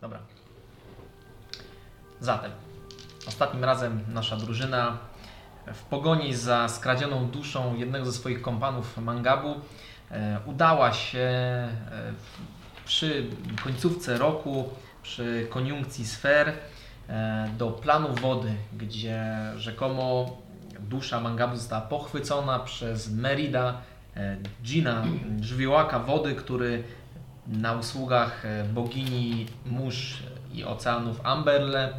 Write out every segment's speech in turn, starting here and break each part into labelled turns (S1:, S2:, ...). S1: Dobra. Zatem, ostatnim razem nasza drużyna w pogoni za skradzioną duszą jednego ze swoich kompanów Mangabu e, udała się e, w- przy końcówce roku, przy koniunkcji sfer e, do planu wody, gdzie rzekomo dusza Mangabu została pochwycona przez Merida, e, dżina, żywiołaka wody, który na usługach e, bogini mórz i oceanów Amberle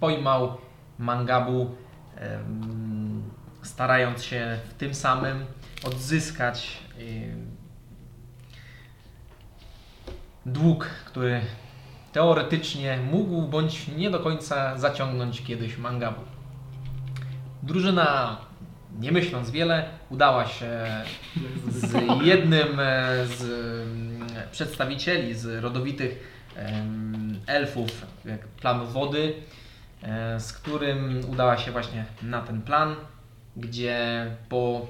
S1: pojmał Mangabu, em, starając się w tym samym odzyskać em, dług, który teoretycznie mógł bądź nie do końca zaciągnąć kiedyś Mangabu. Drużyna, nie myśląc wiele, udała się z jednym e, z mm, przedstawicieli, z rodowitych em, elfów jak planu wody, e, z którym udała się właśnie na ten plan, gdzie po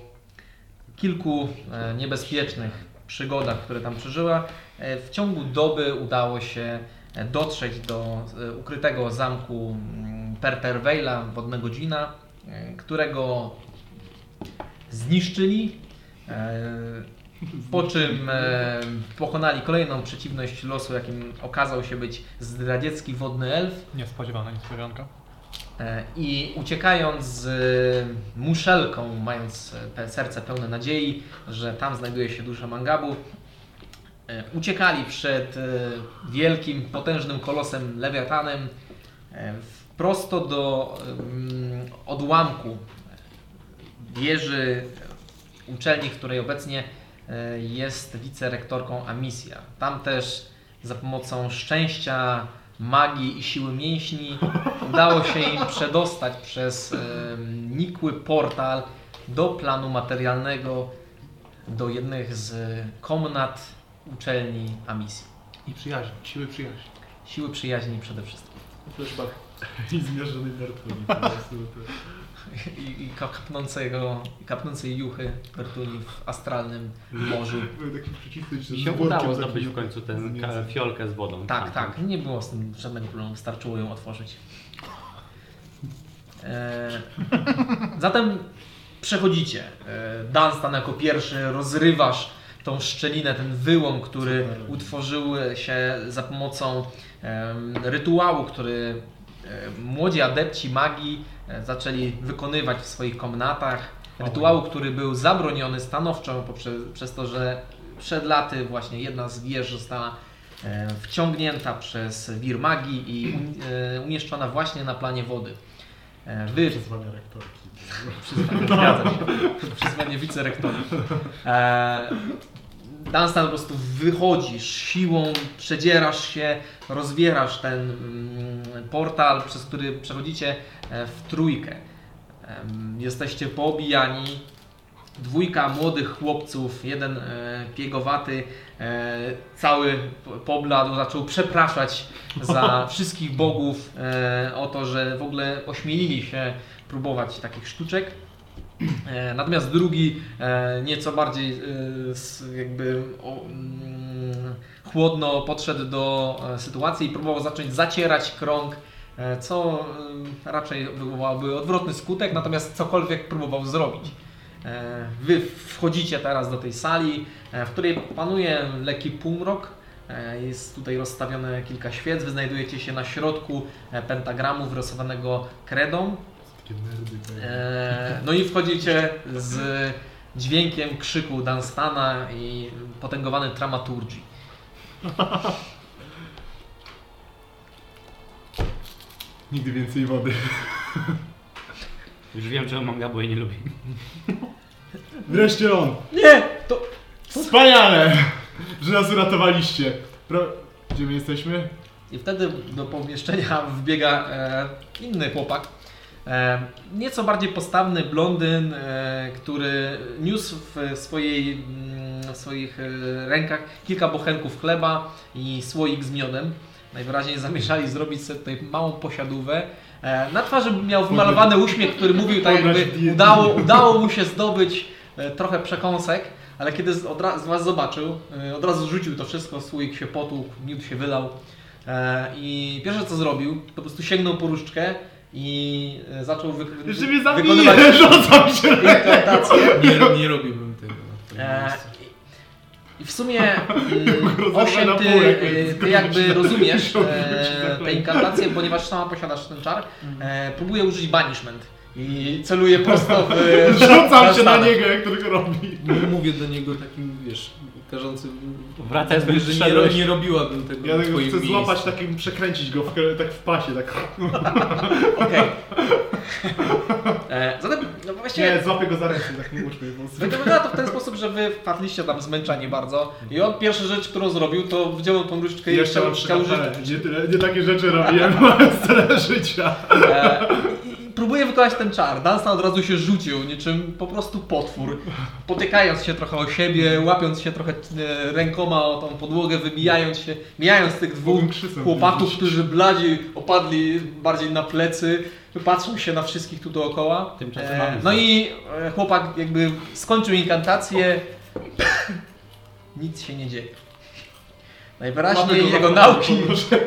S1: kilku e, niebezpiecznych przygodach, które tam przeżyła, e, w ciągu doby udało się e, dotrzeć do e, ukrytego zamku mm, Perperweila, wodnego dżina, e, którego zniszczyli, e, po czym e, pokonali kolejną przeciwność losu, jakim okazał się być zdradziecki wodny elf
S2: Niespodziewana niespodzianka.
S1: e, i uciekając z e, muszelką, mając e, pe- serce pełne nadziei, że tam znajduje się dusza Mangabu, e, uciekali przed e, wielkim, potężnym kolosem Lewiatanem e, w- prosto do em, odłamku wieży uczelni, w której obecnie e, jest wicerektorką Amisja. Tam też za pomocą szczęścia, magii i siły mięśni udało się im przedostać przez e, nikły portal do planu materialnego do jednych z komnat uczelni Amisji.
S2: I przyjaźń, siły przyjaźni.
S1: Siły przyjaźni przede wszystkim.
S3: Flashback. I zmierzonej Bertoni po prostu. To-
S1: I, i kapnącego, kapnącej juchy Bertuni w astralnym morzu.
S3: Byłem taki przycisnąć, że
S4: I się
S3: z workiem
S4: udało
S3: takim-
S4: zdobyć w końcu tę ka- fiolkę z wodą.
S1: Tak, tak. Nie było z tym żadnego problemu. Starczyło ją otworzyć. E, zatem przechodzicie. E, Dunstan jako pierwszy rozrywasz tą szczelinę, ten wyłom, który
S3: Super.
S1: utworzył się za pomocą em, rytuału, który e, młodzi adepci magii e, zaczęli wykonywać w swoich komnatach. Rytuału, który był zabroniony stanowczo poprzez, przez to, że przed laty właśnie jedna z wież została e, wciągnięta przez wir magii i um- e, umieszczona właśnie na planie wody. E, Wy w
S3: Przyzwania rektorki.
S1: Przyzwanie, zgadza się. Przyzwanie wicerektora. E, Dunstan po prostu wychodzisz siłą, przedzierasz się, rozwierasz ten mm, portal, przez który przechodzicie e, w trójkę. Em, Jesteście poobijani. Dwójka młodych chłopców, jeden e, piegowaty, e, cały po- pobladł, zaczął przepraszać za wszystkich bogów e, o to, że w ogóle ośmielili się próbować takich sztuczek. E, Natomiast drugi e, nieco bardziej e, s- jakby o, mm, chłodno podszedł do e, sytuacji i próbował zacząć zacierać krąg, e, co e, raczej wywołałoby odwrotny skutek, natomiast cokolwiek próbował zrobić. E, Wy wchodzicie teraz do tej sali, e, w której panuje lekki półmrok. E, Jest tutaj rozstawione kilka świec. Wy znajdujecie się na środku e, pentagramu wyrysowanego kredą.
S3: Takie nerdy. tak.
S1: E, No i wchodzicie z dźwiękiem krzyku Dunstana i potęgowanej dramaturgii.
S3: Nigdy więcej wody.
S4: Już wiem, czego manga, bo jej nie lubi.
S3: Wreszcie on!
S1: Nie! To...
S3: Wspaniale! Że nas uratowaliście. Pro... Gdzie my jesteśmy?
S1: I wtedy do pomieszczenia wbiega e, inny chłopak. E, nieco bardziej postawny blondyn, e, który niósł w, swojej, mm, w swoich e, rękach kilka bochenków chleba i słoik z miodem. Najwyraźniej zamierzali zrobić sobie tutaj małą posiadówę. E, na twarzy miał wymalowany uśmiech, który mówił tak jakby udało, udało mu się zdobyć e, trochę przekąsek, ale kiedy z, od ra- z was zobaczył, e, od razu rzucił to wszystko, słoik się potłukł, miód się wylał. E, I pierwsze co zrobił, to po prostu sięgnął po różdżkę i e, zaczął wy, wy,
S2: Jeszcze mnie
S1: wykonywać
S2: zabije, rzucam się.
S1: introtację.
S5: Nie, nie robiłbym tego. na tym
S1: E,
S5: miejscu.
S1: I w sumie mm,
S2: Rozerwę
S1: osiem
S2: na
S1: ty,
S2: pół, jak
S1: y, ty
S2: skończy
S1: jakby
S2: się.
S1: rozumiesz
S2: Chciałbym się
S1: e, tę
S2: zaklęć.
S1: inkantację, ponieważ sama posiadasz ten czar, e, próbuję użyć banishment i celuję prosto w
S2: Rzucam się na
S1: Zastanę.
S2: niego, jak to tylko robi.
S5: M- Mówię do niego takim, wiesz, karzącym...
S6: Wracaj z
S5: Mówię, że nie, ro-
S6: wszedłeś.
S5: nie robiłabym tego
S2: Ja
S5: na
S2: tego
S5: twoim
S2: chcę
S5: miejscu.
S2: złapać, tak. takim przekręcić go w, tak w pasie, tak.
S1: Okej. E, Zatem, no właściwie...
S2: Nie, złapię go za ręce, tak nie uczmy.
S1: Wygląda to w ten sposób, że wy wpadliście tam zmęczeni bardzo i on pierwsza rzecz, którą zrobił, to wziął tą różdżkę i chciał, chciał użyć.
S2: nie, tyle, nie takie rzeczy robiłem przez tyle życia.
S1: E, i- i próbuje wykonać ten czar. Dunstan od razu się rzucił, niczym po prostu potwór, potykając się trochę o siebie, łapiąc się trochę e, rękoma o tą podłogę, wybijając się, mijając tych dwóch
S2: Mogłem krzysem
S1: chłopaków,
S2: wyrzucić.
S1: którzy bladzi opadli bardziej na plecy, patrzą się na wszystkich tu dookoła.
S6: Tymczasem
S1: E,
S6: mamy
S1: no
S6: znak.
S1: i e, chłopak jakby skończył inkantację. Nic się nie dzieje.
S2: Mamy go
S1: Najwyraźniej
S2: za
S1: jego
S2: plecak,
S1: nauki.
S2: proszę.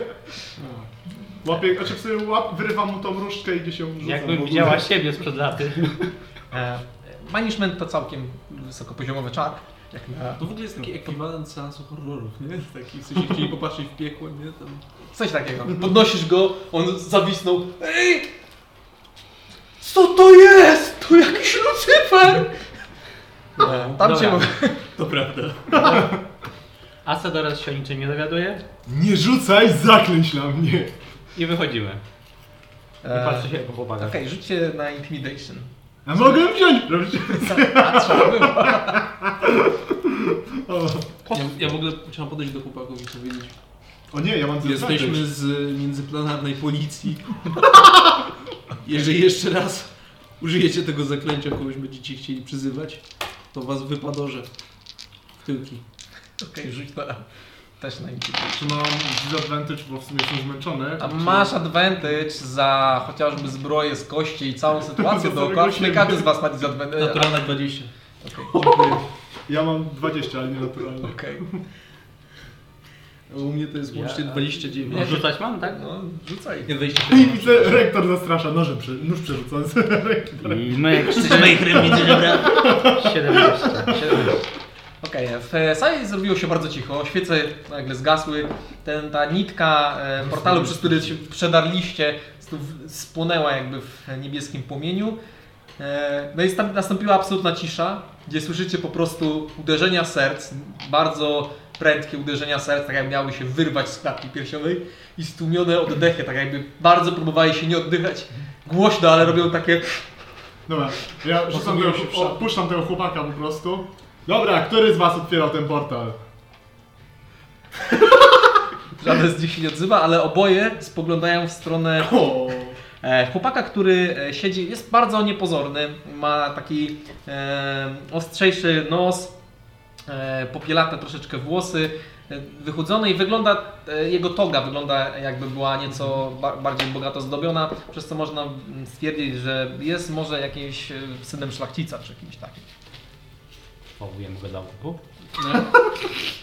S2: Łapię, znaczy w sumie łap, wyrywam mu tą różdżkę i gdzieś ją rzucam. w
S6: Jakbym
S2: ogóle.
S6: widziała siebie sprzed laty.
S1: E, Management to całkiem wysokopoziomowy czar. Jak na
S5: To w ogóle jest taki ekwiwalent seansu horrorów, nie? Taki, w sensie chcieli popatrzeć w piekło, nie? Tam...
S1: coś takiego. Podnosisz go, on zawisnął. Ej! Co to jest? To jakiś Lucyfer! E, Tam cię
S6: Dobra.
S1: mogę.
S5: To prawda.
S6: Asadoras się o niczym nie dowiaduje
S2: Nie rzucaj, zaklęć na mnie.
S6: i wychodzimy. Tak. I
S1: E,
S6: patrzy się po chłopakach.
S1: Okej, rzućcie na intimidation.
S2: A mogę wziąć, proszę.
S1: A, trzeba było.
S2: O,
S5: Ja, ja w ogóle chciałem podejść do chłopaków i powiedzieć,
S2: o nie, ja mam zero
S5: jesteśmy
S2: zaklęć.
S5: z międzyplanarnej policji. Jeżeli jeszcze raz użyjecie tego zaklęcia, kogoś będziecie chcieli przyzywać, to was wypadorze w tyłki.
S1: Okej, rzuć na, też na intimidation.
S2: Czy mam disadvantage, bo w sumie jestem zmęczony.
S1: A
S2: Czy-
S1: masz advantage za chociażby zbroję z kości i całą sytuację
S2: Za
S1: dookoła.
S2: samego
S1: Czyli
S2: siebie.
S1: każdy z was ma disadvantage.
S5: Naturalna 20.
S2: Dziękuję. Ja mam 20, ale nie naturalnie.
S1: Okej.
S5: A U mnie to jest łącznie
S6: Ja-
S5: 29.
S6: No, Rzucać mam, tak?
S1: No, rzucaj.
S5: Nie wejście.
S2: I widzę, rektor zastrasza nożem, przy, nóż przerzucający.
S6: I no jak chcecie moich remizy, dobra? 17. 17.
S1: Okej, w sali zrobiło się bardzo cicho, świece nagle zgasły, ten, ta nitka e, portalu, przez który się przedarliście, po prostu w- spłonęła jakby w niebieskim płomieniu. E, No i stam- nastąpiła absolutna cisza, gdzie słyszycie po prostu uderzenia serc, bardzo prędkie uderzenia serc, tak jak miały się wyrwać z klatki piersiowej i stłumione oddechy, tak jakby bardzo próbowali się nie oddychać głośno, ale robią takie...
S2: Dobra, ja rzucam
S5: Posługują
S2: tego,
S5: się
S2: o, puszczam tego chłopaka po prostu. Dobra, który z was otwierał ten portal?
S1: Żaden z nich się nie odzywa, ale oboje spoglądają w stronę
S2: O,
S1: E, Chłopaka, który e, siedzi, jest bardzo niepozorny, ma taki e, ostrzejszy nos, e, popielate troszeczkę włosy, e, wychudzony i wygląda, e, jego toga wygląda jakby była nieco ba bardziej bogato zdobiona, przez co można mm, stwierdzić, że jest może jakimś e, synem szlachcica czy kimś takim.
S6: Powołujemy go do łuku.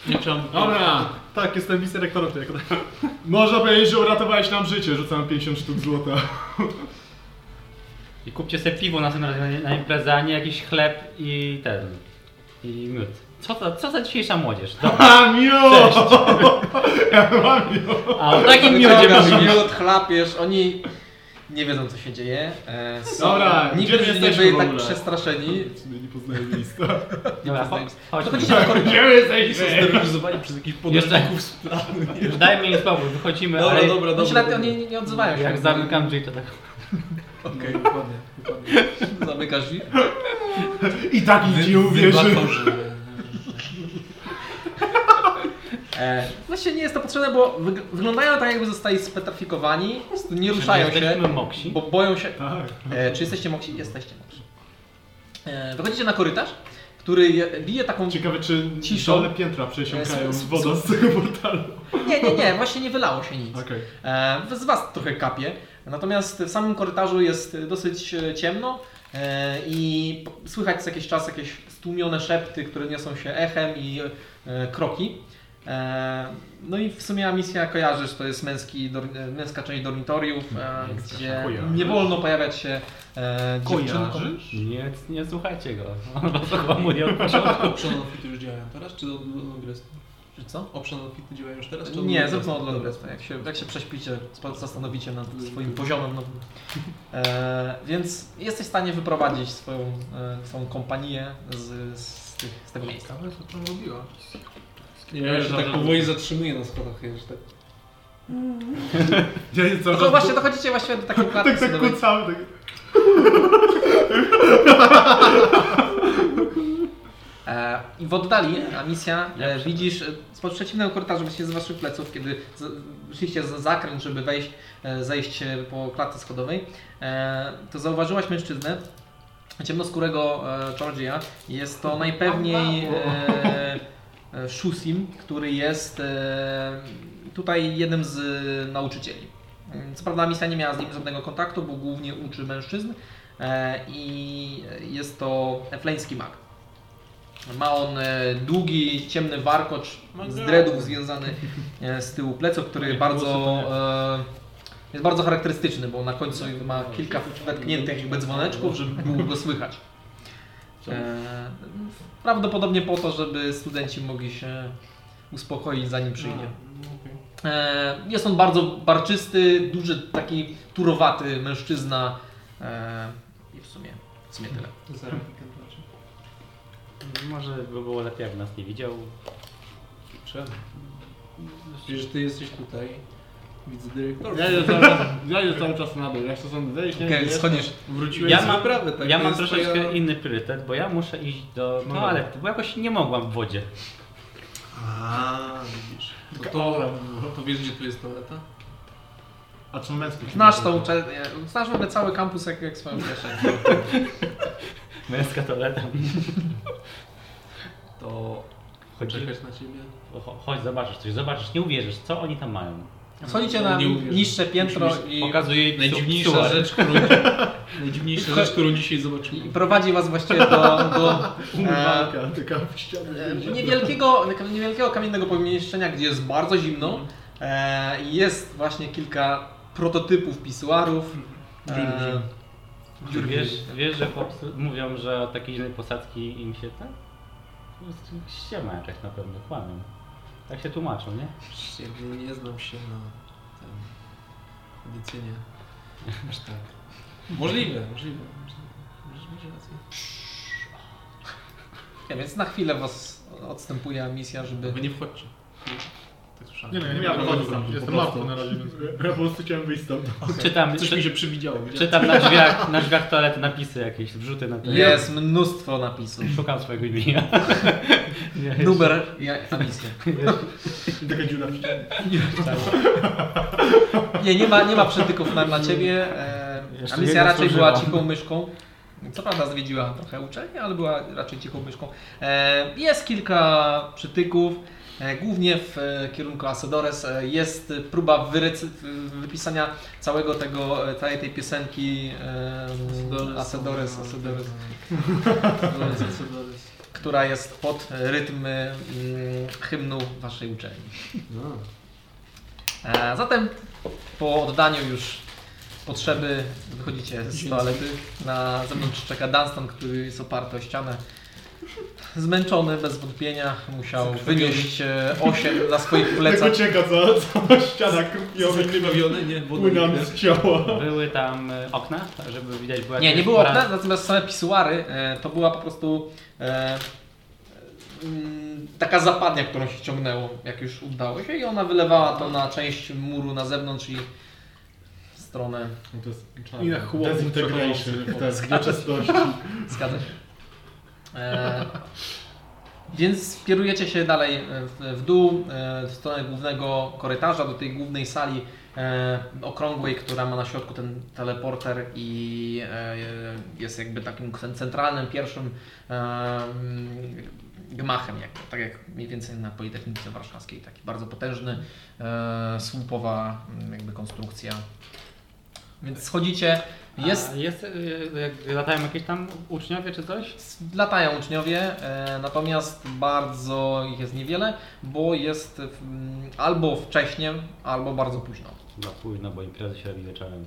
S5: Nie chciałem.
S2: dobra, tak, jestem wicerektorem tego. Można powiedzieć, że uratowałeś nam życie, rzucam 50 sztuk złota.
S6: I kupcie sobie piwo następnym razem na imprezę, a nie jakiś chleb i ten. I miód. Co, to, co za dzisiejsza młodzież? Dobra,
S2: A, miód! Ja mam miód.
S6: a o takim miodzie
S1: Wyciągasz
S6: mówię.
S1: miód, chlapiesz, oni nie wiedzą co się dzieje. E, są-
S2: Dobra, gdzie my
S1: Niektórzy nie
S2: jesteśmy
S1: byli
S2: w
S1: tak
S2: ogóle?
S1: przestraszeni.
S2: W sumie nie poznaję miejsca. Tak.
S6: Dobra, cho- chodźmy.
S1: Przechodzicie na korytarz.
S2: Gdzie jesteśmy?
S5: Sterylizowanie przez jakichś podręczników z planu. nie?
S6: Już dajmy im spokój, wychodzimy,
S5: Dobra,
S6: ale
S5: dobra,
S1: Oni się
S5: dobra.
S1: nawet nie, nie, nie odzywają się.
S6: jak zamykam drzwi to tak...
S5: Okej, dokładnie. dokładnie.
S1: Zamykasz drzwi.
S2: I tak i ci uwierzy.
S5: Wybatorzy.
S1: E, Właściwie nie jest to potrzebne, bo wyg- wyglądają tak jakby zostali spetrafikowani, po prostu nie ruszają się,
S6: Jesteśmy moksi.
S1: bo boją się.
S2: Tak.
S1: E, czy jesteście moksi? Jesteście moksi. E, wychodzicie na korytarz, który je, bije taką...
S2: Ciekawe, czy
S1: Ciszą.
S2: dole piętra przesiąkają
S1: E, s-
S2: z wodą z tego portalu.
S1: Nie, nie, nie, właśnie nie wylało się nic.
S2: Okej.
S1: E, z was trochę kapie, natomiast w samym korytarzu jest dosyć e, ciemno e, i p- słychać co jakiś czas jakieś stłumione szepty, które niosą się echem i e, kroki. E, no i w sumie misja kojarzysz, to jest męski, dor, e, męska część dormitoriów, e,
S6: Męska
S1: gdzie
S7: kojarzysz?
S1: nie wolno pojawiać się e, dziewczynkom.
S7: Kojarzysz?
S6: Nie, nie słuchajcie go. On was okłamuje od początku.
S5: Option Outfity już działają teraz, czy od Longrestu?
S1: Czy co?
S5: Option Outfity działają już teraz, czy od
S1: Nie,
S5: Longresta?
S1: zróbmy od Longrestu. Jak się, jak się prześpicie, spo- zastanowicie nad swoim poziomem nowym. E, więc jesteś w stanie wyprowadzić swoją, e, swoją kompanię z, z, tych, z tego miejsca.
S7: Ciekawe, co tam robiła.
S5: Nie, ja się tak powoli zatrzymuję na schodach, ja już tak...
S2: Ja jestem
S1: No
S2: cały
S1: to
S2: czas-
S1: właśnie dochodzicie właściwie do takiej klatki
S2: Tak, tak,
S1: schodowej.
S2: kucamy, tak.
S1: E, I w oddali, a misja, e, widzisz e, spod przeciwnego korytarza, właściwie z waszych pleców, kiedy z- szliście za zakręt, żeby wejść, e, zejść e, po klatce schodowej, e, to zauważyłaś mężczyznę, ciemnoskórego e, czarodzieja. Jest to najpewniej e, e, Shusim, który jest e, tutaj jednym z e, nauczycieli. Mm, Co prawda misja nie miała z nim żadnego kontaktu, bo głównie uczy mężczyzn e, i jest to efleński mag. Ma on e, długi, ciemny warkocz z dreadów związany e, z tyłu pleców, który bardzo e, jest bardzo charakterystyczny, bo na końcu ma kilka wetkniętych jakby dzwoneczków, żeby było go słychać. E, prawdopodobnie po to, żeby studenci mogli się uspokoić zanim przyjdzie.
S5: no
S2: No.
S1: E, Jest on bardzo barczysty, duży, taki turowaty mężczyzna. e, I w sumie, w sumie tyle.
S5: Zaraz, weekend zobaczę.
S6: Może by było lepiej, jakby nas nie widział.
S5: Czemu? Przecież ty jesteś tutaj, widzę dyrektor.
S2: Ja idę cały czas, ja idę cały czas na dół, ja chcę stąd zejść, nie
S1: Okej,
S2: wiem,
S1: schodzisz.
S5: Wróciłeś
S6: Ja
S5: z
S6: mam-
S5: wyprawy, tak?
S6: ja
S5: To
S6: mam
S5: jest
S6: troszeczkę
S5: twoja-
S6: inny priorytet, bo ja muszę iść do
S2: No
S6: toalety, bo jakoś nie mogłam w wodzie.
S5: A, widzisz. To, to, to wiesz, gdzie tu jest toaleta?
S2: A co męskie?
S1: Znasz tą, cze- e, znasz w ogóle cały kampus jak, jak swoją kieszeń.
S6: Męska toaleta.
S5: To
S6: Chodzi,
S5: czekasz na ciebie.
S6: cho- chodź, zobaczysz coś, zobaczysz, nie uwierzysz, co oni tam mają.
S2: No,
S1: Schodzicie na
S5: Nie uwierzę.
S1: niższe piętro i,
S6: Pokazuje jej
S5: Najdziwniejsza
S6: psu-
S5: rzecz, którą, najdziwniejsza rzecz, którą dzisiaj
S1: i
S5: zobaczyłem.
S1: prowadzi was właściwie do, do e,
S2: Umywalka, taka w ścianę.
S1: E, niewielkiego, niewielkiego kamiennego pomieszczenia, gdzie jest bardzo zimno. E, i Jest właśnie kilka prototypów pisuarów. E,
S6: Czy Wiesz, wiesz, że chłopcy mówią, że od takiej zimnej posadzki im się tak? Po prostu Ściema jakaś na pewno, kłamią. Tak się tłumaczą, nie?
S5: Jakby nie znam się na tym medycynie. Aż tak. Możliwe, możliwe. możliwe. Możesz mieć rację.
S1: nie, więc na chwilę was odstępuje misja, żeby
S5: Wy nie wchodźcie. Tak słyszałem.
S2: Nie no, ja nie miałem chodzić tam, jestem martwy na razie, więc ja po prostu chciałem wyjść stąd.
S6: Czytam,
S5: Coś
S6: czy,
S5: mi się przywidziało.
S6: czytam na drzwiach, na drzwiach toalety napisy jakieś, wrzuty na te-
S1: jest mnóstwo napisów.
S6: Szukam swojego imienia. Nie,
S1: Numer ja- na misję.
S2: I taka dziura w ścianie.
S1: Nie, nie ma, nie ma przytyków na, na ciebie. E,
S6: Jeszcze
S1: a
S6: nie
S1: misja raczej była
S6: otworzyłam.
S1: cichą myszką. Co prawda zwiedziła trochę uczelnię, ale była raczej cichą myszką. E, jest kilka przytyków. E, głównie w e, kierunku Asadores e, jest próba wyrecy- w- wypisania całego tego, e, całej tej piosenki e, Asadores, Asadores,
S5: Asadores, Asadores.
S1: która jest pod rytm e, hymnu waszej uczelni.
S5: No.
S1: E, Zatem po oddaniu już potrzeby wychodzicie z toalety. Na zewnątrz czeka Dunstan, który jest oparty o ścianę. Zmęczony bez wątpienia musiał wynieść e, osiem na swoich
S2: Tak
S1: plecach.
S2: ucieka cała, cała ściana krwiowa,
S5: Wykrwawione, nie? Woda
S2: płynami z ciała.
S6: Były tam e, okna, żeby widać była
S1: Nie, nie
S6: jakaś
S1: było
S6: pora-
S1: okna, natomiast same pisuary e, to była po prostu e, mm, taka zapadnia, którą się ciągnęło, jak już udało się i ona wylewała to na część muru na zewnątrz i w stronę,
S2: To jest
S5: czarne.
S2: I na chłopów Dezintegration, tak, nieczystości.
S1: Zgadza się. E, więc kierujecie się dalej e, w, w dół, e, w stronę głównego korytarza, do tej głównej sali e, okrągłej, która ma na środku ten teleporter i e, jest jakby takim cen- centralnym, pierwszym e, mm, gmachem, jak, tak jak mniej więcej na Politechnice Warszawskiej. Taki bardzo potężny, e, słupowa mm, jakby konstrukcja. Więc schodzicie, jest,
S4: A jest
S6: e,
S4: y, jak latają jakieś tam uczniowie czy coś?
S1: latają uczniowie, e, natomiast bardzo ich jest niewiele, bo jest mm, albo wcześnie, albo bardzo późno,
S4: Za późno, no bo imprezy się robi wieczorem.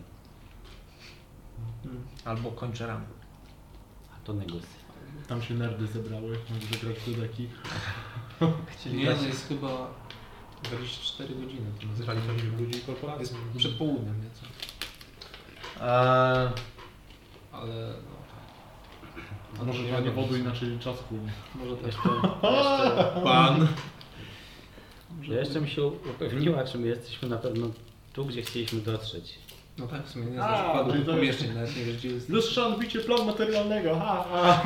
S1: albo kończy rano.
S4: A to negusy.
S3: Tam się nerdy zebrały, żeby grać w dodeki.
S1: Chcieli
S5: Nie,
S1: grać.
S5: to jest chyba 24 godziny.
S3: Zrali pewnie ludzi i korporacje.
S5: Jest przed południem, nieco.
S1: E,
S5: Ale no,
S3: A może
S5: Nie
S3: dla nie
S5: wiem.
S3: wodu inaczej czas płynie.
S5: może też.
S4: Jeszcze, jeszcze,
S5: no. Pan.
S4: ja jeszcze mi się upewniła, czy my jesteśmy na pewno tu, gdzie chcieliśmy dotrzeć.
S5: No tak, w sumie nie
S3: A,
S5: znasz wkładu
S3: czyli
S5: do
S3: to
S5: pomieszczeń, nawet nie wiesz gdzie jest. No tak.
S3: Lustrzan, bicie plon materialnego, ha, ha.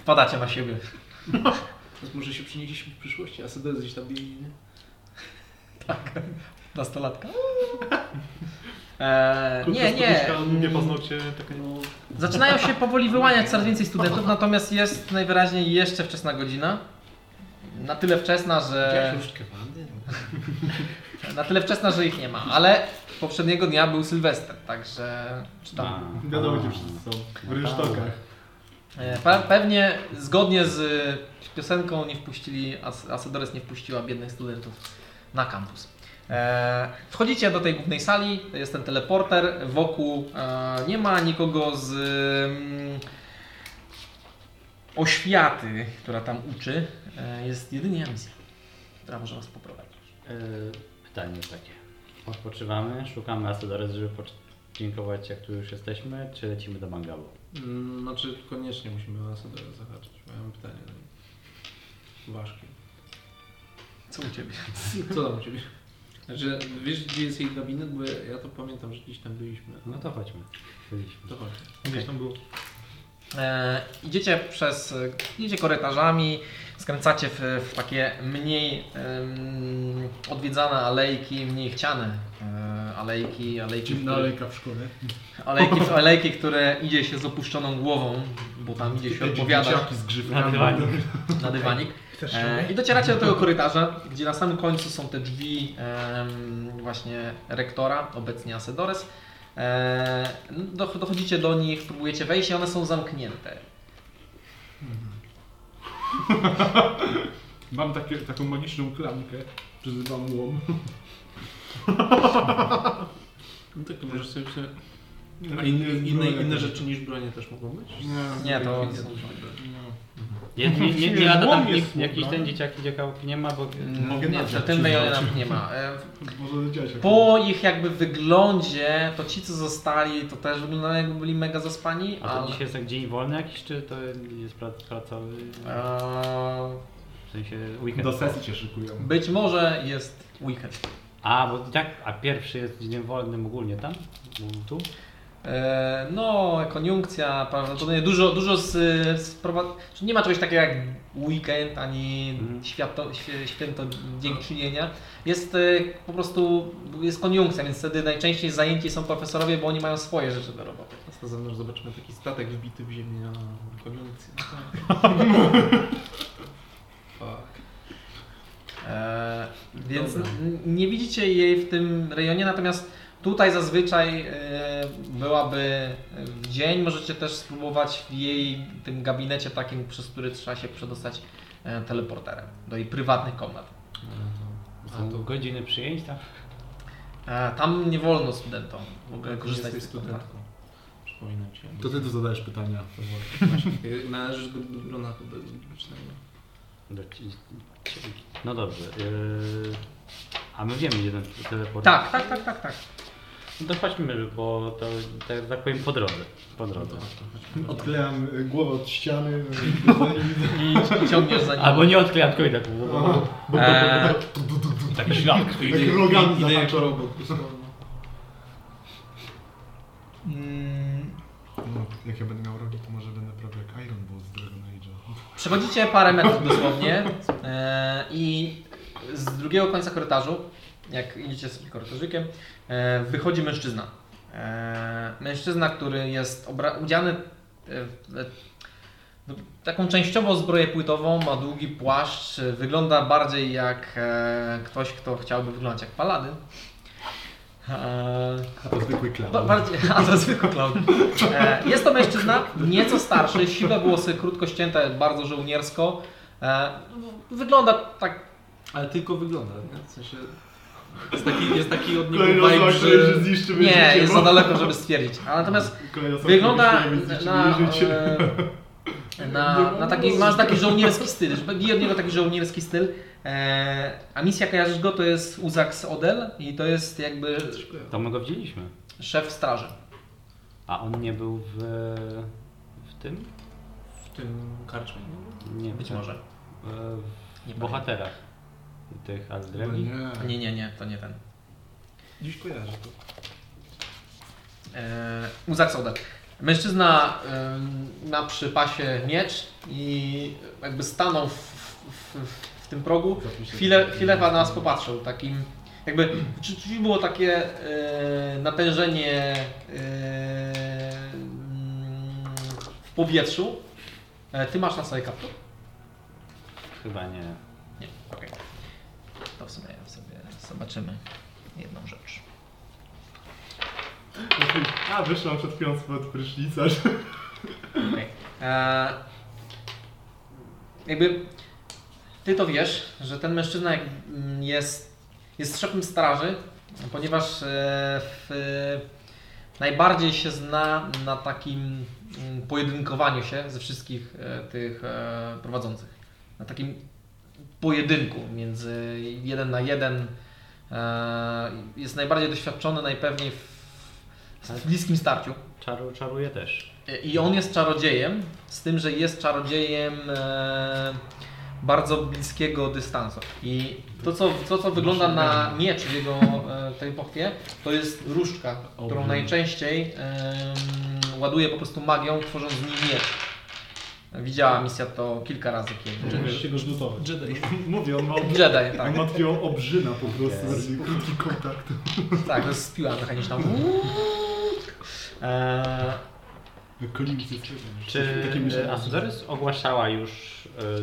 S1: wpadacie na siebie.
S5: Więc może się przenieśliśmy w przyszłości, a CD gdzieś tam biegnie, nie?
S1: Nastolatka. E, nie, nie.
S3: Krótka Nie paznokcie, taka no...
S1: Zaczynają się powoli wyłaniać coraz więcej studentów, natomiast jest najwyraźniej jeszcze wczesna godzina. Na tyle wczesna, że.
S5: Jakieś kewandy?
S1: Na tyle wczesna, że ich nie ma, ale poprzedniego dnia był Sylwester, także. Czy tam.
S4: A,
S3: Tak, Wiadomo,
S4: a.
S3: gdzie wszyscy są. W rynsztokach.
S1: E, pe- pewnie zgodnie z y, piosenką nie wpuścili, As- Asadores nie wpuściła biednych studentów na kampus. E, Wchodzicie do tej głównej sali, jest ten teleporter, wokół e, nie ma nikogo z mm, oświaty, która tam uczy, E, jest jedynie Amizja, która może Was poprowadzić.
S4: Y, Pytanie takie. Odpoczywamy, szukamy Asadores, żeby podziękować jak tu już jesteśmy, czy lecimy do Mangalu?
S5: Mm, Znaczy koniecznie musimy na CD zahaczyć. Miałem pytanie do nich. Ważkie.
S1: Co u Ciebie?
S5: Co tam u ciebie? Znaczy, wiesz gdzie jest jej gabinet? Bo ja ja to pamiętam, że gdzieś tam byliśmy.
S4: No to chodźmy. Byliśmy.
S5: To chodź.
S3: Gdzieś tam było.
S1: E, idziecie przez, e, idziecie korytarzami, skręcacie w, w takie mniej em, odwiedzane alejki, mniej chciane e, alejki, alejki,
S3: Czym
S1: które-
S3: daleka w szkole.
S1: alejki, alejki, które idzie się z opuszczoną głową, bo tam idzie się odpowiadać
S3: Dzieciaki z
S4: Na
S3: grzywkami.
S4: dywanie.
S1: na dywanik. E, I docieracie do tego korytarza, gdzie na samym końcu są te drzwi em, właśnie rektora, obecnie Asedores. E, do, dochodzicie do nich, próbujecie wejść i one są zamknięte.
S3: Mam takie, taką magiczną klamkę, przyzywam łom.
S5: No tak, to możesz sobie... sobie...
S3: Nie,
S5: A inne,
S3: jest
S5: inne,
S3: broń
S5: inne
S3: jakaś.
S5: rzeczy niż bronie też mogą być?
S3: Nie.
S1: Nie, to
S5: Nie,
S1: są
S3: nie.
S4: Nie, nie, nie, nie
S3: Właściwie
S4: lata
S3: złom
S4: tam
S3: jest
S4: nikt, jakiś
S3: smutno.
S4: ten dzieciaki dziekałki nie ma, bo...
S3: Mogę
S1: Yy, nie,
S3: nadziać,
S1: w tym
S3: czy
S1: mailu
S3: zobaczymy.
S1: nam nie ma. E,
S3: Może dzieciak.
S1: Po ich jakby wyglądzie, to ci co zostali, to też wyglądają jakby byli mega zaspani,
S4: A to
S1: ale...
S4: dzisiaj jest jak dzień wolny jakiś, czy to jest prac, pracowy,
S1: Eee,
S4: w sensie weekend?
S3: Do sesji cię szykują.
S1: być może jest weekend.
S4: A, bo jak, a pierwszy jest dniem wolnym ogólnie tam? Bo Tu?
S1: Eee, no, koniunkcja, prawdopodobnie dużo, dużo z, z prowa- czy Nie ma czegoś takiego jak weekend, ani
S4: Mhm.
S1: święto, świe- święto dziękczynienia. Jest e, po prostu, jest koniunkcja, więc wtedy najczęściej zajęci są profesorowie, bo oni mają swoje rzeczy do roboty.
S5: Teraz ze mną zobaczymy taki statek wbity w ziemię na na koniunkcję. Fuck.
S1: E, więc
S5: Dobra.
S1: n- nie widzicie jej w tym rejonie, natomiast tutaj zazwyczaj e, byłaby e, w dzień. Możecie też spróbować w jej tym gabinecie takim, przez który trzeba się przedostać e, teleporterem do jej prywatnych komnat.
S5: No to-
S4: Są
S5: A to
S4: godziny przyjęć tam?
S1: E, tam nie wolno studentom w ogóle
S5: Jak
S1: korzystać
S5: jesteś
S1: z tych komnat.
S5: studentką. Przypominam cię.
S3: To ty tu zadajesz pytania.
S5: Właśnie, Należysz Y, do, do grona chyba licznego.
S4: Do ci- ci- No dobrze. Yy... A my wiemy jeden teleport.
S1: Tak, tak, tak, tak, tak.
S4: No to chodźmy, bo to tak, tak powiem po drodze. Po
S1: No
S4: drodze.
S3: Odklejam y, głowę od ściany.
S1: I, i tak, ciągniesz za nim.
S4: Albo nie odklejam tylko i tak.
S1: E,
S4: Taki ślad.
S3: Idę- idę- Rogan idę jak
S5: jak
S3: zahaczył.
S5: robot.
S1: mm,
S3: No, jak ja będę miał rogi, to może będę prawie jak Iron Bull z Dragon Age'a.
S1: Przechodzicie parę metrów dosłownie e, i z drugiego końca korytarzu, jak idziecie sobie korytarzykiem, e, wychodzi mężczyzna. E, mężczyzna, który jest obra- udziany e, w- e, no, taką częściowo zbroję płytową, ma długi płaszcz, e, wygląda bardziej jak e, ktoś, kto chciałby wyglądać jak paladyn. Eee,
S3: A to zwykły klaun.
S1: Ba- Bardziej, a to zwykły clown. E, jest to mężczyzna, nieco starszy, siwe włosy, krótko ścięte, bardzo żołniersko. E, w- wygląda tak
S5: Ale tylko wygląda, nie? W sensie... Jest taki, jest taki od niego
S3: Kolejny
S5: vibe,
S3: osobak,
S5: że...
S3: że zniszczymy
S1: Nie,
S3: życie,
S1: jest
S3: bo-
S1: za daleko, żeby stwierdzić. A natomiast
S3: Kolejny osobak,
S1: wygląda
S3: który myśli, że
S1: na,
S3: zniszczymy życie.
S1: e, na, na taki, masz taki żołnierski styl, że bije od niego taki żołnierski styl. E, a misja, kojarzysz go, to jest Uzak z Odel i to jest jakby
S4: To my go widzieliśmy.
S1: szef straży.
S4: A on nie był w, w tym?
S5: W tym karczmie.
S4: Nie,
S1: Być
S4: w-
S1: może.
S4: e,
S1: Nie
S4: W bohaterach. Tych
S3: No
S4: Aldremi.
S1: pamiętam. Nie, nie, nie, to nie ten.
S5: Dziś kojarzę to.
S1: E, Uzak Soder. Mężczyzna e, ma przy pasie miecz i jakby stanął w, w, w, w tym progu. Chwilę, chwilę na nas popatrzył, takim jakby czy, czy było takie e, natężenie e, mm, w powietrzu. E, ty masz na sobie kaptur? Mhm.
S4: Chyba nie.
S1: Nie, okej. To w sumie sobie zobaczymy jedną rzecz.
S3: A, wyszłam przed chwilą spod prysznica, że...
S1: Okej. E, Jakby ty to wiesz, że ten mężczyzna jak- mm, jest, jest szefem straży, ponieważ e, w, e, najbardziej się zna na takim mm, pojedynkowaniu się ze wszystkich e, tych e, prowadzących. Na takim pojedynku między jeden na jeden. E, Jest najbardziej doświadczony najpewniej w, w bliskim starciu.
S4: Czaru, czaruje też.
S1: I on jest czarodziejem, z tym, że jest czarodziejem e, bardzo bliskiego dystansu. I to, co, to, co wygląda na miecz w jego e, tej pochwie, to jest różdżka, którą najczęściej em, ładuje po prostu magią, tworząc z niej miecz. Widziała misja to kilka razy kiedyś.
S3: Żeby się go zlutować.
S5: Jedi.
S3: Mówię, on ma,
S1: Jedi, tak.
S3: on
S2: No.
S3: ma takiego obrzyna po prostu,
S4: Yes.
S3: yes. krótki kontakt.
S1: Tak, to jest piła mechaniczna. E,
S3: Kolicy z tego.
S4: Czy
S3: Takie myślenie.
S4: e, Asudorys ogłaszała już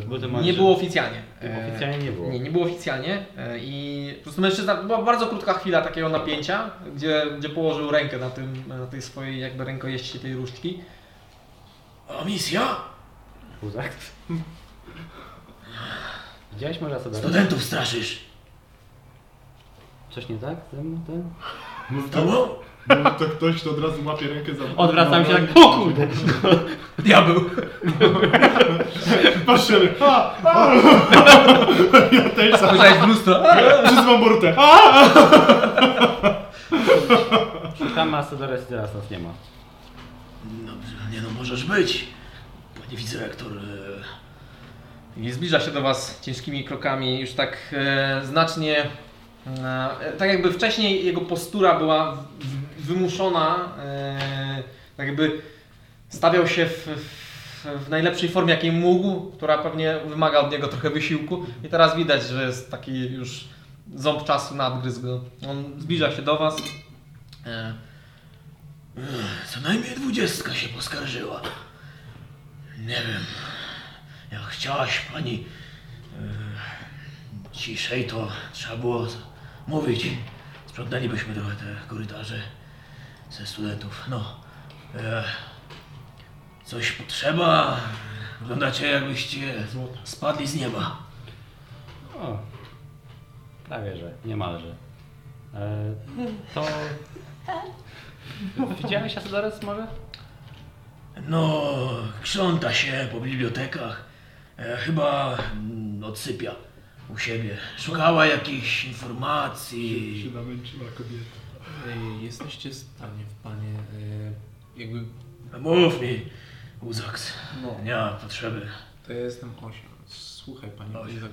S4: e, Gudemarza?
S1: nie było oficjalnie. E,
S4: Oficjalnie nie było.
S1: Nie, nie było oficjalnie e, i po prostu mężczyzna, była bardzo krótka chwila takiego napięcia, gdzie, gdzie położył rękę na, tym, na tej swojej jakby rękojeści tej różdżki. A misja?
S4: Huzak. Widziałeś może Asudorys?
S1: Studentów straszysz.
S4: Coś nie tak? ze mną, ten?
S3: Mówi to, mówi No, to ktoś, to od razu łapie rękę za... No,
S4: Odwracam się
S3: za-
S4: tak, o kurde!
S1: Diabeł.
S3: Patrzymy, a, a. Ja też sam.
S1: Spojrzałeś w lustro. A!
S3: Przyzwam Borutę.
S4: Tam Asudorys i teraz nas nie ma.
S8: Dobrze, nie no, możesz być. Panie wicerektor, e,
S1: I zbliża się do Was ciężkimi krokami, już tak e, znacznie. E, tak jakby wcześniej jego postura była w, w, wymuszona, e, tak jakby stawiał się w, w, w najlepszej formie jakiej mógł, która pewnie wymaga od niego trochę wysiłku. I teraz widać, że jest taki już ząb czasu nadgryzł go. On zbliża się do Was. E,
S8: e, co najmniej dwudziestka się poskarżyła. Nie wiem, jak chciałaś pani e, ciszej, to trzeba było z- mówić. Sprzątnęlibyśmy trochę te korytarze ze studentów. No, e, coś potrzeba. Wyglądacie jakbyście spadli z nieba.
S4: O, prawie że, niemalże. E, to... Widziałeś Asudorys może?
S8: No, krząta się po bibliotekach. E, chyba mm, odsypia u siebie. Szukała jakichś informacji.
S3: Się namęczyła kobieta.
S5: Ej, jesteście w stanie, panie, e, jakby...
S8: Mów mi, Uzaks.
S5: No.
S8: Nie ma potrzeby.
S5: To ja jestem 8. Słuchaj, panie
S8: Osiem.
S5: Izak,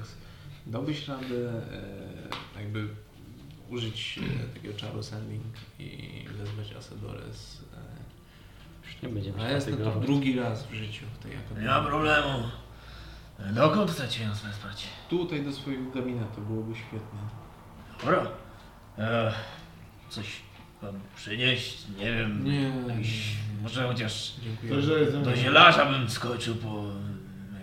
S5: dałbyś radę e, jakby użyć e, takiego czaru sending i wezwać Asadores.
S4: Już nie będziemy
S5: E, a jestem
S4: tego
S5: tu drugi raz w życiu w tej akademii.
S8: Nie ma problemu. Dokąd chcecie nas wezwać?
S5: Tutaj do swojego gabinetu byłoby świetnie.
S8: Dobra. No, E, coś wam przynieść? Nie wiem.
S5: Nie,
S8: Mm. Jakiś, może chociaż
S5: dziękuję.
S3: To, że jest...
S8: do zielarza bym skoczył po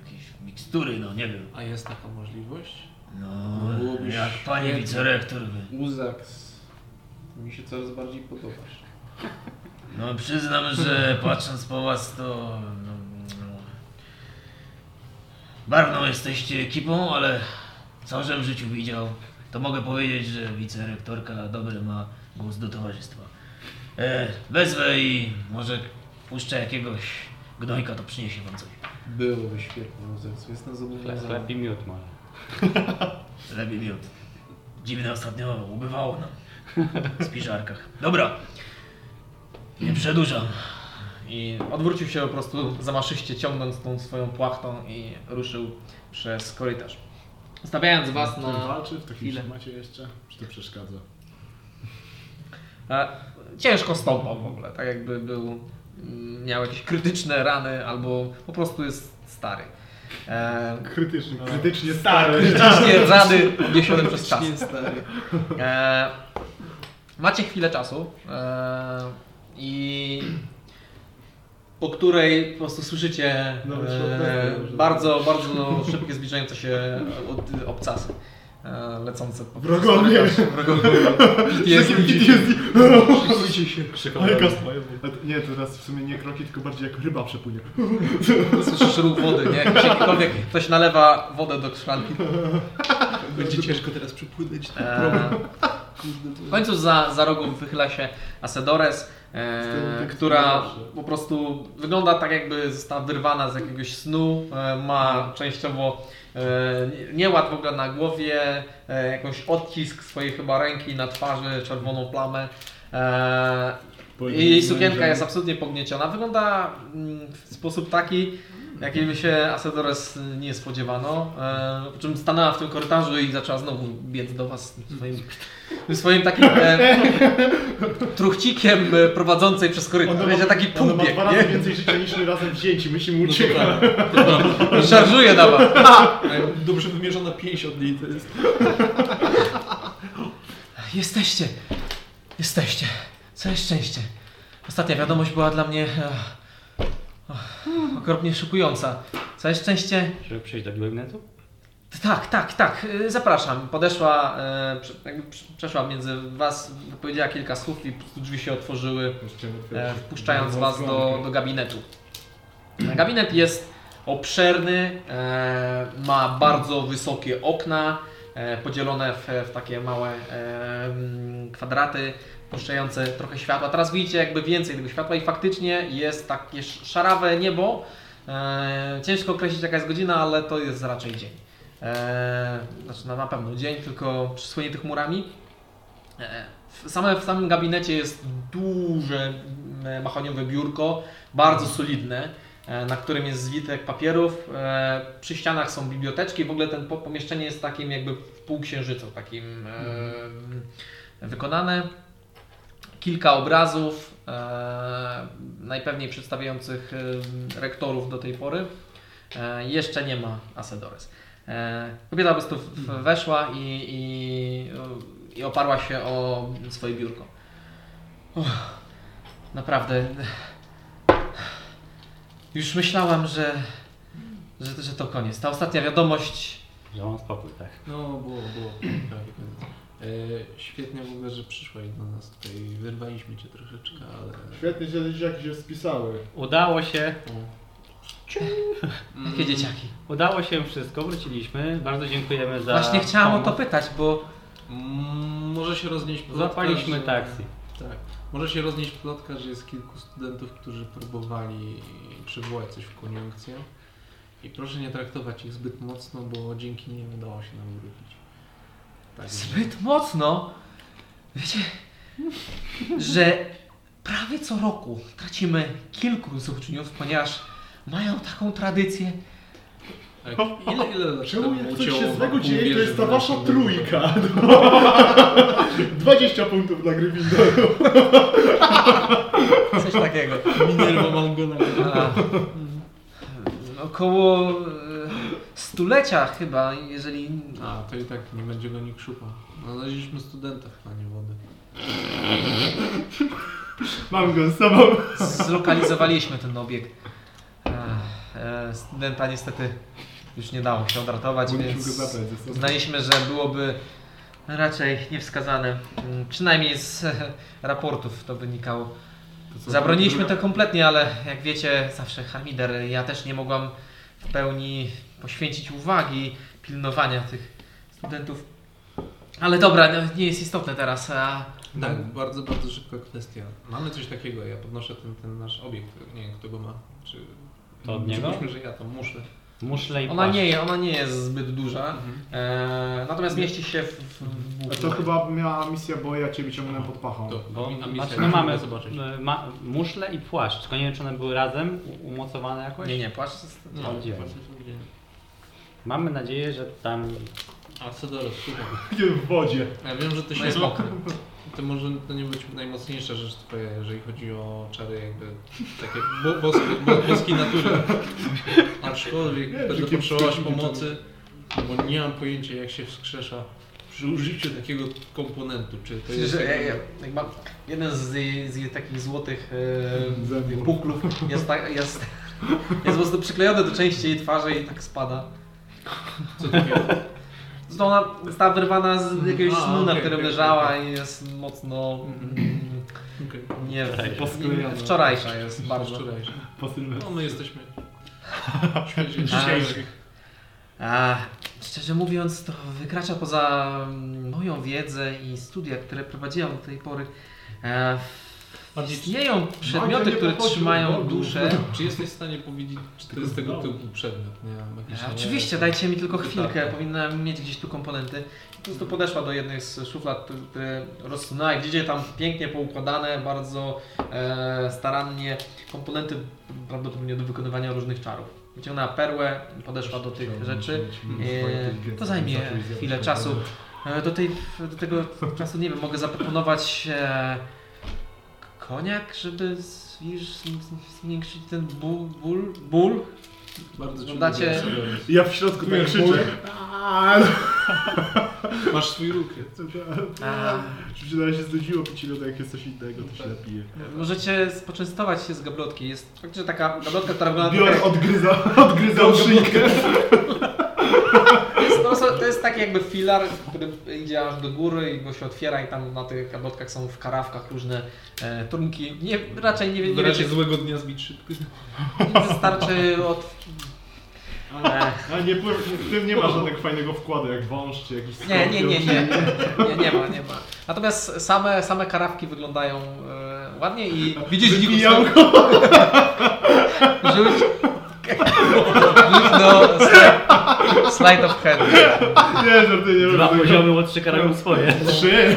S8: jakieś mikstury, no nie wiem.
S5: A jest taka możliwość?
S8: No,
S5: No byłoby
S8: jak
S5: świetnie.
S8: panie wicerektor by
S5: Uzaks Mi się coraz bardziej podobasz.
S8: No przyznam, że patrząc po was to... No, no, barwną jesteście ekipą, ale co żem w życiu widział, to mogę powiedzieć, że wicerektorka dobry ma głos do towarzystwa. E, wezwę i może puszczę jakiegoś gnojka, to przyniesie wam coś.
S5: Byłoby świetnie, Józef. Jestem
S4: Chle-
S5: zobowiązany.
S4: Chleb i miód może.
S8: Lepiej miód. Dziwne ostatnio ubywało nam w spiżarkach. Dobra, nie przedłużam.
S1: I odwrócił się po prostu zamaszyście, ciągnąc tą swoją płachtą i ruszył przez korytarz. Stawiając was
S3: On
S1: na...
S3: walczy w takim
S1: chwilę.
S3: formacie jeszcze? Czy to przeszkadza?
S1: E, ciężko stąpał w ogóle, tak jakby był... mm, Miał jakieś krytyczne rany albo po prostu jest stary. E,
S3: Krytycznie, krytycznie stary.
S1: krytycznie rany odniesione przez czas.
S5: Nie, stary.
S1: E, macie chwilę czasu e, i po której po prostu słyszycie
S3: Nawet się
S1: e,
S3: oddaje, że-
S1: bardzo, bardzo szybkie zbliżające się od, obcasy e, lecące po
S3: Wrogowie.
S1: Wrogowie.
S3: Jest,
S1: PTSD.
S3: jest, się.
S4: Krzykowałem.
S3: Ale kastwa. Nie, teraz w sumie nie kroki, tylko bardziej jak ryba przepłynie.
S1: Słyszysz ruch wody, nie? Jakikolwiek ktoś nalewa wodę do szklanki.
S5: Będzie ciężko teraz przypłynąć.
S1: E, W końcu za, za rogiem wychyla się Asedores, e, która po prostu wygląda tak jakby została wyrwana z jakiegoś snu, e, ma częściowo e, nie- nieład w ogóle na głowie, e, jakąś odcisk swojej chyba ręki na twarzy, czerwoną plamę. E, i jej sukienka jest absolutnie pognieciona. Wygląda mm, w sposób taki, jakiego się Asedores nie spodziewano. E, Po czym stanęła w tym korytarzu i zaczęła znowu biec do Was swoim, swoim takim e, truchcikiem e, prowadzącej przez korytarz. Będzie taki
S3: Ona ma
S1: półbieg,
S3: dwa razy
S1: nie?
S3: więcej życia niż my razem wzięci, musimy
S5: No to
S3: uciekać.
S5: prawda, to prawda.
S1: Szarżuje na Was.
S5: Dobrze wymierzona pięść od niej to jest.
S1: Jesteście! Jesteście! Całe szczęście. Ostatnia wiadomość była dla mnie e, och, okropnie szokująca. Całe szczęście
S4: Żeby przejść do gablonetu?
S1: Tak, tak, tak, y, zapraszam. Podeszła, e, prze- jakby prze- przeszła między was, powiedziała kilka słów i po prostu drzwi się otworzyły, e, wpuszczając was do, do gabinetu. Gabinet jest obszerny, e, ma bardzo wysokie okna, e, podzielone w, w takie małe e, mm, kwadraty, puszczające trochę światła. Teraz widzicie jakby więcej tego światła i faktycznie jest takie sz- szarawe niebo. E, Ciężko określić jaka jest godzina, ale to jest raczej dzień. E, znaczy no, na pewno dzień, tylko przysłonięty chmurami. E, w, same, w samym gabinecie jest duże m, machoniowe biurko, bardzo solidne, e, na którym jest zwitek papierów. E, przy ścianach są biblioteczki. W ogóle ten po- pomieszczenie jest takim jakby w półksiężycu, takim e, wykonane. Kilka obrazów, e, najpewniej przedstawiających e, rektorów do tej pory. E, jeszcze nie ma Asedores. E, Kobieta po prostu w- w- weszła i, i, i oparła się o swoje biurko. Uff, naprawdę. Już myślałam, że, że, że to koniec. Ta ostatnia wiadomość.
S4: Że mam spokój, tak.
S5: No, było, było. Prawie koniec. E, świetnie w ogóle, że przyszłaś do nas tutaj. Wyrwaliśmy cię troszeczkę, ale.
S3: Świetnie, że dzieciaki się spisały.
S4: Udało się,
S5: Mm,
S1: Jakie dzieciaki.
S4: udało się wszystko, wróciliśmy. Bardzo dziękujemy za
S1: Właśnie chciałam o to
S4: pomoc.
S1: pytać, bo
S5: Mm, Może się roznieść plotka,
S4: Zapaliśmy
S5: że-
S4: taksi.
S5: Tak. Może się roznieść plotka, że jest kilku studentów, którzy próbowali przywołać coś w koniunkcję. I proszę nie traktować ich zbyt mocno, bo dzięki nim udało się nam wrócić. Tak Także-
S1: zbyt mocno. Wiecie, że prawie co roku tracimy kilku z uczniów, ponieważ mają taką tradycję,
S5: Ale Tak. Ile, ile lat
S3: Czemu
S5: temu
S3: jak coś
S5: ucięło
S3: się złego
S5: wam
S3: dzieje, to
S5: łbie,
S3: jest ta
S5: żeby
S3: wasza
S5: nas nie było?
S3: trójka. 20 punktów dla Grywinda.
S1: coś takiego.
S5: Minerva mam go na
S1: A, mm, Około e, stulecia chyba, jeżeli...
S5: A, to i tak nie będzie go nikt szukał. No, Znaleźliśmy studenta w planie wody.
S3: Mam go z sobą.
S1: Zlokalizowaliśmy ten obiekt. Ach, e, Studenta niestety już nie dało się odratować,
S3: Musimy go
S1: Tak,
S2: tak.
S1: więc
S3: zabrać ze sobą.
S1: uznaliśmy, że byłoby Raczej niewskazane. Mm, Przynajmniej z raportów to wynikało.
S3: To co,
S1: Zabroniliśmy
S3: druga-
S1: to kompletnie, ale jak wiecie, zawsze Hamider, ja też nie mogłam w pełni poświęcić uwagi pilnowania tych studentów. Ale dobra, no, nie jest istotne teraz. A...
S5: Tak, bardzo, bardzo szybka kwestia. Mamy coś takiego, ja podnoszę ten, ten nasz obiekt, nie wiem kto go ma. Czy
S4: To od niego?
S5: Przypuśćmy, że ja to muszę.
S4: Muszle i
S1: Ona
S4: płaszcz.
S1: nie, ona nie jest zbyt duża.
S5: Mhm.
S1: E, natomiast mieści się w, w, w
S3: A to chyba miała misja, bo ja ciebie ciągnąłem pod pachą.
S5: To,
S4: Bo,
S5: a misja-
S4: znaczy, no mamy
S5: zobaczyć.
S4: y, ma, muszle i płaszcz, tylko nie wiem czy one były razem u- umocowane jakoś?
S1: Nie, nie, płaszcz jest...
S5: No,
S4: Gdzie?
S5: właśnie są gdzie.
S4: Mamy nadzieję, że tam...
S5: A co do słuchaj.
S3: W wodzie.
S5: Ja wiem, że to się...
S1: jest mokry.
S5: To może to nie być najmocniejsza rzecz twoja, jeżeli chodzi o czary jakby takie bo, boskie, bo, boskiej natury. Aczkolwiek
S3: Nie, że
S5: będę
S3: kiepskie
S5: potrzebować
S3: kiepskie
S5: pomocy, bo nie mam pojęcia jak się wskrzesza przy użyciu takiego komponentu. Czy to jest...
S1: Przecież ja, ja, jak mam jeden z, z takich złotych e,
S3: Zębów.
S1: puklów jest, tak, jest, jest po prostu przyklejony do części jej twarzy i tak spada.
S5: Co takiego?
S1: Zresztą ona została wyrwana z jakiegoś
S5: Mhm. A,
S1: snu, na
S5: okej,
S1: którym
S5: okej, Mhm.
S1: leżała i jest mocno... mm,
S5: Okej.
S1: Nie,
S3: Posklejana.
S1: nie wczorajska jest bardzo.
S5: Wczorajszy.
S3: Po
S5: No my jesteśmy.
S1: Dzisiejszy. A, szczerze mówiąc, to wykracza poza mm, moją wiedzę i studia, które prowadziłam do tej pory. E, istnieją przedmioty,
S3: nie
S1: które
S3: pochodzi od
S1: trzymają
S3: Bogu.
S1: duszę.
S5: Czy jesteś w stanie powiedzieć, czy to jest
S1: No.
S5: tego typu przedmiot? Nie,
S1: E,
S5: magiczny?
S1: Oczywiście, dajcie mi tylko chwilkę,
S5: Tak.
S1: powinnam mieć gdzieś tu komponenty. Po prostu podeszła do jednej z szuflad, które rozsunęła i widzicie tam pięknie poukładane, bardzo e, starannie komponenty prawdopodobnie do wykonywania różnych czarów. Wyciągnęła perłę, podeszła do tych rzeczy. E, to zajmie chwilę czasu. E, Do, tej, do tego czasu nie wiem, mogę zaproponować e, koniak, żeby z- wiesz, zmniejszyć ten ból, ból, ból
S5: Bardzo ci
S1: Dacie-
S5: lubię.
S3: Ja w środku tak krzyczę. no. Aaaa!
S5: Masz swój rukiet.
S1: A,
S3: Czy się się znudziło pić loda, jak jest coś innego, to się napije.
S1: Możecie spoczęstować się z gablotki. Jest faktycznie taka gablotka, która wygląda
S3: Biorę,
S1: trochę...
S3: odgryza, odgryzał szyjkę.
S1: To jest, po prostu- to jest taki jakby filar, który idzie aż do góry i go się otwiera i tam na tych gablotkach są w karawkach różne e, trunki. Nie, raczej nie,
S5: W
S1: nie wiecie,
S5: razie złego dnia zbić szybko.
S1: wystarczy od... E,
S3: A nie, pływ- w tym nie ma żadnego fajnego wkładu, jak wąż czy jakiś
S1: nie, nie, nie,
S3: skorpion.
S1: nie, nie, nie ma, nie ma. Natomiast same, same karawki wyglądają e, ładnie i widzisz
S3: Wybijam
S1: Nikus, rzuć, rzuć do slide- slide of hand.
S3: Nie, żarty nie
S4: Dwa
S3: robię.
S4: poziomy łotrzyka swoje.
S3: Trzy.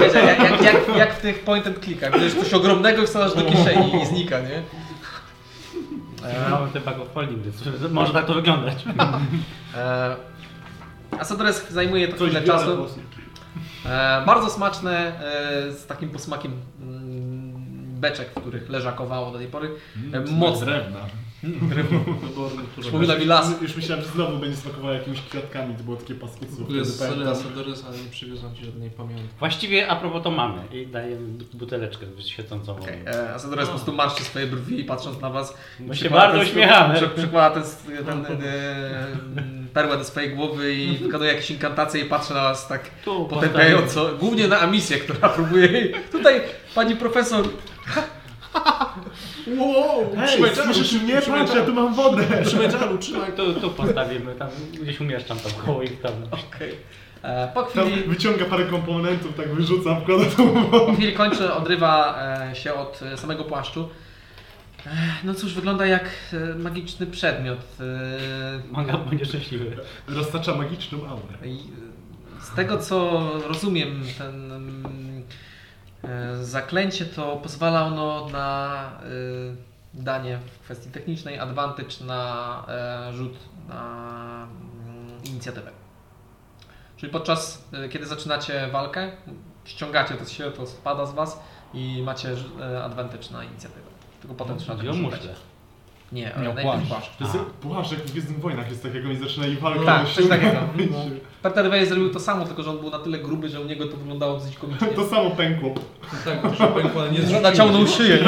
S1: Wiecie, jak, jak, jak, jak w tych point and clickach, bierzesz coś ogromnego i wsadzasz do kieszeni i znika, nie? E,
S4: Mamy te bag of holding, więc może tak to wyglądać.
S1: e, Asodres zajmuje to
S3: Coś
S1: chwilę
S3: biorę
S1: czasu.
S3: po prostu.
S1: E, bardzo smaczne, e, z takim posmakiem mm, beczek, w których leżakowało do tej pory. E,
S4: Mm,
S1: mocne.
S6: Drewna.
S1: Przypomina mi las.
S3: Już myślałem, że znowu będzie smakowało jakimiś kwiatkami, to było takie paskudstwo.
S5: W ogóle
S3: wtedy
S5: z
S3: pamiętam.
S5: Asadores, ale nie przywiozłem ci żadnej pamiątki.
S4: Właściwie a propos to mamy i dajemy bu- buteleczkę świecącą wodą.
S1: Okay. E, Asodres po prostu marszczy swoje brwi i patrząc na was.
S4: My się
S1: przykłada
S4: bardzo
S1: ten-
S4: uśmiechamy.
S1: przy- Przykłada ten, ten, ten e, perłę do swojej głowy i wykonuje jakieś inkantacje i patrzy na was tak
S4: Tu postawimy.
S1: potępiająco, głównie na Amisję, która próbuje jej... Tutaj pani profesor...
S5: Wow!
S3: Hej, słyszysz mnie? Patrz, ja tu mam wodę.
S5: Trzymaj czaru, trzymaj
S4: Tu, tu postawimy, tam gdzieś umieszczam tam koło ich tam.
S1: Okej. E, Po
S3: Tam
S1: chwili,
S3: wyciąga parę komponentów, tak wyrzuca, wkłada tą wodę.
S1: po chwili kończy, odrywa e, się od e, samego płaszczu. E, No cóż, wygląda jak e, magiczny przedmiot. E,
S4: Manga będzie szczęśliwy.
S3: Roztacza magiczną aurę.
S1: No I, e, Z tego co rozumiem, ten mm, e, zaklęcie to pozwala ono na e, danie w kwestii technicznej advantage na e, rzut na mm, inicjatywę. Czyli podczas e, kiedy zaczynacie walkę, ściągacie to się, to spada z was i macie ż- e, advantage na y, inicjatywę. Tylko potem trzeba
S4: Chodzi
S1: tego
S4: o
S1: szukać.
S4: muszle.
S1: Nie,
S2: Nie,
S1: ale
S2: o
S1: najpierw
S2: płaszcz.
S1: płaszcz.
S3: To jest płaszcz, jak w Gwiezdnych Wojnach jest takiego i zaczynali walkę.
S1: Tak, coś
S3: ściąga-
S1: takiego. No. Peter Weyer zrobił to samo, tylko że on był na tyle gruby, że u niego to wyglądało dosyć komicznie.
S3: To samo pękło.
S5: No tak, to się pękło, ale nie
S1: No,
S5: zrzuciło
S1: naciągnął
S5: się.
S1: szyję,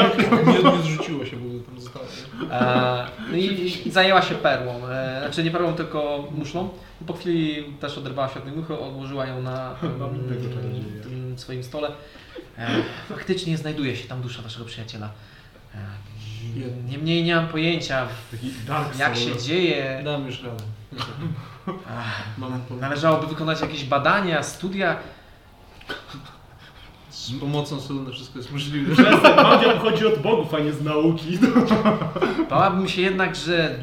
S5: Nie, nie zrzuciło się, bo tam zostało.
S1: E, no i, i zajęła się perłą, e, znaczy nie perłą, tylko muszlą. Po chwili też oderwała się od tej muchy, odłożyła ją na
S3: Mam
S1: mm,
S3: tego czarodzieja.
S1: tym swoim stole. E, faktycznie znajduje się tam dusza waszego przyjaciela. E, i Niemniej nie mam pojęcia,
S3: Taki Dark Soul.
S1: jak się dzieje.
S5: Dam już radę. Mam pomysł.
S1: Należałoby wykonać jakieś badania, studia.
S5: Z pomocą Soluna wszystko jest możliwe.
S3: Przestań, magia pochodzi od bogów, a nie z nauki.
S1: Bałabym się jednak, że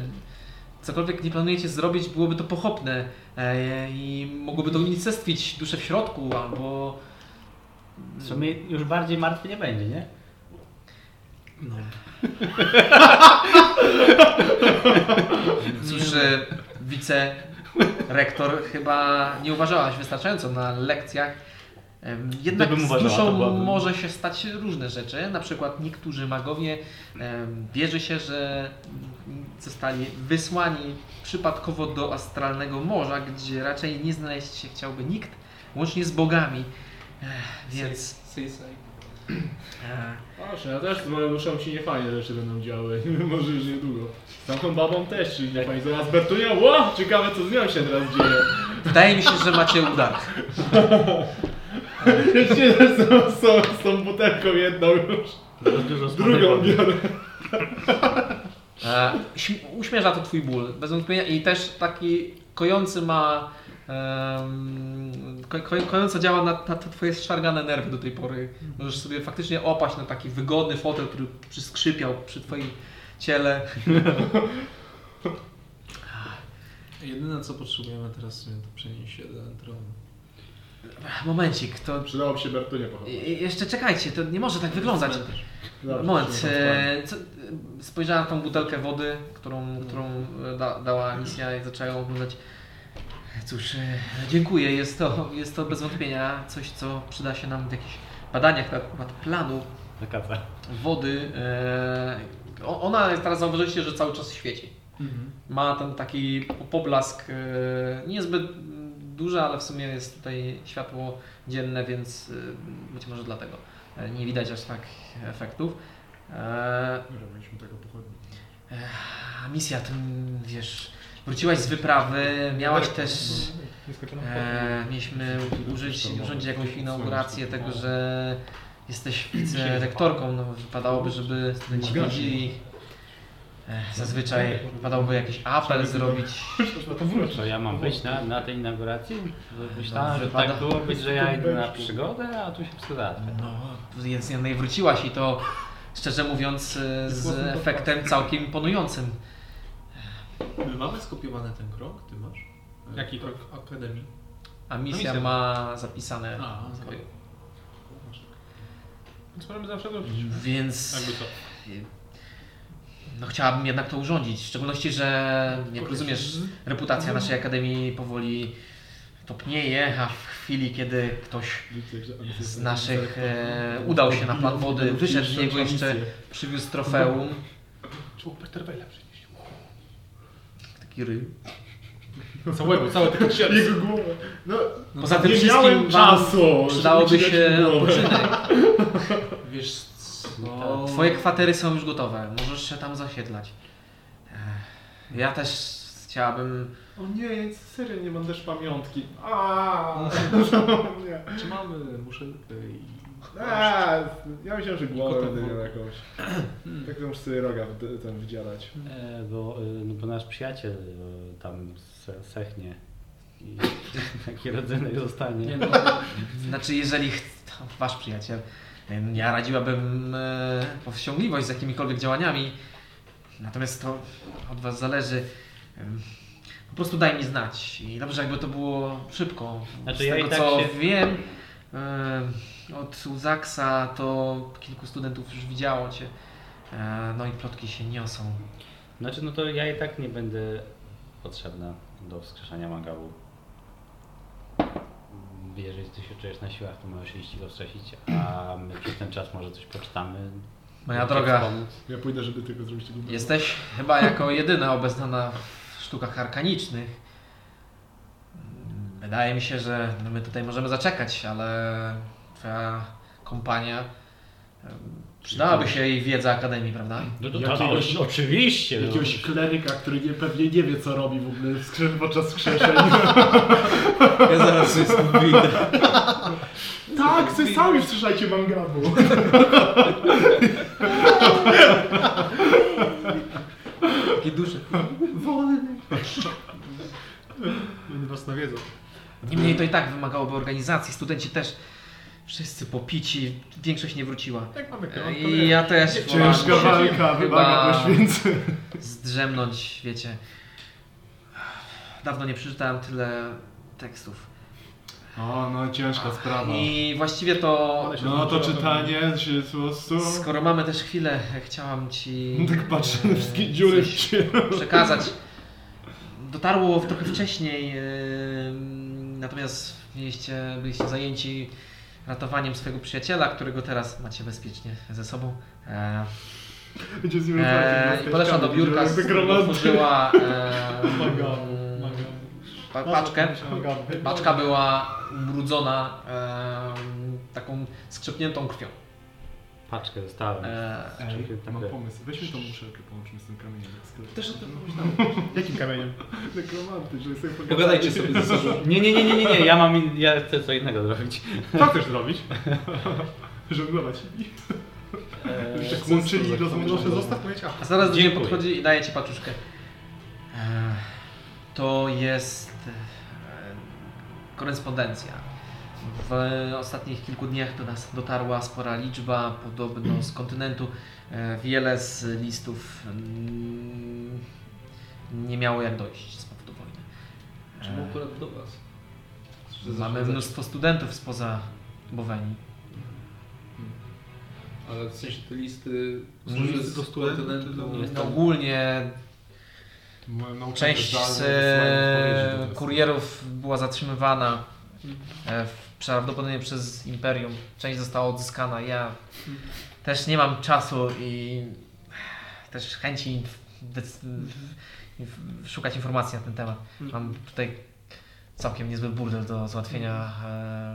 S1: cokolwiek nie planujecie zrobić, byłoby to pochopne e, i mogłoby to unicestwić duszę w środku albo...
S4: W sumie już bardziej martwy nie będzie, nie?
S5: No.
S1: Cóż, e, wicerektor chyba nie uważałaś wystarczająco na lekcjach. Em, Jednak
S4: Gdybym
S1: z
S4: uważała,
S1: duszą
S4: to byłabym-
S1: może się stać różne rzeczy. Na przykład niektórzy magowie em, wierzy się, że mm, zostali wysłani przypadkowo do astralnego morza, gdzie raczej nie znaleźć się chciałby nikt, łącznie z bogami. Ech, Więc
S5: Seaside.
S1: e,
S3: Proszę, ja też z moją duszą się niefajne rzeczy będą działy. Może już niedługo. Z tamtą babą też, czyli niefajnie. Zaraz Bertunia, ło! Ciekawe co z nią się teraz dzieje.
S1: wydaje mi się, że macie udar.
S3: Jeszcze z, tą- z, tą- z tą butelką jedną już.
S4: Dużo
S3: Drugą biorę.
S1: E, śm- uśmierza to twój ból, bez wątpienia i też taki kojący ma, em, ko, ko, kojąco działa na, na te twoje szargane nerwy do tej pory. Możesz sobie faktycznie opaść na taki wygodny fotel, który przyskrzypiał przy twoim ciele.
S5: Jedyne co potrzebujemy teraz w sumie to przenieść się do entronu.
S1: Momencik, to...
S3: Przydałoby się Bertunia pochować.
S1: i- Jeszcze czekajcie, to nie może tak wyglądać.
S5: Cmentarz.
S3: Dobrze, Mhm.
S1: Moment,
S3: przyjdę do sprawy.
S1: e, co, e, spojrzałem na tą butelkę wody, którą, którą e, da, dała misja i zaczęła ją oglądać. Cóż, e, dziękuję, jest to, jest to bez wątpienia coś, co przyda się nam w jakichś badaniach na temat planu
S4: Taka
S1: wody. E, o- ona teraz zauważyliście, że cały czas świeci.
S3: Mhm.
S1: Ma ten taki poblask, e, niezbyt mm, duży, ale w sumie jest tutaj światło dzienne, więc e, być może dlatego e, nie widać aż tak efektów. E,
S3: Robiliśmy tego pochodni.
S1: Ech, misja, ty mm, wiesz, wróciłaś z wyprawy, miałaś
S2: Tak.
S1: też,
S3: No,
S1: e, mieliśmy użyć, urządzić jakąś inaugurację tego, że jesteś wicerektorką, no wypadałoby, żeby studenci wiedzieli, Ech, zazwyczaj wypadałoby jakiś apel zrobić,
S3: To wróć.
S4: Co, ja mam wyjść na, na tej inauguracji? Myślałem, że
S1: wypada-
S4: tak było być, że ja idę na przygodę, a tu się przyda.
S1: no, więc nie no i wróciłaś i to, szczerze mówiąc, e, z efektem całkiem imponującym.
S5: My mamy skopiowany ten krąg, ty masz?
S2: Jaki
S5: krąg? Akademii. Tak.
S1: A misja ma zapisane
S5: A, okej.
S2: Więc możemy zawsze robić.
S1: Więc
S2: Jakby co.
S1: no, chciałabym jednak to urządzić. W szczególności, że jak rozumiesz, reputacja naszej akademii powoli topnieje, a w chwili, kiedy ktoś z naszych e, udał się na plan wody, wyszedł z niego jeszcze, przywiózł trofeum.
S2: Trzeba Peterwejla przynieść.
S1: Taki ryj.
S2: Całego, całe tylko sierp.
S3: Jego głowę. No,
S1: Poza tym
S3: nie
S1: wszystkim
S3: miałem
S1: wam
S3: czasu.
S1: przydałoby
S3: żeby ci dać
S1: się
S3: głowę.
S1: odpoczynek.
S5: Wiesz co?
S1: Tak. Twoje kwatery są już gotowe, możesz się tam zasiedlać. Ech, Ja też chciałabym...
S3: O nie, serio nie mam też pamiątki. Aaaa. nie.
S5: Czy mamy muszelkę i...
S3: Eee, ja myślałem, że głowę
S5: Tylko to
S3: będę miał
S5: było.
S3: jakąś. Tak to muszę sobie roga w- ten wdzierać.
S4: E, bo, e, no bo nasz przyjaciel e, tam se, sechnie i taki rodzynek zostanie.
S1: Znaczy, jeżeli ch- wasz przyjaciel, em, ja radziłabym e, powściągliwość z jakimikolwiek działaniami, natomiast to od was zależy. Em, Po prostu daj mi znać i dobrze, jakby to było szybko.
S4: Znaczy,
S1: z
S4: ja
S1: tego
S4: i tak
S1: co
S4: się-
S1: wiem, em, od Uzaksa to kilku studentów już widziało cię. E, No i plotki się niosą.
S4: Znaczy no to ja i tak nie będę potrzebna do wskrzeszania mangabu. Jeżeli ty się czujesz na siłach, to możesz iść i go wskrzesić, a my przez ten czas może coś poczytamy,
S1: Moja droga,
S4: tak,
S2: Ja pójdę, żeby tylko zrobić tego drugiego.
S1: Jesteś chyba jako jedyna obeznana w sztukach arkanicznych. Wydaje mi się, że my tutaj możemy zaczekać, ale twoja kompania em, przydałaby się jej wiedza Akademii, prawda?
S4: No to,
S2: Jakiegoś-
S4: to, oś- oczywiście. no.
S2: Jakiegoś kleryka, który nie, pewnie nie wie co robi w ogóle w skrzyn, podczas skrzeszeń.
S5: Ja zaraz wszystko wyjdę.
S2: tak, sobie sami wstrzymajcie mangabu.
S1: Takie duże.
S2: Oni was nawiedzą.
S1: Niemniej to i tak wymagałoby organizacji. Studenci też wszyscy popici, większość nie wróciła.
S2: Tak mamy
S1: E, I ja też wolałam
S2: Ciężka
S1: się
S2: walka wymaga poświęceń.
S1: zdrzemnąć, wiecie. Dawno nie przeczytałem tyle tekstów.
S2: O, no ciężka sprawa.
S1: I właściwie to,
S2: No to czytanie się po prostu...
S1: skoro mamy też chwilę, e, chciałam Ci
S2: Tak patrzę na
S1: e,
S2: wszystkie dziury w
S1: coś
S2: ciele.
S1: przekazać. Dotarło w trochę wcześniej, e, natomiast mieliście, byliście zajęci ratowaniem swojego przyjaciela, którego teraz macie bezpiecznie ze sobą. E,
S2: Będzie z nim
S1: e,
S2: rozmawiać,
S1: I podeszła do
S2: będzie
S1: biurka,
S2: jak gromadzę.
S1: otworzyła
S2: Maga,
S1: e,
S2: maga.
S1: pa, paczkę.
S2: Magaby.
S1: Paczka była ubrudzona e, taką skrzypniętą krwią.
S4: Paczkę dostałem.
S1: E,
S2: Ej,
S4: Czekaj, tak
S2: mam
S4: tak.
S2: pomysł. Weźmy tą muszelkę, połączmy z tym kamieniem.
S5: Też o tym pomyślałem.
S2: Jakim kamieniem? Nekromanty, żeby sobie pogadać.
S5: Pogadajcie sobie ze sobą.
S4: Nie, nie, nie, nie, nie, nie, ja mam, in... ja chcę co innego zrobić.
S2: Co chcesz zrobić? Żonglować. Już tak łączyli i rozmawiają. Zostaw moje ciało.
S1: A zaraz do ciebie
S4: Dziękuję.
S1: podchodzi i daje ci paczuszkę. E, To jest e, korespondencja. W ostatnich kilku dniach do nas dotarła spora liczba, podobno z kontynentu. E, Wiele z listów mm, nie miało jak dojść z powodu wojny. E,
S5: Czemu akurat do was?
S1: Mamy mnóstwo studentów spoza Bowenii.
S5: Ale w sensie te listy...
S1: Listy
S5: z
S2: No do studentów,
S5: kontynentu-
S2: to-
S1: Ogólnie Część z e, kurierów była zatrzymywana e, w- prawdopodobnie przez Imperium. Część została odzyskana. Ja też nie mam czasu i też chęci inf- dec- inf- szukać informacji na ten temat. Mam tutaj całkiem niezły burdel do załatwienia.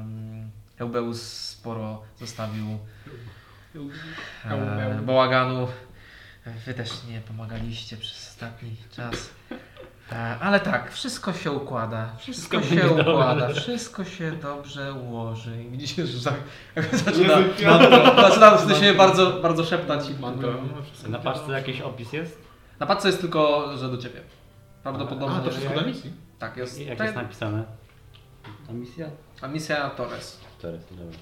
S1: Em, Eubeus sporo zostawił e, bałaganu. Wy też nie pomagaliście przez ostatni czas. E, Ale tak, wszystko się układa. Wszystko,
S4: Wszystko
S1: się
S4: będzie dobrze.
S1: układa. Wszystko się dobrze ułoży. I widzicie, że za, zaczyna,
S2: Jezu,
S1: mantra, zaczyna w sensie bardzo, bardzo szeptać. i-
S2: No,
S4: Na paczce jakiś opis jest?
S1: Na paczce jest tylko, że do ciebie. Prawdopodobnie.
S2: A, to wszystko na misji?
S1: Tak, jest.
S4: Jak
S1: tak,
S4: jest napisane? Ta misja?
S1: A misja Torres.
S4: Teraz, dobra.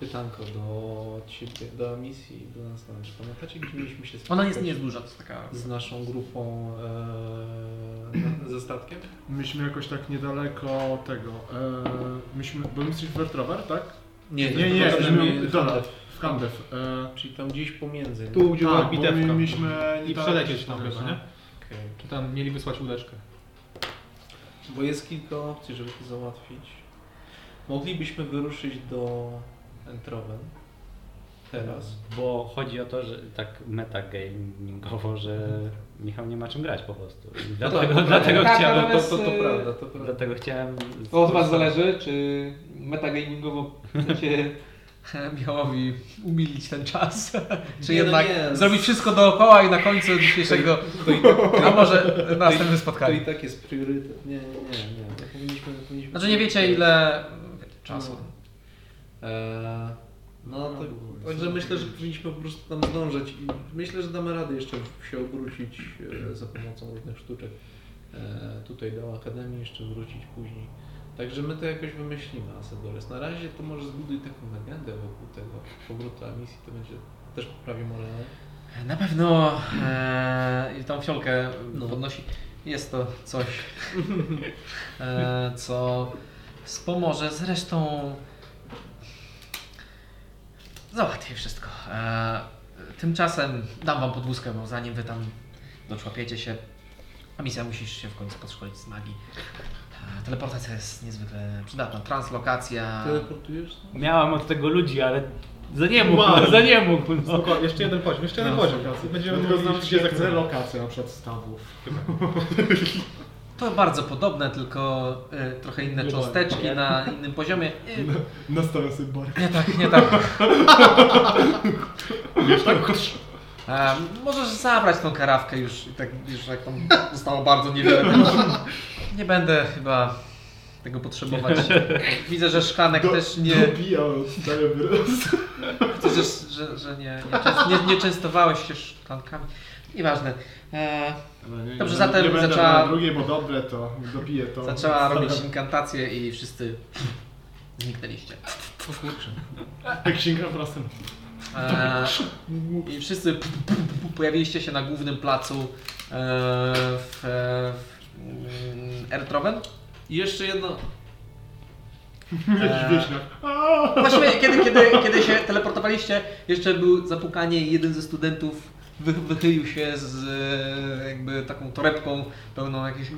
S5: Pytanko do ciebie, do misji, do nas nawet. Czy pamiętacie, gdzie mieliśmy się spotkać?
S1: Ona jest nie jest duża, to jest taka.
S5: Z naszą grupą e, na- ze statkiem?
S2: Myśmy jakoś tak niedaleko tego. E, myśmy, bo my jesteśmy w Wertrower, tak?
S5: Nie,
S2: Nie, nie,
S5: to
S2: myśmy
S5: my-
S2: dobra, w Kandew. E,
S5: Czyli tam gdzieś pomiędzy. nie?
S2: gdzie była bitewka. Tak, My mieliśmy no. I przelecieć tam chyba, nie?
S5: Okej.
S2: Czy tam mieli wysłać łódeczkę?
S5: Bo jest kilka opcji, żeby to załatwić. Moglibyśmy wyruszyć do Entroven teraz.
S4: Bo chodzi o to, że tak metagamingowo, że Michał nie ma czym grać po prostu. I Dlatego, dlatego
S1: Tak,
S4: chciałem...
S1: ale-
S5: No, To, to, to prawda, to prawda.
S4: Dlatego chciałem...
S8: To od was zależy, czy metagamingowo chcecie...
S1: Michałowi umilić ten czas. Czy
S5: Nie, no
S1: jednak
S5: nie.
S1: zrobić wszystko dookoła i na końcu dzisiejszego.
S5: To i, tak,
S1: A może na następnym
S5: to
S1: spotkaniu.
S5: i tak jest priorytet. Nie, nie, nie. nie. To powinniśmy, powinniśmy...
S1: Znaczy nie wiecie ile czasu.
S5: Eee, no to także myślę, że powinniśmy po prostu tam zdążyć i myślę, że damy radę jeszcze się obrócić e, za pomocą różnych sztuczek. E, tutaj do Akademii jeszcze wrócić później. Także my to jakoś wymyślimy, Asadores. Na razie to może zbuduj taką legendę wokół tego powrotu a misji, to będzie też poprawi morale.
S1: Na pewno e, i tą fiolkę
S5: No.
S1: podnosi. Jest to coś, e, co wspomoże. Zresztą załatwi wszystko. E, tymczasem dam wam podwózkę, bo zanim wy tam doczłapiecie się, a misja musisz się w końcu podszkolić z magii. E, teleportacja jest niezwykle przydatna. Translokacja.
S5: Teleportujesz? No?
S4: Miałam od tego ludzi, ale Za nie mógł,
S2: Wow.
S4: za nie mógł. No.
S2: Spoko, jeszcze jeden poziom, jeszcze jeden
S3: No,
S2: poziom. Będziemy
S3: Będziemy
S2: mogli
S3: znaleźć
S2: gdzie
S3: świetne
S2: zakcelować.
S3: lokacje na przykład stawów.
S1: To bardzo podobne, tylko y, trochę
S3: Nie
S1: inne
S3: No.
S1: cząsteczki na innym poziomie. Y,
S2: Nastawiam sobie bark.
S1: nie tak, nie tak.
S2: Wiesz, tak?
S1: E, możesz zabrać tą karawkę już, i tak, już jak tam zostało bardzo niewiele. Nie będę chyba tego potrzebować. Widzę, że szklanek też nie...
S2: Dobijał, oddaję wyraz.
S1: Widzę, że, że, że nie, nie, częst, nie, nie częstowałeś się szklankami. Nieważne. E, Dobrze, zatem
S2: No nie będę
S1: zaczęła-
S2: na drugie, bo dobre to, dopiję to.
S1: zaczęła robić inkantację i wszyscy zniknęliście.
S5: O kurczę.
S2: Jak księga prostem.
S1: E, I wszyscy p- p- p- pojawiliście się na głównym placu e, w, e, w mm, Ertroven.
S5: I jeszcze jedno.
S2: Jakiś wieśniak. Aaa!
S1: Właściwie Eee, kiedy, kiedy, kiedy się teleportowaliście, jeszcze był zapukanie i jeden ze studentów wy, wychylił się z e, jakby taką torebką pełną jakichś e,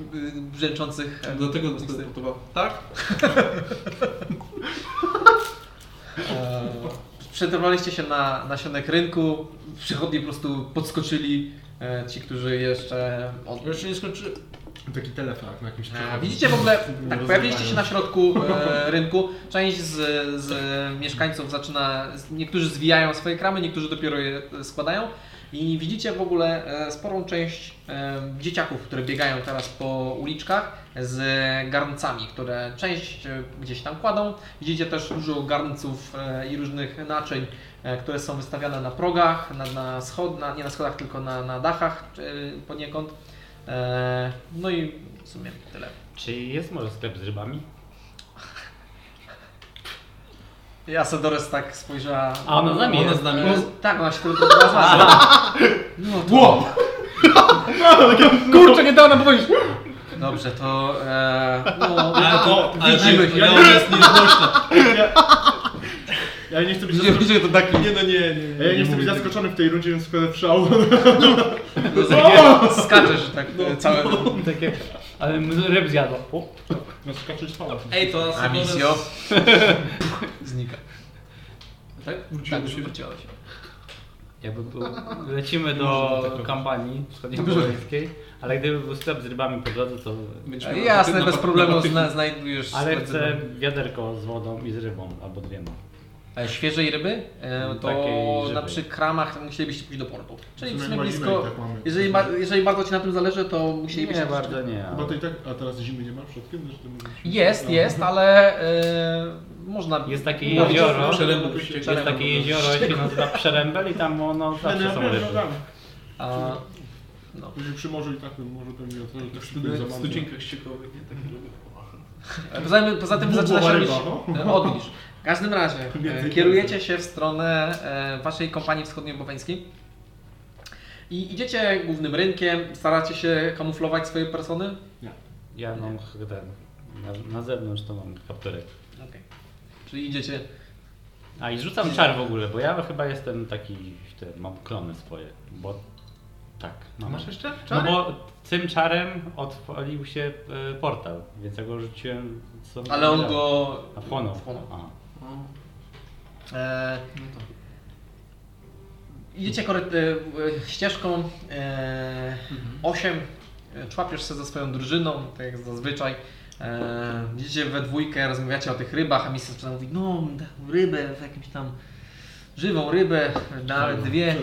S1: brzęczących... e,
S5: Do tego
S1: z-
S5: dostałem podoba. Tak?
S1: E, Przetrwaliście się na nasionek rynku, przychodni po prostu podskoczyli e, ci, którzy jeszcze... Od...
S5: Jeszcze nie skończyłem.
S2: Taki telefon na jakimś
S1: E,
S2: przewodzie.
S1: Widzicie w ogóle, tak,
S2: Rozrywają.
S1: pojawiliście się na środku e, rynku, część z, z mieszkańców zaczyna, niektórzy zwijają swoje kramy, niektórzy dopiero je e, składają i widzicie w ogóle e, sporą część e, dzieciaków, które biegają teraz po uliczkach z garncami, które część e, gdzieś tam kładą. Widzicie też dużo garnców e, i różnych naczyń, e, które są wystawiane na progach, na, na schod, na, nie na schodach, tylko na, na dachach e, poniekąd. E, No i w sumie tyle.
S4: Czy jest może sklep z rybami?
S1: Ja Sedores tak spojrzała.
S4: A ona z nami
S5: Ona
S4: jest.
S5: z nami
S1: E,
S5: jest.
S1: Tak, ona się tylko odwraca. No to...
S4: Kurczę, nie dała nam powiedzieć!
S1: Dobrze, to... E, no,
S5: Ale to, ale to,
S1: widzimy się.
S5: ale to jest nieznośne.
S2: Ja nie chcę być
S5: Widzicie,
S2: zaskoczony.
S5: widzicie to tak. Nie, no nie, nie.
S2: Ja nie, chcę
S5: mówię
S2: być
S5: tego.
S2: zaskoczony w tej rundzie, więc składam wszał.
S1: No, zabiję- Skaczesz tak
S5: No,
S1: e, całe...
S4: Takie, ale m- ryb zjadła. O,
S2: No skaczesz fała.
S5: Ej, to nas
S1: A misjo? Znika.
S5: Tak? Wróciłem
S1: Tak,
S5: do siebie.
S1: wróciła się.
S4: Ja bym był, tak lecimy do kampanii wschodniopomoryjskiej, ale gdyby był sklep z rybami po drodze, to...
S5: Będziemy na
S1: Jasne,
S5: paty-
S1: bez
S5: na
S1: problemu
S5: patyku.
S1: zna, znajdujesz...
S4: Ale chcę
S1: specjalne-
S4: wiaderko z wodą i z rybą, albo no. dwiema.
S1: E, Świeżej ryby,
S5: Mm,
S1: e, to
S4: Takiej
S1: na
S4: żywej.
S1: przy kramach musielibyście pójść do portu. Czyli
S2: W
S1: w
S2: sumie
S1: sumie
S2: chyba zimę
S1: blisko...
S2: i tak mamy.
S1: Jeżeli, ba- jeżeli bardzo Ci na tym zależy, to musielibyście...
S4: Nie, bardzo nie.
S2: Bo to i tak, a teraz zimy nie ma przodkiem? że ty mówisz?
S1: Jest,
S2: No.
S1: jest, ale e, można...
S4: Jest takie
S1: No,
S4: jezioro,
S5: Przerębów
S4: jest takie jezioro, się nazywa Przerębel i tam ono
S2: Ale
S4: zawsze
S2: ja
S4: są
S2: wiem,
S4: ryby.
S2: że tam.
S1: A, no.
S2: Później przy morzu i tak bym może to mi otworzył. Tak szybko za
S5: W
S2: bardzo.
S5: stucienkach ściekowych, nie? Tak
S1: Poza, tym- poza tym zaczyna się
S2: Bubowa
S1: robić
S2: ryba,
S1: e, odlisz. W każdym razie e,
S2: Więcej
S1: kierujecie się w stronę e, waszej kompanii wschodnioboweńskiej i idziecie głównym rynkiem, staracie się kamuflować swoje persony.
S4: Ja mam ch- ten, na, na zewnątrz to mam kapturek.
S1: Okej. Czyli idziecie.
S4: A i rzucam czar w ogóle, bo ja chyba jestem taki, ten, mam klony swoje, bo tak, mam.
S5: Masz jeszcze?
S4: No bo tym czarem odpalił się e, portal, więc ja go rzuciłem... co-
S1: Ale on go.
S4: A płonął.
S1: Wchłonął.
S4: A.
S1: E,
S5: No to.
S1: idziecie koryt, e, e, ścieżką. E, 8. Człapiesz się ze swoją drużyną, tak jak zazwyczaj. E, widzicie we dwójkę, rozmawiacie o tych rybach, a Misa zaczyna mówić, no taką rybę, w jakimś tam żywą rybę, nawet dwie.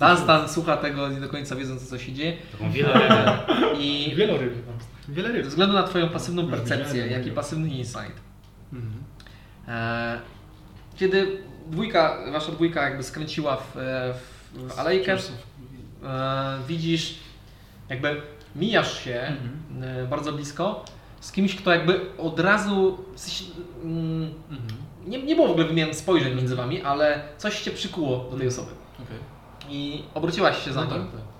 S1: Dunstan słucha tego, nie do końca wiedząc co się dzieje. E,
S4: Taką wielorybę.
S1: I
S2: Wieloryby. Wiele
S1: ze
S2: ryb.
S1: względu na twoją pasywną percepcję,
S2: widziałem,
S1: jak i
S2: nie.
S1: pasywny insight,
S4: No.
S2: Mhm.
S1: e, kiedy dwójka, wasza dwójka jakby skręciła w, e, w, w alejkę, e, widzisz, jakby mijasz się
S4: Mhm.
S5: Mhm.
S1: e, bardzo blisko z kimś, kto jakby od razu, w sensie, mm,
S5: Mhm.
S1: nie, nie było w ogóle wymian spojrzeń między wami, ale coś cię przykuło do tej osoby
S5: Okej.
S1: i obróciłaś się za
S5: Mhm. No
S1: nim.
S5: tak, tak.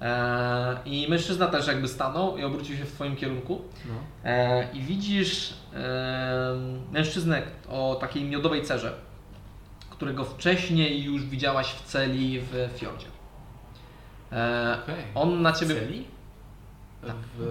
S1: E, I mężczyzna też jakby stanął i obrócił się w twoim kierunku.
S5: No.
S1: E, I widzisz e, mężczyznę o takiej miodowej cerze, którego wcześniej już widziałaś w celi w fiordzie. E,
S5: Okej.
S1: on na ciebie.
S5: Celi? W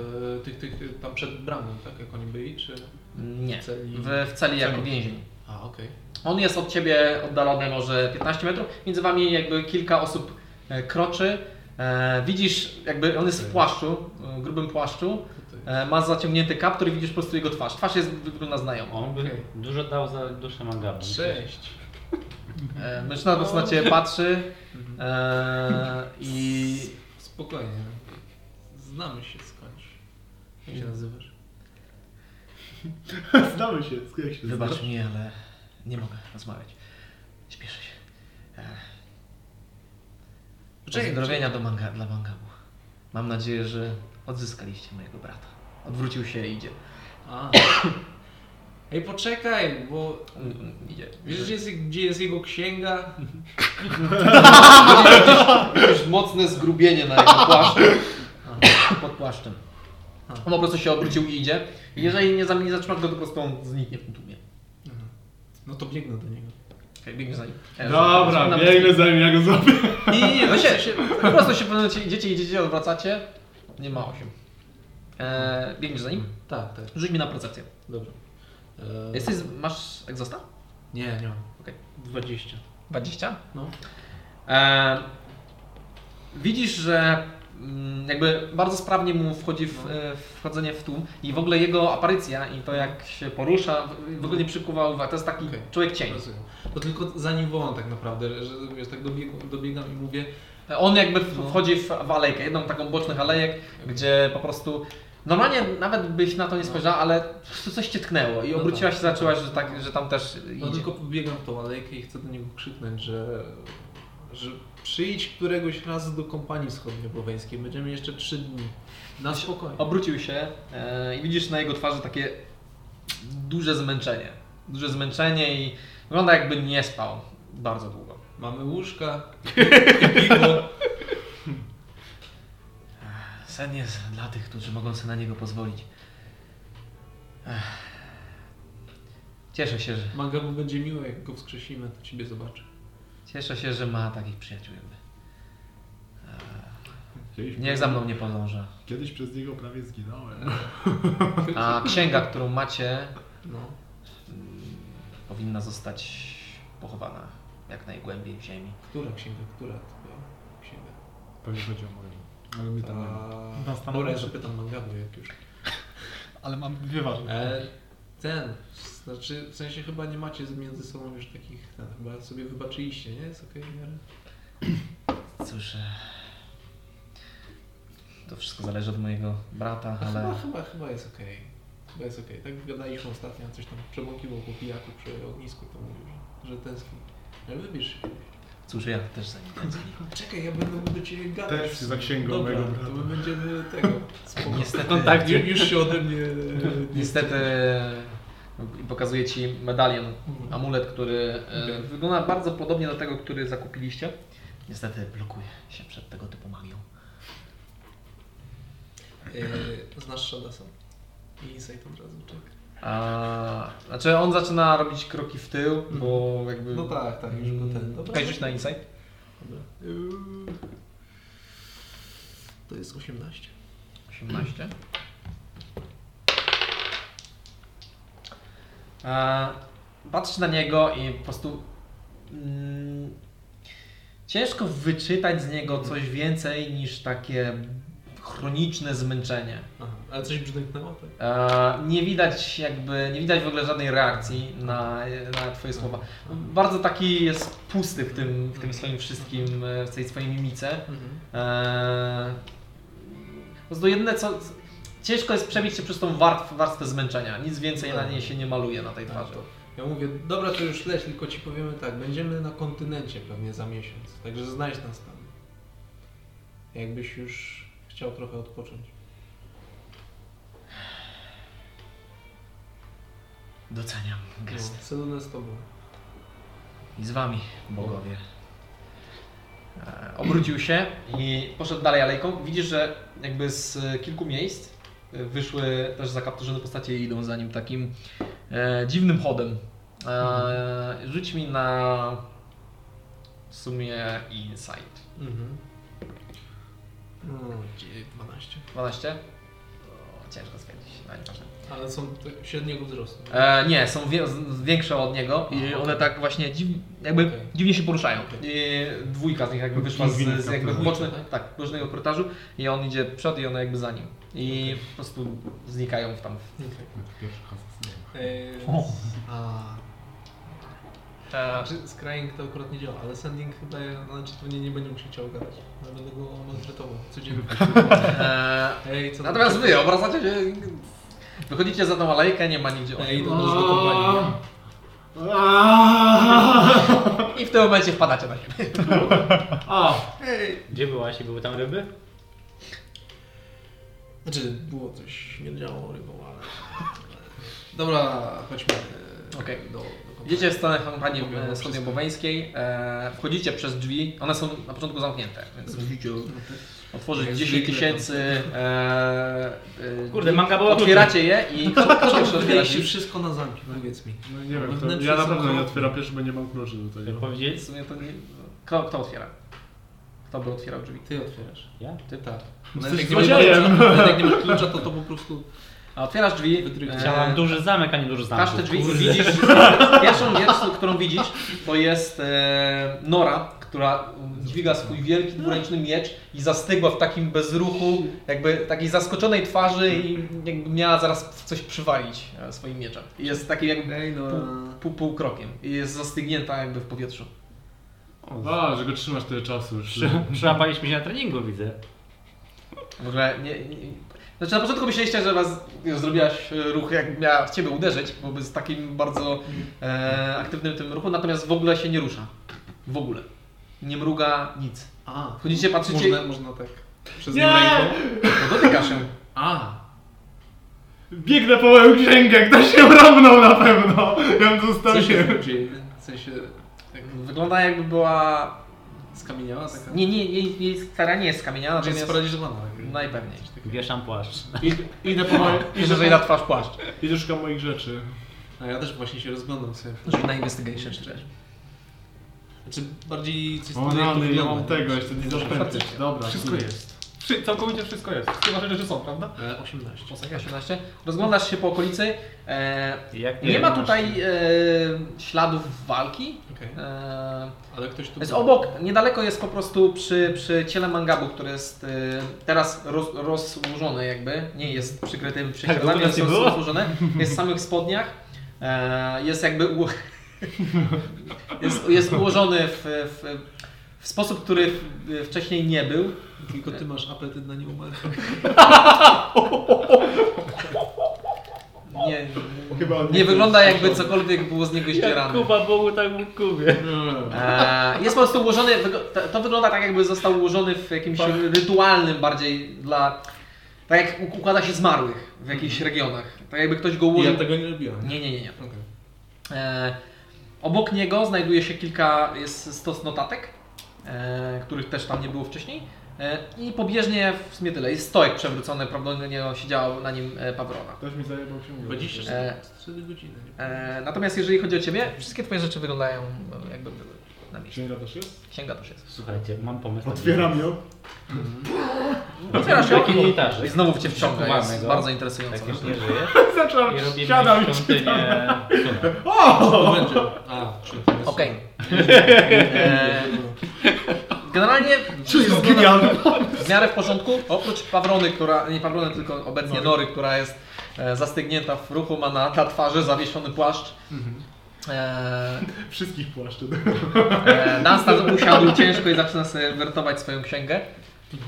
S5: e, tych, tych, tam przed bramą, tak jak oni byli, czy...
S1: Nie.
S5: Celi?
S1: W, w celi jako
S5: Celi.
S1: więzień.
S5: A, okej.
S1: On jest od ciebie oddalony może 15 metrów. Między wami jakby kilka osób e, kroczy. E, Widzisz, jakby on jest w płaszczu, e, grubym płaszczu. E, Ma zaciągnięty kaptur i widzisz po prostu jego twarz. Twarz jest wygląda znajomo.
S4: On by
S5: Okej.
S4: dużo dał za duszę magabu.
S5: Cześć.
S1: E, Mężczyzna po prostu na ciebie patrzy Mhm. e, i
S5: Spokojnie. Znamy się skądś. Jak się nazywasz?
S2: Znamy się, jak się
S8: Wybacz
S2: znasz?
S8: mi, ale nie mogę rozmawiać. Śpieszę się.
S5: Znaczy,
S8: Pozdrowienia do manga, dla mangabu.
S1: mam nadzieję, że odzyskaliście mojego brata. Odwrócił się i idzie.
S5: A. Ej, poczekaj, bo
S1: Mm, mm, idzie.
S5: wiesz, gdzie jest, gdzie jest jego księga?
S1: Jakieś mocne zgrubienie na jego płaszczu. Pod płaszczem. On po prostu się obrócił i idzie. I Jeżeli nie, za- nie zatrzymasz go, to po prostu on zniknie w tłumie.
S5: No to biegnę do niego.
S1: Okej, biegnie za nim.
S2: Dobra, biegnę za nim, ja go złapię.
S1: Nie, nie, nie, weźcie się. Po prostu się w pewnym momencie idziecie, idziecie, odwracacie. Nie ma 8. Eee, biegniesz za nim?
S5: Tak, tak,
S1: Rzuć mi na percepcję.
S5: dobra. E,
S1: Jesteś, z- masz egzosta?
S5: Nie, nie mam.
S1: Okej.
S5: 20.
S1: 20?
S5: No.
S1: E, widzisz, że mm, jakby bardzo sprawnie mu wchodzi
S5: No.
S1: w, e, wchodzenie w tłum i w ogóle jego aparycja i to jak się porusza w, w ogóle nie przykuwa uwagi. To jest taki
S5: Okej.
S1: człowiek cień.
S5: Rozumiem. Bo tylko za nim wołam tak naprawdę, że wiesz, tak dobiegam, dobiegam i mówię
S1: On jakby w-
S5: No.
S1: wchodzi w, w alejkę, jedną taką bocznych alejek, gdzie po prostu normalnie nawet byś na to nie
S5: No.
S1: spojrzała, ale po prostu coś cię tknęło i
S5: No
S1: obróciłaś
S5: tak.
S1: się, zaczęłaś, że, tak, że tam też
S5: No
S1: idzie.
S5: tylko pobiegam w tą alejkę i chcę do niego krzyknąć, że, że przyjdź któregoś razu do kompanii wschodniopoweńskiej. Będziemy jeszcze trzy dni. Na spokojnie.
S1: Obrócił się e, i widzisz na jego twarzy takie duże zmęczenie. Duże zmęczenie i wygląda jakby nie spał bardzo długo.
S5: Mamy łóżka, piwo.
S8: Sen jest dla tych, którzy mogą sobie na niego pozwolić. Ech. Cieszę się, że,
S5: Mangabu będzie miło, jak go wskrzesimy, to ciebie zobaczę.
S8: cieszę się, że ma takich przyjaciół. jakby.
S1: E,
S2: Kiedyś,
S8: Niech za mną nie podąża.
S2: Kiedyś przez niego prawie zginąłem.
S8: A księga, którą macie,
S5: No.
S8: mm, powinna zostać pochowana jak najgłębiej w ziemi.
S5: Która księga? Która to była księga?
S2: Pewnie chodzi o moją. Ale mnie tam nie ma.
S5: Ta... Dobra, ja zapytam Mangabu, jak już.
S6: Ale mam dwie ważne.
S5: E, ten, znaczy w sensie chyba nie macie między sobą już takich, ten, chyba sobie wybaczyliście, nie? Jest okej w miarę?
S8: Cóż, e, to wszystko zależy od mojego brata,
S5: A
S8: ale
S5: Chyba, chyba, chyba jest okej. Chyba jest okej. Tak gadaliśmy ostatnio, coś tam przebąkiwał po pijaku przy ognisku, to mówił, że, że tęskni. Ale wybierz się. No
S8: cóż, ja też za nim tęsknię.
S5: Czekaj, ja będę do ciebie gadać.
S2: Też się zasięgą
S5: Dobra,
S2: mojego brata.
S5: to my będziemy tego. Spoko.
S8: Niestety-
S5: Kontakt ju- już się ode mnie... e,
S1: Niestety e, pokazuję Ci medalion, amulet, który e, wygląda bardzo podobnie do tego, który zakupiliście.
S8: Niestety blokuje się przed tego typu magią.
S5: E, znasz Shadasa. I Insight od razu, czek.
S1: A, znaczy on zaczyna robić kroki w tył, bo jakby...
S5: No tak, tak, już go ten. Dobra.
S1: Mm. Czekaj, rzuć na insight.
S5: Dobra. To jest 18.
S1: 18. E, patrz na niego i po prostu. Mm, ciężko wyczytać z niego coś więcej niż takie chroniczne zmęczenie.
S5: Aha, ale coś brzdęknęło, tak?
S1: E, nie widać jakby, nie widać w ogóle żadnej reakcji na, na twoje słowa. Bardzo taki jest pusty w tym, w tym swoim wszystkim, e, w tej swojej mimice.
S5: Mhm.
S1: Eee, po prostu jedyne co... Ciężko jest przebić się przez tą warstwę, warstwę zmęczenia. Nic więcej na niej się nie maluje na tej
S5: Tak,
S1: twarzy.
S5: to. Ja mówię, dobra, to już leć, tylko ci powiemy tak, będziemy na kontynencie pewnie za miesiąc, także znajdź nas tam. Jakbyś już chciał trochę odpocząć.
S8: Doceniam
S5: No,
S8: gest.
S5: Seluna z tobą.
S8: I z wami, bogowie.
S1: Eee, obrócił się i poszedł dalej alejką. Widzisz, że jakby z kilku miejsc e, wyszły też zakapturzone postacie i idą za nim takim e, dziwnym chodem. E, rzuć mi na w sumie insight.
S5: Mhm. No, gdzie- 12.
S1: 12? O, ciężko stwierdzić, no nieważne.
S5: Ale są te- średniego wzrostu.
S1: E, nie, są wie, z- większe od niego i one tak właśnie dziw, jakby
S5: Okej.
S1: dziwnie się poruszają. I dwójka z nich jakby wyszła z, z jakby
S5: Dwójka,
S1: boczny,
S5: tak?
S1: tak, bocznego korytarzu i on idzie przed i one jakby za nim. I po prostu znikają w tam.
S2: Pierwszy hasło.
S5: Eee,
S1: O.
S5: a,
S1: E,
S5: znaczy, scrying to akurat nie działa, ale sending chyba, znaczy pewnie nie będę musiał chciał gadać. Ale będę go maltretował codziennie.
S1: e,
S5: Ej, co
S1: natomiast wy obracacie się, wychodzicie za tą alejkę, nie ma nigdzie
S5: Ej,
S1: oni.
S5: to dużo do kompanii.
S1: I w tym momencie wpadacie na siebie.
S4: Gdzie byłaś i były tam ryby?
S5: Znaczy, było coś, śmierdziało rybą, ale... Dobra, chodźmy e,
S1: Okej.
S5: do, do kompanii.
S1: Idziecie w stronę kampanii
S5: Powiem wam wszystko.
S1: wschodnioboweńskiej, e, wchodzicie przez drzwi, one są na początku zamknięte, więc musicie otworzyć
S5: Jak
S1: 10
S5: zwykle.
S1: tysięcy... E, e,
S4: Kurde, manga była
S1: Otwieracie je i
S5: Czemu
S1: ktoś
S5: wymieniliście
S1: otwieracie.
S5: wszystko na zamki, powiedz mi.
S2: No nie wiem, kto,
S5: Wewnętrzne
S2: ja na
S5: są
S2: pewno nie
S5: okropne.
S2: otwieram pierwszy, bo nie mam kluczy do
S4: Jak
S2: tego.
S1: W
S4: powiedzieć?
S1: sumie to nie... Kto, kto otwiera? Kto by otwierał drzwi?
S5: Ty otwierasz.
S4: Ja?
S5: Ty tak.
S2: jesteś
S5: nie masz
S2: złodziejem.
S5: klucza- nawet jak nie masz klucza, to to po prostu...
S1: A otwierasz drzwi,
S5: Wydrygnę.
S1: e,
S4: Chciałam duży zamek, a nie duży
S6: znaczy,
S4: zamek.
S1: Każde drzwi i widzisz. Pierwszą rzecz, którą widzisz, to jest e, Nora, która dźwiga swój wielki dwuręczny miecz i zastygła w takim bezruchu, jakby takiej zaskoczonej twarzy i jakby miała zaraz w coś przywalić e, swoim mieczem. I jest takim jakby
S5: Ej, no...
S1: pół, pół krokiem i jest zastygnięta jakby w powietrzu.
S2: A, że go trzymasz tyle czasu już.
S4: Przy- Przyłapaliśmy się na treningu, widzę.
S1: W ogóle nie, nie... Znaczy na początku myśleliście, że was już zrobiłaś e, ruch, jak miała w ciebie uderzyć, bo z takim bardzo e, aktywnym tym ruchu, natomiast w ogóle się nie rusza. W ogóle. Nie mruga nic.
S5: A,
S1: Wchodzicie, patrzycie-
S5: Można, można tak. Przez
S2: Nie!
S5: nim ręką.
S1: No dotyka się.
S5: A,
S2: Biegnę po moją księgę, ktoś się urąbnął na pewno. Ja bym
S5: co się
S2: zostawił.
S5: tu dzieje? W sensie, tak
S1: Wygląda jakby była...
S5: skamieniała taka?
S1: Nie, nie, jej, jej stara nie jest skamieniana,
S5: Czy jest
S1: natomiast...
S5: sparaliżowana?
S1: Najpewniej.
S4: Wieszam płaszcz.
S2: Id- Idę po moją...
S1: I że jej na twarz płaszcz.
S2: Idę szukam moich rzeczy.
S5: A No ja też właśnie się rozglądam sobie.
S1: Rzuć na investigation szczerze.
S5: Znaczy, bardziej coś
S2: O
S5: tutaj, jak to
S2: rany, ja
S5: wygląda.
S2: mam tego, jeszcze nie zapędzę.
S1: Faktycznie.
S2: Dobra,
S6: Wszystko
S2: kurde.
S6: jest. Wszy- całkowicie wszystko jest. Chyba, że rzeczy są, prawda?
S5: E, 18.
S1: Posłuchaj, 18. Rozglądasz się po okolicy. E,
S4: Jak
S1: nie ma
S4: masz-
S1: tutaj e, śladów walki.
S5: Okej.
S1: E,
S5: Ale ktoś tu...
S1: Jest
S5: był.
S1: obok, niedaleko jest po prostu przy, przy ciele mangabu, który jest y, teraz roz, rozłożony jakby, nie jest przykrytym
S4: długo
S1: przysiadami,
S4: nas
S1: jest
S4: Tak, nie było?
S1: rozłożone, jest w samych spodniach, e, jest jakby u... jest, jest ułożony w, w, w sposób, który w- wcześniej nie był.
S5: Tylko ty masz apetyt na nieumarłych.
S1: Nie,
S2: Chyba on
S1: nie
S2: był
S1: wygląda jakby
S2: skoszony.
S1: cokolwiek było z niego
S4: Jak
S1: ścierane.
S4: Kuba Bogu, tak mu Kubie.
S1: E, jest po prostu ułożony, wygo- to- to wygląda tak jakby został ułożony w jakimś rytualnym bardziej dla, tak jak u- układa się zmarłych w jakichś regionach. Tak jakby ktoś go ułożył.
S5: Ja tego nie robiłem.
S1: Nie, nie, nie. nie.
S5: Okej.
S1: E, obok niego znajduje się kilka, jest stos notatek, e, których też tam nie było wcześniej. E, I pobieżnie w sumie tyle. Jest stojek przewrócony, prawdopodobnie siedziała na nim e, Pawrona.
S2: Ktoś mi zajebał księgę.
S5: 24
S1: E,
S5: 4 godziny. nie?
S1: e, natomiast jeżeli chodzi o Ciebie, wszystkie Twoje rzeczy wyglądają e, jakby były na miejscu.
S2: Księga też jest?
S1: Księga też jest.
S4: Słuchajcie, mam pomysł.
S2: Otwieram ją.
S1: Otwierasz
S4: Taki
S1: okno
S4: ołtarzyk.
S1: i znowu cię wciąga. Jest
S4: Przykuwanego.
S1: bardzo interesująco.
S4: Tak już nie żyje.
S2: Zaczynam,
S4: I robimy
S2: siadam i
S4: świątynię.
S5: To będzie. A, czy to jest...
S1: Okej. E, Generalnie wszystko wygląda w miarę w porządku, oprócz Pawrony, która, nie Pawrony, tylko obecnie Nory, która jest e, zastygnięta w ruchu, ma na, na twarzy zawieszony płaszcz. E,
S2: wszystkich płaszczy.
S1: e, Dunstan usiadł ciężko i zaczyna sobie wertować swoją księgę.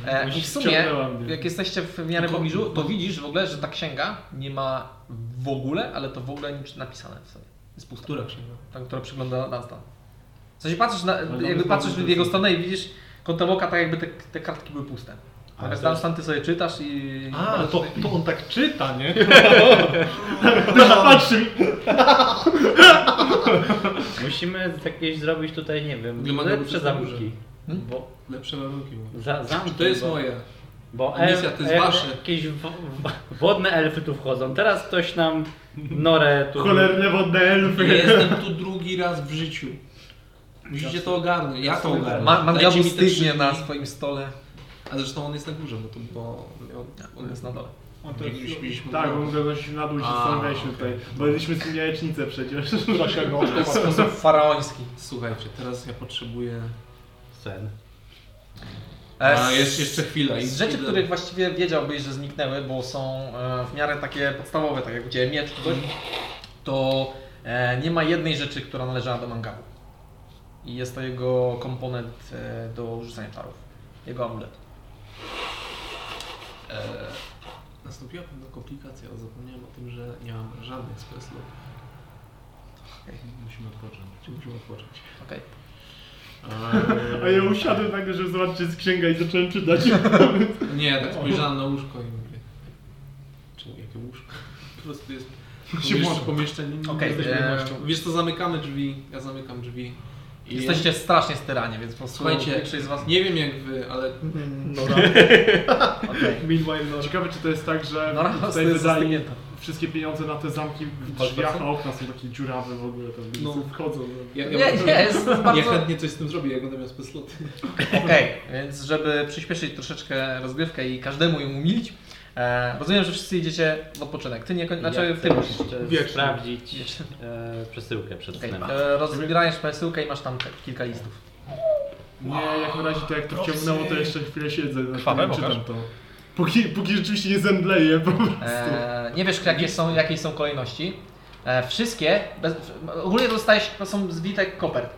S1: E, I w sumie,
S2: Ściągnęła mnie.
S1: jak jesteście w miarę pobliżu, to widzisz w ogóle, że ta księga nie ma w ogóle, ale to w ogóle nic napisane w sobie. Jest pusta.
S5: Która księga?
S1: tam, która przygląda nas tam. W sensie patrzysz, na,
S2: dobra,
S1: jakby
S2: to
S1: patrzysz
S2: jest
S1: w jego stronę i widzisz kątem oka, tak jakby te, te kartki były puste. Natomiast tam sam ty sobie czytasz i...
S6: A, to, to on tak czyta, nie?
S2: Patrzy mi.
S4: Musimy jakieś zrobić tutaj, nie wiem,
S5: Wyglądają
S4: lepsze
S5: przez
S4: zamki.
S1: Hmm?
S4: Bo
S5: Lepsze warunki. bo-
S4: za, zamki,
S5: To jest
S4: bo,
S5: moje.
S4: Bo
S5: Misja, to jest wasze.
S4: Jakieś wo, wo- wodne elfy tu wchodzą. Teraz ktoś nam norę tu...
S2: Cholerne wodne elfy.
S5: Jestem tu drugi raz w życiu. Musicie to ogarnąć. Ja to ogarnę.
S1: Ma,
S5: Dajcie
S1: mangabu
S5: mi te trzy
S1: stygnie
S5: dni.
S1: na swoim stole.
S5: Ale zresztą on jest na górze, bo to bo on, on
S1: On jest na dole.
S3: On
S5: Jak już śpiliśmy
S3: tak,
S5: w
S3: bo
S5: nocy.
S3: mówię, że na dół się
S5: A,
S3: ściągaliśmy tutaj. Bo jedliśmy z tym jajecznicę przecież.
S6: Dlaczego?
S1: To jest sposób faraoński.
S5: Słuchajcie, teraz ja potrzebuję...
S4: Sen.
S5: A,
S1: E,
S5: jest jeszcze chwila. i
S1: Z rzeczy,
S5: idę-
S1: których właściwie wiedziałbyś, że zniknęły, bo są e, w miarę takie podstawowe, tak jak u Ciebie miecz czy coś, to e, nie ma jednej rzeczy, która należała do mangabu. I jest to jego komponent e, do rzucania czarów. Jego amulet.
S5: E, nastąpiła pewna komplikacja, ale zapomniałem o tym, że nie mam żadnych speclów.
S6: Musimy odpocząć.
S5: Czyli musimy odpocząć. E,
S1: Okej.
S3: A ja usiadłem tak, żeby zobaczyć, czy jest księga i zacząłem czytać.
S5: Nie, tak spojrzałem na łóżko i mówię... Czy jakie łóżko? Po prostu jest
S2: Się
S5: pomieszczenie.
S2: może.
S5: pomieszczenie nie
S1: Okej,
S5: jesteśmy
S1: e,
S5: jednością. Wiesz co, zamykamy drzwi, ja zamykam drzwi. I
S1: Jesteście strasznie styrani, więc po prostu
S5: Słuchajcie,
S1: większość z Was
S5: Nie wiem jak wy, ale
S1: Okej.
S2: Meanwhile, no.
S3: Ciekawe, czy to jest tak, że
S1: No raz to
S3: tutaj
S1: jest
S3: wydali
S1: zastygnięta.
S3: wszystkie pieniądze na te zamki w
S1: Walka
S3: drzwiach,
S1: są?
S3: a okna są takie dziurawe w ogóle, tam
S5: No.
S3: no. wchodzą.
S5: ja, ja,
S1: Nie, nie, jest
S5: ja
S1: bardzo...
S5: chętnie coś z tym zrobię, jak będę miał specloty.
S1: Okej, więc żeby przyspieszyć troszeczkę rozgrywkę i każdemu ją umilić, e, rozumiem, że wszyscy idziecie w odpoczynek. Ty nie, koń- znaczy
S4: chcę
S1: ty musisz.
S4: jeszcze
S2: Wiecznie.
S4: sprawdzić
S1: Wiecznie.
S4: e, przesyłkę przed
S1: Okay.
S4: snem.
S1: Rozbierajesz przesyłkę i masz tam te kilka listów.
S3: Nie, jak na razie to jak to wciągnęło, to jeszcze chwilę siedzę, no. na
S6: Krwawe,
S3: tym, czytam
S6: pokaż.
S3: to. Póki, póki rzeczywiście nie zemdleję po prostu.
S1: E, nie wiesz, jakie są, jakie są kolejności. E, wszystkie, bez, ogólnie dostajesz, to są zwitek kopert.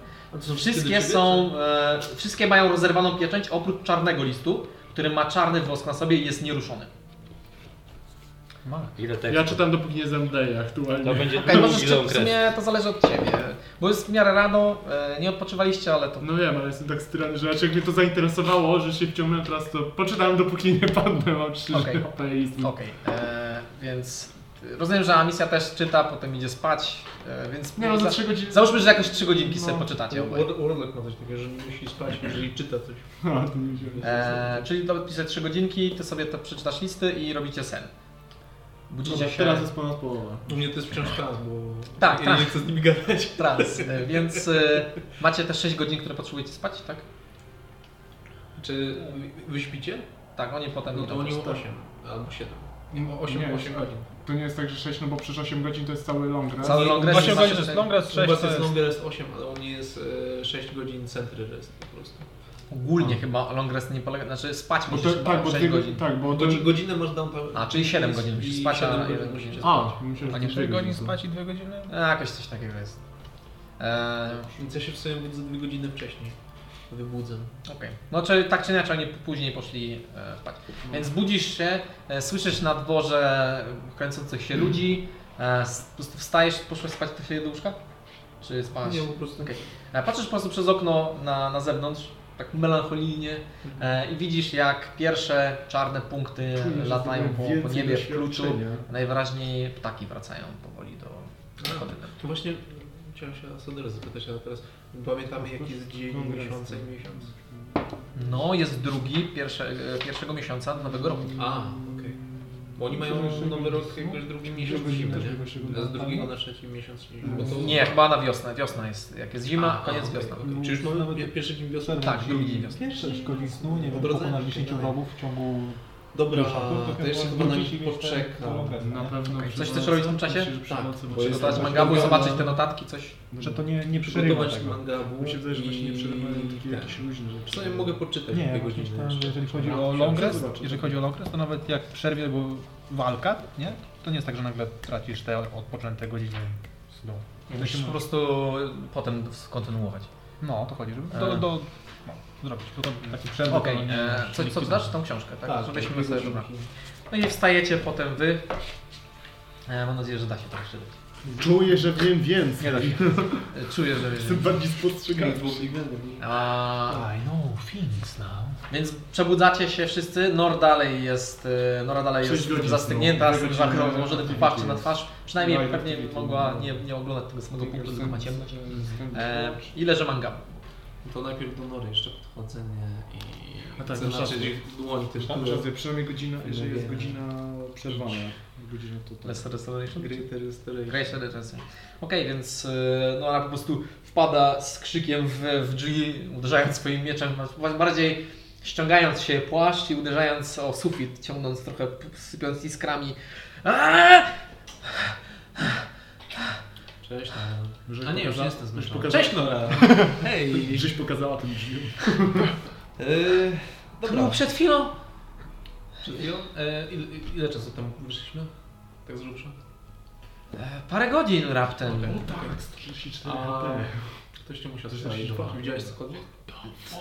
S1: Wszystkie są, e, wszystkie mają rozerwaną pieczęć oprócz czarnego listu, który ma czarny wosk na sobie i jest nieruszony.
S4: Ile tekstu?
S3: Ja czytam dopóki nie zemdleję
S4: To
S3: aktualnie.
S4: będzie
S1: Okej,
S4: długi,
S1: możesz,
S4: long
S1: w
S4: rest.
S1: sumie to zależy od Ciebie, bo jest w miarę rano, e, nie odpoczywaliście, ale to...
S3: No wiem, ale jestem tak styrany, że raczej jak mnie to zainteresowało, że się wciągnąłem teraz, to poczytałem dopóki nie padnę, mam 3
S1: Okej.
S3: HP i z-
S1: Okej, e, więc rozumiem, że Amicia też czyta, potem idzie spać, e, więc
S3: Nie no, za No.
S1: za-
S3: 3 godziny.
S1: załóżmy, że jakoś trzy godzinki sobie poczytacie obaj.
S6: Urlop ma coś takiego, że musi spać, jeżeli czyta coś.
S3: A, to nie wziąłem.
S1: E, czyli dopiszę trzy godzinki, ty sobie to przeczytasz listy i robicie sen. Budzicie
S3: Dobra,
S1: się
S3: teraz jest ponad połowa.
S5: U mnie to jest wciąż trans, bo
S1: Tak,
S5: ja
S1: tak.
S5: nie chcę z nimi gadać.
S1: trans, e, więc e, macie te 6 godzin, które potrzebujecie spać, tak?
S5: Czy wy śpicie?
S1: Tak, oni potem...
S5: No to
S1: idą.
S5: oni o
S2: tak.
S5: 8 albo 7.
S2: No,
S6: 8,
S2: nie,
S6: 8 godzin.
S2: To nie jest tak, że 6, no bo przecież 8 godzin to jest cały long rest.
S1: Cały long rest
S6: 8
S1: jest
S6: godzin to
S1: zawsze-
S6: jest long rest, 6
S5: Chyba
S6: to
S5: to jest
S6: jest...
S5: long rest 8, ale on nie jest e, 6 godzin centry rest po prostu.
S1: Ogólnie chyba long rest nie polega, znaczy spać
S2: Bo
S1: musisz
S2: to, tak, bo
S1: 6
S2: dwie,
S1: godzin.
S2: godzin. tak, bo to...
S5: Godzi, godzinę masz downtown.
S1: A, czyli 7 godzin musisz
S5: i
S1: spać, a
S5: 7
S1: jeden
S5: godzin
S1: musisz
S5: musisz
S2: A, myślałem,
S6: A
S2: że
S6: nie
S2: to
S6: 6
S2: dwie
S6: godzin
S2: są.
S6: spać i 2 godziny?
S1: A, No, Jakoś coś takiego jest. E,
S5: Więc ja się w sumie budzę za 2 godziny wcześniej. Wybudzę.
S1: Okej. No czy tak czy inaczej oni p- później poszli e, spać.
S2: Mhm.
S1: Więc budzisz się, e, słyszysz na dworze kręcących
S2: Mhm.
S1: się ludzi, e, s- po prostu wstajesz, poszłeś spać ty się do łóżka? Czy spałaś?
S5: Nie, po prostu.
S1: Okej. E, Patrzysz po prostu przez okno na, na zewnątrz, tak melancholijnie e, i widzisz jak pierwsze czarne punkty
S2: Mhm. Czuję, że
S1: e, latają
S2: zrobiłem
S1: po, po
S2: więcej
S1: niebie w kluczu.
S2: doświadczenia.
S1: Najwyraźniej ptaki wracają powoli do... do kotyna.
S5: No. To właśnie chciałem się Asadora zapytać, ale teraz pamiętamy jaki No jest dzień,
S2: Long rest.
S5: miesiąca i miesiąc.
S1: No, jest drugi pierwsze, e, pierwszego miesiąca
S2: Mhm.
S1: nowego roku.
S5: A, okej. Bo oni mają nowy rok jakoś drugi miesiąc zimy, nie? Z drugiego na trzeci miesiąc zimy. Bo No to...
S1: Nie, chyba na wiosnę. Wiosna jest. Jak jest zima,
S5: A,
S1: koniec
S5: okej,
S1: wiosny.
S5: okej. Czy już mamy
S6: Nawet-
S5: nawet... pierwszy dzień wiosny?
S1: Tak, drugi dzień wiosny.
S6: Pierwsze szkodzi snu, nie wiem,
S5: Odrodzenie
S6: pokonać
S5: się
S6: 10
S5: dalej.
S6: wrogów w ciągu...
S5: Dobra,
S6: Dobra, to
S5: to jeszcze chyba no, na nich poczekam.
S3: Na pewno
S1: Okej,
S3: przy
S1: coś
S3: nocy,
S1: też robić w tym czasie?
S3: myślę, że przy
S5: Tak,
S3: nocy,
S5: bo
S3: bo
S5: jest-
S1: Zostać
S5: tak,
S1: mangabu i
S5: tak,
S1: zobaczyć
S5: tak.
S1: te notatki, coś.
S6: Że to nie, nie przerywa
S5: Przygotować
S6: tego.
S5: mangabu
S2: Mi się wydaje, że właśnie nie przerywałem takie jakieś luźne
S5: W
S2: rzeczy.
S5: sumie mogę poczytać
S6: Nie,
S5: dwie
S6: ja myślę,
S5: godziny.
S6: że jeżeli chodzi
S5: A,
S6: o
S5: myślałem,
S6: long
S5: że
S6: rest,
S5: zobaczę.
S6: jeżeli chodzi o long rest, to nawet jak przerwie, bo walka, nie? To nie jest tak, że nagle tracisz te odpoczęte godziny snu.
S1: Musisz po prostu potem kontynuować.
S6: No, o to chodzi, żeby do,
S1: E.
S6: do no, zrobić, bo to takie przerwy.
S1: Okej,
S6: to nie-
S1: e,
S6: nie
S1: co, co
S6: wpływa.
S1: dasz? Tą książkę, tak?
S5: Tak,
S1: Żebyśmy sobie dobra.
S5: godziny.
S1: No i wstajecie potem wy. E, mam nadzieję, że da się to przeczytać.
S2: Czuję, że wiem więcej.
S1: Nie da się. E, Czuję, że
S2: Jestem bardziej spostrzegawczy.
S1: A,
S6: I know things now.
S1: więc przebudzacie się wszyscy. Nor dalej jest, e, Nora dalej
S2: Sześć
S1: jest
S2: godzin
S1: zastygnięta,
S2: znowu.
S1: z dwa
S2: Godzina
S1: rozłożone
S2: activity
S1: płaszczy na
S2: jest.
S1: twarz. Przynajmniej
S2: Light
S1: pewnie
S2: activity.
S1: mogła nie, nie oglądać tego samego punktu, tylko ma ciemność. E, I leży mangabu.
S5: To najpierw do Nory jeszcze podchodzę nie? i
S2: A tak,
S5: chcę
S2: masz
S5: znaczyć
S2: rację.
S5: ich dłoń też
S2: Tam
S5: dużo.
S2: razy, przynajmniej godzina,
S1: e,
S2: jeżeli jest
S5: Nie.
S2: godzina przerwana. Godzina tutaj.
S1: Lesser Restoration?
S5: Greater Restoration.
S1: Grace Federation. Okej, więc yy, no ona po prostu wpada z krzykiem w, w drzwi, uderzając swoim mieczem. Masz- masz Bardziej ściągając się płaszcz i uderzając o sufit, ciągnąc trochę, p- sypiąc iskrami. Aaaa!
S5: Cześć, no. A nie, już nie jestem zmęczony.
S3: Cześć Nora!
S5: Hej!
S3: Żeś pokazała tym drzwiom.
S5: Yy,
S1: To było
S5: dobra.
S1: przed chwilą.
S5: Przed chwilą. E, ile, ile czasu temu wyszliśmy? Tak z grubsza?
S1: E, Parę godzin raptem.
S5: Okej.
S2: No tak, 134
S5: A
S2: HP.
S5: ktoś cię musiał
S2: Coś
S5: strzelić.
S2: się
S5: chyba.
S2: stało.
S5: Widziałeś cokolwiek?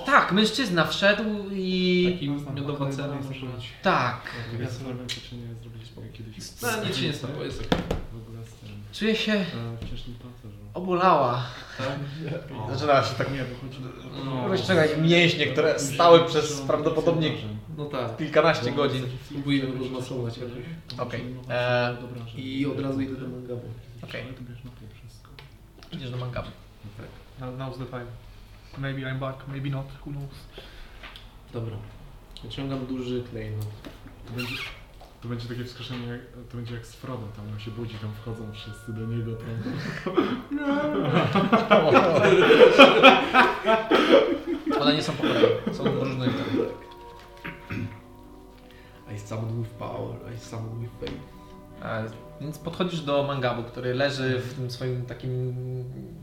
S1: Tak, mężczyzna wszedł i.
S5: Taki miodowa cena może być.
S1: Tak.
S2: Ja sobie robię przeczynę zrobić kiedyś z-
S5: No nic się nie stało, jest okej.
S2: w ogóle z tym.
S1: Czuję się
S2: e, Wciężnym pancerzem.
S1: obolała.
S9: Zaczyna się tak
S2: No, Nie, bo chodzi o...
S5: No,
S9: rozciągać mięśnie, które stały przez prawdopodobnie
S5: no tak.
S9: kilkanaście godzin.
S5: Próbuję
S2: tak,
S5: rozmasować jakoś.
S9: Okej. E,
S5: I od razu idę do mangabu.
S9: Okej.
S2: Ale to bierz na to wszystko.
S1: Idziesz do mangabu.
S6: Now, now's the time. Maybe I'm back, maybe not, who knows.
S5: Dobra. Wyciągam duży klejnot.
S2: To będzie, to będzie takie wskrzeszenie, jak- to będzie jak z Frodo, tam on się budzi, tam wchodzą wszyscy do niego, tam...
S1: One nie są po kolei. Są różne.
S5: I summon with power, I summon with faith.
S1: E, Więc podchodzisz do mangabu, który leży w tym swoim takim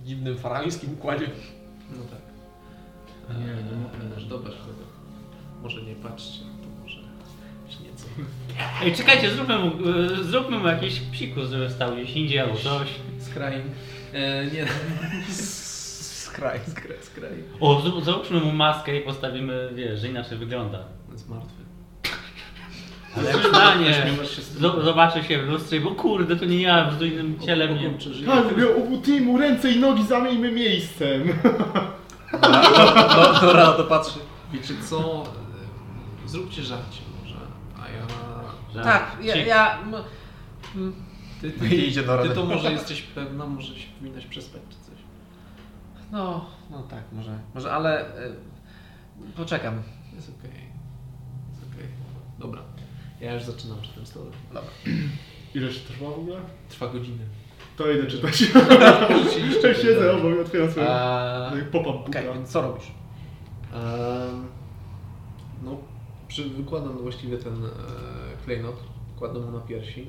S1: dziwnym faraońskim układzie.
S5: No tak.
S2: Nie,
S5: Eee,
S2: nie mogę.
S5: Dobra, dobra. Może nie patrzcie, to może czy nieco.
S4: Ej, czekajcie, zróbmy mu, y, zróbmy mu jakiś psikus, żeby stał gdzieś indziej albo coś.
S5: Skrain. Eee, nie. Skrain. Skrain. Skrain.
S4: O, zró- zróbmy mu maskę i postawimy, wiesz, że inaczej wygląda.
S5: On jest martwy.
S4: Ale zdanie,
S5: Śmiewasz się z tym.
S4: zo- zobaczy się w lustrze i bo kurde, to nie ja, z innym cielem nie...
S5: Czy żyje?
S2: Tak, mówię, obutnij mu ręce i nogi, zamieńmy miejscem!
S1: No, dobra, to patrzy.
S5: Wiecie co? Eee, Zróbcie żarcie może. A ja...
S4: Że-
S1: Tak, ja.
S4: Ciek-
S1: ja m- m-
S5: Ty, ty,
S9: Idzie do
S5: ty
S9: rady.
S5: to może jesteś pewna, może się powinnaś przespać czy coś.
S1: no, no tak, może. Może, ale. e, Poczekam.
S5: Jest okej. Jest okej. Dobra. Ja już zaczynam przy tym stole.
S2: Ileż trwa w ogóle?
S5: Trwa godziny.
S2: To idę czytać.
S5: Rzuciliście
S2: Ja siedzę
S5: dalej.
S2: obok i otwieram swoją
S1: Eee,
S2: pop-up booka.
S1: Okej, więc co robisz?
S5: Em, no, przy, wykładam właściwie ten e, klejnot, kładę mu na piersi.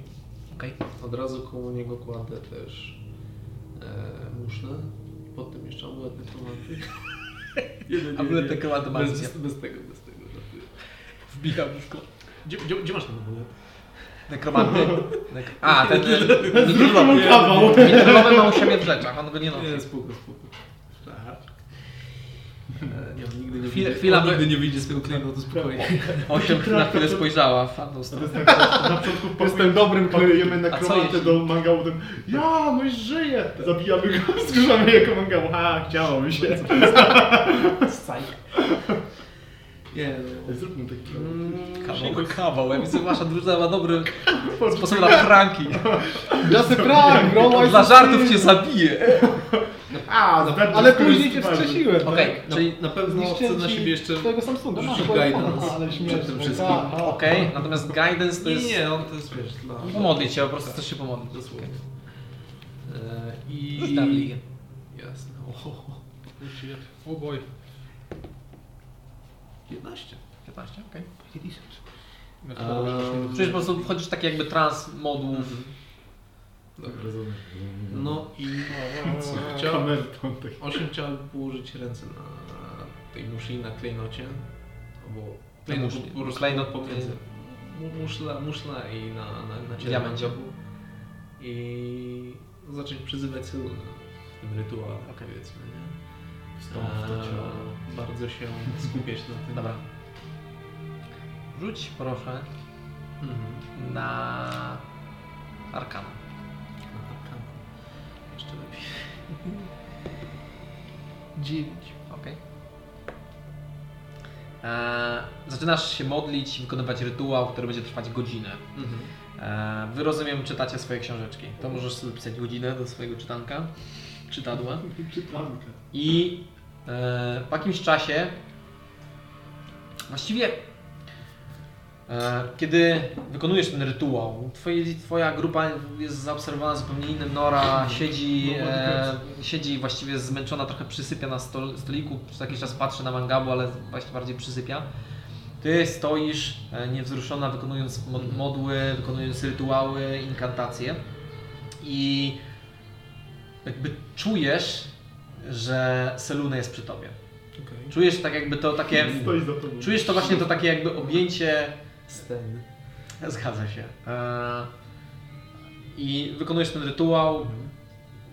S1: Okej.
S5: Od razu koło niego kładę też e, muszlę. Pod tym jeszcze amulet nekromanty.
S1: A w ogóle te koła do
S5: bez, bez, bez tego, bez tego. żartuję.
S1: Wbijam w koło.
S5: Gdzie, gdzie, gdzie masz ten amulet?
S1: Nekromanty. Nek- A, ten. ten-
S2: Zróbmy mu kawał!
S1: Mitrolowy ma u siebie w rzeczach, on go nie nosi.
S5: Nie, spoko, spoko. Tak. E, nie, on nigdy nie
S1: Chwilę-
S5: wyjdzie-
S1: chwila,
S5: on
S1: by-
S5: nigdy nie wyjdzie z tego klejnotu spokojnie.
S1: Osiem na chwilę spojrzała w tamtą stronę.
S2: Na początku Jestem dobrym pakujemy na
S1: A co
S2: kromatę
S1: jeśli-
S2: do mangału, ten... Ja, no i żyje! Zabijamy go, zgrzamy jako mangału. Ha, chciało mi się.
S5: Nie, no.
S2: Zróbmy taki
S1: Mm, Kawał, kawał. Ja widzę, wasza drużyna ma dobry sposób na pranki.
S9: Ja se no, prank, bro!
S1: Dla żartów cię zabije.
S2: A,
S9: Ale później cię wskrzesiłem, tak?
S1: Okej, czyli
S5: na, na pewno chcę
S9: Zniszczyłem
S5: na
S9: ci
S5: siebie jeszcze
S9: Tego Samsunga,
S5: Rzuć
S9: powiem,
S5: guidance
S9: aha, ale
S5: przed
S9: śmieszne,
S5: tym wszystkim.
S9: tak, tak.
S1: Okej, natomiast guidance to
S5: Nie,
S1: jest...
S5: nie, on to jest wiesz, dla...
S1: Pomodlić się, po prostu chcesz się pomodlić.
S5: Dosłownie. E,
S1: Rzuć na
S5: I...
S1: religię.
S5: Jasne. O,
S6: O oh boy.
S5: 11.
S1: 15, okej.
S6: No to dobrze, że
S5: Eee,
S1: Czyli po prostu wchodzisz w taki jakby trans modów.
S5: Dobra. No i co chciałem?
S2: Kamerton taki.
S5: 8 chciałbym położyć ręce na tej muszli, na klejnocie. Albo klejnot
S1: muszli.
S5: po prostu
S1: Klejnot,
S5: pomiędzy. mu- Muszla, muszla i na, na, na ciele.
S1: Diamencie.
S5: I zacząć przyzywać Sylunę w tym rytuale, powiedzmy. Nie?
S2: Stąd w to ciało.
S5: Eee, bardzo się skupiać na tym.
S1: Dobra. Rzuć proszę
S5: Mhm.
S1: na arkana.
S5: Na tapkanku. Jeszcze lepiej. 9.
S1: Okej. Eee, Zaczynasz się modlić i wykonywać rytuał, który będzie trwać godzinę.
S5: Mhm.
S1: Eee, Wy rozumiem, czytacie swoje książeczki. To możesz sobie pisać godzinę do swojego czytanka, czytadła.
S2: Czytanka.
S1: I e, po jakimś czasie, właściwie e, kiedy wykonujesz ten rytuał, twoje, twoja grupa jest zaobserwowana zupełnie innym. Nora siedzi, e, siedzi właściwie zmęczona, trochę przysypia na stol, stoliku. Przez jakiś czas patrzy na mangabu, ale właśnie bardziej przysypia. Ty stoisz e, niewzruszona, wykonując mo-
S2: Mhm.
S1: modły, wykonując rytuały, inkantacje i jakby czujesz, że Selune jest przy tobie.
S5: Okej.
S1: Czujesz tak jakby to takie...
S2: Stoi za tobą.
S1: Czujesz to właśnie to takie jakby objęcie
S5: Sten.
S1: Zgadza się. Eee, I wykonujesz ten rytuał.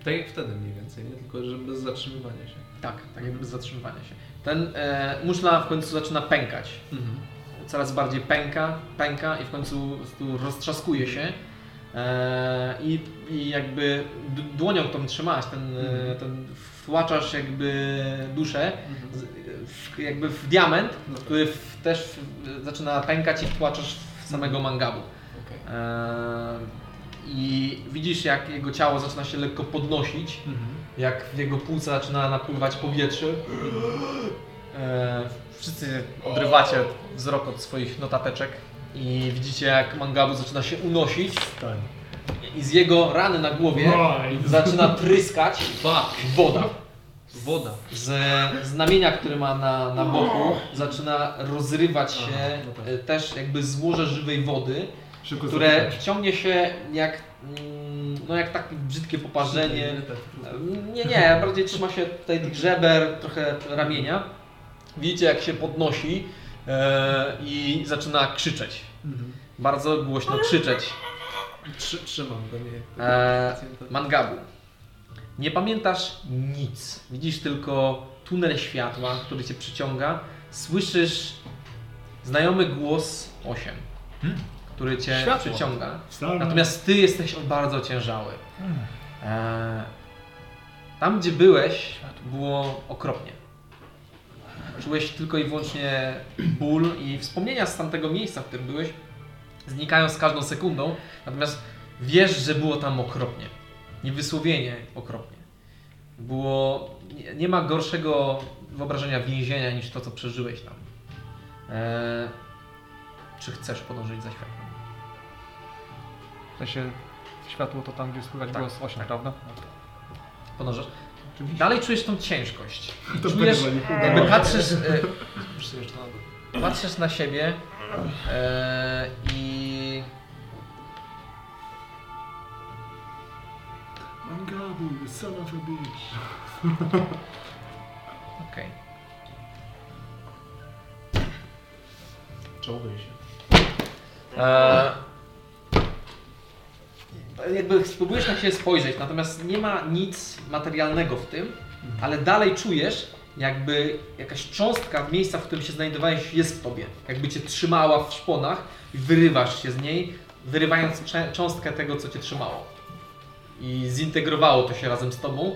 S5: Tak jak wtedy mniej więcej, nie? Tylko że bez zatrzymywania się.
S1: Tak, tak jakby bez zatrzymywania się. Ten e, muszla w końcu zaczyna pękać. Coraz bardziej pęka, pęka i w końcu po prostu roztrzaskuje się. E, i, I jakby d- dłonią, którą trzymałaś, ten,
S5: Mhm.
S1: e, ten wtłaczasz jakby duszę z, w, jakby w diament,
S5: No tak.
S1: który w, też w, zaczyna pękać i wtłaczasz w samego mangabu.
S5: Okej.
S1: Eee, I widzisz, jak jego ciało zaczyna się lekko podnosić, jak w jego płuca zaczyna napływać powietrze. Eee, Wszyscy odrywacie wzrok od swoich notateczek i widzicie, jak Mangabu zaczyna się unosić
S3: Stań.
S1: i z jego rany na głowie
S2: No.
S3: Right.
S1: zaczyna tryskać woda.
S5: Woda.
S1: Z z znamienia, który ma na, na boku, zaczyna rozrywać się e, też jakby złoże żywej wody
S2: Szybko
S1: które
S2: zapytać.
S1: ciągnie się jak, mm, no jak takie brzydkie poparzenie. Mm, Nie, nie, bardziej trzyma się tutaj tych żeber, trochę ramienia. Widzicie jak się podnosi e, i zaczyna krzyczeć. Bardzo głośno krzyczeć.
S5: Trzy, trzymam go, nie.
S1: E, Mangabu. Nie pamiętasz nic. Widzisz tylko tunel światła, który cię przyciąga. Słyszysz znajomy głos 8, który cię
S6: Światło.
S1: przyciąga.
S2: Sam.
S1: Natomiast ty jesteś bardzo ciężały. Eee, tam, gdzie byłeś, było okropnie. Czułeś tylko i wyłącznie ból i wspomnienia z tamtego miejsca, w którym byłeś, znikają z każdą sekundą. Natomiast wiesz, że było tam okropnie. Niewysłowienie okropnie. Było. Nie, nie ma gorszego wyobrażenia więzienia niż to, co przeżyłeś tam. Eee, czy chcesz podążyć za światłem?
S6: W sensie światło to tam, gdzie słychać
S1: Tak,
S6: głos 8, prawda?
S1: Podążasz. Dalej czujesz tą ciężkość.
S2: To
S1: czujesz,
S2: będzie dla nich
S1: jakby
S2: udało.
S1: patrzysz, e, patrzysz na siebie e, i
S2: Mangabu, you son of a bitch.
S1: okej.
S5: Czołgaj się.
S1: E, Jakby spróbujesz na siebie spojrzeć, natomiast nie ma nic materialnego w tym, ale dalej czujesz, jakby jakaś cząstka miejsca, w którym się znajdowałeś, jest w tobie. Jakby cię trzymała w szponach i wyrywasz się z niej, wyrywając cze- cząstkę tego, co cię trzymało. I zintegrowało to się razem z tobą.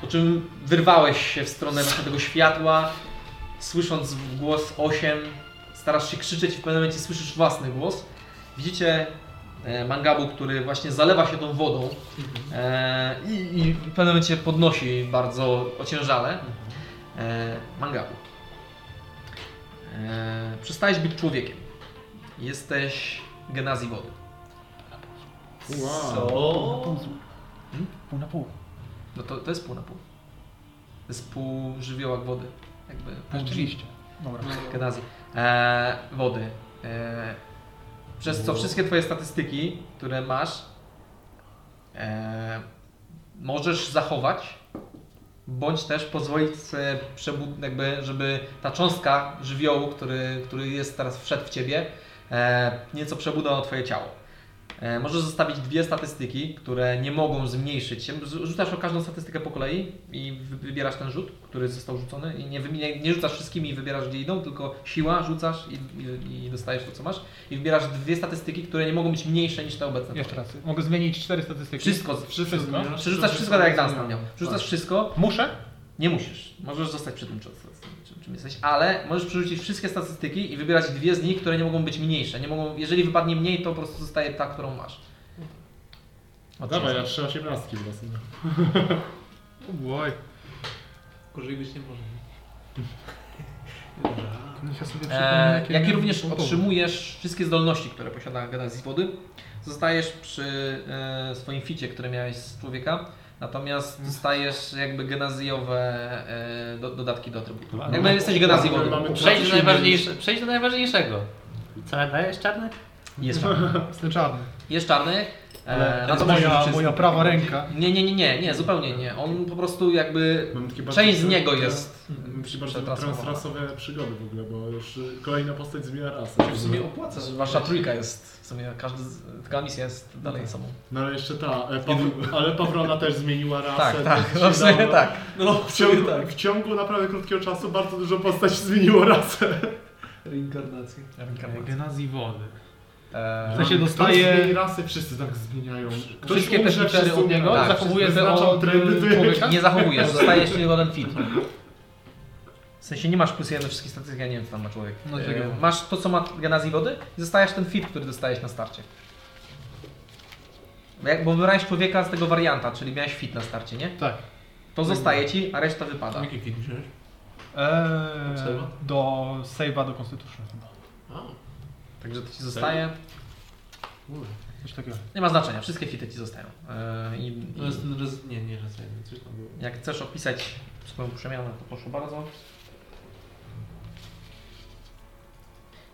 S1: Po czym wyrwałeś się w stronę właśnie tego światła, słysząc głos 8, starasz się krzyczeć, w pewnym momencie słyszysz własny głos. Widzicie e, mangabu, który właśnie zalewa się tą wodą e, i, i w pewnym momencie podnosi bardzo ociężale. E, mangabu. E, przestałeś być człowiekiem. Jesteś genazji wody.
S3: Co?
S6: Pół na pół.
S1: Hmm? No to, to jest pół na pół. To jest pół żywiołak wody. Jakby pół
S6: Rzeczywiście. Dobra.
S5: No.
S1: Genazji. E, wody. E, przez co wszystkie twoje statystyki, które masz, e, możesz zachować, bądź też pozwolić sobie przebud- jakby, żeby ta cząstka żywiołu, który, który jest teraz wszedł w ciebie, e, nieco przebudowała twoje ciało. E, możesz zostawić dwie statystyki, które nie mogą zmniejszyć się. Z- Rzucasz o każdą statystykę po kolei i wy- wybierasz ten rzut, który został rzucony. I nie, wy- nie, nie rzucasz wszystkimi i wybierasz gdzie idą, tylko siła rzucasz i, i, i dostajesz to, co masz. I wybierasz dwie statystyki, które nie mogą być mniejsze niż te obecne.
S6: Jeszcze raz. Mogę zmienić cztery statystyki.
S1: Wszystko,
S2: Wszystko zmieniasz?
S1: Przerzucasz wszystko tak jak Dunstan miał. Przerzucasz wszystko,
S6: Muszę?
S1: nie musisz. Możesz zostać przy tym, czym, czym- czym jesteś, ale możesz przerzucić wszystkie statystyki i wybierać dwie z nich, które nie mogą być mniejsze. Nie mogą, jeżeli wypadnie mniej, to po prostu zostaje ta, którą masz.
S3: Dawaj, ja trzy osiemnastki w losu.
S6: Oj.
S5: Gorzej być nie może.
S2: No Ja sobie przypomnę,
S1: E, jak i również otrzymujesz wszystkie zdolności, które posiada genazji wody. Zostajesz przy e, swoim ficie, który miałeś z człowieka. Natomiast dostajesz jakby genazjowe e, do, dodatki do atrybutu.
S4: Dwa.
S1: Jakby jesteś genazjową.
S2: Mamy
S4: Przejdź do,
S2: trzy
S4: najważniejsze, przejdź do najważniejszego. Co dajesz czarny?
S1: Jest czarny.
S6: Jestem czarny.
S1: Jest czarny.
S4: no
S1: E,
S6: To
S1: natomiast
S6: moja, moja prawa ręka.
S1: nie, nie, nie, nie, nie, zupełnie nie. On po prostu jakby.
S2: Mam takie bardzo-
S1: Część z niego jest.
S2: Mam takie bardzo
S1: przetransformowana.
S2: transrasowe przygody w ogóle, bo już y, kolejna postać zmienia rasę.
S1: W sumie
S6: Mhm.
S1: opłaca, że wasza trójka jest. W sumie każdy, z- taka misja jest dalej
S6: Tak.
S1: sobą.
S2: No ale jeszcze ta, e, Pawr- ale Pawrona też zmieniła rasę.
S1: Tak,
S2: to
S1: tak,
S2: się
S1: no w sumie
S2: dało.
S1: tak. No
S2: W
S1: w sumie
S2: ciągu,
S1: tak.
S2: w ciągu naprawdę krótkiego czasu bardzo dużo postać zmieniło rasę.
S5: Reinkarnacja.
S6: Genazji wody.
S1: Eee,
S6: W sensie no, dostaje-
S2: Kto zmieni rasy, wszyscy tak zmieniają. Ktoś
S6: Wszystkie te
S2: umrze, no,
S6: feature'y
S2: wszyscy
S6: od niego
S1: Tak,
S2: umierają.
S6: zachowuje
S2: Wszyscy
S6: te
S2: wyznaczą
S6: od
S2: trendy, to
S6: człowieka?
S1: Nie zachowujesz, dostajesz tylko jeden fit. W sensie nie masz plus jeden wszystkich statystyk, ja nie wiem co tam ma człowiek.
S6: No,
S1: E,
S6: czego?
S1: masz to co ma genazji wody i dostajesz ten fit, który dostajesz na starcie. Bo Jak, bo wybrałeś człowieka z tego warianta, czyli miałeś fit na starcie, nie?
S6: Tak.
S1: To zostaje ci, a reszta wypada.
S5: Jaki film wziąłeś?
S6: Eee,
S5: Save'a?
S6: do save'a do Constitution chyba.
S5: A,
S1: Także to ci zostaje.
S5: kurde.
S6: Coś takiego.
S1: Nie ma znaczenia, wszystkie fity ci zostają. E, i, i
S5: To jest ten raz... Nie, nie rozejmę, coś tam było.
S1: jak chcesz opisać swoją przemianę, to proszę bardzo.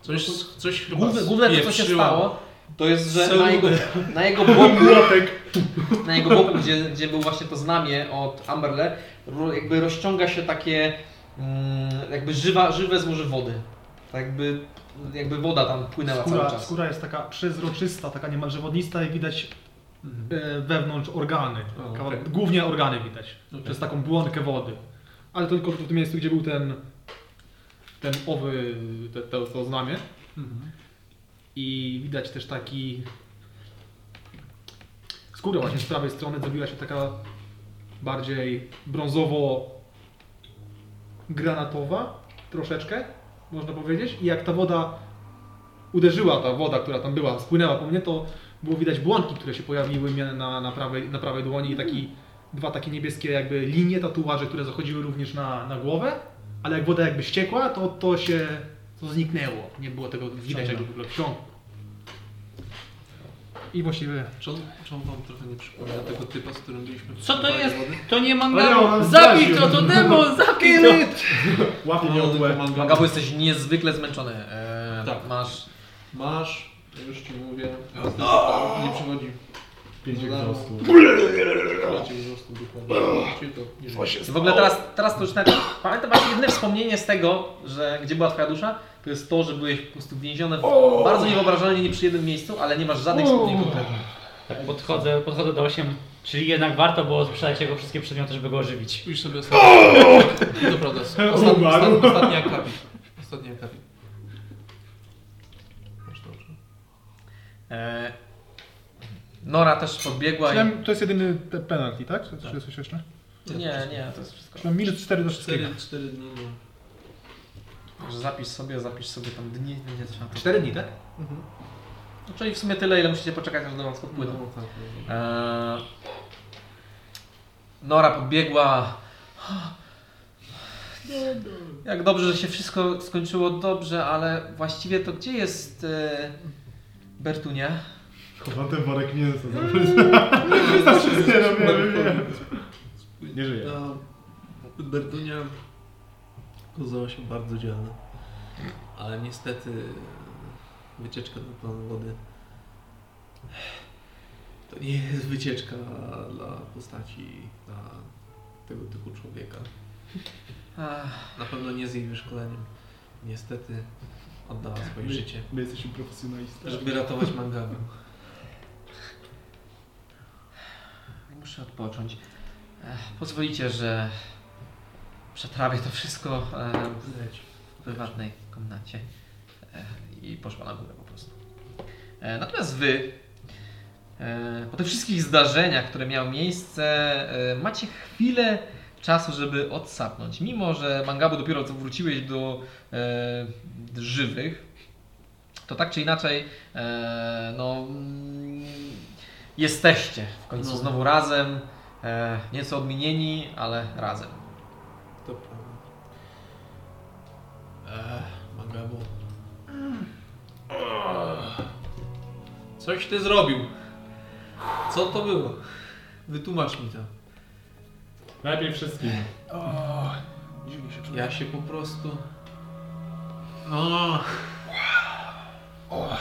S5: Coś, coś chyba...
S1: Główne, główne to, co się
S5: spieprzyło.
S1: stało, to jest, że
S5: Są-
S1: na jego, na jego boku, na jego boku gdzie, gdzie było właśnie to znamie od Amberle, ro- jakby rozciąga się takie mm, jakby żywa, żywe złoże wody. Tak jakby, jakby woda tam płynęła cały
S6: Skóra,
S1: czas.
S6: skóra jest taka przezroczysta, taka niemalże wodnista i widać e, wewnątrz organy.
S5: O,
S6: Kawał-
S5: okej.
S6: Głównie organy widać. Przez taką błonkę wody. Ale to tylko w tym miejscu, gdzie był ten ten owy, te, te, to znamie.
S2: Mhm.
S6: I widać też taki skóra właśnie z prawej strony zrobiła się taka bardziej brązowo granatowa troszeczkę, można powiedzieć. I jak ta woda uderzyła, ta woda, która tam była, spłynęła po mnie, to było widać błonki, które się pojawiły mnie na, na, prawej, na prawej dłoni i taki, dwa takie niebieskie jakby linie tatuaże, które zachodziły również na, na głowę, ale jak woda jakby ściekła, to to się to zniknęło. Nie było tego widać jakby w ogóle wciągu. I właściwie
S5: Czy on, czy on wam trochę nie przypomina tego typa, z którym byliśmy w
S4: Co to
S5: kopalni
S4: jest?
S5: wody?
S4: To nie
S2: Ale on
S4: mangabo!
S2: nas
S4: Zabij
S2: zdradził.
S4: to, to demon! Zabij to!
S2: Łapie mnie
S5: No,
S2: od łeb.
S5: tylko mam-
S1: Magabu, jesteś niezwykle zmęczony. E,
S5: Tak.
S1: Masz
S5: Masz, już ci mówię. Nie przychodzi.
S2: Pięć
S5: No, no.
S2: egzostów.
S5: Macie wzrostu dokładnie. Czyli to nie żyje.
S1: W ogóle teraz, teraz to już nawet, pamiętam masz jedyne wspomnienie z tego, że gdzie była twoja dusza, to jest to, że byłeś po prostu więziony w bardzo niewyobrażalnie nieprzyjemnym miejscu, ale nie masz żadnych wspomnień konkretnych.
S4: Tak podchodzę, podchodzę do 8, czyli jednak warto było sprzedać jego wszystkie przedmioty, żeby go ożywić.
S5: Pisz sobie ostatni. To prawda. Ostatni, ostatni, ostatni akapit. Ostatni akapit. Masz dobrze.
S1: E, Nora też podbiegła i...
S6: Chciałem, to jest jedyny te- penalty, tak? Czy czy jest coś jeszcze?
S1: Nie, nie, to jest wszystko.
S6: Czyli Mam minus 4 do wszystkiego.
S5: 4, 4 dni. No.
S1: Że Zapisz sobie, zapisz sobie tam dni, będzie trzeba. to-
S6: 4 dni, tak?
S5: Mhm.
S1: No, czyli w sumie tyle, ile musicie poczekać, aż do was podpłyną.
S5: No, tak, no.
S1: Eee, Nora podbiegła. Jak dobrze, że się wszystko skończyło dobrze, ale właściwie to gdzie jest e, Bertunia?
S2: Chowa ten worek mięsa za plecami. Nie no, wiem, wiem. Nie żyje.
S5: Ta Berdunia okazała się bardzo dzielna, ale niestety wycieczka na plan wody to nie jest wycieczka dla postaci dla tego typu człowieka.
S1: Ach,
S5: Na pewno nie z jej wyszkoleniem. Niestety oddała swoje życie,
S2: My jesteśmy profesjonalistami.
S5: żeby ratować mangabę.
S1: muszę odpocząć. Ech, pozwolicie, że przetrawię to wszystko e, w prywatnej komnacie e, i poszła na górę po prostu. E, natomiast wy, e, po tych wszystkich zdarzeniach, które miały miejsce, e, macie chwilę czasu, żeby odsapnąć. Mimo, że Mangabu dopiero co wróciłeś do e, żywych, to tak czy inaczej, e, no, mm, jesteście w końcu
S5: No.
S1: znowu razem, e, nieco odmienieni, ale razem.
S5: To prawda. Ech, Magabu. Coś ty zrobił. Co to było? Wytłumacz mi to.
S3: Najpierw wszystkim.
S5: Ja się po prostu... O.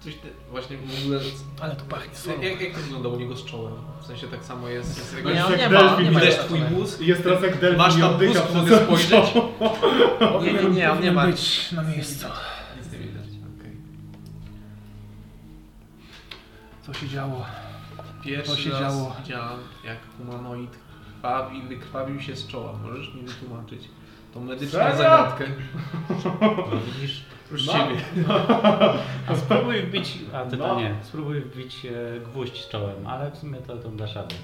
S5: Coś te... właśnie w ogóle...
S6: Ale tu pachnie solą.
S5: Jak, jak to wygląda u niego z czołem? W sensie tak samo jest z jego...
S3: Nie,
S5: Nie,
S3: on
S5: nie,
S3: nie ma- nie ma
S5: widać
S3: jeszcze
S5: twój mózg,
S2: Jest teraz jak Delphi
S5: masz
S2: i
S5: tam
S2: oddycha
S5: mózg,
S2: przez
S5: mogę
S2: cały
S5: spojrzeć.
S2: czas.
S1: Nie, nie, nie, on nie ma.
S6: być na miejscu.
S5: Nic nie widać, okej.
S6: Co się działo?
S5: Pierwszy
S6: się
S5: raz
S6: działo.
S5: widziałem, jak humanoid krwawi, wykrwawił się z czoła. Możesz mi wytłumaczyć tą medyczną
S3: Serio?
S5: zagadkę?
S1: No,
S4: Widzisz?
S5: Proszę
S3: Ma-
S5: ciebie.
S4: A spróbuj wbić. A ty
S3: No.
S4: to nie. Spróbuj wbić e, gwóźdź czołem, ale w sumie to tą dasz radę.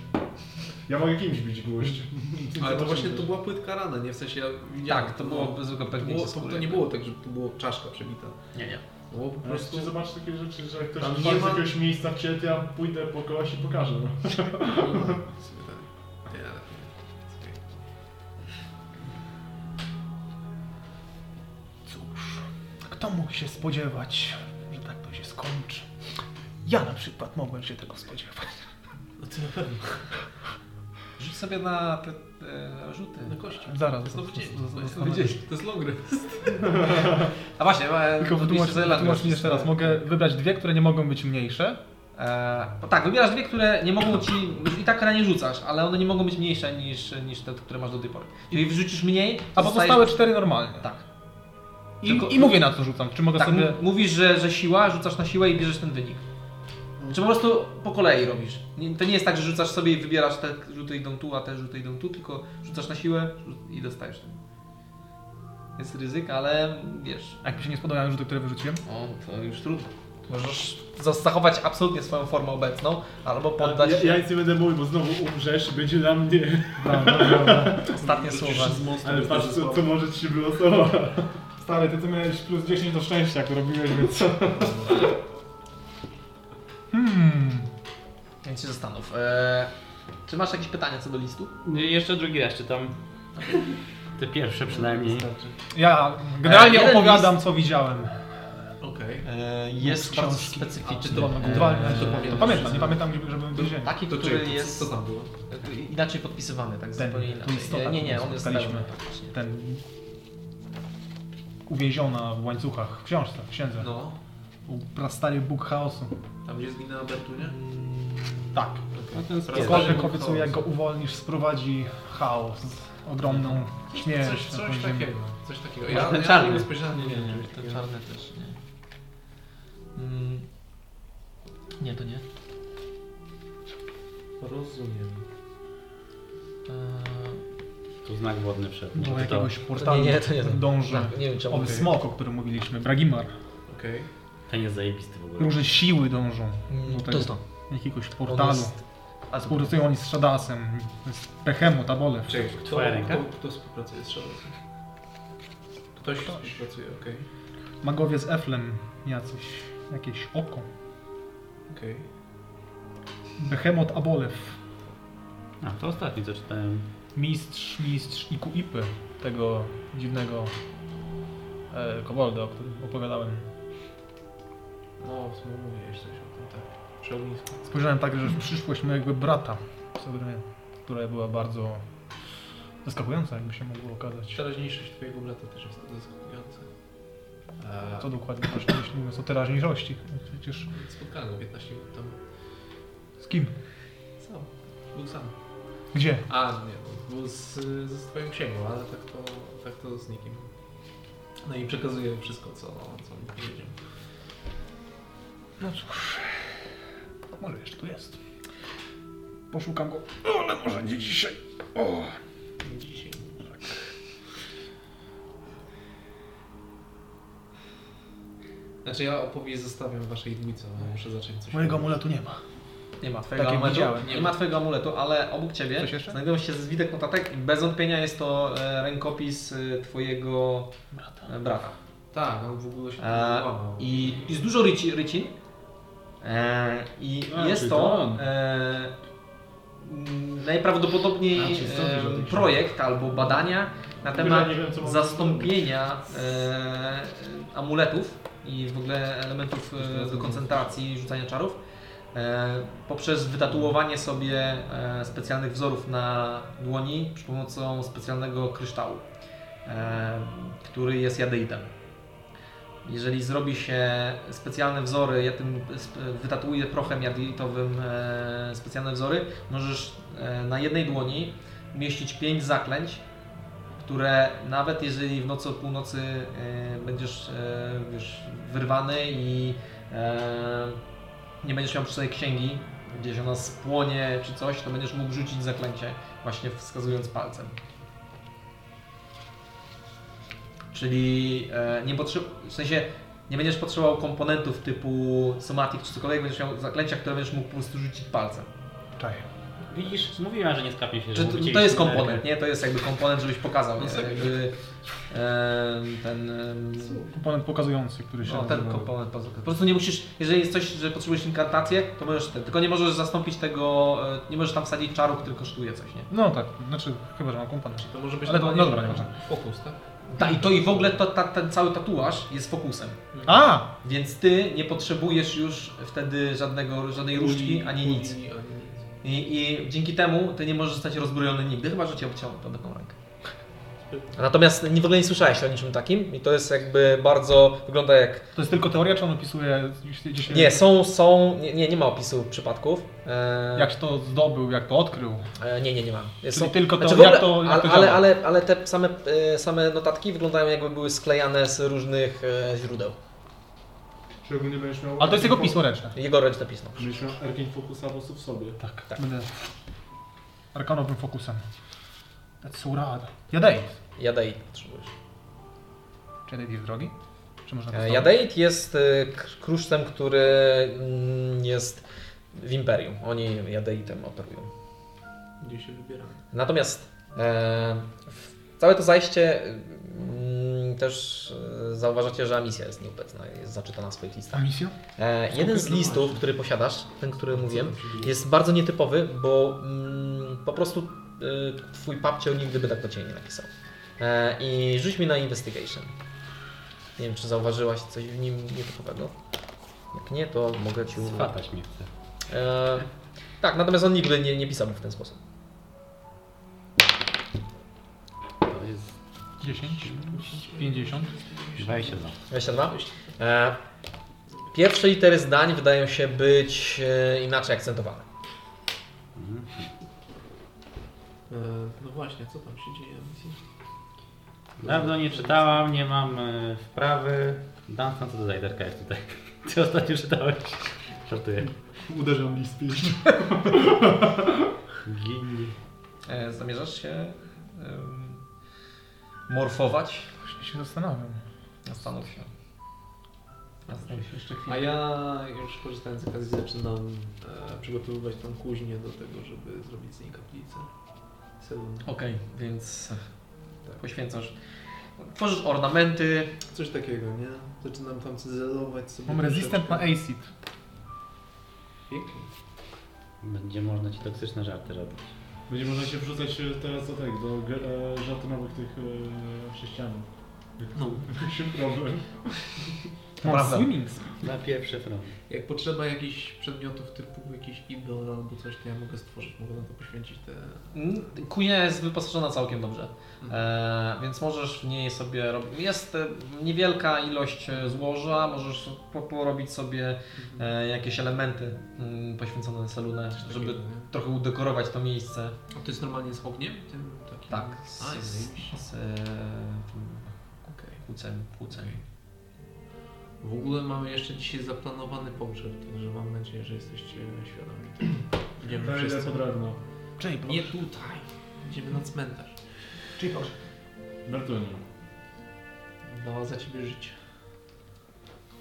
S3: Ja mogę kimś bić gwoźdź.
S5: Ale to właśnie to była płytka rana, nie? W sensie ja widziałem.
S1: Tak, to było zwykłe
S5: To, było,
S1: pewnie.
S5: to, to nie było tak, że tu było czaszka przebita.
S1: Nie, nie.
S5: To było po
S3: Po prostu
S5: prostu...
S3: zobacz takie rzeczy, że jak ktoś
S5: Tam nie
S3: otworzy z
S5: ma-
S3: jakiegoś miejsca w ciebie, to ja pójdę po kogoś i pokażę.
S5: Nie, ale-
S6: Cóż, kto mógł się spodziewać, że tak to się skończy? Ja na przykład mogłem się tego spodziewać.
S1: Rzuć sobie na te e, rzuty.
S6: No
S5: Na kości.
S6: Zaraz,
S5: Znowu dzień.
S6: zostanę.
S5: To jest long rest.
S1: A właśnie, e,
S6: Tylko
S1: to
S6: wytłumacz,
S1: piszcie sobie
S6: wytłumacz mi
S1: language.
S6: jeszcze raz, mogę wybrać dwie, które nie mogą być mniejsze.
S1: E, bo tak, wybierasz dwie, które nie mogą ci. I tak na nie rzucasz, ale one nie mogą być mniejsze niż, niż te, które masz do tej pory. Jeżeli wrzucisz mniej,
S6: A
S1: zostajesz-
S6: pozostałe cztery normalnie.
S1: Tak.
S6: I,
S1: Tylko-
S6: I mówię na co rzucam, czy mogę
S1: tak
S6: sobie...
S1: m- Mówisz, że, że siła, rzucasz na siłę i bierzesz ten wynik. Czy po prostu po kolei robisz? Nie, to nie jest tak, że rzucasz sobie i wybierasz te rzuty idą tu, a te rzuty idą tu, tylko rzucasz na siłę rzu- i dostajesz ten. Jest ryzyko, ale wiesz.
S6: A Jak mi się nie spodobają rzuty, które wyrzuciłem?
S1: O, to już trudno. Możesz za- zachować absolutnie swoją formę obecną, albo poddać
S3: Ja, ja nic nie będę mówił, bo znowu umrzesz, będzie na mnie.
S1: ostatnie słowa.
S3: Ale patrz, co, co może ci się wylosować.
S2: Stary, ty to miałeś plus 10 do szczęścia, jak to robiłeś, więc...
S6: Hmm...
S1: Więc się zastanów. Eee, czy masz jakieś pytania co do listu?
S4: Jeszcze drugi raz czytam. Te pierwsze przynajmniej.
S6: Ja generalnie
S1: E, jeden
S6: opowiadam, co widziałem.
S5: Okej.
S1: jest
S6: książki.
S1: bardzo specyficzny.
S5: E, A czy to- E,
S1: Eee,
S6: Dwa,
S5: to
S6: to
S5: pamiętasz?
S6: pamiętam, nie pamiętam, żeby- żebym był ziemi.
S1: Taki,
S5: To
S1: który
S5: czekaj,
S1: jest
S5: co, co tam było?
S1: inaczej podpisywany, tak
S6: Ten,
S1: zupełnie
S6: tu
S1: inaczej.
S6: istota,
S1: nie, nie,
S6: którą
S1: on jest
S6: spotkaliśmy.
S1: pełny faktycznie.
S6: Ten... Uwięziona w łańcuchach, w książce, w księdze.
S5: No.
S6: U prastary Bóg Chaosu.
S5: Tam gdzie zginęła Bertunia?
S6: Tak.
S5: No,
S6: Dokładnie obiecuje, jak go uwolnisz, sprowadzi chaos. Ogromną śmierć.
S5: Coś,
S6: na
S5: coś
S6: tą ziemię.
S5: takiego. Coś takiego.
S1: Może
S5: Ja,
S1: ten
S5: ja
S1: czarny.
S5: nie spojrzałem, nie
S1: Nie,
S5: wiem.
S1: nie,
S5: czy
S1: ten
S5: takiego.
S1: czarny też nie. Mm. Nie, to nie.
S5: Rozumiem.
S1: Eee,
S4: Tu znak wodny wszedł.
S6: Do
S4: To-
S6: jakiegoś
S1: to
S6: portalu
S1: nie, nie, to nie. to.
S6: dąży.
S1: Tak, nie wiem czemu.
S6: Owy smok, o którym mówiliśmy, Bragimar.
S5: Okej.
S4: Ten jest zajebisty w ogóle.
S6: Różne siły dążą
S1: Mm,
S6: do
S1: To
S6: tego
S1: jest to.
S6: jakiegoś
S1: On
S6: portalu.
S1: jest- A co?
S6: Współpracują oni tak. z Shadasem, z Behemot, Abolew.
S5: Czekaj, kto,
S4: ręka?
S5: kto, kto współpracuje z Szarlotą? Ktoś współpracuje, okej.
S6: Magowie z Eflem, jacyś, jakieś oko.
S5: Okej.
S6: Behemot, Abolew,
S4: A to ostatni co czytałem.
S6: mistrz, mistrz Iku Ipy, tego dziwnego e, kobolda, o którym opowiadałem.
S5: No, w sumie mówiłeś coś o tym, tak. Przy ognisku.
S6: Spojrzałem także w przyszłość mojego brata, Sobryny, która była bardzo zaskakująca, jakby się mogło okazać.
S5: Teraźniejszość twojego brata też jest zaskakująca. Eee,
S6: Co dokładnie masz na myśli, mówiąc o teraźniejszości? No Przecież
S5: Spotkałem go 15 minut temu.
S6: z kim?
S5: Sam. Był sam.
S6: Gdzie?
S5: A, nie, był z, ze swoją księgą, ale tak to, tak to z nikim. No i przekazuję wszystko, co, co mi powiedział.
S6: No cóż, może jeszcze tu jest. Poszukam go, no, ale może nie dzisiaj. O. Tak.
S5: Dzisiaj. Znaczy ja opowieść zostawiam waszej dwójce, bo muszę zacząć coś
S6: Mojego
S5: robić.
S6: amuletu nie ma.
S1: Nie ma twojego
S6: Takie
S1: amuletu.
S6: widziałem.
S1: Nie ma twojego amuletu, ale obok ciebie
S6: Coś jeszcze?
S1: znajdują się zwitek notatek i bez wątpienia jest to e, rękopis e, twojego e, brata.
S5: Tak, on w ogóle się nie
S1: E,
S5: złamał.
S1: I jest dużo ryci, rycin. E, I
S3: A,
S1: jest
S3: czyli
S1: to
S3: to on.
S1: e, m, najprawdopodobniej
S5: A, czyli stąd
S1: e,
S5: wziął ten
S1: projekt albo badania na
S3: ogóle
S1: temat
S3: nie wiem, co mam
S1: zastąpienia e, amuletów i w ogóle elementów e, do koncentracji i rzucania czarów E, poprzez wytatuowanie sobie e, specjalnych wzorów na dłoni przy pomocą specjalnego kryształu, e, który jest jadeitem. Jeżeli zrobi się specjalne wzory, ja tym sp- wytatuuję prochem jadeitowym e, specjalne wzory, możesz e, na jednej dłoni umieścić pięć zaklęć, które nawet jeżeli w nocy o północy e, będziesz e, wiesz, wyrwany i e, nie będziesz miał przy sobie księgi, gdzieś ona spłonie czy coś, to będziesz mógł rzucić zaklęcie, właśnie wskazując palcem. Czyli e, nie potrzeb... w sensie nie będziesz potrzebował komponentów typu somatic czy cokolwiek, będziesz miał zaklęcia, które będziesz mógł po prostu rzucić palcem.
S5: Czaję.
S4: Widzisz, mówiłem, że nie skapnie się, że
S1: Czy to,
S4: mówicie
S1: to jest
S4: i-
S1: komponent, nie? To jest jakby komponent, żebyś pokazał. Nie? Jakby, e, ten, em,
S6: Komponent pokazujący, który się
S1: o, No, ten
S6: nazywa.
S1: komponent po po prostu nie musisz, jeżeli jest coś, że potrzebujesz inkantację, to możesz ten, tylko nie możesz zastąpić tego, e, nie możesz tam wsadzić czaru, który kosztuje coś, nie?
S6: No tak, znaczy chyba, że mam komponent.
S5: To może być
S6: Ale to-
S5: normalnie
S6: no dobra, nieważne.
S5: Fokus, tak?
S1: Ta, i to i w ogóle to, ta, ten cały tatuaż jest fokusem,
S6: A!
S1: więc ty nie potrzebujesz już wtedy żadnego, żadnej różdżki ani nic.
S5: Ani- ani nic.
S1: I, I dzięki temu ty nie możesz zostać rozbrojony nigdy, chyba że cię obciął tą taką rękę. Natomiast nie- w ogóle nie słyszałeś o niczym takim i to jest jakby bardzo, wygląda jak
S6: To jest tylko teoria, czy on opisuje gdzieś- gdzieś...
S1: Nie, są, są, nie, nie, nie ma opisu przypadków. E,
S6: Jak się to zdobył, jak to odkrył.
S1: e, nie, nie, nie ma. Jest znaczy,
S6: Czyli tylko to,
S1: w ogóle-
S6: jak to- jak to
S1: ale, ale,
S6: działa.
S1: ale, ale te same, e, same notatki wyglądają jakby były sklejane z różnych e, źródeł.
S2: Czy ogólnie będziesz miał...
S6: Ale to jest jego pismo ręczne.
S1: Jego ręczne pismo.
S2: Będziesz miał Erkin Focusa po prostu w sobie.
S6: Tak. Będę arkanowym fokusem. That's so rad. Jadeit.
S1: Jadeit potrzebujesz.
S6: Czy Jadeit jest drogi? Czy można
S1: E,
S6: dostać?
S1: Jadeit jest e, k- kruszcem, który mm, jest w Imperium. Oni Jadeitem operują.
S5: Gdzie się wybieramy?
S1: Natomiast e, w- całe to zajście mm, też e, zauważacie, że misja jest nieobecna, jest zaczytana w swoich listach.
S6: A misja?
S1: E, jeden z listów, który posiadasz, ten, który mówiłem, jest bardzo nietypowy, bo mm, po prostu y, twój papciel nigdy by tak do ciebie nie napisał. E, I rzuć mi na investigation. Nie wiem, czy zauważyłaś coś w nim nietypowego. Jak nie, to mogę ci...
S4: Swatać mnie chce.
S1: E, tak, natomiast on nigdy nie, nie pisał w ten sposób.
S4: To jest
S6: 10? 50?
S4: 22.
S1: 22. E, pierwsze litery zdań wydają się być e, inaczej akcentowane.
S4: Mhm.
S5: E, no właśnie, co tam się dzieje na misji?
S4: Dawno nie czytałam, nie mam e, wprawy. Dunstan, co to za liderka jest tutaj? Ty ostatnio czytałeś? Żartuję.
S2: Uderzam list pięścią.
S4: Gini.
S1: E, zamierzasz się em, morfować?
S6: Właśnie się zastanawiam.
S1: Zastanów się. Zastanów się jeszcze
S5: A
S1: chwilę.
S5: ja już korzystając z okazji zaczynam e, przygotowywać tą kuźnię do tego, żeby zrobić z niej kaplicę. Sedum.
S1: Okej, więc
S5: Tak.
S1: poświęcasz. Tworzysz ornamenty.
S5: Coś takiego, nie? Zaczynam tam cyzelować sobie.
S6: Mam resistant na
S5: troszeczkę.
S6: acid.
S5: Pięknie.
S4: Będzie można ci toksyczne żarty robić.
S2: Będzie można się wrzucać e, teraz do tak, do ge- e, żartonowych tych e, chrześcijanów.
S5: No.
S2: Się problem.
S6: Mam
S1: Prawda.
S6: swimming.
S4: Na pierwszy front.
S5: Jak potrzeba jakichś przedmiotów typu jakiś idol albo coś, to ja mogę stworzyć, mogę na to poświęcić te...
S1: Mm, Kunia jest wyposażona całkiem dobrze,
S5: Mhm.
S1: e, więc możesz w niej sobie robić. Jest e, niewielka ilość e, złoża, możesz po- porobić sobie e, jakieś elementy mm, poświęcone Selunę,
S5: Coś takiego,
S1: żeby
S5: nie?
S1: trochę udekorować to miejsce.
S5: A to jest normalnie z ogniem? Tym takim?
S1: Tak, z,
S5: A, jest
S1: z,
S5: zajebiście.
S1: z e, tym
S5: Okej.
S1: płucem, płucem.
S5: W ogóle mamy jeszcze dzisiaj zaplanowany pogrzeb, także mam nadzieję, że jesteście świadomi tego. Idziemy
S2: Prawie
S5: no wszyscy.
S2: pod ragno.
S6: Czyli
S5: Nie tutaj. Idziemy na cmentarz.
S6: Czyli
S2: Bertonie.
S5: Dała za ciebie życie.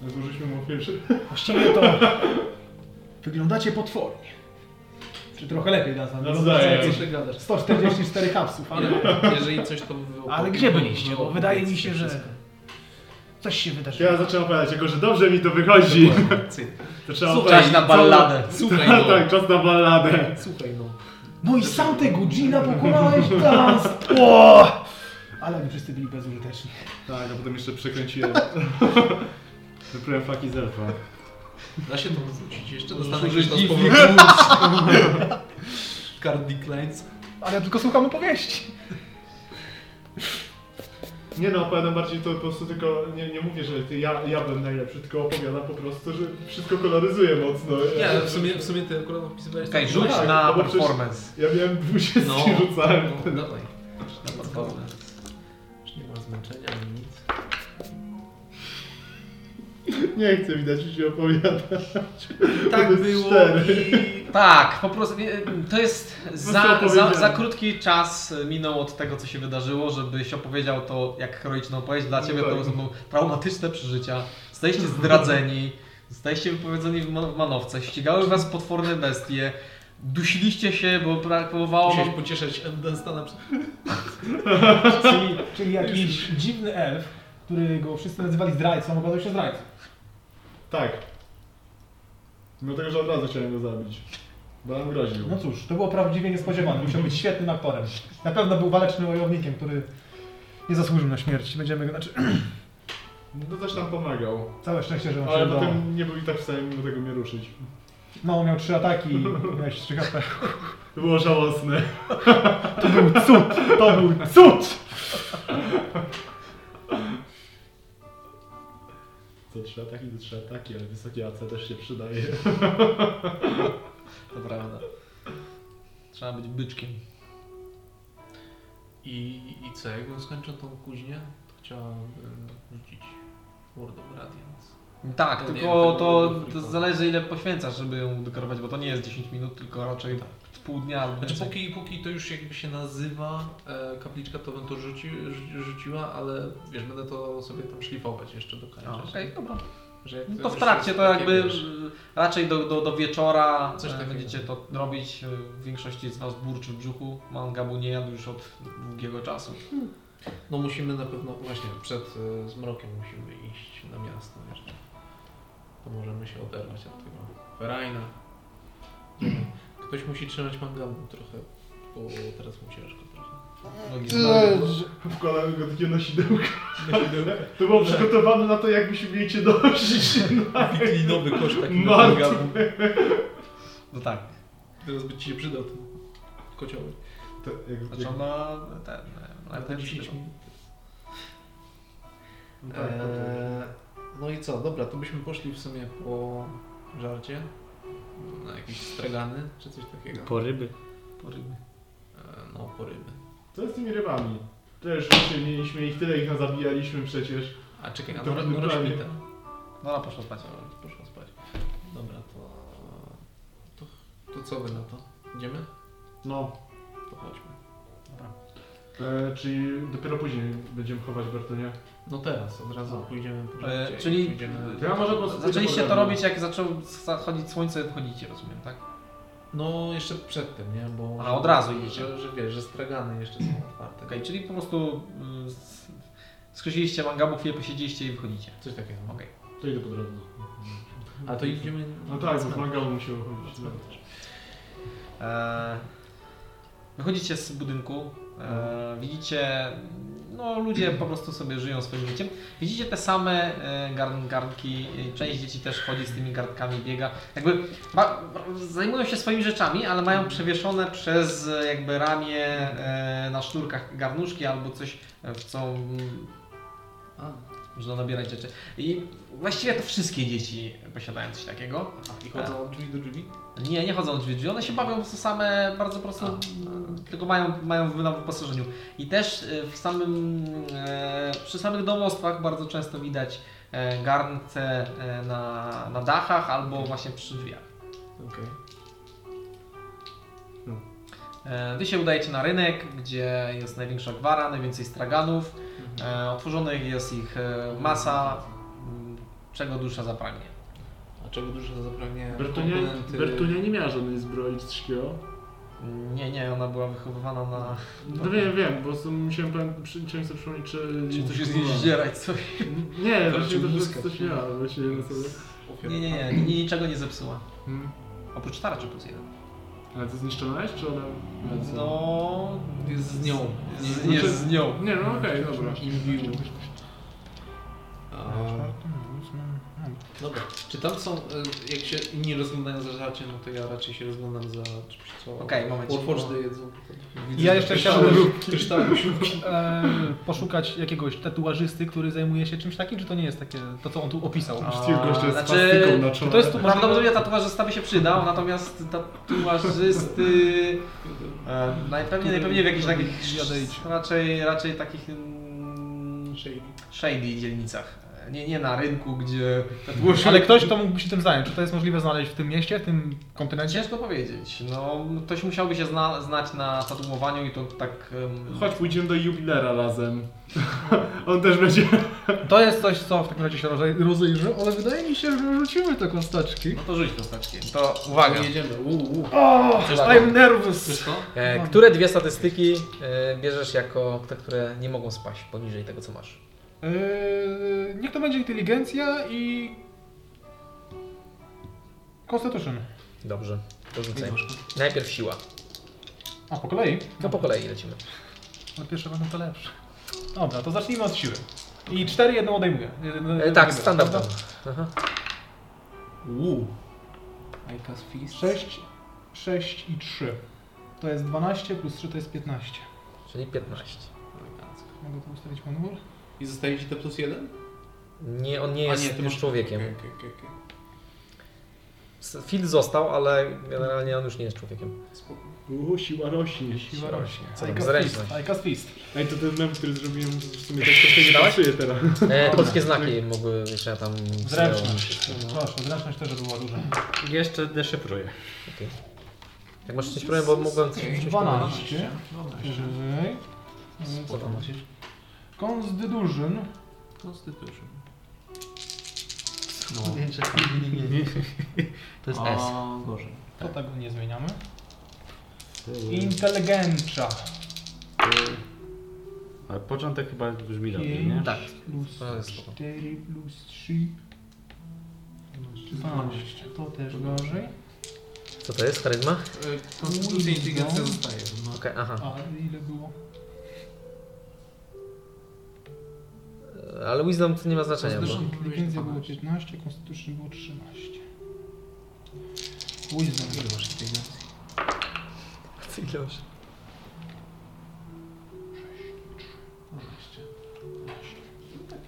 S2: Złożyliśmy mu pierwszy.
S6: Właściwie to wyglądacie potwornie. Czy trochę lepiej nas
S2: No zdaje.
S5: Co ty gadasz?
S6: 144 hapsów,
S5: Ale jeżeli coś to wy
S6: Ale gdzie byliście? Bo wydaje mi się, że- coś się
S2: Ja zacząłem opowiadać, jako że dobrze mi to wychodzi. To trzeba
S5: Słuchaj,
S1: Czas na balladę.
S5: co- Słuchaj
S2: Tak,
S5: no.
S2: tak, czas na balladę.
S5: Słuchaj no.
S6: No i sam tego Gina pokonałeś teraz! O! Ale oni wszyscy byli bezużyteczni.
S2: Tak, a potem jeszcze przekręciłem. Wypryłem flaki z elfa.
S5: Da się to wrócić jeszcze? Dostanę
S2: użyć
S5: gdzieś to z
S2: dziwnych
S5: powrotem. Card declines.
S6: Ale ja tylko słucham opowieści.
S2: Nie no, opowiadam bardziej to po prostu tylko, nie, nie mówię, że ty, ja, ja byłem najlepszy, tylko opowiadam po prostu, że wszystko koloryzuję mocno.
S5: Nie,
S2: Ja-
S5: ale w sumie, w sumie ty akurat opisywałeś...
S1: Okej,
S5: to-
S1: rzuć
S2: tak,
S1: na
S2: no bo przecież-
S1: performance.
S2: Ja miałem dwudziestki
S5: No,
S2: rzucałem.
S5: no, dawaj. Na platformę. Już nie ma zmęczenia ani nic.
S2: Nie chcę widać, że się opowiada.
S5: Tak
S2: jest
S5: było
S2: cztery.
S5: i...
S1: Tak, po prostu nie, to jest za, za,
S2: opowiedziałem.
S1: za krótki czas minął od tego, co się wydarzyło, żebyś opowiedział to jak heroiczną opowieść. Dla
S2: No
S1: Ciebie
S2: tak.
S1: to są traumatyczne przeżycia. Zostaliście zdradzeni, zostaliście wypowiedzeni w ma- w manowce, ścigały Was potworne bestie, dusiliście się, bo brakowało
S5: Musiałeś
S1: wam
S5: pocieszać Dunstana przy...
S6: Czyli, czyli jakiś dziwny elf, który go wszyscy nazywali zdrajcą, okazał się zdrajcą.
S2: Tak. Mimo tego, że od razu chciałem go zabić. Bo nam groził.
S6: No cóż, to było prawdziwie niespodziewane. Musiał być świetnym aktorem. Na pewno był walecznym wojownikiem, który nie zasłużył na śmierć. Będziemy, znaczy,
S2: No też tam pomagał.
S6: całe szczęście, że nam się
S2: Ale
S6: udało.
S2: potem nie był i tak w stanie mimo tego mnie ruszyć.
S6: No, miał trzy ataki i miałeś trzy HP.
S2: To było żałosne.
S6: To był cud! To był cud!
S2: Co trzy ataki, to trzy ataki, ale wysoki AC też się przydaje.
S1: To prawda. Trzeba być byczkiem.
S5: I, I co, jakbym skończył tą kuźnię, to chciałabym e, rzucić World of Radiance.
S1: Tak,
S5: To nie
S1: tylko
S5: wiem, tego
S1: to,
S5: Google
S1: to
S5: Freaka.
S1: zależy ile poświęcasz, żeby ją dekorować, bo to nie jest 10 minut, tylko raczej z pół dnia albo
S5: Znaczy
S1: więcej.
S5: póki, póki to już jakby się nazywa e, kapliczka, to bym to rzuci, rzu- rzuciła, ale wiesz, będę to sobie tam szlifować jeszcze do końca.
S1: A,
S5: nie?
S1: No, Okej, dobra.
S5: Że jak
S1: No to w
S5: już
S1: trakcie
S5: jest
S1: to
S5: takie,
S1: jakby
S5: wiesz,
S1: y, raczej do, do, do wieczora
S5: Coś
S1: e,
S5: takiego.
S1: będziecie to robić. y, W większości z Was burczy w brzuchu. Mangabu nie jadł już od długiego czasu.
S5: No musimy na pewno, właśnie przed e, zmrokiem musimy iść na miasto jeszcze. To możemy się oderwać od tego ferajna. Ktoś musi trzymać mangamu trochę, bo teraz mu ciężko trochę.
S1: Nogi
S2: Eee,
S1: znowu.
S2: Wkładamy go takie na sidełka. To było przygotowane na to, jakbyśmy mieli cię dołożyć.
S5: Wiklinowy kosz taki na
S2: Martwy.
S5: mangamu.
S1: No tak.
S5: Teraz by ci się przydał ten kociołek.
S2: To, jak,
S1: Znaczy
S2: jak,
S1: ona ten... e,
S5: Ale to 10 minut.
S2: no tak, eee...
S5: Eee, no i co, dobra, to byśmy poszli w sumie po żarcie. Na jakieś stragany czy coś takiego.
S4: Po ryby.
S5: Eee, no, po ryby.
S2: Co jest z tymi rybami? Też się mieliśmy ich tyle, ich nazabijaliśmy przecież.
S5: A czekaj, a
S2: To
S5: no,
S2: były
S5: no
S2: prawie.
S5: roświta.
S1: No ona poszła spać.
S5: Poszła spać. Dobra, to, to... To co wy na to? Idziemy?
S2: No.
S5: To chodźmy.
S2: Eee, czyli dopiero później będziemy chować Bertonia.
S5: No teraz, od razu pójdziemy po
S1: Eee,
S5: żarcie. i
S1: czyli-
S5: pójdziemy-
S2: To ja może po prostu
S1: Zaczęliście
S2: pójdę
S1: to
S2: po
S1: robić jak zaczął zachodzić słońce, wchodzicie, rozumiem, tak?
S5: No jeszcze przed tym, nie? Bo...
S1: A, od razu idziecie.
S5: Że, że wiesz, że stragany jeszcze są otwarte.
S1: Okej, czyli po prostu y, s- skrzysiliście mangabu, chwilę posiedzieliście i wychodzicie.
S5: Coś takiego.
S1: Okej.
S2: To idę po drodze.
S5: A to Tak, idziemy...
S2: No tak, bo wymagało musiało chodzić.
S1: E, Wychodzicie z budynku, e, widzicie, no ludzie po prostu sobie żyją swoim życiem. Widzicie te same e, garn, garnki, e, część dzieci też chodzi z tymi garnkami, biega. Jakby ma, zajmują się swoimi rzeczami, ale mają przewieszone przez e, jakby ramię e, na sznurkach garnuszki albo coś, e, w co mm,
S5: A,
S1: można nabierać rzeczy. I właściwie to wszystkie dzieci posiadają coś takiego.
S5: I chodzą od drzwi do drzwi?
S1: Nie, nie chodzą od drzwi. One się bawią po prostu same bardzo prosto, m, tylko mają, mają w- na wyposażeniu. I też e, w samym, e, przy samych domostwach bardzo często widać e, garnce e, na, na dachach albo właśnie przy drzwiach.
S5: Okej.
S1: E, Wy się udajecie na rynek, gdzie jest największa gwara, najwięcej straganów.
S5: Mhm.
S1: E, Otworzonych jest ich e, masa, m, czego dusza zapragnie.
S5: A czego dużo zapragnie
S2: Bertonia,
S5: komponenty-
S2: Bertonia nie miała żadnej zbroi czy coś takiego.
S1: Nie, nie, ona była wychowywana na...
S2: No wiem, wiem, bo z- musiałem pan- przy- chciałem sobie przypomnieć, czy...
S1: Czy tu się z
S2: była.
S1: niej zdzierać, co?
S2: Nie,
S5: To no.
S2: właśnie
S5: czy
S2: to,
S5: muska,
S2: że coś
S5: czy-
S2: miała właśnie na sobie.
S5: Ofiar.
S1: Nie, nie, nie, ni- niczego nie zepsuła.
S5: Hmm.
S1: Oprócz tarczy plus jeden.
S2: Ale to zniszczona jest, czy ona...
S1: No.
S5: Jest z nią.
S1: Z, jest z nią.
S2: Nie, no okej, dobra.
S5: Imbił. A,
S9: Dobra.
S5: czy tam są, e, jak się inni rozglądają za żarciem, no to ja raczej się rozglądam za czymś, co
S1: Okej, moment.
S5: Warforged jedzą.
S6: Ja jeszcze chciałbym
S5: Kryształy, siłki.
S6: e, poszukać jakiegoś tatuażysty, który zajmuje się czymś takim, czy to nie jest takie, to co on tu opisał?
S2: Steel gościa z
S1: znaczy,
S2: pastyką na czole.
S6: Czy to jest tu
S1: Prawdopodobnie tatuażysta by się przydał, natomiast tatuażysty e, najpewniej, najpewniej w jakichś takich sz- raczej, raczej takich mm, shady dzielnicach. E, Nie, nie na rynku, gdzie
S2: Hmm.
S1: tatuaż...
S6: Ale ktoś to mógłby się tym zająć. Czy to jest możliwe znaleźć w tym mieście, w tym kontynencie?
S1: Ciężko powiedzieć. No, ktoś musiałby się zna, znać na tatuowaniu i to tak... em,
S2: Chodź, pójdziemy do jubilera razem. On też będzie...
S6: To jest coś, co w takim razie się rozej- rozejrzy, ale wydaje mi się, że rzucimy te kosteczki.
S1: No to rzuć postaczkiem. To uwaga.
S5: Jedziemy. Uuu, uuu.
S6: O,
S1: tak.
S6: I'm nervous!
S5: Wiesz co?
S1: E, które dwie statystyki e, bierzesz jako te, które nie mogą spaść poniżej tego, co masz?
S6: Yy, niech to będzie inteligencja i... Constitution.
S1: Dobrze, to rzucaj. Najpierw siła.
S6: A, po kolei?
S1: No po kolei lecimy.
S6: No pierwsze będą to lepsze. Dobra, to zacznijmy od siły. I cztery jedną odejmuję. Jedno-
S1: E, tak, standardowo. Aha.
S5: Uuu. I cast fist.
S6: 6, 6 i 3. To jest 12 plus 3 to jest 15.
S1: Czyli 15.
S6: Mogę to ustawić manual?
S5: I zostaje ci te plus jeden?
S1: Nie, on nie
S5: A
S1: jest
S5: ty
S1: już
S5: masz-
S1: człowiekiem.
S5: Okej, okej, okej, okej.
S1: S- Phil został, ale generalnie on już nie jest człowiekiem.
S5: Spoko.
S2: Uuu, siła rośnie.
S6: Siła rośnie.
S1: Co tam,
S6: I cast
S1: zręczność.
S6: fist, I cast fist.
S2: Ej, to ten mem, który zrobiłem w sumie tak troszkę nie pasuje teraz.
S1: E, polskie znaki mogły jeszcze tam...
S6: Zręczność. Proszę, zręczność też była duża.
S4: Jeszcze deszyfruję.
S1: Jak masz coś problem, bo mogłem coś... coś pomylić.
S6: 12. Wyżej. Yy, Co tam
S1: Spoko.
S6: macie? Constitution.
S5: Constitution.
S8: To jest S.
S5: O, gorzej.
S6: To tego nie zmieniamy. Inteligencja.
S4: Ale początek chyba brzmi lepiej, nie?
S1: Tak.
S6: Plus
S1: To jest spoko.
S6: 4 plus 3. 12. To też gorzej.
S1: Co to jest? Charyzma?
S5: E, Konstytucja i inteligencja
S6: No.
S5: zostaje. No.
S1: Okej, aha.
S6: A ile było?
S1: E, Ale wisdom to nie ma znaczenia, bo...
S5: Zresztą
S6: Inteligencja było 15, Constitution było 13. Wisdom.
S5: Ile masz inteligencji?
S1: Ile masz?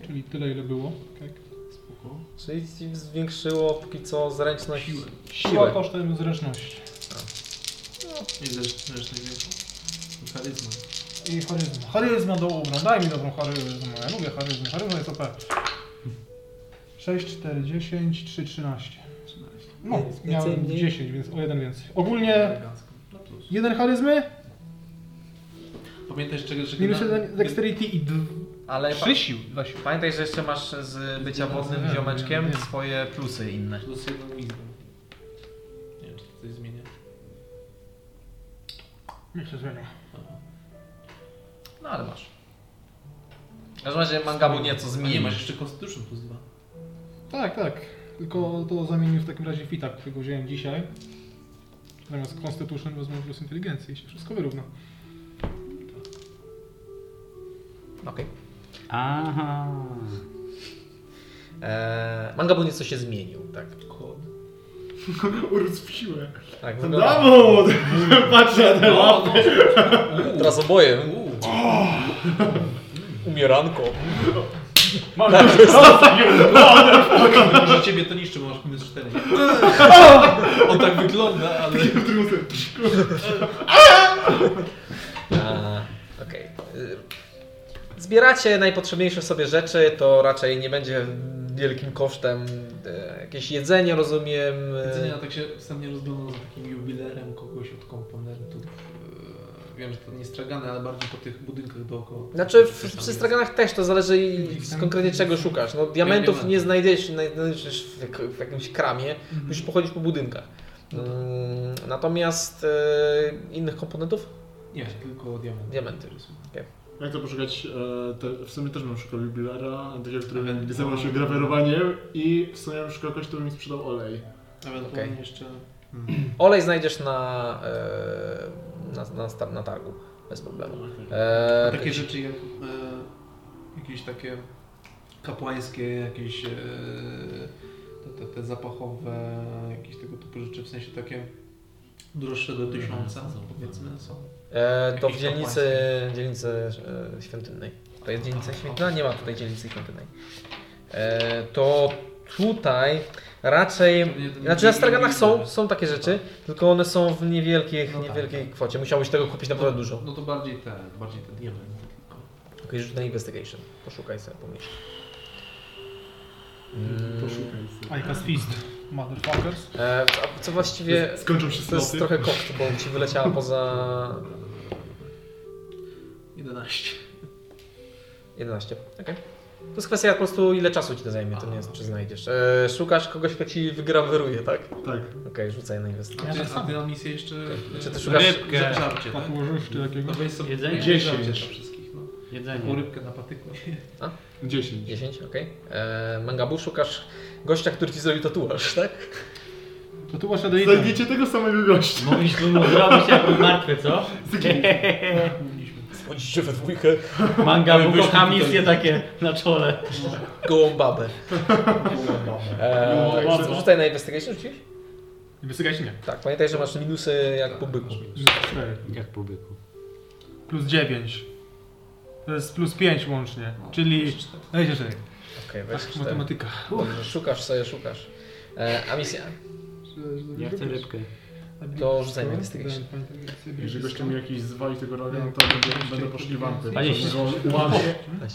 S6: Czyli tyle ile było. Tak.
S5: Spoko.
S1: Czyli ci zwiększyło póki co zręczność...
S5: Siłę.
S6: Siła kosztem zręczności.
S5: Nie zresztą największą. Charyzma.
S6: I charyzma. Charyzma do ubra. Daj mi dobrą charyzmę. Ja lubię charyzmę. Charyzma jest OP. 6, 4, 10, 3, 13.
S5: 13.
S6: No,
S1: Więcej,
S6: miałem
S1: mniej?
S6: 10, więc o jeden więcej. Ogólnie
S5: Elegancko. No plus.
S6: jeden charyzmy,
S5: Pamiętaj, czego czego
S6: minus
S5: na-
S6: jeden dexterity i dw...
S1: Ale pa-
S6: 3 sił. Dwa sił.
S1: pamiętaj, że jeszcze masz z bycia wodnym
S6: Wiem,
S1: ziomeczkiem
S6: wiem.
S1: swoje plusy inne.
S5: Plus jedną liczbę. Nie wiem, czy to coś zmienia.
S6: Nie się zmienią.
S1: No ale masz. W każdym razie mangabu nieco
S5: A nie,
S1: zmienił.
S5: masz jeszcze Constitution plus dwa.
S6: Tak, tak. Tylko to zamienił w takim razie fitak, którego wziąłem dzisiaj. Zamiast Constitution wezmę plus inteligencji i się wszystko wyrówna.
S1: Okej.
S4: Aha.
S1: Eee, Mangabu nieco się zmienił, tak.
S2: Urósł w siłę.
S1: Tak, wygląda.
S2: Brawo! Patrzę na ten
S5: No, no,
S1: Teraz oboje. Umieranko.
S5: no, że ciebie to niszczy, bo masz minus cztery. On tak wygląda, ale...
S1: Eee, Okej. Y, Zbieracie najpotrzebniejsze sobie rzeczy, to raczej nie będzie wielkim kosztem. E, Jakieś jedzenie, rozumiem. e,
S5: Widzenia, tak się wstępnie rozglądam za takim jubilerem kogoś od komponentów. Eee, Wiem, że to nie stragane, ale bardziej po tych budynkach dookoła.
S1: Znaczy w,
S5: Coś tam
S1: przy
S5: jest.
S1: straganach też to zależy i z konkretnie czego szukasz. No, diamentów
S5: wiem. Mhm.
S1: nie znajdziesz, naj- znajdziesz w, jak, w jakimś kramie, musisz pochodzić po budynkach. Mm, Natomiast e, innych komponentów?
S5: Nie, tylko diamenty.
S1: Diamenty.
S2: Jak to poszukać, e, te, w sumie też bym szukał jubilera, takiego, który
S5: Ewentualnie.
S2: zajmował się grawerowaniem i w sumie bym szukał kogoś, kto by mi sprzedał olej.
S5: Ewentualnie
S1: Okej.
S5: jeszcze...
S1: Olej znajdziesz na, e, na, na, star- na targu, bez problemu. E,
S5: No, Takie
S1: jakieś
S5: rzeczy jak... eee, Jakieś takie... kapłańskie jakieś e, te, te, te zapachowe, jakieś tego typu rzeczy, w sensie takie droższe do tysiąca, powiedzmy, Mhm. są.
S10: E, to w
S5: Jakiś
S10: dzielnicy, dzielnicy e, świątynnej. To jest dzielnica świątynna? Nie ma tutaj dzielnicy świątynnej. E, to tutaj raczej... Znaczy na straganach są, są takie rzeczy, tylko one są w niewielkich,
S5: No tak.
S10: niewielkiej kwocie. Musiałbyś tego kupić naprawdę dużo.
S5: No to bardziej te, bardziej te diamenty.
S10: Ok, rzut na investigation. Poszukaj sobie pomniejszy.
S3: Eee. Poszukaj sobie.
S6: Icas Fist, motherfuckers.
S10: E, a co właściwie...
S2: Skończą się
S10: To jest
S2: sloty.
S5: No
S10: trochę kokt, bo ci wyleciała poza
S5: 11.
S10: 11. Okej. To jest kwestia po prostu ile czasu ci to zajmie, to nie jest, czy znajdziesz. E, szukasz kogoś, kto ci wygraweruje, tak?
S3: Tak.
S10: Okej, rzucaj na inwestycję.
S5: A ty, a ty na misję jeszcze...
S10: Czy ty
S5: e,
S10: szukasz-
S5: żar-
S4: Rybkę.
S5: tak Żarcie, tak?
S6: Tak ułożysz czy takiego?
S5: No weź sobie
S4: Jedzenie?
S5: żarcie
S3: Dziesięć.
S5: dla wszystkich, no.
S10: Mhm.
S5: Taką
S4: Jedzenie.
S5: rybkę na patyku.
S3: 10.
S10: 10, okej. E, Mangabu, szukasz gościa, który ci zrobił tatuaż, tak?
S6: To tu masz do idę.
S2: Znajdziecie tego samego gościa.
S3: No,
S4: Mogliśmy mu zrobić jako martwy, co?
S10: Wchodzicie we dwójkę.
S4: Manga bukocha misję takie na czole.
S10: Gołą babę. E, rzucaj na investigation, rzuciłeś?
S6: Wysygać nie.
S10: Tak, pamiętaj, że masz minusy jak po byku.
S4: Jak po byku.
S6: Plus 9. To jest plus 5 łącznie, czyli... No idzie czekaj.
S10: Okej, weź
S6: Ach,
S10: cztery.
S6: matematyka.
S10: Dobrze, szukasz sobie, szukasz. E, a misja,
S4: Ja chcę rybkę.
S10: to rzucaj na investigation.
S3: Jeżeli goście mi jakiś zwali tego radia, to będę, będę poszukiwany.
S4: A jeśli-
S3: go łamie,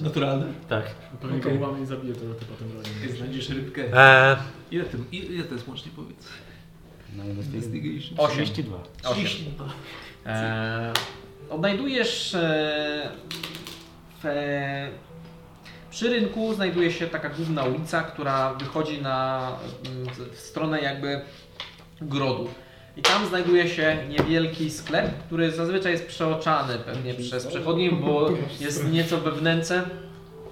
S5: Naturalne.
S4: Tak.
S3: pewnie go łamie i zabije tego typa tym
S5: Jak
S3: radiem.
S5: znajdziesz rybkę.
S10: E,
S5: Ile, tym, ile to jest łącznie, powiedz?
S4: No, investigation.
S5: Investigation.
S4: 32.
S1: Osiem.
S5: 32.
S1: E, odnajdujesz e, w, e, przy rynku znajduje się taka główna ulica, która wychodzi na mm, w- w stronę jakby grodu. I tam znajduje się niewielki sklep, który zazwyczaj jest przeoczany pewnie przez przechodniów, bo jest nieco we wnęce,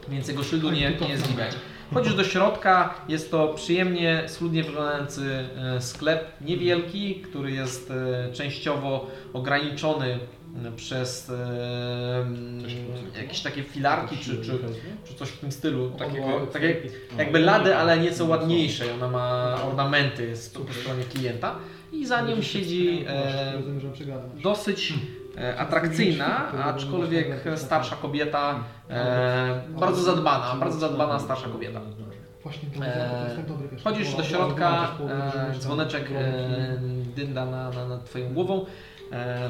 S1: więc jego szyldu nie, nie jest widać. Chodzisz do środka, jest to przyjemnie, schludnie wyglądający e, sklep, niewielki, który jest e, częściowo ograniczony m, przez e, m, jakieś takie filarki czy, czy, czy coś w tym stylu. Takiego, takie, tak jakby lady, ale nieco ładniejsze. Ona ma ornamenty z po stronie klienta i
S6: No,
S1: za nią siedzi e,
S6: Rozumiem, że przegadam.
S1: dosyć e, atrakcyjna, aczkolwiek starsza kobieta, e, bardzo zadbana, bardzo zadbana starsza kobieta.
S6: Właśnie
S1: E, Wchodzisz do środka, e, dzwoneczek e, dynda na, na, nad twoją głową. E,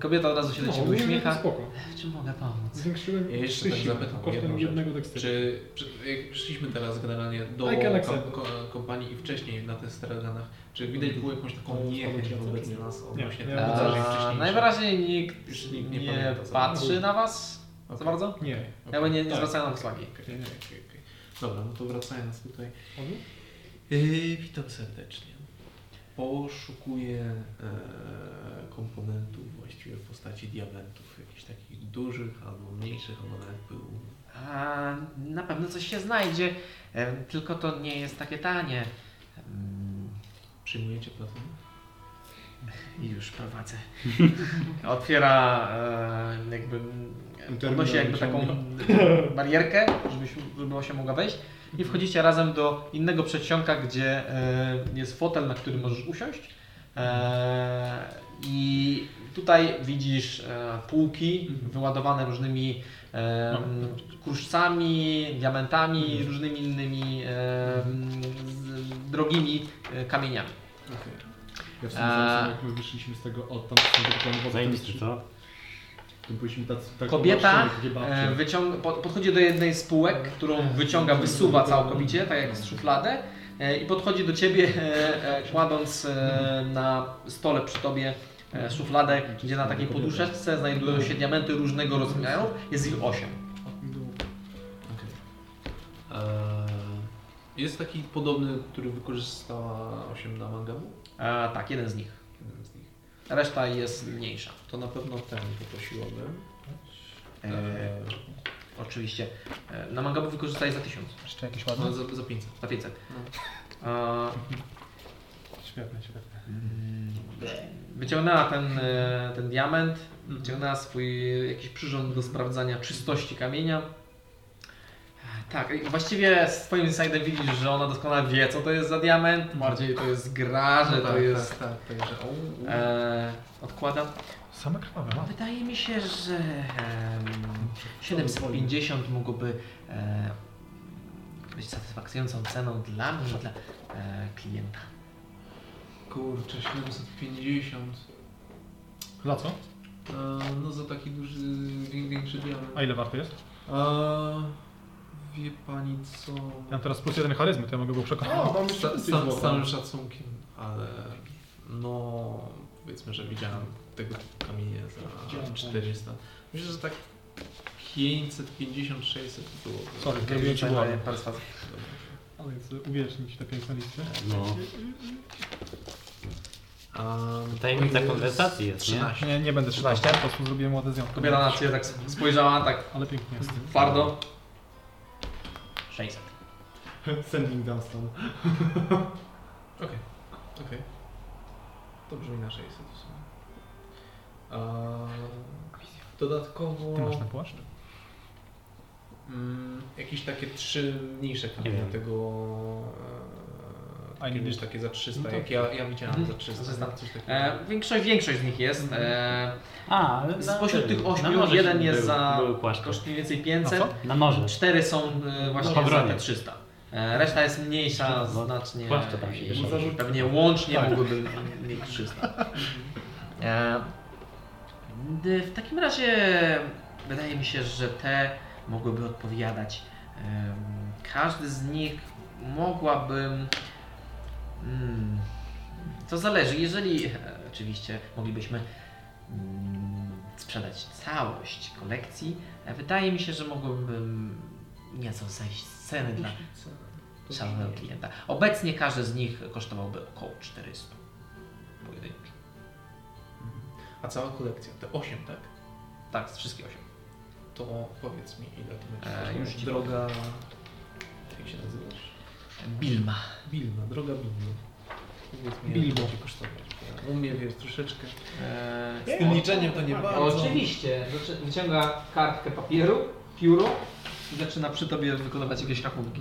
S1: kobieta od razu się do ciebie uśmiecha.
S6: No, Spoko.
S1: W czym mogę pomóc?
S6: Zwiększyłem
S5: Ja jeszcze
S6: trzy
S5: tak
S6: siły
S5: zapytam jedną
S6: kosztem
S5: rzecz.
S6: jednego tekstu.
S5: Czy, czy jak przyszliśmy teraz generalnie do
S6: I can
S5: kom,
S6: accept.
S5: ko, kompanii i wcześniej na tych straganach, czy widać było jakąś taką niechęć wobec nas odnośnie
S6: Nie.
S5: tych
S6: A,
S5: wydarzeń
S1: E,
S5: wcześniejszych?
S1: najwyraźniej nikt
S5: Już
S1: nie,
S5: nikt nie pamięta za
S1: patrzy na was za
S5: Okej.
S1: bardzo.
S6: Nie.
S5: Okej,
S1: Jakby nie, nie
S5: tak.
S1: zwracają nam uwagi.
S5: Okej, okej, okej, okej. Dobra, no to wracając tutaj.
S6: Mhm.
S5: Yy, witam serdecznie. Poszukuję e, komponentów właściwie w postaci diamentów, jakichś takich dużych albo mniejszych, albo nawet był.
S1: A, E, na pewno coś się znajdzie, em, tylko to nie jest takie tanie. E, Em,
S5: Przyjmujecie platynę?
S1: I już prowadzę. Otwiera e, jakby. m,
S3: Terminal
S1: Podnosi jakby taką barierkę, żebyś, żeby ona się mogła wejść. I wchodzicie razem do innego przedsionka, gdzie e, jest fotel, na który możesz usiąść. E, I tutaj widzisz e, półki wyładowane różnymi e, m, kruszcami, diamentami, różnymi innymi e, m, z, drogimi e, kamieniami.
S3: Ja w sumie
S1: e,
S3: eee. jak my wyszliśmy z tego, od tam są takie tam wozy,
S4: Zajebisty, co?
S3: tam byliśmy tacy, tak
S1: Kobieta
S3: popatrzeni, takie babcie.
S1: e, wyciąga, po- podchodzi do jednej z półek, którą wyciąga, wysuwa całkowicie, tak jak z szufladę e, i podchodzi do Ciebie, e, e, kładąc e, na stole przy Tobie e, szufladę, gdzie na takiej poduszeczce znajdują się diamenty różnego rozmiaru, jest ich 8.
S5: Eee, Jest taki podobny, który wykorzystała 8 na mangabu?
S1: E, tak, jeden z nich.
S5: Jeden z nich.
S1: Reszta jest mniejsza.
S5: To na pewno ten poprosiłabym.
S1: E, oczywiście. E, na mangabu wykorzystaj za 1000,
S6: Jeszcze jakieś No.
S5: No, za, za 500.
S1: za 500. E,
S6: Świetne, świetne.
S1: mm, Wyciągnęła ten, e, ten diament,
S5: Mhm.
S1: wyciągnęła swój jakiś przyrząd do sprawdzania czystości kamienia. Tak, i właściwie z twoim insightem widzisz, że ona doskonale wie, co to jest za diament,
S6: Mhm.
S1: bardziej to jest gra,
S6: No
S1: że to jest...
S5: Tak, tak, tak, że... u, u.
S1: E, odkładam.
S6: Same krwawe, no.
S1: Wydaje mi się, że em, 750 mogłoby e, być satysfakcjonującą ceną dla mnie, i dla e, klienta.
S5: Kurczę, 750.
S6: Za co?
S5: E, no za taki duży, wię- większy diament.
S6: A ile warto jest?
S5: E, wie pani co...
S6: Ja mam teraz plus jeden charyzmy, to ja mogę go przekonać.
S11: O, mam jeszcze
S5: Sa,
S11: więcej
S5: sa,
S11: złota.
S5: z całym szacunkiem, ale no powiedzmy, że widziałem tego typu kamienie za 400. Myślę, że tak 550-600 było.
S6: Sorry, zrobiłem ci
S1: Tutaj
S6: głowę.
S1: mamy perswazję.
S6: Ale jest uwiecznić te piękne liście.
S4: No.
S5: Um,
S4: Tajemnica konwersacji jest, nie?
S5: 13.
S6: Nie, nie będę 13, po prostu zrobiłem ładne zjątki.
S1: Kobieta na ciebie tak spojrzała, tak
S6: Ale pięknie jest.
S1: twardo. 600.
S11: Sending Dunstan.
S5: Okej, okej. To brzmi na 600 w sumie. Eee, dodatkowo
S6: Ty masz ten płaszcz?
S5: mm, jakieś takie trzy mniejsze
S4: Nie
S5: kamienie
S4: wiem.
S5: tego... eee,
S6: A
S5: takie,
S6: nie
S5: wiesz,
S6: wiem.
S5: takie za 300,
S1: No to-
S5: jak ja, ja widziałem za 300.
S1: Za 300.
S5: Coś takiego.
S1: E, większość, większość z nich jest. E,
S4: A, ale na
S1: spośród
S4: tym,
S1: tych
S4: na
S1: ośmiu
S4: morze
S1: jeden
S4: się
S1: jest
S4: był- No
S1: za
S4: Były płaszcze.
S1: koszt mniej więcej
S6: Na
S1: 500,
S4: Na morze.
S1: cztery są e, właśnie za
S4: Pawronie.
S1: te 300. E, reszta jest mniejsza
S4: No,
S1: znacznie.
S4: płaszcze tam się Tak.
S1: i
S4: wieszały.
S1: Pewnie łącznie mogłyby mieć 300. E, d- w takim razie wydaje mi się, że te mogłyby odpowiadać. Em, każdy z nich mogłabym. Mm, to zależy, jeżeli e, oczywiście moglibyśmy mm, sprzedać całość kolekcji, e, wydaje mi się, że mogłabym nieco zejść z ceny dla szalonego klienta. Obecnie każdy z nich kosztowałby około 400 pojedynczy.
S5: A cała kolekcja, te 8, tak?
S1: Tak, z wszystkich 8.
S5: To powiedz mi, ile to będzie.
S1: E, już ci
S5: droga... Jak się nazywasz?
S1: Bilma.
S5: Bilna, droga Bilna. Powiedz mi,
S12: Bilbo.
S5: ile będzie kosztować. U mnie, wiesz, troszeczkę...
S1: E,
S5: Z tym liczeniem to tak, no nie bardzo.
S1: Oczywiście. Zaczy- Wyciąga kartkę papieru, pióro i zaczyna przy tobie wykonywać jakieś rachunki.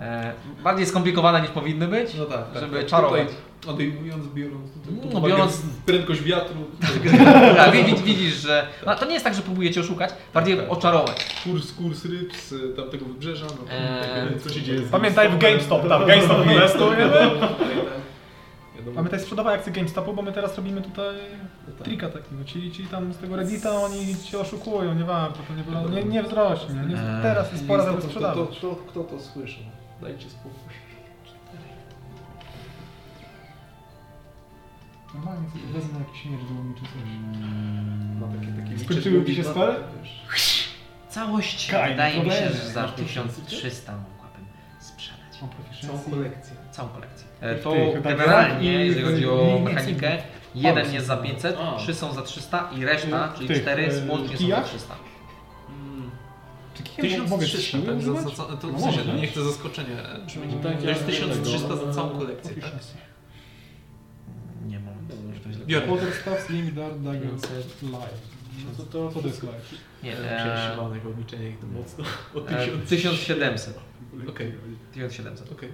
S1: E, bardziej skomplikowane niż powinny być,
S5: Mhm, No tak, tak,
S1: żeby
S5: tak.
S1: czarować.
S5: Tutaj odejmując, biorąc tutaj
S1: No,
S5: pod uwagę
S1: biorąc-
S5: prędkość wiatru,
S1: Tak, widzisz, widzisz, że no, to nie jest tak, że próbuje cię oszukać, bardziej
S5: tak.
S1: oczarować.
S5: kurs, kurs ryb z y, tamtego wybrzeża, no tak,
S1: Eee,
S5: tak,
S11: Co się dzieje z
S6: Pamiętaj w GameStop, tam GameStop inwestujemy.
S5: wiadomo.
S6: Pamiętaj sprzedawaj akcje GameStopu, bo my teraz robimy tutaj
S5: No tak.
S6: trika takiego, czyli, czyli tam z tego Reddita oni cię oszukują, nie warto, to nie, było- nie, nie wzrośnie, nie,
S1: Eee,
S6: teraz jest pora,
S5: Kto-
S6: żeby sprzedawać.
S5: Kto, kto, kto to słyszał? Dajcie spokój.
S6: Normalnie sobie No, wezmę jakiś miecz długi czy coś.
S5: Ma takie, takie
S6: Skończyły
S5: liczebniki,
S6: ci się
S5: no
S6: spale?
S5: tak, wiesz.
S1: Całość
S6: Kaj,
S1: wydaje mi się,
S6: problemy.
S1: że za 1300 mogłabym sprzedać.
S6: Mam
S5: Całą
S6: proficiency.
S5: kolekcję.
S1: Całą kolekcję.
S6: E,
S1: To
S6: tych, tak,
S1: generalnie,
S6: i-
S1: jeżeli chodzi o
S6: i- i-
S1: mechanikę, jeden
S6: i-
S1: jest za 500,
S5: A.
S1: trzy są za 300 i reszta,
S6: W
S1: czyli
S6: tych,
S1: cztery,
S6: e,
S1: łącznie są za
S6: kijach?
S1: 300.
S6: Czy kijem mogę z
S5: 1300,
S6: siły
S5: Hmm. tak? Za, za,
S6: używać?
S5: za, to
S6: No
S5: w sensie,
S6: może.
S5: nie chcę zaskoczenia brzmieć.
S6: Mm,
S5: To jest
S6: tak,
S5: 1300 za całą kolekcję, tak?
S6: Proficiency.
S1: Nie mam. już to źle
S5: Biorę.
S6: Tak. Potem staw slim dart dagger live. No to, to, to jest live.
S1: Nie, e,
S5: Przeszywanych w obliczeniach to mocno. O
S1: e,
S5: 1000.
S1: 1700.
S5: Okej,
S1: 1700.
S5: okej.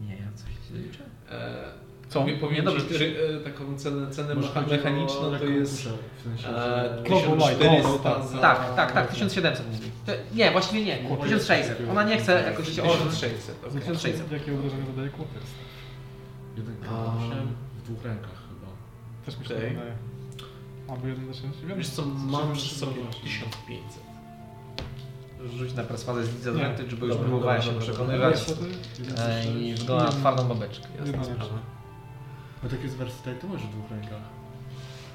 S1: Nie, ja coś źle liczę.
S5: E,
S6: Co?
S5: Mówię, powiem
S1: dobrze,
S5: ci,
S1: ty-
S5: ry, e, taką cenę, cenę
S2: Może
S5: mecha-
S2: chodzi o
S5: mechaniczną to
S2: taką
S5: jest
S2: duszę, W sensie,
S5: e,
S2: że...
S6: Global Light,
S5: 1400
S6: tak.
S5: za...
S1: Tak, tak, tak, 1700 mówi. To, nie, właściwie nie, 1600. Ona nie
S5: Tak,
S1: chce jakoś się o...
S5: 1600, okej.
S1: 1600.
S6: Jakie obrażenia zadaje kłopiec?
S2: Jeden
S5: Um,
S2: w dwóch rękach chyba.
S6: Też mi się
S5: Okej.
S6: okay. wydaje. Albo jeden na szczęście. Wiem,
S5: Wiesz co, mam przy sobie 1500.
S1: Rzuć na perswazę z disadvantage, bo już
S5: Dobra,
S1: próbowała się
S5: dobra, dobra.
S1: przekonywać.
S6: Wiesz co, ty?
S1: E, I wygląda na twardą babeczkę.
S5: Jasna
S6: Jedna
S5: sprawa.
S2: A tak jest wersytet, to masz w dwóch rękach.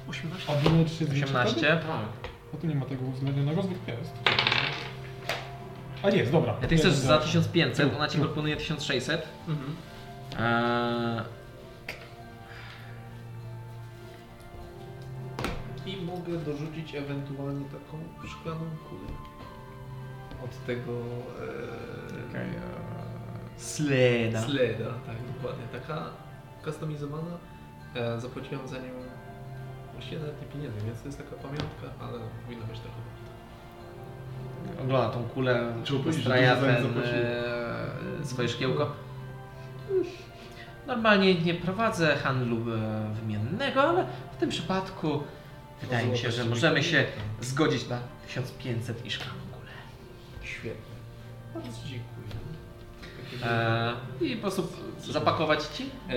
S5: 18.
S6: A winy 3
S1: 18.
S2: Tak.
S6: No tu nie ma tego uwzględnionego, zwykle jest. A jest, dobra.
S1: Ja ty chcesz
S6: Jeden
S1: za
S6: do-
S1: 1500, ona ci proponuje 1600.
S5: Mhm.
S1: Eee,
S5: I mogę dorzucić ewentualnie taką szklaną kulę. Od tego... E,
S1: Sleda.
S5: Sleda, tak, dokładnie. Taka customizowana. E, zapłaciłem za nią właściwie nawet nie pieniędzy, więc to jest taka pamiątka, ale powinna być taka.
S1: spogląda na tą kulę,
S2: Trzeba powiedzieć, że
S1: straja
S2: dużo za nie
S1: ten, e, swoje szkiełko. Normalnie nie prowadzę handlu e, wymiennego, ale w tym przypadku wydaje mi się, że możemy się zgodzić na 1500 i szklaną kulę.
S5: Świetnie. Bardzo dziękuję.
S1: E, I po prostu zapakować ci?
S5: E,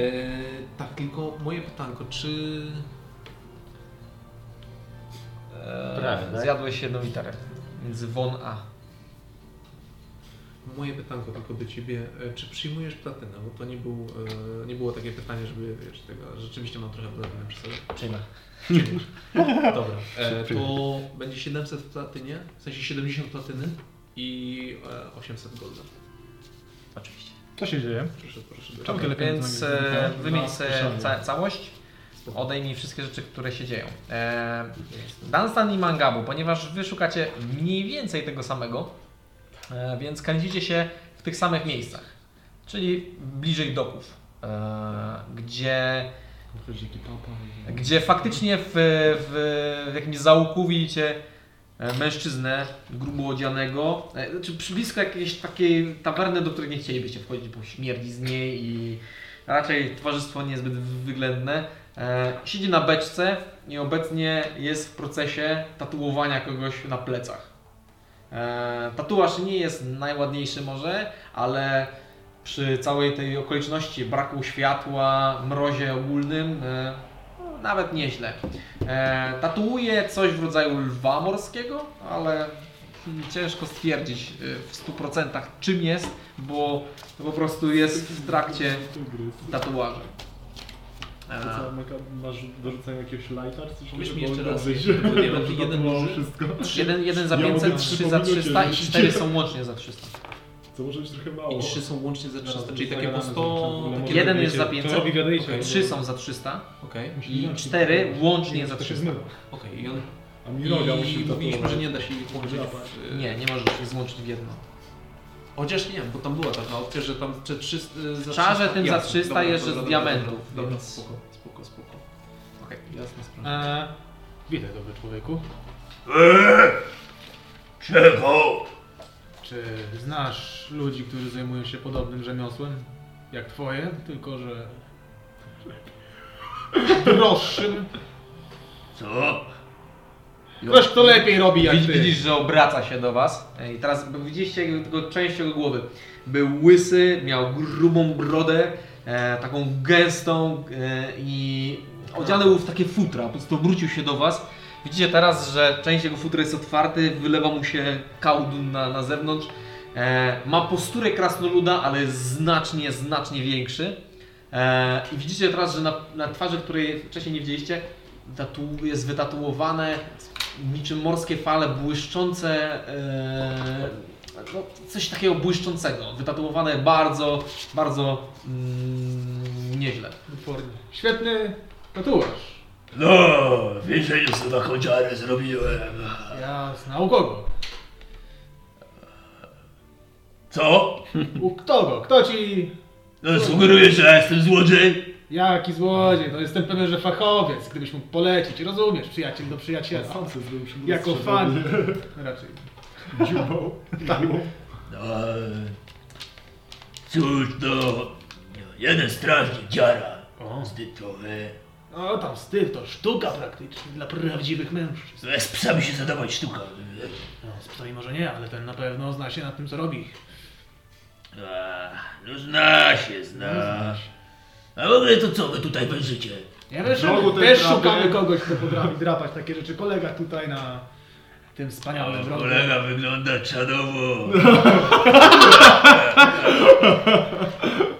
S5: tak, tylko moje pytanko, czy...
S1: E,
S4: Prawie, tak?
S1: Zjadłeś jedną literę, więc won A.
S5: Moje pytanko tylko do Ciebie, e, czy przyjmujesz platynę? Bo to nie, był, e, nie było takie pytanie, żeby wiesz, tego, rzeczywiście mam trochę platynę przy sobie.
S1: Przyjmę.
S5: Dobra, e, to będzie 700 w platynie, w sensie 70 platyny i e, 800 golda.
S1: Oczywiście.
S9: Co się dzieje?
S5: Proszę, proszę.
S9: Czemu tyle
S1: Więc
S9: pieniędzy na
S1: e,
S9: giełdzie? No,
S1: wymień
S9: Na
S1: sobie
S9: kieszenie.
S1: ca całość. Odejmij wszystkie rzeczy, które się dzieją. E, Dunstan i Mangabu, ponieważ wy szukacie mniej więcej tego samego, e, więc kręcicie się w tych samych miejscach, czyli bliżej doków, e, gdzie, Mhm. gdzie faktycznie w, w, w jakimś załuku widzicie e, mężczyznę grubo odzianego, e, znaczy przy blisko jakiejś takiej tawerny, do której nie chcielibyście wchodzić, bo śmierdzi z niej i raczej towarzystwo niezbyt wyględne. E, siedzi na beczce i obecnie jest w procesie tatuowania kogoś na plecach. E, tatuaż nie jest najładniejszy może, ale przy całej tej okoliczności braku światła, mrozie ogólnym, e, no, nawet nieźle. E, tatuuje coś w rodzaju lwa morskiego, ale hmm, ciężko stwierdzić e, w 100% czym jest, bo to po prostu jest w trakcie tatuaży. E,
S2: To co, Maka, masz do rzucenia jakiegoś lighta czy coś?
S5: Powiedz
S2: żeby
S5: mi jeszcze
S2: było
S5: raz,
S2: dobrze,
S5: żeby
S2: żeby
S5: jeden-
S2: dobrze
S5: jeden
S2: tatuowało
S5: duży?
S2: wszystko.
S1: Jeden, jeden za
S2: Ja mogę
S1: 500,
S2: trzy
S1: trzy za
S2: po minucie
S1: 300 i
S2: rzucić.
S1: cztery są łącznie za 300.
S2: To może być trochę mało.
S5: I trzy są łącznie za 300,
S3: Zaraz
S5: czyli takie po
S3: zagadamy,
S5: 100...
S3: zobaczymy,
S5: Takie...
S3: czy
S1: Jeden jest za
S3: To
S1: 500,
S3: robi gadejcie.
S5: Okej.
S1: trzy są za 300
S5: Okej,
S1: i cztery łącznie za
S2: To się
S1: 300.
S2: zmywa.
S5: okej. I on...
S2: A Miroga musi
S5: I mówiliśmy,
S2: tatuować.
S5: że nie da się ich e, łączyć w...
S1: Nie, nie możesz ich złączyć w jedno.
S5: Chociaż nie, bo tam była taka opcja, że tam czy 300... y, za
S1: W czarze
S5: 300
S1: tym za
S5: jasne,
S1: 300
S5: dobra,
S1: jest, że
S5: dobra,
S1: z
S5: dobra,
S1: diamentów,
S5: Dobra,
S1: więc-
S5: spoko, spoko, spoko.
S1: Okej. E,
S5: Jasna sprawa.
S3: Eee, witaj dobry człowieku.
S8: Czego?
S3: Czy znasz ludzi, którzy zajmują się podobnym rzemiosłem? Jak twoje, tylko że... droższym.
S8: Co?
S3: Ktoś, kto lepiej robi jak
S1: Widz-
S3: ty.
S1: Widzisz, że obraca się do was. E, I teraz bo widzieliście jego- tylko część jego głowy. Był łysy, miał grubą brodę, e, taką gęstą e, i odziany był w takie futra. Po prostu obrócił się do was. Widzicie teraz, że część jego futra jest otwarty, wylewa mu się kałdun na, na zewnątrz. E, ma posturę krasnoluda, ale jest znacznie, znacznie większy. E, I widzicie teraz, że na, na twarzy, której wcześniej nie widzieliście, tatu jest wytatuowane niczym morskie fale błyszczące. E, no, coś takiego błyszczącego. Wytatuowane bardzo, bardzo mm, nieźle.
S3: Utwornie. Świetny tatuaż.
S8: No, więcej niż to taką dziarę zrobiłem.
S3: Ja znał kogo.
S8: Co?
S3: U kogo? Kto ci...
S8: No, sugerujesz, że ja jestem złodziej?
S3: Jaki złodziej, no jestem pewien, że fachowiec, gdybyś mógł polecić, rozumiesz, przyjaciel do przyjaciela.
S2: Sam sobie zrobił przymrużenie.
S3: Jako fan. Raczej.
S2: Dziubą.
S5: Tak.
S2: Dziubą.
S8: No, e, cóż, no, jeden strażnik dziara. Zdytowy.
S3: No tam styl to sztuka praktycznie dla prawdziwych mężczyzn.
S8: Z psami się zadawać sztuka.
S3: No, z psami może nie, ale ten na pewno zna się na tym, co robi.
S8: A, no zna się,
S1: Tak.
S8: No, zna. A w ogóle to co wy tutaj wężycie?
S3: Nie wiesz,
S2: Znowu ten
S3: też
S2: drapie.
S3: szukamy kogoś, kto potrafi drapać takie rzeczy. Kolega tutaj na tym wspaniałym
S8: O,
S3: wrogu.
S8: kolega wygląda czadowo.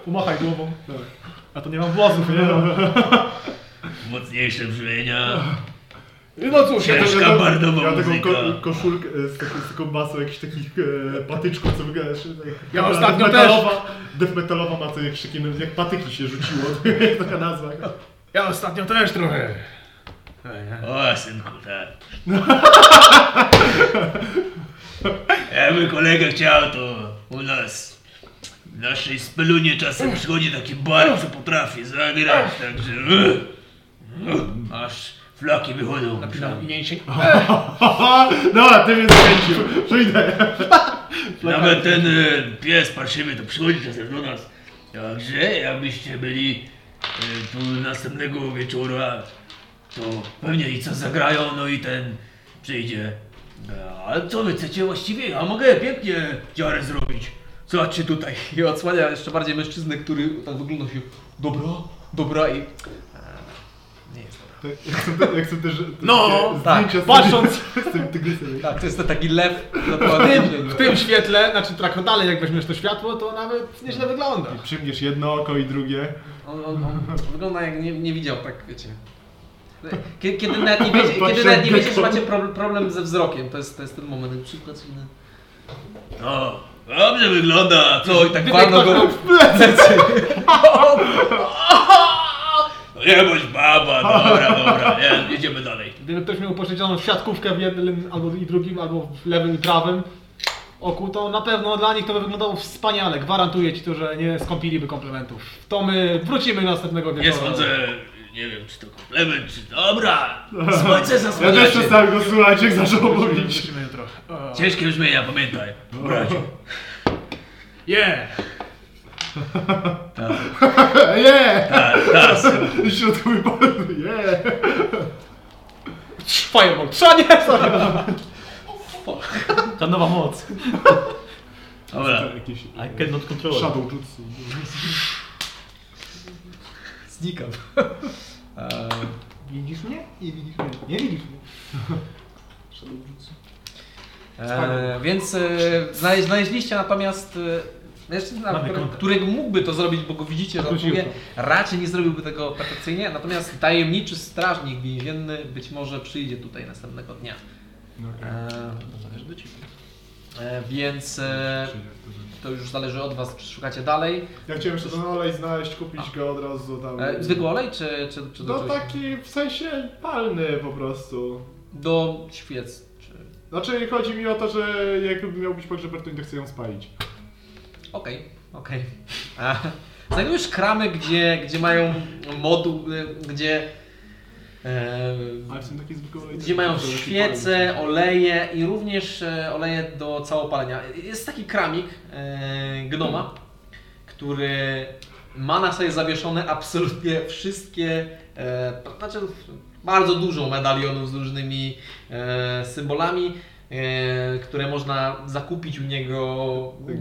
S3: Pomachaj głową. A to nie mam włosów, nie?
S8: Mocniejsze brzmienia.
S3: No cóż,
S8: Ciężka
S2: Ja tego-
S8: bardowa
S2: Ja taką
S8: muzyka.
S2: ko koszulkę e, z, taką- z taką masą jakichś takich e, patyczków, co wyglądasz.
S3: Ja ostatnio też.
S2: Death metalowa ma to jak krzykiem, jak patyki się rzuciło. To jest taka nazwa.
S3: ja ostatnio też trochę.
S8: O, synku, tak. Jakby kolega chciał, to u nas w naszej spelunie czasem przychodzi taki bar, co potrafi zagrać, także... e, e, Aż Flaki wychodzą.
S5: Napinam i mięsień.
S2: Dobra, ty mnie zachęcił. Przyjdę.
S8: Nawet ten e, pies parszywy to przychodzi czasem do nas. Także jakbyście byli e, tu następnego wieczora, to pewnie i co zagrają, no i ten przyjdzie. E, Ale co wy chcecie właściwie? A mogę pięknie dziarę zrobić. Zobaczcie tutaj.
S1: I odsłania jeszcze bardziej mężczyznę, który tak wygląda się dobra, dobra i...
S2: Jak chcę też...
S5: No,
S1: tak,
S2: patrząc. Z tym tygrysem.
S1: Tak, to jest ten taki lew. tatuowany w ziemi.
S6: W tym świetle, znaczy trochę dalej jak weźmiesz to światło, to nawet nieźle wygląda.
S2: I przymniesz jedno oko i drugie.
S1: On, on, on wygląda jak nie, nie widział, tak wiecie. Kiedy, kiedy nawet nie wiecie,
S2: Patrzę
S1: kiedy nawet nie
S2: jak
S1: wiecie że
S2: to-
S1: macie problem, problem ze wzrokiem, to jest, to jest ten moment. jak Przykład inny.
S8: No, dobrze wygląda. Co?
S1: i tak walno go...
S8: No, Nie bądź baba, dobra, dobra, nie, jedziemy dalej.
S6: Gdyby ktoś miał poszczególną siatkówkę w jednym albo i drugim, albo w lewym i prawym oku, to na pewno dla nich to by wyglądało wspaniale. Gwarantuję ci to, że nie skąpiliby komplementów. To my wrócimy następnego wieczoru.
S8: Nie sądzę, nie wiem czy to komplement, czy... Dobra, słońce
S2: Ja też
S8: zasłaniacie.
S2: przestałem go słuchać, jak zaczął mówić.
S6: Wrócimy jutro.
S8: Ciężkie już zmienia, pamiętaj, bracie.
S6: Yeah!
S2: Nie!
S8: Tak, tak.
S2: Środkowy palec. Nie!
S6: Fireball! Trza nie! Sorry.
S4: To nowa moc.
S8: Dobra.
S2: Jakieś
S4: I cannot control.
S2: shadow jutsu.
S1: Znikam.
S6: Widzisz mnie? Nie widzisz mnie. Nie widzisz mnie.
S1: E, więc e, znaleź, znaleźliście natomiast e, mężczyznę,
S4: Mamy
S1: który,
S4: kontakt.
S1: którego mógłby to zrobić, bo go widzicie, że
S6: Wrócił
S1: atakuje.
S6: to.
S1: Raczej nie zrobiłby tego perfekcyjnie, natomiast tajemniczy strażnik więzienny być może przyjdzie tutaj następnego dnia.
S2: No,
S1: E, e, więc e, to już zależy od was, czy szukacie dalej.
S2: Ja chciałem jeszcze ten olej znaleźć, kupić go od razu tam.
S1: E, zwykły olej, czy, czy, czy do
S2: No
S1: czegoś?
S2: taki w sensie palny po prostu.
S1: Do świec. Czy...
S2: Znaczy chodzi mi o to, że jakby miał być pogrzeb Bertoni, to chcę ją spalić.
S1: Okej, okej. A, Znajdujesz kramy, gdzie, gdzie mają moduł, y, gdzie... e, em,
S2: Ale w sumie taki zwykły olej.
S1: Gdzie mają świece, oleje i również e, oleje do całopalenia. Jest taki kramik e, gnoma, który ma na sobie zawieszone absolutnie wszystkie, e, znaczy bardzo dużo medalionów z różnymi e, symbolami, e, które można zakupić u niego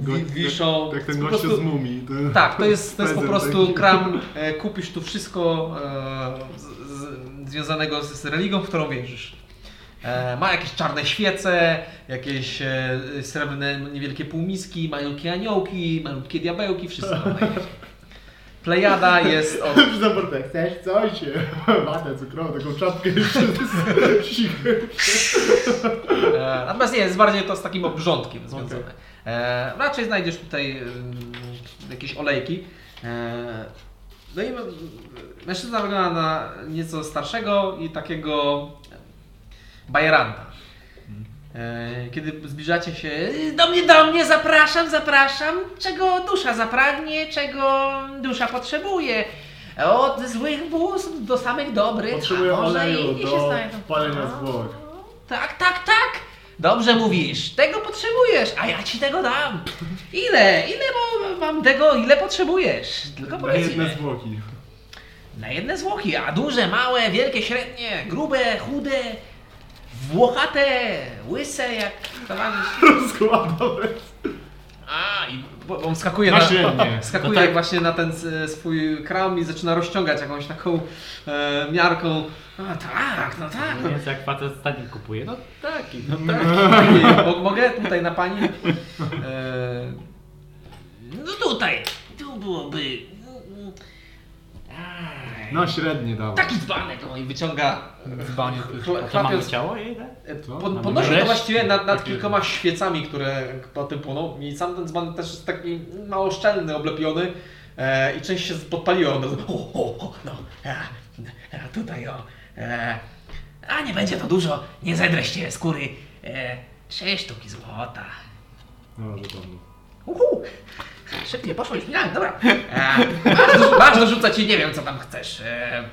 S1: wi- wiszą.
S2: Tak ten
S1: Po
S2: gość
S1: prostu-
S2: z mumii. to-
S1: tak, to jest, to jest po
S2: Pędzel
S1: prostu
S2: taki.
S1: kram. E, kupisz tu wszystko e, z, z, związanego z, z religią, w którą wierzysz. E, ma jakieś czarne świece, jakieś e, srebrne niewielkie półmiski, malutkie aniołki, malutkie diabełki, wszystko. ma jakieś. Plejada jest od
S2: Za portę,
S1: tak.
S2: chcesz coś? Watę cukrową, taką czapkę jeszcze z cichy.
S1: E, Natomiast nie, jest bardziej to z takim obrządkiem związane. E, raczej znajdziesz tutaj mm, jakieś olejki. E, no i mm, mężczyzna wygląda na nieco starszego i takiego bajeranta. E, Kiedy zbliżacie się, "Y, do mnie, do mnie, zapraszam, zapraszam, czego dusza zapragnie, czego dusza potrzebuje. Od złych bóstw do samych dobrych,
S2: Potrzebuję
S1: a może i
S2: oleju
S1: inni się
S2: do
S1: znajdą. No.
S2: palenia
S1: A.
S2: zwłok.
S1: Tak, tak, tak! Dobrze mówisz, tego potrzebujesz, a ja ci tego dam. Ile? Ile mo- mam tego, ile potrzebujesz? Tylko
S2: Na
S1: powiedz
S2: jedne
S1: ile.
S2: zwłoki.
S1: Na jedne zwłoki, a duże, małe, wielkie, średnie, grube, chude, włochate, łyse jak towarzysz.
S2: Rozkładam.
S1: A, i bo, bo on skakuje
S2: Na
S1: na...
S2: średnie.
S4: No
S1: Skakuje
S4: tak.
S1: właśnie na ten s- swój kram i zaczyna rozciągać jakąś taką e, miarką. A, tak, no tak, no
S4: Więc jak facet stanik kupuje, no taki, no
S1: Mo- Mogę tutaj na pani? E,
S8: No tutaj, tu byłoby... mm, Aj,
S2: Na średnie dawaj.
S8: Taki dzbanek.
S1: no i wyciąga
S5: Dzbanie. to jest-
S1: Chla-
S4: To mamy
S1: Chlapiąc,
S4: ciało jej, tak?
S1: e,
S2: Co?
S1: pod,
S4: Mamy
S1: podnosi to
S4: resztki
S1: właściwie nad, nad
S4: takie.
S1: kilkoma świecami, które na tym płoną i sam ten dzban też jest taki mało szczelny, oblepiony e, i część się podpaliła od razu.
S8: O, o, o, no, a, a tutaj o. E, a nie będzie to dużo, nie zedrę się skóry. E, trzy sztuki złota.
S2: No, że tam.
S8: Uhu, szybciej poszło już minąłem, dobra.
S1: E, masz, dorzu- masz dorzucać i nie wiem co tam chcesz. E,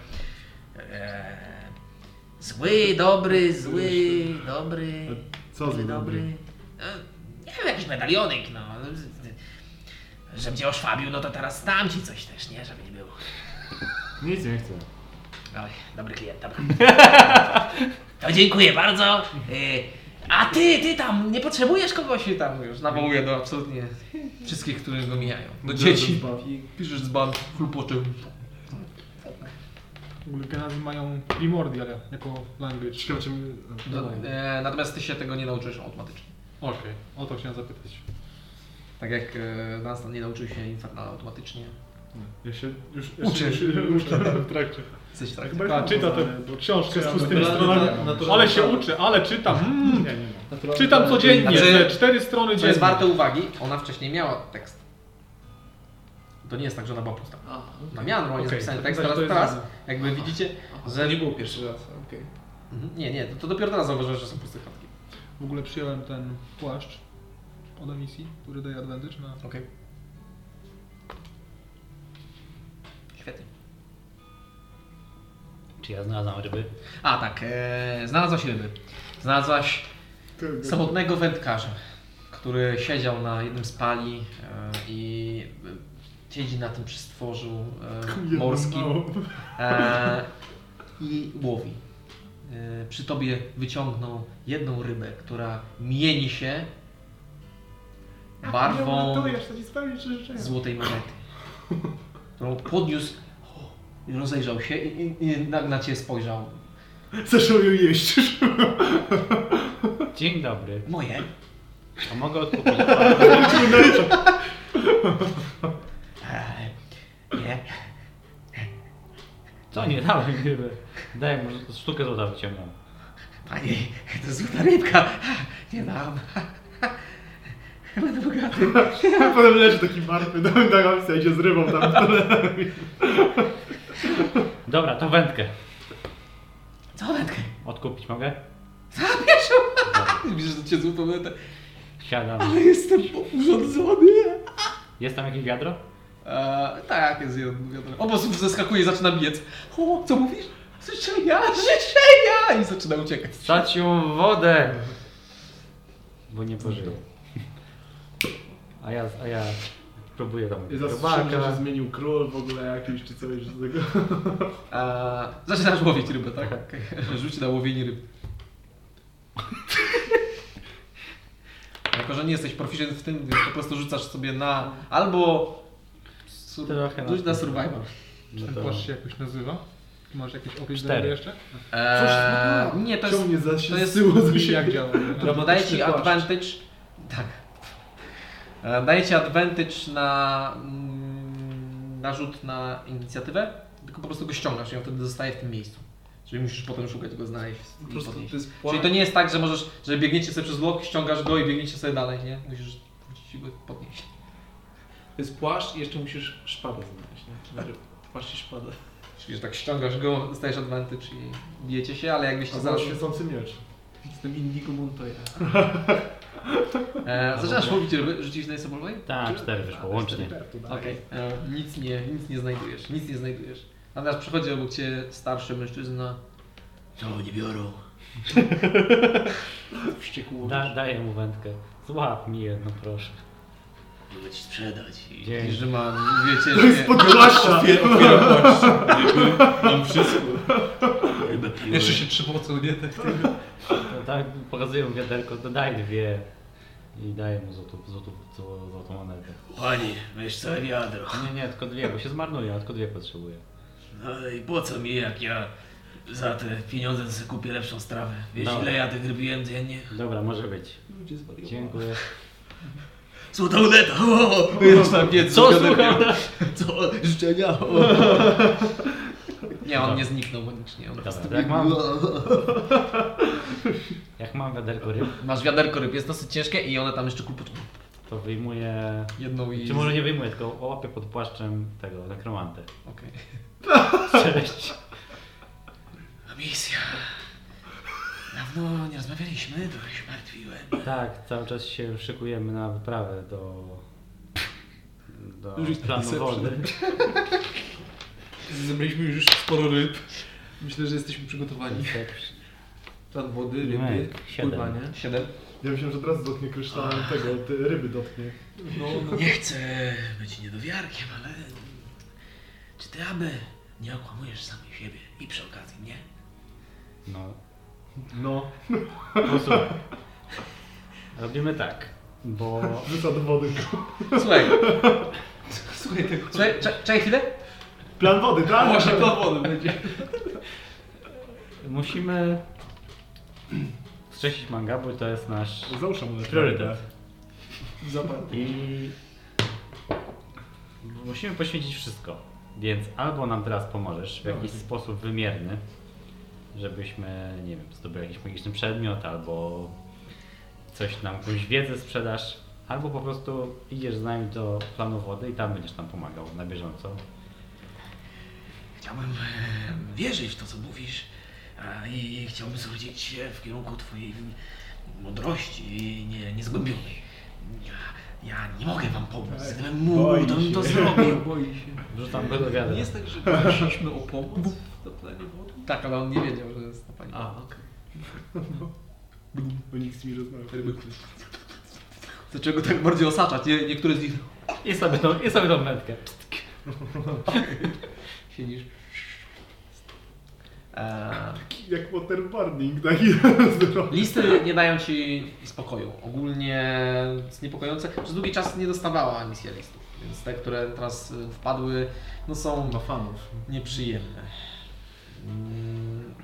S8: E, Zły, dobry, zły, dobry,
S2: Co
S8: zły,
S2: z dobry?
S8: dobry. No, nie wiem, jakiś medalionik, no. Żebym cię oszwabił, no to teraz dam ci coś też, nie? Żeby nie było.
S3: Nic nie chcę.
S8: Oj, dobry klient, dobra. To dziękuję bardzo. Y, A ty, ty tam, nie potrzebujesz kogoś tam już.
S1: Nawołuję do absolutnie wszystkich, którzy go mijają. Do dzieci. Piszesz dzban, chlupoczy.
S6: W ogóle Kanazy mają primordial jako language.
S2: Ciekawe czy...
S1: Do, e, natomiast ty się tego nie nauczysz automatycznie.
S6: Okej, o to chciałem zapytać.
S1: Tak jak e, Dunstan nie nauczył się Infernal automatycznie.
S2: Ja się już... Ja
S1: Uczę.
S2: Się, już, uczę w trakcie.
S1: Jesteś tak.
S2: Chyba
S6: Ta,
S2: jest
S6: czyta
S2: napisane,
S6: tę
S2: bo-
S6: książkę z pustymi
S2: Naturalne-
S6: stronami.
S2: naturalne-
S6: Ale się uczy, ale czytam. Mm,
S2: Nie, nie, nie.
S6: czytam codziennie,
S1: Znaczy,
S6: te cztery strony
S1: Co jest
S6: dziennie.
S1: warte uwagi, ona wcześniej miała tekst. To nie jest tak, że ona była pusta. Ona miała No, normalnie
S6: Okej,
S1: zapisany
S6: to
S1: tekst,
S6: to
S1: teraz,
S6: jest
S1: teraz
S6: ważne.
S1: jakby widzicie, że...
S5: To nie było pierwszy raz, okej.
S1: Mhm, Nie, nie, to, to dopiero teraz zauważyłeś, że są puste kartki.
S6: W ogóle przyjąłem ten płaszcz od emisji, który daje advantage na...
S1: Okej. Świetnie.
S4: Czy ja znalazłam ryby?
S1: A tak, e, znalazłaś ryby. Znalazłaś
S2: Ty,
S1: samotnego wędkarza, który siedział na jednym z pali e, i e, siedzi na tym przystworzu e,
S2: no.
S1: morskim e, i łowi. E, przy tobie wyciągnął jedną rybę, która mieni się barwą złotej monety, którą podniósł i rozejrzał się i, i, i na, na ciebie spojrzał.
S2: Zaczął ją jeść.
S4: Dzień dobry.
S1: Moje.
S4: A mogę odkupić?
S1: E,
S8: Eee, Nie.
S4: Co nie, dałem ryby. Daj, może sztukę złota wyciągam.
S8: Panie, to złota rybka. Nie dam. Będę bogaty.
S2: Potem leży taki martwy, do Dagowca idzie z rybą tam w dole.
S4: Dobra, to wędkę.
S8: Co wędkę?
S4: Odkupić mogę?
S1: Widzisz, że cię złotą monetę.
S4: Siadam.
S1: Jestem urządzony.
S4: Jest tam jakieś wiadro?
S1: Eee, tak, jest jeden wiadomo. Obóz zeskakuje i zaczyna biec. O, co mówisz? Słyszę ja, słyszę ja! I zaczyna uciekać.
S4: Stać ją wodę! Bo nie pożyję. A ja, a ja próbuję tam.
S2: I zastrzegam, że zmienił król w ogóle jakiś czy coś z tego.
S1: Eee, zaczynasz łowić rybę, tak? Okej. Rzuć na łowienie ryb. jako, że nie jesteś proficient w tym, więc po prostu rzucasz sobie na albo... Sur...
S4: Trochę na
S1: Rzuć na
S4: survival.
S1: survival.
S4: No
S6: Ten
S4: to-
S6: płaszcz się jakoś nazywa? Masz jakiś opis
S4: Cztery.
S6: do jeszcze?
S1: Eee, nie, to jest...
S2: Ciągnie za się
S1: to jest-
S2: zsyło za
S6: I jak
S2: siebie.
S6: działa?
S1: No, daje ci advantage. Tak. E, Daje ci advantage na mm, na rzut na inicjatywę, tylko po prostu go ściągasz i on wtedy zostaje w tym miejscu. Czyli musisz potem szukać go znaleźć
S5: Po
S1: i
S5: prostu
S1: podnieść.
S5: to jest
S1: Czyli to nie jest tak, że możesz, że biegniecie sobie przez blok, ściągasz go i biegniecie sobie dalej, nie? Musisz wrócić i go podnieść.
S5: To jest płaszcz i jeszcze musisz szpadę znaleźć, nie? Znaczy, płaszcz i szpadę.
S1: Czyli że tak ściągasz go, dostajesz advantage i bijecie się, ale jakbyście
S2: Zaraz
S1: zaraz...
S2: świecący miecz.
S5: Z tym Indigo Montoya.
S1: E, zaczynasz mówić, żeby rzucić na sobolowej?
S4: Tak, cztery wyszło, łącznie.
S1: Okej, e, nic nie, nic nie znajdujesz, nic nie znajdujesz. Natomiast przychodzi obok ciebie starszy mężczyzna.
S8: Co nie biorą?
S5: Wściekło.
S4: Da, daję mu wędkę. Złap mi jedno, proszę.
S8: Mogę ci sprzedać. I...
S1: I
S4: Dzień.
S1: że ma, wiecie, nie,
S2: Podgłaszcza!
S5: Mam wszystko.
S8: Rybę piłem.
S5: Jeszcze się przypocą, nie? Tak, tak.
S4: No Tak, pokazuję mu wiaderko, to daj dwie. I daję mu złotą, złotą, złotą, złotą monetę.
S8: Panie, weź całe wiadro.
S4: Nie, nie, tylko dwie, bo się zmarnuje, a tylko dwie potrzebuję.
S8: No i po co mi, jak ja za te pieniądze to sobie kupię lepszą strawę. Wiesz,
S4: Dobra.
S8: ile ja tych rybiłem dziennie?
S4: Dobra, może być.
S5: Ludzie zwariowali.
S4: Dziękuję.
S8: Złota luneta! O!
S1: tam nie,
S4: Co słucham?
S8: Co? Życzenia! O!
S1: nie, on nie zniknął magicznie. On
S4: Dobra, jak mam, jak mam wiaderko ryb,
S1: Masz wiaderko ryb, jest dosyć ciężkie i one tam jeszcze kłopotki.
S4: to wyjmuję...
S1: Jedną i...
S4: Czy może nie wyjmuję, tylko łapię pod płaszczem tego, nekromantę.
S1: Okej.
S4: Cześć.
S8: Misja. Dawno nie rozmawialiśmy, trochę się martwiłem.
S4: Tak, cały czas się szykujemy na wyprawę do... Do
S5: Już jest
S4: planu
S5: napisane
S4: wody.
S5: Zebraliśmy już sporo ryb. Myślę, że jesteśmy przygotowani.
S4: Perception.
S5: Strat wody, ryby,
S4: Nie, siedem.
S5: pływanie.
S1: 7.
S2: Ja myślałem, że od razu dotknie kryształem tego, te ryby dotknie.
S5: No, no.
S8: Nie chcę być niedowiarkiem, ale czy ty aby nie okłamujesz samej siebie i przy okazji mnie?
S4: No.
S2: No.
S4: Posłuchaj. Robimy tak, bo...
S2: Wrzuca do wody.
S1: Słuchaj,
S5: Słuchaj tego.
S1: czekaj, czekaj- czekaj chwilę.
S2: Plan wody, tak?
S5: Właśnie to wody będzie.
S4: Musimy wskrzesić manga, bo to jest nasz
S3: Załóżmy mu
S4: priorytet.
S5: Zapadł.
S4: I musimy poświęcić wszystko. Więc albo nam teraz pomożesz w jakiś sposób wymierny, żebyśmy, nie wiem, zdobyli jakiś magiczny przedmiot, albo coś nam, jakąś wiedzę sprzedasz, albo po prostu idziesz z nami do planu wody i tam będziesz nam pomagał na bieżąco.
S8: Chciałbym e, wierzyć w to, co mówisz a, i chciałbym zwrócić się w kierunku twojej mądrości nie, niezgłębionej. Ja, ja nie mogę wam pomóc. Gdybym mógł, to bym to zrobił.
S5: Boi się.
S4: Wrzucam bez wiadomo.
S5: Nie jest tak, że prosiliśmy o pomoc w zaplanie wody?
S1: Tak, ale on nie wiedział, że jest na pani.
S5: A, okej.
S2: Bo nikt z mi rozmawia.
S5: Ryby klucz.
S1: Dlaczego tak bardziej osaczać? Nie, niektóre z nich
S4: I sobie tą, i sobie tą wędkę.
S1: siedzisz. Eee,
S2: Jak tak waterboarding, taki zrobił.
S1: listy nie dają ci spokoju. Ogólnie jest niepokojące. Przez długi czas nie dostawała misja listów, więc te, które teraz y, wpadły, no są
S5: Ma fanów.
S1: nieprzyjemne. Mm,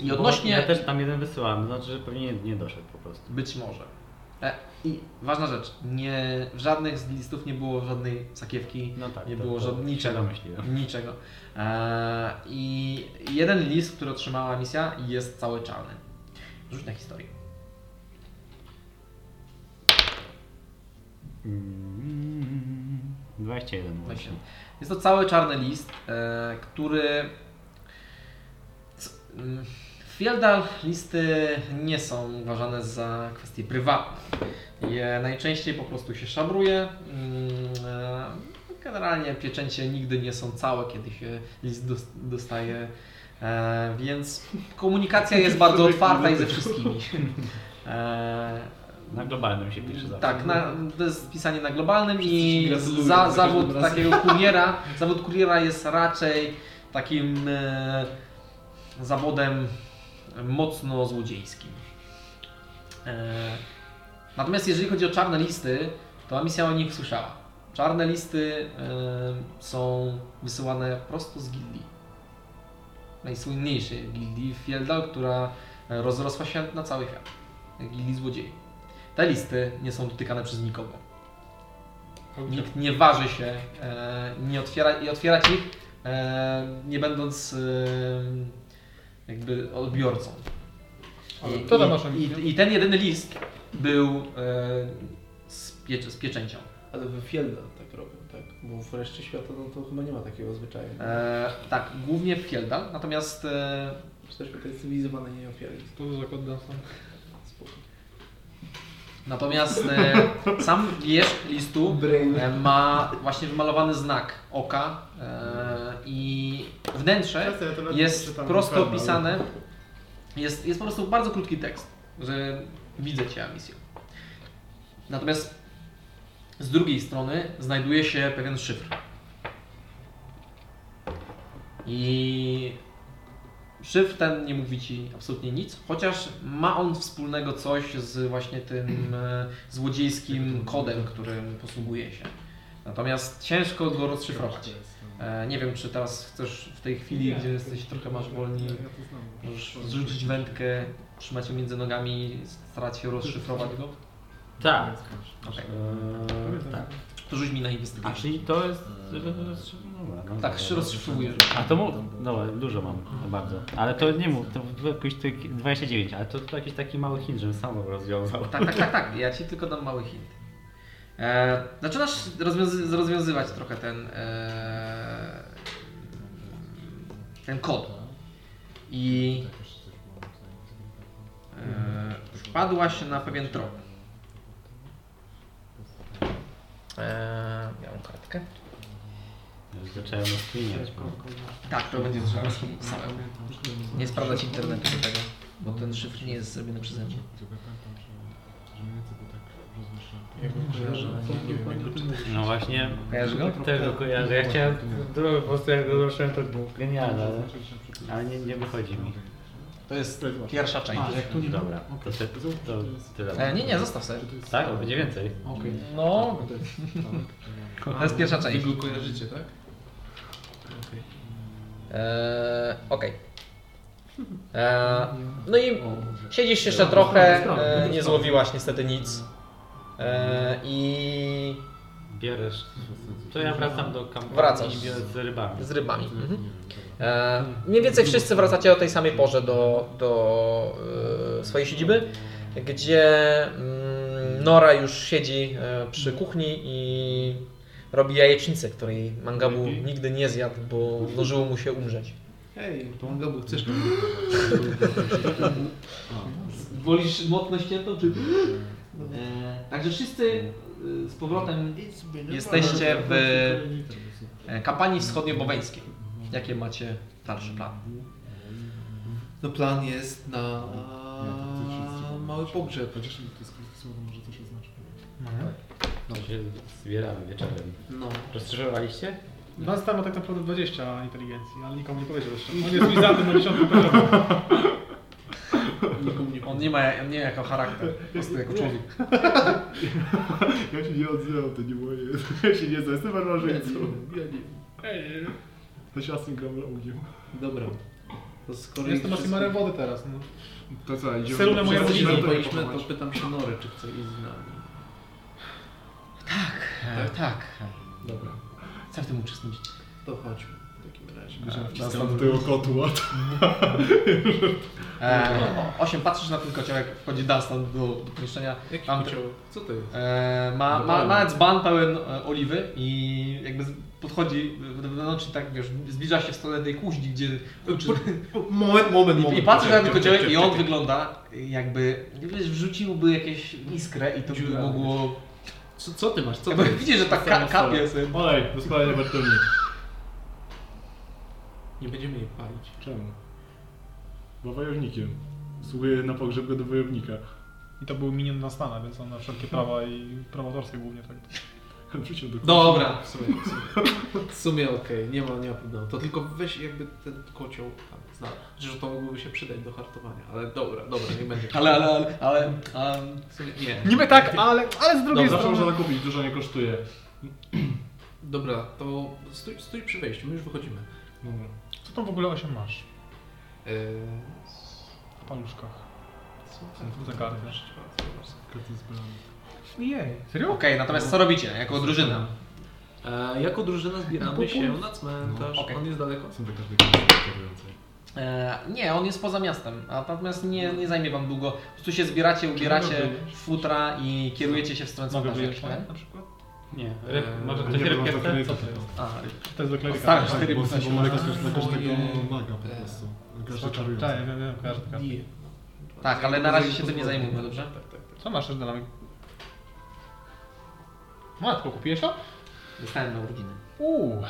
S1: I
S4: Bo
S1: odnośnie...
S4: Ja też tam jeden wysyłam, to znaczy, że pewnie nie, nie doszedł po prostu.
S1: Być może. E, I ważna rzecz, nie, w żadnych z listów nie było żadnej sakiewki,
S4: No tak.
S1: nie
S4: to-
S1: było
S4: to
S1: żadnego
S4: się
S1: niczego.
S4: domyśliłem.
S1: Niczego. E, I jeden list, który otrzymała misja jest cały czarny. Rzuć na historię.
S4: Mm, 21 właśnie.
S1: No Jest to cały czarny list, e, który. S- mm, W Fieldal listy nie są uważane za kwestie prywatne. Je najczęściej po prostu się szabruje. Mm, e, Generalnie pieczęcie nigdy nie są całe, kiedy się list dos- dostaje, e, więc komunikacja jest bardzo otwarta i ze wszystkimi. E,
S4: Na globalnym się pisze zawsze.
S1: tak, na, to jest pisanie na globalnym
S5: ci
S1: i
S5: gratulują za
S1: za,
S5: każdym
S1: zawód
S5: razem.
S1: takiego kuriera, zawód kuriera jest raczej takim e, zawodem mocno złodziejskim. E, natomiast jeżeli chodzi o czarne listy, to misja o nich słyszała. Czarne listy e, są wysyłane prosto z gildii. Najsłynniejszej gildii Fieldal, która e, rozrosła się na cały świat. Gildii złodziei. Te listy nie są dotykane przez nikogo. Nikt nie waży się e, nie otwiera, i otwierać ich, e, nie będąc e, jakby odbiorcą.
S9: Ale
S1: I,
S9: kto tam
S1: i-
S9: masz ambicje?
S1: i, I ten jedyny list był e, z, piecz- z pieczęcią.
S5: Ale we Fielda tak robią, tak? Bo w reszcie świata no, to chyba nie ma takiego zwyczaju.
S1: E, tak, głównie w Kieldal, natomiast e,
S5: Jesteśmy tutaj cywilizowani, nie ofiary.
S9: To zakład dansa.
S5: Spoko.
S1: Natomiast e, sam wierzch listu
S5: Brain.
S1: e, ma właśnie wymalowany znak oka e, i wnętrze
S2: Czasem ja to nawet nie
S1: jest
S2: czytam,
S1: prosto
S2: naprawdę, ale-
S1: opisane. Jest, jest po prostu bardzo krótki tekst, że widzę Cię, misję. Natomiast z drugiej strony znajduje się pewien szyfr. I Szyfr ten nie mówi ci absolutnie nic, chociaż ma on wspólnego coś z właśnie tym e, złodziejskim kodem, którym posługuje się. Natomiast ciężko go rozszyfrować. E, Nie wiem, czy teraz chcesz w tej chwili, gdzie jesteś trochę masz wolni, możesz zrzucić wędkę, trzymać ją między nogami, starać się rozszyfrować go.
S4: Tak.
S1: Okej.
S4: Eee, tak.
S1: To rzuć mi na
S4: A
S1: inwestygację.
S4: czyli to jest... Dobra, no,
S1: Tak, się rozszyfrowujesz.
S4: A to mu... No, dużo mam, to bardzo. Ale to nie mów, to w- jakoś ty- 29, ale to, to jakiś taki mały hint, żebym sam rozwiązał.
S1: Tak, tak, tak, tak. Ja ci tylko dam mały hint. E, zaczynasz rozwiązy- rozwiązywać trochę ten. E, ten kod. I. E, wpadłaś na pewien trop. E, miałem kartkę.
S4: Już zacząłem rozkminiać. bo-
S1: Tak, to będzie trzeba samemu. Nie sprawdzać internetu do tego. Bo ten szyfr nie jest zrobiony przeze mnie.
S4: No właśnie,
S1: Kojarzysz go?
S2: Tak.
S4: tego kojarzę. Ja chciałem, drogę, po prostu jak go zobaczyłem, to było genialne, ale, ale nie, nie wychodzi mi.
S1: To jest pierwsza część.
S4: Dobra, to, ty, to
S1: E,
S4: tyle.
S1: nie, nie, zostaw sobie.
S4: Tak, bo będzie więcej.
S1: No, to jest pierwsza część.
S5: Wy go kojarzycie, tak?
S1: E,
S10: Eee, Okej. Eee, no i siedzisz jeszcze trochę, e, nie złowiłaś niestety nic.
S1: E,
S10: Eee, I
S4: Bierzesz. To ja wracam do kampanii
S10: Wracasz.
S4: i biorę z rybami.
S10: z rybami. Mhm. E, mniej więcej wszyscy wracacie o tej samej porze do, do e, swojej siedziby, gdzie mm, Nora już siedzi e, przy
S1: Mhm.
S10: kuchni i robi jajecznicę, której Mangabu
S1: Mhm.
S10: nigdy nie zjadł, bo zdążyło mu się umrzeć.
S5: Hej, pomagał, bo chcesz. Wolisz mocno ściętą, czy...
S1: E, Także wszyscy e, z powrotem jesteście w e, kampanii wschodnioboweńskiej. Jakie macie dalszy plan?
S5: No plan jest na mały pogrzeb.
S6: Mhm.
S4: To No, się zbieramy wieczorem.
S5: No.
S4: Rozszerzowaliście?
S9: Was tam ma tak naprawdę 20 inteligencji, ale nikomu nie powiedział jeszcze. On jest mi za tym na 10 poziomie.
S1: On nie ma, on nie ma jako charakter, po prostu jako człowiek.
S2: Ja się nie odzywam, to nie moje. Ja się nie znam, jestem barbarzyńcą.
S5: Ja nie.
S2: To się asyn gram u mnie.
S5: Dobra. To skoro
S9: Jestem
S5: ich
S9: Asimarem wody teraz. No.
S2: To co, idziemy?
S9: Celu na moje
S2: Wszyscy
S9: rodziny.
S5: wszystkich
S2: na to-
S5: złapaliśmy, to pytam się Nory, czy chce iść z nami.
S1: E, tak.
S5: Dobra,
S1: Chcę w tym uczestniczyć.
S5: to chodźmy w takim razie.
S2: Nas tam do tego kotła.
S1: E, o- osiem, patrzysz na ten kociołek, wchodzi Dunstan do, do pomieszczenia.
S5: Jaki
S1: Tam-
S5: kocioł? Co to jest?
S1: E, ma, ma, ma dzban pełen e, oliwy i jakby z- podchodzi wewnątrz tak wiesz, zbliża się w stronę tej kuźni, gdzie...
S5: Moment, moment, moment.
S1: I patrzysz na ten kociołek i on wygląda jakby, wiesz, wrzuciłby jakieś iskrę i to by
S5: Dziura.
S1: mogło...
S5: Co, co ty masz? Co
S1: Jakby
S5: to jest?
S1: widzisz, że tak ka kapie sobie.
S2: Olej, do spalenia Bartolini.
S5: Nie będziemy jej palić.
S2: Czemu? Bo wojownikiem. Sługuje na pogrzeb do wojownika.
S9: I to był minion na Stana, więc on ma wszelkie prawa i prawatorskie głównie tak.
S2: Wrzucił do
S5: Dobra, w sumie, w sumie, w sumie okej, nie ma, nie ma problemu. To tylko weź jakby ten kocioł tam zna. Że to mogłoby się przydać do hartowania, ale dobra, dobra, nie będzie.
S1: Ale, ale, ale, ale... ale
S5: W sumie nie.
S6: Niby tak, ale, ale z drugiej
S2: Zawsze
S6: strony...
S2: można kupić, dużo nie kosztuje.
S5: Dobra, to stój, stój przy wejściu, my już wychodzimy.
S2: Dobra.
S9: Co tam w ogóle 8 masz
S5: Eee,
S9: w paluszkach?
S5: co
S9: to za karty?
S2: Koty z bramą.
S9: Jej.
S1: Okej,
S9: Serio?
S1: natomiast co robicie jako drużyna?
S5: E, jako drużyna zbieramy się na cmentarz,
S1: No, okej.
S5: on jest daleko.
S2: Są tak każdy komentujący.
S1: E, nie, on jest poza miastem, a natomiast nie, nie zajmie wam długo. Po prostu się zbieracie, ubieracie w futra i kierujecie się w stronę
S9: Mogę
S1: cmentarza.
S9: wyjąć
S1: jak
S9: na
S1: nie?
S9: przykład?
S4: Nie. Ryb,
S5: Eee,
S4: może
S2: nie,
S4: ktoś
S2: bo
S4: rybkę
S2: to nie
S4: chce? Co
S2: to
S4: to jest?
S1: A,
S9: To jest do Tak. kleryka.
S1: No Stary, cztery
S2: Tak, Bo
S1: postaci.
S2: symbole kosztują na każdego
S5: Moje-
S2: maga po prostu. Na każdego
S9: Tak,
S2: czarującego.
S9: ja wiem, wiem, każdy, każdy.
S5: Nie.
S1: Tak, ale na razie się tym nie zajmujmy, dobrze?
S5: Tak, tak, tak.
S9: Co masz też dynamik? Matko, kupiłeś to?
S1: Dostałem na urodziny.
S9: Uuu.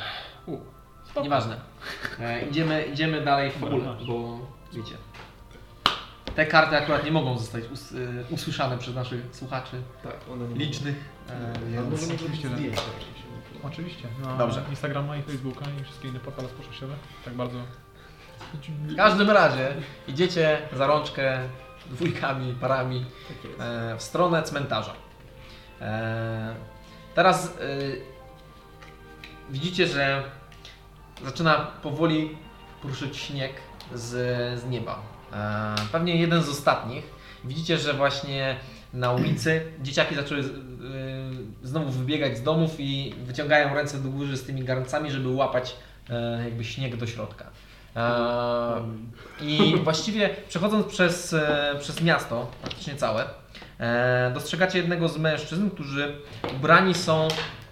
S1: Nieważne. E, idziemy, idziemy dalej w fabule, bo wiecie. Te karty akurat nie mogą zostać us, y, usłyszane przez naszych słuchaczy
S5: tak one nie
S1: licznych. E,
S5: Albo
S1: więc...
S5: oczywiście no zdjęcia
S9: Oczywiście. Na
S1: Dobrze.
S9: Instagrama i Facebooka i wszystkie inne portale społecznościowe. Tak bardzo.
S1: W każdym razie idziecie za rączkę dwójkami, parami e, w stronę cmentarza. E, Teraz e, widzicie, że zaczyna powoli poruszyć śnieg z, z nieba. E, Pewnie jeden z ostatnich. Widzicie, że właśnie na ulicy dzieciaki zaczęły z- y, znowu wybiegać z domów i wyciągają ręce do góry z tymi garncami, żeby łapać e, jakby śnieg do środka. E, I właściwie przechodząc przez, e, przez miasto, praktycznie całe, e, dostrzegacie jednego z mężczyzn, którzy ubrani są.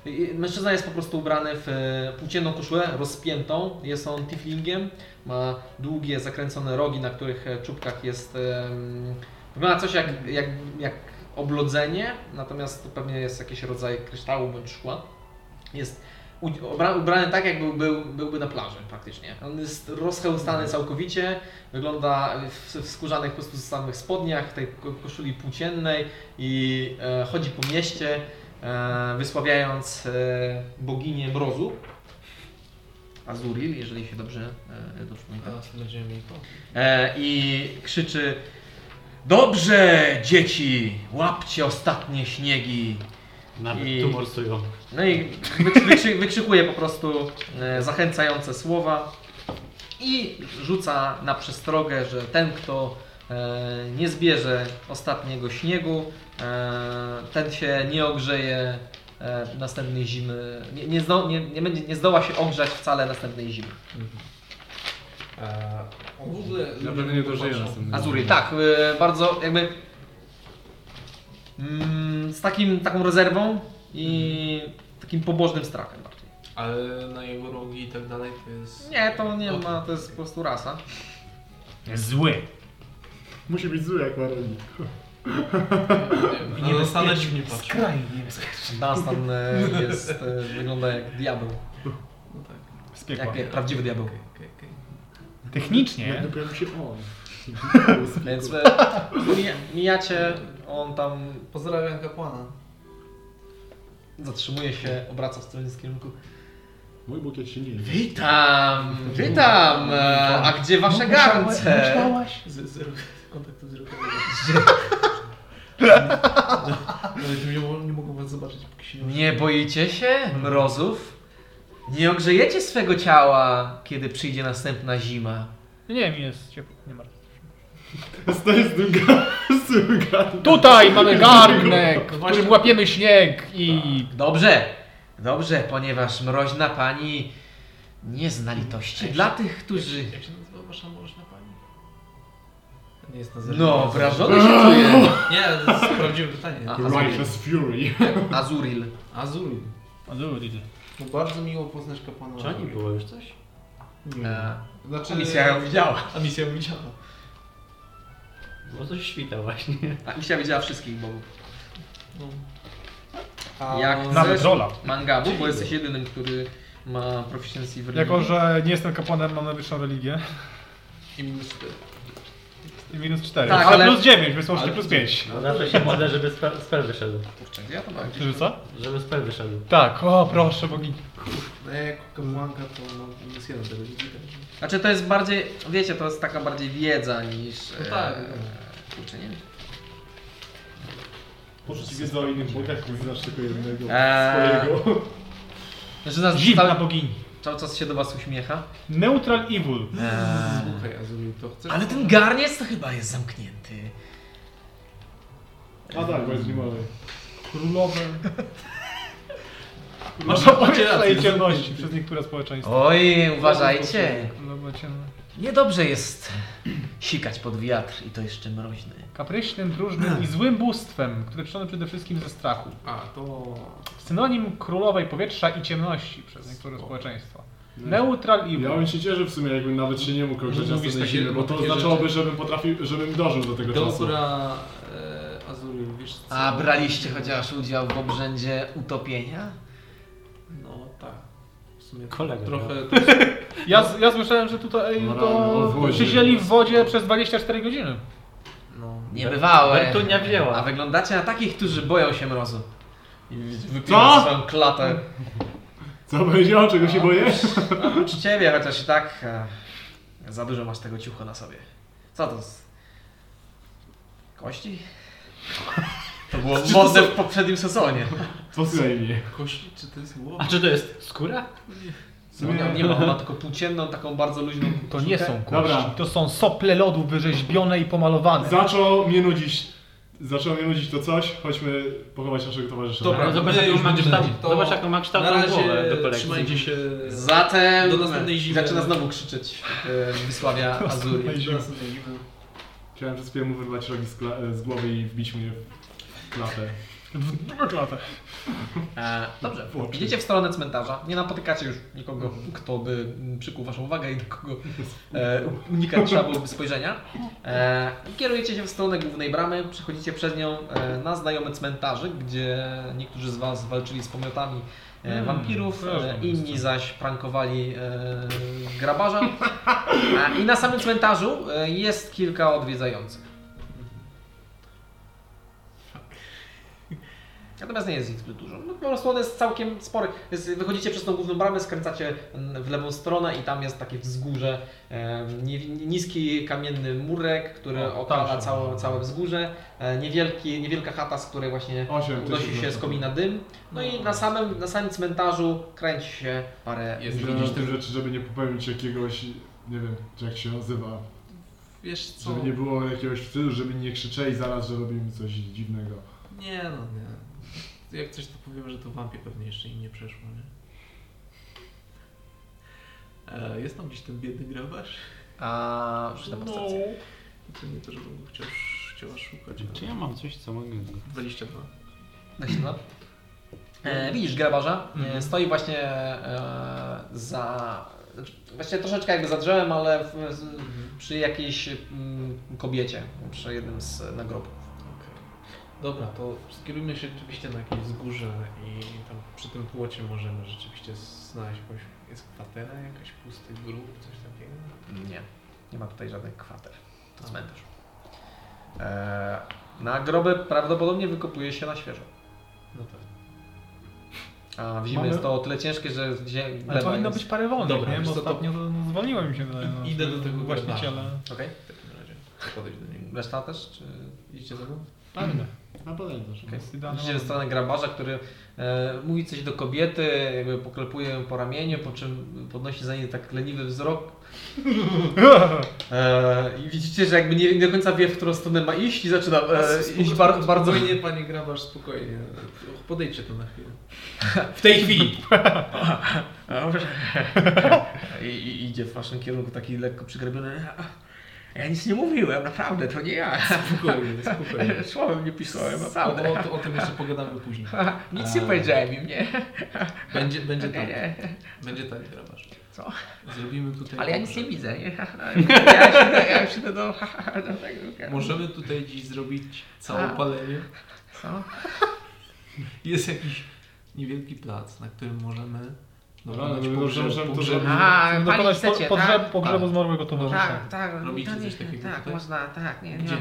S1: i- i Mężczyzna jest po prostu ubrany w e, płócienną koszulę, rozpiętą. Jest on tiflingiem, ma długie, zakręcone rogi, na których e, czubkach jest. em, Wygląda coś jak, jak, jak oblodzenie, natomiast to pewnie jest jakiś rodzaj kryształu bądź szkła. Jest u- obra- ubrany tak, jakby był, byłby na plaży praktycznie. On jest rozchełstany
S5: Mhm.
S1: całkowicie, wygląda w, w skórzanych po prostu samych spodniach, tej ko- koszuli płóciennej i e, chodzi po mieście, e, wysławiając e, boginię mrozu. Azuril, jeżeli się dobrze, e, dobrze pamiętam.
S5: Teraz będziemy mieli to.
S1: E, I krzyczy: Dobrze, dzieci, łapcie ostatnie śniegi.
S4: Nawet
S1: I-
S4: tu morsują.
S1: No i wykrzy- wykrzy- wykrzykuje po prostu e, zachęcające słowa i rzuca na przestrogę, że ten, kto e, nie zbierze ostatniego śniegu, e, ten się nie ogrzeje e, następnej zimy. Nie, nie, zdo, nie, nie, będzie, nie zdoła się ogrzać wcale następnej zimy.
S5: W ogóle
S3: Na pewno E, nie dożyję następnego.
S1: Azuri,
S2: Mm.
S1: tak, y, bardzo jakby mm, z takim, taką rezerwą i takim pobożnym strachem bardziej.
S5: Ale na jego rogi i tak dalej to jest...
S1: Nie, to nie ma, to jest po prostu rasa.
S4: Zły.
S2: Musi być zły jak Maroni.
S5: Nie, nie dostanę dziwnie patrzę.
S9: Skrajnie.
S1: Dunstan e, jest, e, wygląda jak diabeł,
S5: No tak.
S9: Z
S1: jak
S9: piekła.
S1: e, prawdziwy diabeł.
S5: Okej, okej, okej.
S2: Jak
S9: Technicznie
S2: dopiero się on.
S1: Więc e, mija, mijacie, on tam
S5: Pozdrawiam kapłana.
S1: zatrzymuje się, obraca w stronę z kierunku.
S2: Mój Bóg, jak się nie je.
S1: Witam, witam, e, a gdzie wasze garnce?
S5: Z, z, kontaktu wzrokowego. Nawet nie, mo- nie mogą was zobaczyć, póki się nie
S1: Nie boicie się mrozów? Nie ogrzejecie swego ciała, kiedy przyjdzie następna zima.
S9: Nie, mi jest ciepło, nie martw.
S2: Stoi z tym ga- z tym gadem.
S9: Tutaj mamy garnek, w którym łapiemy śnieg i...
S1: Tak. Dobrze, dobrze, ponieważ mroźna pani nie zna litości dla tych, którzy...
S5: Jak się nazywa wasza mrożna pani? To Nie jest na
S1: No, wrażony się czuje.
S5: Nie, to jest prawdziwe pytanie.
S1: A,
S2: Righteous Fury.
S1: Azuril.
S5: Azul.
S9: Azuri.
S5: No bardzo miło poznać kapłana.
S4: Czy oni było już coś?
S5: Nie.
S1: E,
S5: Znaczy,
S1: misja ją widziała.
S5: A misja ją widziała.
S4: Bo coś świta właśnie.
S1: A Tak, misja widziała wszystkich bogów.
S5: No.
S1: Jak
S5: A-
S1: na-
S9: Nawet rola.
S1: Mangabu, bo jesteś jedynym, który ma proficiency w religii.
S9: Jako, że nie jestem kapłanem, mam najwyższą religię.
S5: I minus 4.
S9: I minus 4.
S1: Tak,
S9: ale,
S1: ale-
S9: plus 9, więc łącznie
S5: ale-
S9: plus 5.
S4: No na to się modlę, żeby spel, spel wyszedł.
S1: Kurczę, gdzie ja to mam?
S9: Czy co?
S4: Żeby spel wyszedł.
S9: Tak, o proszę bogini.
S5: No ja jako kapłanka to mam minus 1 tego widzika. także-
S1: Znaczy to jest bardziej, wiecie, to jest taka bardziej wiedza niż...
S5: No tak,
S1: e,
S5: no.
S1: Kurczę, nie wiem.
S2: Poszli wiedzą o innych bogach, nie znasz tylko jednego.
S1: Eee.
S2: Swojego.
S1: Znaczy nas
S9: Dziwna
S1: cały,
S9: bogini.
S1: cały czas się do was uśmiecha.
S9: Neutral evil.
S5: Słuchaj, Azul, to chcesz?
S1: Ale ten garniec to chyba jest zamknięty.
S2: A tak, bo jest niemały.
S9: Królowe.
S5: Masz-
S9: Masz
S5: macie rację.
S9: i No, ciemności przez niektóre społeczeństwa. No,
S1: Oj,
S6: No,
S1: uważajcie.
S9: Królowe ciemne.
S1: Niedobrze jest sikać pod wiatr i to jeszcze mroźny.
S9: Kapryśnym, próżnym i złym bóstwem, które przyszło przede wszystkim ze strachu.
S5: A, to...
S9: Synonim królowej powietrza i ciemności przez niektóre społeczeństwa. Neutral evil.
S2: Ja bym się cieszył w sumie, jakbym nawet się nie mógł ogrzeć
S5: Mówisz
S2: na tej
S5: takie-
S2: zimie, bo to
S5: takie
S2: oznaczałoby,
S5: rzeczy.
S2: żebym potrafił, żebym dążył do tego czasu.
S5: Dobra, e, Azul, wiesz co?
S1: A braliście chociaż udział w obrzędzie utopienia?
S5: No tak. W sumie
S4: Kolega, No,
S5: trochę...
S9: Ja, ja słyszałem, że tutaj
S4: Moralny
S9: to
S2: odwodzie.
S9: siedzieli w wodzie przez 24 godziny.
S5: No.
S1: Nie bywałe.
S4: Bertunia wzięła.
S1: A wyglądacie na takich, którzy boją się mrozu. I wypina swoją klatę.
S2: Co powiedział, czego się boję?
S1: Oprócz ciebie, chociaż i tak e, za dużo masz tego ciucha na sobie. Co to? Z... Kości? To było modne w poprzednim sezonie.
S2: Posłuchaj mnie.
S5: Kości, czy to jest
S4: A
S5: łowa?
S4: czy to jest skóra?
S1: No, nie, nie ma, ona tylko płócienną, taką bardzo luźną
S9: To nie są kości,
S2: Dobra.
S9: to są sople lodu wyrzeźbione i pomalowane.
S2: Zaczął mnie nudzić. Zaczął mnie nudzić to coś, chodźmy pochować naszego towarzysza.
S5: Dobra.
S4: No, zobacz,
S5: nie,
S4: jaką
S5: już
S4: ma
S5: będzie
S4: kształt,
S5: lepiej. To
S4: zobacz jaką ma kształt
S5: Na razie
S4: głowę do
S5: trzymajcie
S4: kolekcji.
S5: się...
S1: Zatem
S5: Do następnej zimy.
S1: zaczyna znowu krzyczeć, e, wysławia Azurię.
S5: Do następnej zimy.
S2: Chciałem przez chwilę mu wyrwać rogi z, kla- z głowy i wbić mnie w klatę.
S1: E, dobrze,
S2: W oczy.
S1: idziecie w stronę cmentarza, nie napotykacie już nikogo, kto by mm, przykuł waszą uwagę i do kogo e, unikać trzeba byłoby spojrzenia. E, i kierujecie się w stronę głównej bramy, przechodzicie przez nią e, na znajomy cmentarzy, gdzie niektórzy z was walczyli z pomiotami e, wampirów,
S3: kojarzą
S1: e,
S3: miejsce.
S1: inni zaś prankowali e, grabarza. A, I na samym cmentarzu e, jest kilka odwiedzających. Natomiast nie jest ich zbyt dużo. No, po prostu on jest całkiem spory. Jest, wychodzicie przez tą główną bramę, skręcacie mm, w lewą stronę i tam jest takie wzgórze, e, nie- niski kamienny murek, który
S3: O, tam
S1: opala
S3: się-
S1: całe, całe wzgórze, e, niewielki, niewielka chata, z której właśnie
S2: Osiem,
S1: unosi
S2: tysięcy.
S1: się z komina dym. No i na samym, na samym cmentarzu kręci się parę...
S5: Jest
S2: Że
S5: widzisz
S2: w tym rzeczy, żeby nie popełnić jakiegoś, nie wiem, czy jak się nazywa,
S5: Wiesz co?
S2: żeby nie było jakiegoś wstydu, żeby nie krzyczeli zaraz, że robimy coś dziwnego.
S5: Nie no, nie. Jak coś to powiem, że to wampie pewnie jeszcze im nie przeszło, nie? E, jest tam gdzieś ten biedny grabarz?
S1: A, już tam no.
S5: To nie to, żebym go chciał, chciała szukać. ale-
S4: Czy ja mam coś, co mogę...
S5: 22.
S9: Mhm.
S1: E, widzisz grabarza, e, stoi właśnie e, za... znaczy, Właściwie troszeczkę jakby za drzewem, ale w, z,
S9: Mhm.
S1: przy jakiejś mm, kobiecie, przy jednym z nagrobków.
S5: Okej. Dobra, to skierujmy się rzeczywiście na jakieś wzgórze i tam przy tym płocie możemy rzeczywiście znaleźć jakąś, jest kwatera jakaś, pusty grób, coś takiego.
S1: Nie, nie ma tutaj żadnych kwater. To cmentarz. E, nagroby prawdopodobnie wykopuje się na świeżo.
S5: No tak.
S1: A w zimie jest to o tyle ciężkie, że zie-
S9: Ale
S1: gleba
S9: powinno
S1: jest-
S9: być parę wolnych,
S5: Dobra,
S9: nie?
S5: wiesz
S9: Bo
S5: co, to-
S9: ostatnio to... no, zwaliło mi się wydaje. No,
S5: Idę do tego
S9: właściciela.
S1: Okej.
S5: W takim razie, chcę podejść do niego.
S1: Reszta też? Czy...
S5: Idziecie ze mną?
S9: Pewnie.
S5: No,
S2: A potem też.
S1: Okej.
S9: Jest idealny
S1: Widzicie ze strony grabarza, który e, mówi coś do kobiety, jakby poklepuje ją po ramieniu, po czym podnosi za niej tak leniwy wzrok. E, I widzicie, że jakby nie, nie do końca wie, w którą stronę ma iść i zaczyna e, iść bar, bardzo...
S5: Spokojnie, panie grabarz, spokojnie. Podejdźcie tu na chwilę.
S1: W tej chwili! I, i, idzie w waszym kierunku taki lekko przygrabiony. Ja nic nie mówiłem, naprawdę, to nie ja.
S5: Spokojnie, spokojnie.
S1: Słowem nie pisałem,
S5: O, o, o tym jeszcze pogadamy później.
S1: Nic nie powiedziałem im, nie?
S5: Będzie, będzie
S1: Nie,
S5: tak,
S1: nie.
S5: będzie tak grabarz.
S1: Co?
S5: Zrobimy tutaj...
S1: Ale ja nic nie widzę, nie? Ja się, ja się do, do tego.
S5: Możemy tutaj dziś zrobić
S1: A.
S5: całopalenie.
S1: Co?
S5: Jest jakiś niewielki plac, na którym możemy dokonać
S2: No, ale
S5: pogrzeb,
S2: możemy to
S5: pogrzeb,
S2: zrobić.
S1: A, pani
S9: Dokonać po,
S1: chcecie,
S9: pogrzeb,
S1: tak?
S9: pogrzebu zmarłego towarzysza.
S1: Tak, tak,
S5: Robicie
S1: to nie-
S5: coś takiego
S1: tak,
S5: tutaj?
S1: można, tak, nie, nie. no.
S5: Gdzie?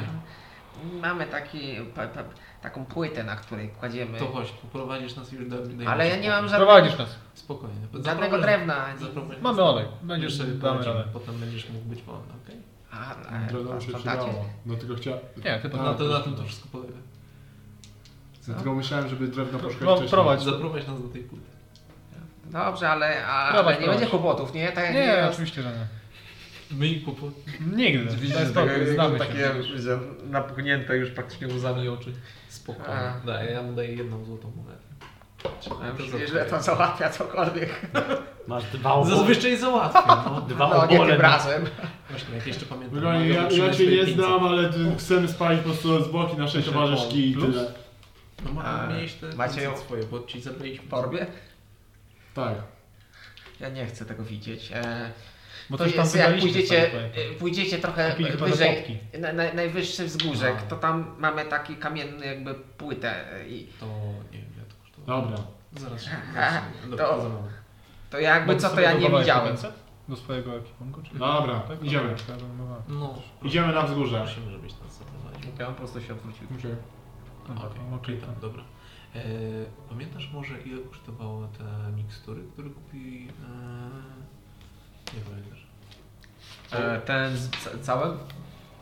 S1: Mamy taki, pa, pa, taką płytę, na której kładziemy,
S5: To chodź, poprowadzisz nas i już daj, daj
S1: ale
S5: mi
S1: ja nie mam żadnego,
S6: Prowadzisz nas.
S5: Spokojnie.
S1: żadnego
S5: Zaprowadź-
S1: drewna. ani-
S5: zaprowadź
S6: Mamy
S5: nas.
S6: olej.
S5: Już
S6: Będziesz
S5: sobie
S6: sobie damy
S5: poradzimy,
S6: radę.
S5: potem będziesz mógł być wolny, okej?
S2: Tak,
S1: A,
S2: Droga
S1: a,
S2: mu się
S1: sprzątacie?
S2: przydało. No tylko chciałem.
S6: Nie, ty
S2: Tak,
S5: Na, No, to, na
S2: proszę
S5: tym to
S2: bardzo.
S5: wszystko polega.
S2: Ja Tylko myślałem, żeby drewno
S6: Pro-
S2: poszkodzić wcześniej.
S6: prowadź.
S5: Zaprowadź nas do tej płyty.
S1: Dobrze, ale, a,
S6: Prowadź,
S1: ale nie
S6: prowadź.
S1: będzie kłopotów, nie? Tak, jak
S9: Nie,
S1: nieraz.
S9: oczywiście, że nie.
S5: My i kłopot.
S6: Nigdy. To jest to, znamy się.
S1: że napchnięte już praktycznie łzami oczy.
S5: Spokojnie.
S1: A.
S5: Daj, ja mu daję jedną złotą monetę. Trzymaj, to
S1: Źle
S5: zapłacę.
S1: to załatwia cokolwiek.
S4: Masz dwa obole,
S5: Zazwyczaj załatwiam. No.
S4: dwa
S1: No nie
S4: obole
S1: tym
S4: na
S1: razem.
S5: Właśnie, jak jeszcze pamiętam.
S2: Wygląda, ja, ja cię nie znam, ale ty- chcemy spalić po prostu zwłoki naszej
S6: Jeszcze
S2: towarzyszki i
S6: plus?
S2: tyle.
S5: No ma,
S1: A,
S5: mieliście
S1: macie ją?
S5: swoje, bo ci zabraliśmy.
S1: W torbie?
S2: Tak.
S1: Ja nie chcę tego widzieć. E,
S6: Bo
S1: to
S6: coś tam
S1: jest, jak
S6: wydaliście
S1: pójdziecie,
S6: sobie, pamiętam.
S1: e, pójdziecie trochę
S6: Kupili chyba
S1: wyżej,
S6: zabawki.
S1: na, No. na, najwyższy wzgórzek, to tam mamy taki kamienny jakby płytę e, i
S5: To nie wiem, ja to kosztowało.
S2: Dobra.
S5: Zaraz się
S1: Aha, No to-
S5: Dobra,
S1: to jakby
S6: Bo
S1: co
S6: ty
S1: to
S6: sobie
S1: ja nie
S6: dodawałeś
S1: widziałem.
S6: ręce Do swojego ekwipunku? Czy...
S2: Dobra,
S6: Tak?
S2: idziemy.
S6: Tak, tak, dobra.
S5: No,
S2: Idziemy na wzgórze.
S5: musimy, żebyś nas zaprowadził.
S1: Ja on prosto się odwrócił.
S2: Okej.
S6: No
S5: Okej,
S6: tak, no,
S5: czyli
S6: czyli
S5: tam,
S6: tak.
S5: dobra. E, pamiętasz może ile kosztowały te mikstury, które kupili? E, nie pamiętasz.
S1: E, ten z ca- całym?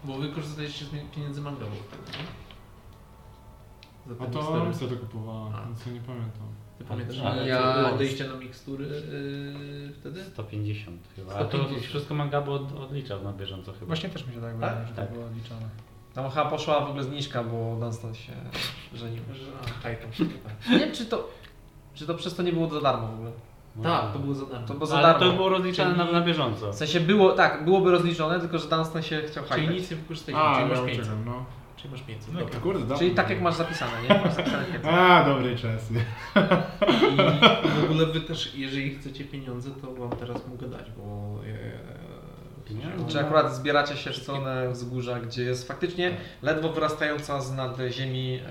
S5: Bo wy korzystaliście z mi- pieniędzy mangabu wtedy, nie? Za
S2: A
S5: te
S2: to
S5: mikstury.
S2: Amsa to kupowała,
S5: A.
S2: więc ja nie pamiętam.
S5: Ty pamiętasz,
S4: Ale
S5: ale
S1: ja-
S5: ja... odejście na mikstury e, wtedy?
S4: 150 chyba. A to
S5: 150.
S4: wszystko Mangabo od, odliczał na bieżąco chyba.
S6: Właśnie też mi się tak wydaje, że to było liczone.
S1: Tam chyba poszła w ogóle zniżka, bo Dunstan się żenił.
S5: Że- A, tak, tam się tak.
S1: Nie wiem, czy to, czy to przez to nie było za darmo w ogóle.
S4: Może.
S5: Tak, to było za darmo.
S1: To było
S4: Ale
S1: za darmo.
S4: to było rozliczane na, na bieżąco.
S1: W sensie było, tak, byłoby rozliczone, tylko że Dunstan się chciał
S5: Czyli
S1: hajtać.
S5: nic nie wykorzystaliśmy,
S2: A,
S5: czyli masz
S2: no
S5: 500.
S2: czekam, no.
S5: Czyli masz 500, dobra.
S2: Kurde, dobra.
S1: Czyli tak jak masz zapisane, nie? Masz zapisane kiedy.
S2: A, dobrej czasy.
S5: I w ogóle wy też, jeżeli chcecie pieniądze, to wam teraz mogę dać, bo...
S4: Pieniądze?
S1: Czy akurat zbieracie się w stronę wzgórza, gdzie jest faktycznie ledwo wyrastająca z nad ziemi em,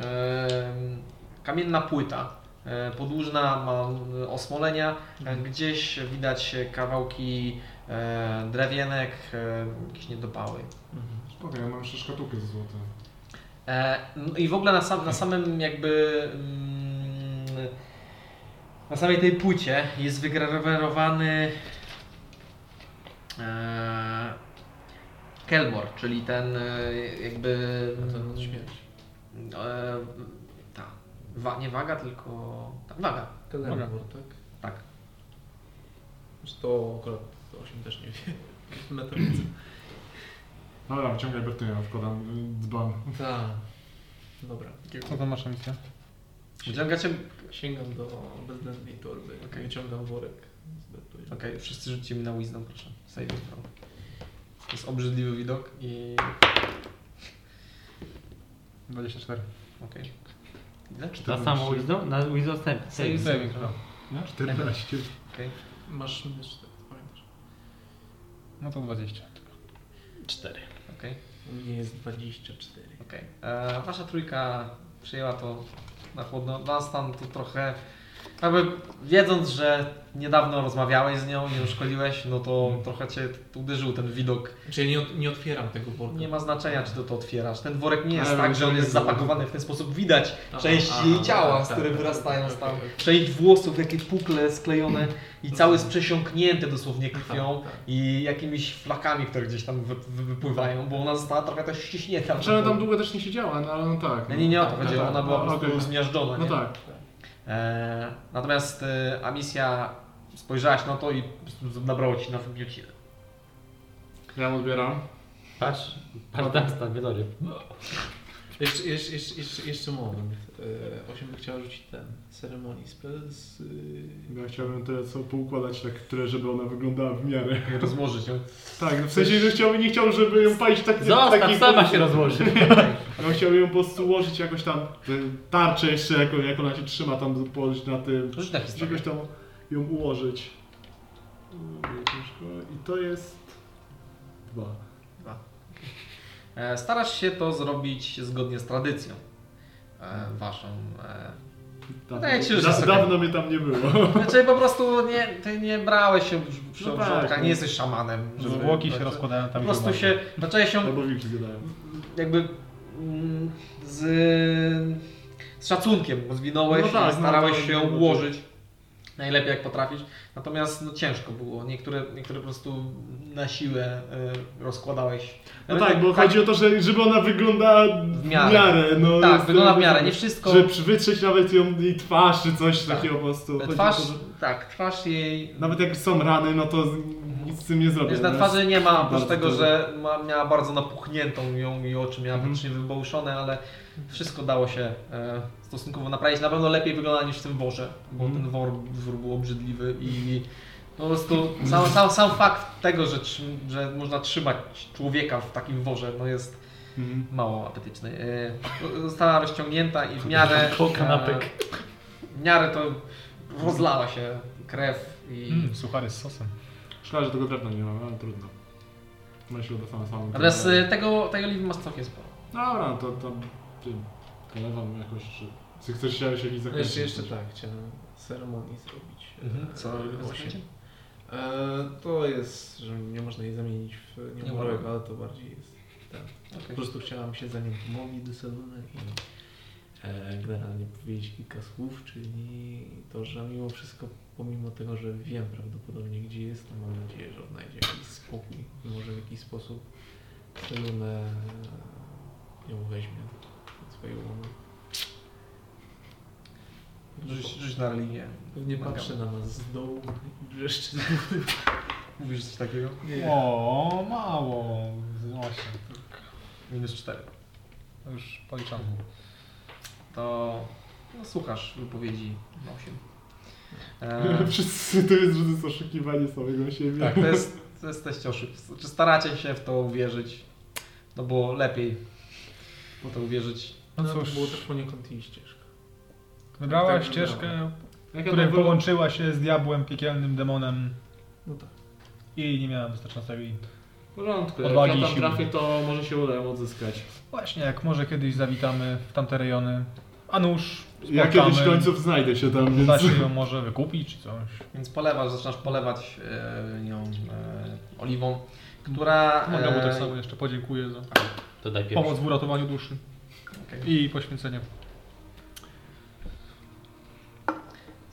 S1: kamienna płyta, e, podłużna, ma e, osmolenia, e, gdzieś widać kawałki e, drewienek, e, jakieś niedopały.
S2: Spoko, ja mam jeszcze szkatułkę ze złotem.
S1: E, no I w ogóle na, sam, na samym jakby. Mm, na samej tej płycie jest wygrawerowany e, Kelmor, czyli ten e, jakby.
S5: Ten od śmierci.
S1: E, ta. Wa, nie waga, tylko. Ta, waga.
S5: Kelebor, tak?
S1: Tak.
S5: Czy to akurat 8 też nie wie. Metrowicy.
S2: Dobra, wyciągaj Bertunia, wkładam y, dzban.
S5: Tak. Dobra.
S9: Co tam masz na misję?
S1: Wyciągacie.
S5: Sięgam do bezwzględnej torby.
S1: Okej.
S5: Wyciągam worek. Zbetuję.
S1: Okej, wszyscy rzućcie mi na Wisdom, proszę. Save it from. To jest obrzydliwy widok i.
S9: 24.
S1: Okej. Ile?
S4: Na samą Wisdom? Na Wisdom
S1: Save,
S4: Saving.
S9: Saving throw.
S2: Ja? 14.
S1: Okej.
S5: Masz minus 4, pamiętasz?
S9: No to 20.
S4: 4.
S1: Okej.
S5: U mnie jest 24.
S1: Okej. E, Wasza trójka przyjęła to na chłodno. Dunstan tu trochę, jakby wiedząc, że niedawno rozmawiałeś z nią, nie uszkodziłeś, no to
S5: Mhm.
S1: trochę cię t- uderzył ten widok.
S5: Znaczy ja nie, od, nie otwieram tego worka.
S1: Nie ma znaczenia, czy to to otwierasz. Ten worek nie jest
S2: Ale
S1: tak, że on jest
S2: rozumiem.
S1: zapakowany w ten sposób. Widać
S5: Aha,
S1: część
S5: aha,
S1: jej ciała,
S5: tak,
S1: z której
S5: tak,
S1: wyrastają
S5: tak,
S1: tam.
S5: tak, tak.
S1: Część włosów, jakie pukle sklejone i cały jest przesiąknięty dosłownie
S5: Tak,
S1: krwią
S5: tak.
S1: i jakimiś flakami, które gdzieś tam wy, wy, wypływają, bo ona została trochę też ściśnięta.
S2: Znaczy ona tam długo też nie siedziała, no ale no tak.
S1: Nie, nie, nie o to
S2: Tak,
S1: chodzi,
S2: tak,
S1: ona była
S2: no,
S1: po prostu
S2: okej.
S1: zmiażdżona.
S2: No
S1: nie?
S2: tak.
S1: E, natomiast e, Amisja spojrzałaś na to i po prostu nabrało ci na wygniucinę.
S2: Ja odbieram.
S4: Patrz, patrz Dunstan, wieloryb.
S5: Jeszcze, jeszcze, jeszcze, jeszcze, jeszcze moment. E, Osiem by chciała rzucić ten ceremonii spell z... y,
S2: Ja chciałbym te co poukładać tak, które, żeby ona wyglądała w miarę.
S1: Rozłożyć ją.
S2: Tak, no w sensie, że chciałbym, nie chciał, żeby ją palić tak,
S4: Zostaw,
S2: takich...
S4: sama się rozłoży.
S2: Ja chciałbym ją po prostu ułożyć jakoś tam, y, tarczę jeszcze, jak, jak ona się trzyma tam, położyć na tym,
S1: Rzuć na historię.
S2: czegoś tam ją ułożyć. I to jest... Dwa.
S1: E, starasz się to zrobić zgodnie z tradycją e, waszą. E, Wydaje ci się, że
S2: da,
S1: jest okej.
S2: dawno mnie tam nie było.
S1: znaczy po prostu nie, ty nie brałeś się w przy
S2: No
S1: no
S2: tak, no.
S1: nie jesteś szamanem. żeby-
S9: Zwłoki się
S5: Tak.
S1: znaczy,
S9: rozkładają tam
S1: Po
S9: gdzie
S1: prostu
S9: uważasz.
S1: się, zaczęłeś się
S2: Albo wilki zjadają.
S1: jakby mm, z, z szacunkiem rozwinąłeś
S2: No
S1: i
S2: tak, no
S1: starałeś
S2: tak,
S1: się
S2: no tak.
S1: ułożyć najlepiej jak potrafisz. Natomiast no, ciężko było. Niektóre, niektóre po prostu na siłę y, rozkładałeś.
S2: No
S1: Nawet
S2: tak, bo chodzi o to, że, żeby ona wyglądała w
S1: W
S2: miarę.
S1: miarę.
S2: no,
S1: Tak,
S2: jest-
S1: wygląda w miarę, nie wszystko.
S2: Że przy- wytrzeć nawet ją, jej twarz czy coś
S1: Tak.
S2: takiego po prostu. Chodzi o
S1: Twarz,
S2: to, że-
S1: tak, twarz jej...
S2: Nawet jak są rany, no to z- nic z tym nie zrobię.
S1: Wiesz, na
S2: no.
S1: twarzy nie ma, oprócz
S2: Bardzo
S1: tego,
S2: trudno.
S1: że ma, miała bardzo napuchniętą ją i oczy miała praktycznie wybałuszone, ale wszystko dało się e, stosunkowo naprawić. Na pewno lepiej wygląda niż w tym worze, bo ten wor, wór był obrzydliwy i po prostu sam, sam, sam fakt tego, że, trzym- że można trzymać człowieka w takim worze, no jest
S2: Mhm.
S1: mało apetyczny. E, została rozciągnięta i w miarę...
S4: Koło kanapek.
S1: E, w miarę to rozlała się krew i...
S9: Mm, suchary z sosem.
S2: Szkoda, że tego drewna nie mam, ale trudno. Myślę, że dostanę samą.
S1: Natomiast e, tego, tego liwi masz całkiem sporo.
S2: Dobra, no to tam tym kalewam jakoś, czy... Czy chcesz się jakiś
S5: No
S2: zakończyć?
S5: jeszcze, jeszcze tak, chciałem ceremonii zrobić. E,
S1: Mhm. Co?
S5: osiem. E, to jest, że nie można jej zamienić w nieumorłego, ale to bardziej jest Po
S1: Okej.
S5: prostu chciałam się za nim pomodlić do Seluna i e, generalnie powiedzieć kilka słów, czyli to, że mimo wszystko, pomimo tego, że wiem prawdopodobnie gdzie jest, to mam nadzieję, że odnajdzie jakiś spokój i może w jakiś sposób Selunę ją weźmie pod swoje łono.
S1: Rzuć, rzuć na religię.
S5: Pewnie patrzy na nas z dołu i wrzeszczy.
S1: Mówisz coś takiego?
S5: Nie.
S9: O, mało. Właśnie.
S1: Minus 4.
S9: Już policzam.
S1: To no, słuchasz wypowiedzi 8.
S2: Wszyscy to jest, że to jest oszukiwanie samego siebie.
S1: tak, to jest, to jesteście oszustw. Czy staracie się w to uwierzyć? No bo lepiej w to uwierzyć.
S9: No
S5: No
S9: cóż.
S5: Było też poniekąd jej ścieżka.
S9: Wybrała
S5: Tak, tak
S9: ścieżkę,
S2: Jak
S9: której
S2: ona była-
S9: połączyła się z diabłem, piekielnym demonem
S5: No tak.
S9: i nie miała wystarczającej
S2: W porządku, jak
S9: Odwagi
S2: ja
S9: i
S2: tam
S9: siły.
S2: trafię, to może się uda ją odzyskać.
S9: Właśnie, jak może kiedyś zawitamy w tamte rejony, A nóż.
S2: Ja kiedyś w końcu znajdę się tam, więc...
S9: Da się ją może wykupić czy coś.
S1: Więc polewasz, zaczynasz polewać e, nią e, oliwą, która...
S9: Mogę mu
S1: e,
S9: tak samo jeszcze podziękuję za
S5: Tak
S4: To daj pierwszy.
S9: pomoc w uratowaniu duszy
S1: okej.
S9: i poświęcenie.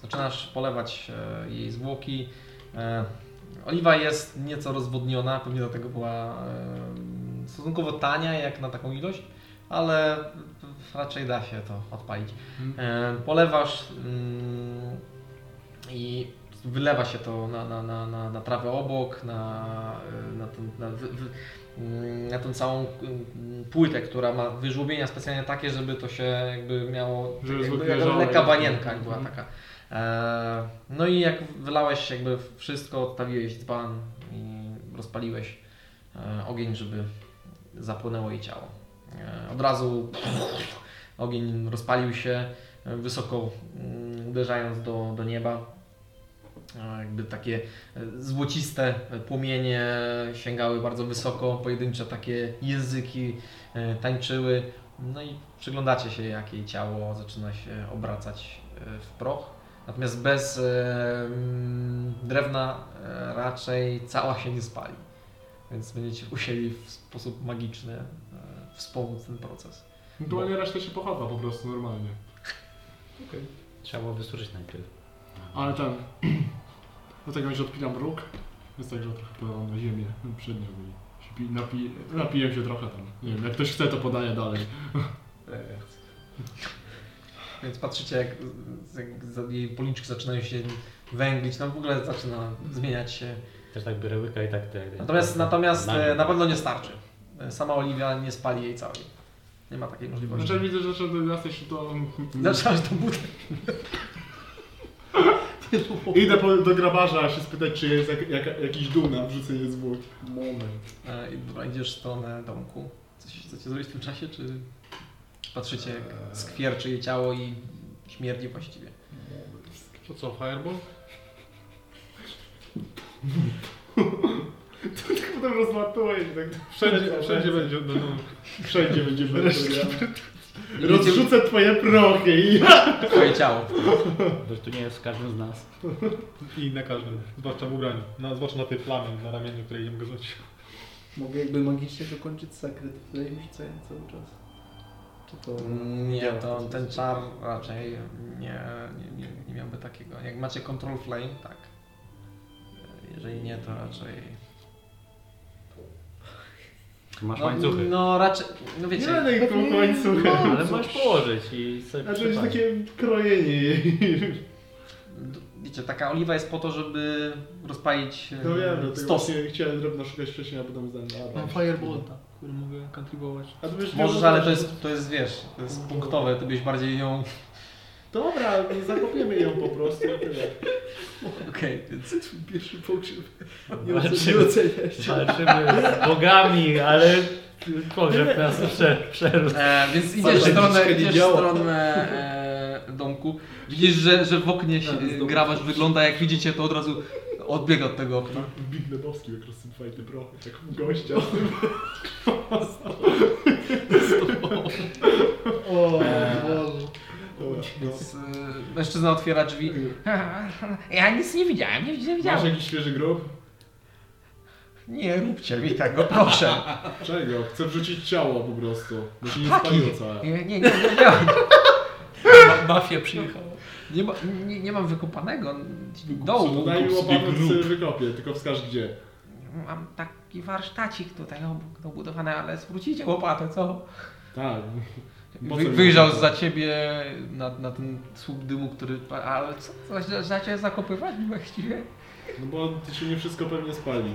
S1: Zaczynasz polewać e, jej zwłoki. E, Oliwa jest nieco rozwodniona, pewnie dlatego była e, stosunkowo tania jak na taką ilość, ale raczej da się to odpalić.
S2: Mhm.
S1: E, Polewasz mm, i wylewa się to na, na, na, na, na trawę obok, na, e, na, ten, na, wy, wy, mm, na tą całą mm, płytę, która ma wyżłobienia specjalnie takie, żeby to się jakby miało
S2: Żeby
S1: jakby,
S2: zwykle Mhm.
S1: jak
S2: żałość.
S1: lekka wanienka była taka. E, No i jak wylałeś jakby wszystko, odstawiłeś dzban i rozpaliłeś e, ogień, żeby zapłynęło jej ciało. E, Od razu ogień rozpalił się e, wysoko, mm, uderzając do, do nieba. E, Jakby takie e, złociste płomienie sięgały bardzo wysoko, pojedyncze takie języki e, tańczyły. No i przyglądacie się, jak jej ciało zaczyna się obracać e, w proch. Natomiast bez e, mm, drewna e, raczej cała się nie spali. Więc będziecie musieli w sposób magiczny e, wspomóc ten proces.
S2: Ewentualnie No, reszta się pochowa po prostu normalnie.
S4: Trzeba było wysuszyć najpierw. No,
S2: Ale ten... Do tego że odpinam róg, więc tak, że trochę polewam na ziemię przed nią i się pi- napi, napiję się trochę tam. Nie wiem, jak ktoś chce, to podaję dalej.
S13: E,
S1: Więc patrzycie, jak, jak za- jej policzki zaczynają się węglić, no w ogóle zaczyna zmieniać się.
S4: Też tak biorę łyka i tak... tak
S1: Natomiast, natomiast
S4: Na
S1: e,
S4: nim.
S1: na pewno nie starczy. E, Sama Oliwia nie spali jej całej. Nie ma takiej możliwości.
S2: Znaczy widzę, że że jesteś to...
S1: Zaczynasz do buty.
S2: Idę po, do grabarza się spytać, czy jest jak, jak, jakiś dół na wrzucenie zwłok. Moment.
S1: E, I dobra, idziesz w stronę domku. Coś chcecie zrobić w tym czasie, czy patrzycie,
S2: E.
S1: jak skwierczy jej ciało i śmierdzi właściwie?
S5: To co, fireball?
S2: Potem rozmatuję i tak...
S5: Wszędzie, wszędzie będzie, będą
S2: Wszędzie będzie Bertolia.
S1: Idziecie-
S2: Rozrzucę twoje prochy i...
S1: Twoje ciało.
S4: Bo to nie jest w każdym z nas.
S6: I na każdym, zwłaszcza w ubraniu. Na, zwłaszcza na tej plamie na ramieniu, której nie mogę rzucić.
S13: Mogę jakby magicznie dokończyć sekret, wydaje mi się cały, cały czas. Czy to...
S5: Mm.
S1: Nie, to ten czar raczej nie, nie, nie, nie miałby takiego. Jak macie control flame, tak. Jeżeli nie, to raczej...
S4: Tu masz
S1: No,
S4: łańcuchy.
S1: no raczej, no wiecie...
S2: Nie, no i tu końcu.
S4: Ale możesz położyć i sobie
S2: Znaczy będzie
S4: przypadnie.
S2: takie krojenie jej.
S1: d- Wiecie, taka oliwa jest po to, żeby rozpalić e,
S2: No wiem, dlatego
S1: stos. No,
S2: właśnie chciałem drewno szukać wcześniej, a potem zdałem.
S5: Mam Firebolt, który mogę kontrybować.
S2: A ty wiesz,
S1: Możesz, ale to jest, to jest, wiesz, to jest punktowe, ty byś bardziej ją...
S2: Dobra, no zakopiemy ją po prostu. i tyle.
S1: Okej, więc...
S13: Pierwszy pogrzeb.
S1: No,
S13: Nie
S4: Walczymy-
S13: oceniam.
S4: Walczymy z bogami, ale pogrzeb nas prze, przerósł.
S1: E, więc idziesz w
S13: Fajnie,
S1: stronę,
S13: wszystko nie
S1: idziesz w
S13: działa.
S1: stronę e, domku. Widzisz, że, że w oknie się,
S13: Tak, z domku.
S1: grawasz wygląda, jak widzicie, to od razu odbiega od tego okna.
S2: W Big Lebowski Tak, jak rozsypywaj te prochy, tak gościa.
S5: O, Boże.
S2: Dobra, no.
S1: Więc, e, mężczyzna otwiera drzwi. Ja nic nie widziałem, nie
S2: Masz
S1: widziałem.
S2: jakiś świeży grób?
S1: Nie róbcie mi tego, proszę.
S2: Czego? Chcę wrzucić ciało po prostu. Bo się nie
S1: Taki.
S2: spaliło całe.
S1: Nie, nie, nie, nie, miałem.
S5: Mafia przyjechała.
S1: nie, ma, nie, nie mam wykopanego
S2: No
S1: dołu.
S2: daj mi
S1: Kup sobie
S2: łopatę, sobie wykopię, tylko wskaż gdzie.
S1: Mam taki warsztacik tutaj obok dobudowany, ale zwrócicie łopatę, co?
S2: Tak. Po co
S1: Wy,
S2: mi
S1: wyjrzał
S2: to?
S1: za ciebie na, na ten słup dymu, który. Ale co, co za- za cię zakopywać właściwie?
S2: No bo ty się nie wszystko pewnie spali.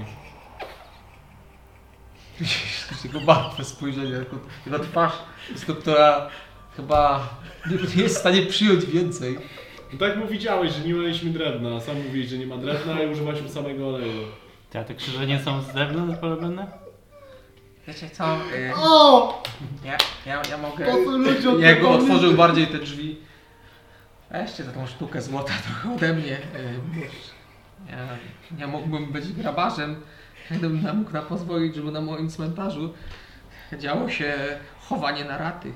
S1: Jego martwe spojrzenie, jako- jego twarz, z która chyba nie- nie jest w stanie przyjąć więcej.
S2: No tak mu widziałeś, że nie mieliśmy drewna, a sam mówiłeś, że nie ma drewna i używaliśmy samego oleju.
S4: Te, te krzyże nie są z zewnątrz porobione?
S1: Wiecie co? y,
S2: O!
S1: Ja, ja, ja mogę.
S2: Po co ludzie od
S1: Jego
S2: tego
S1: otworzył bardziej te drzwi. Weźcie za tą sztukę złota trochę ode mnie. y, Ja, ja mógłbym być grabarzem, gdybym nam mógł na pozwolić, żeby na moim cmentarzu działo się chowanie na raty.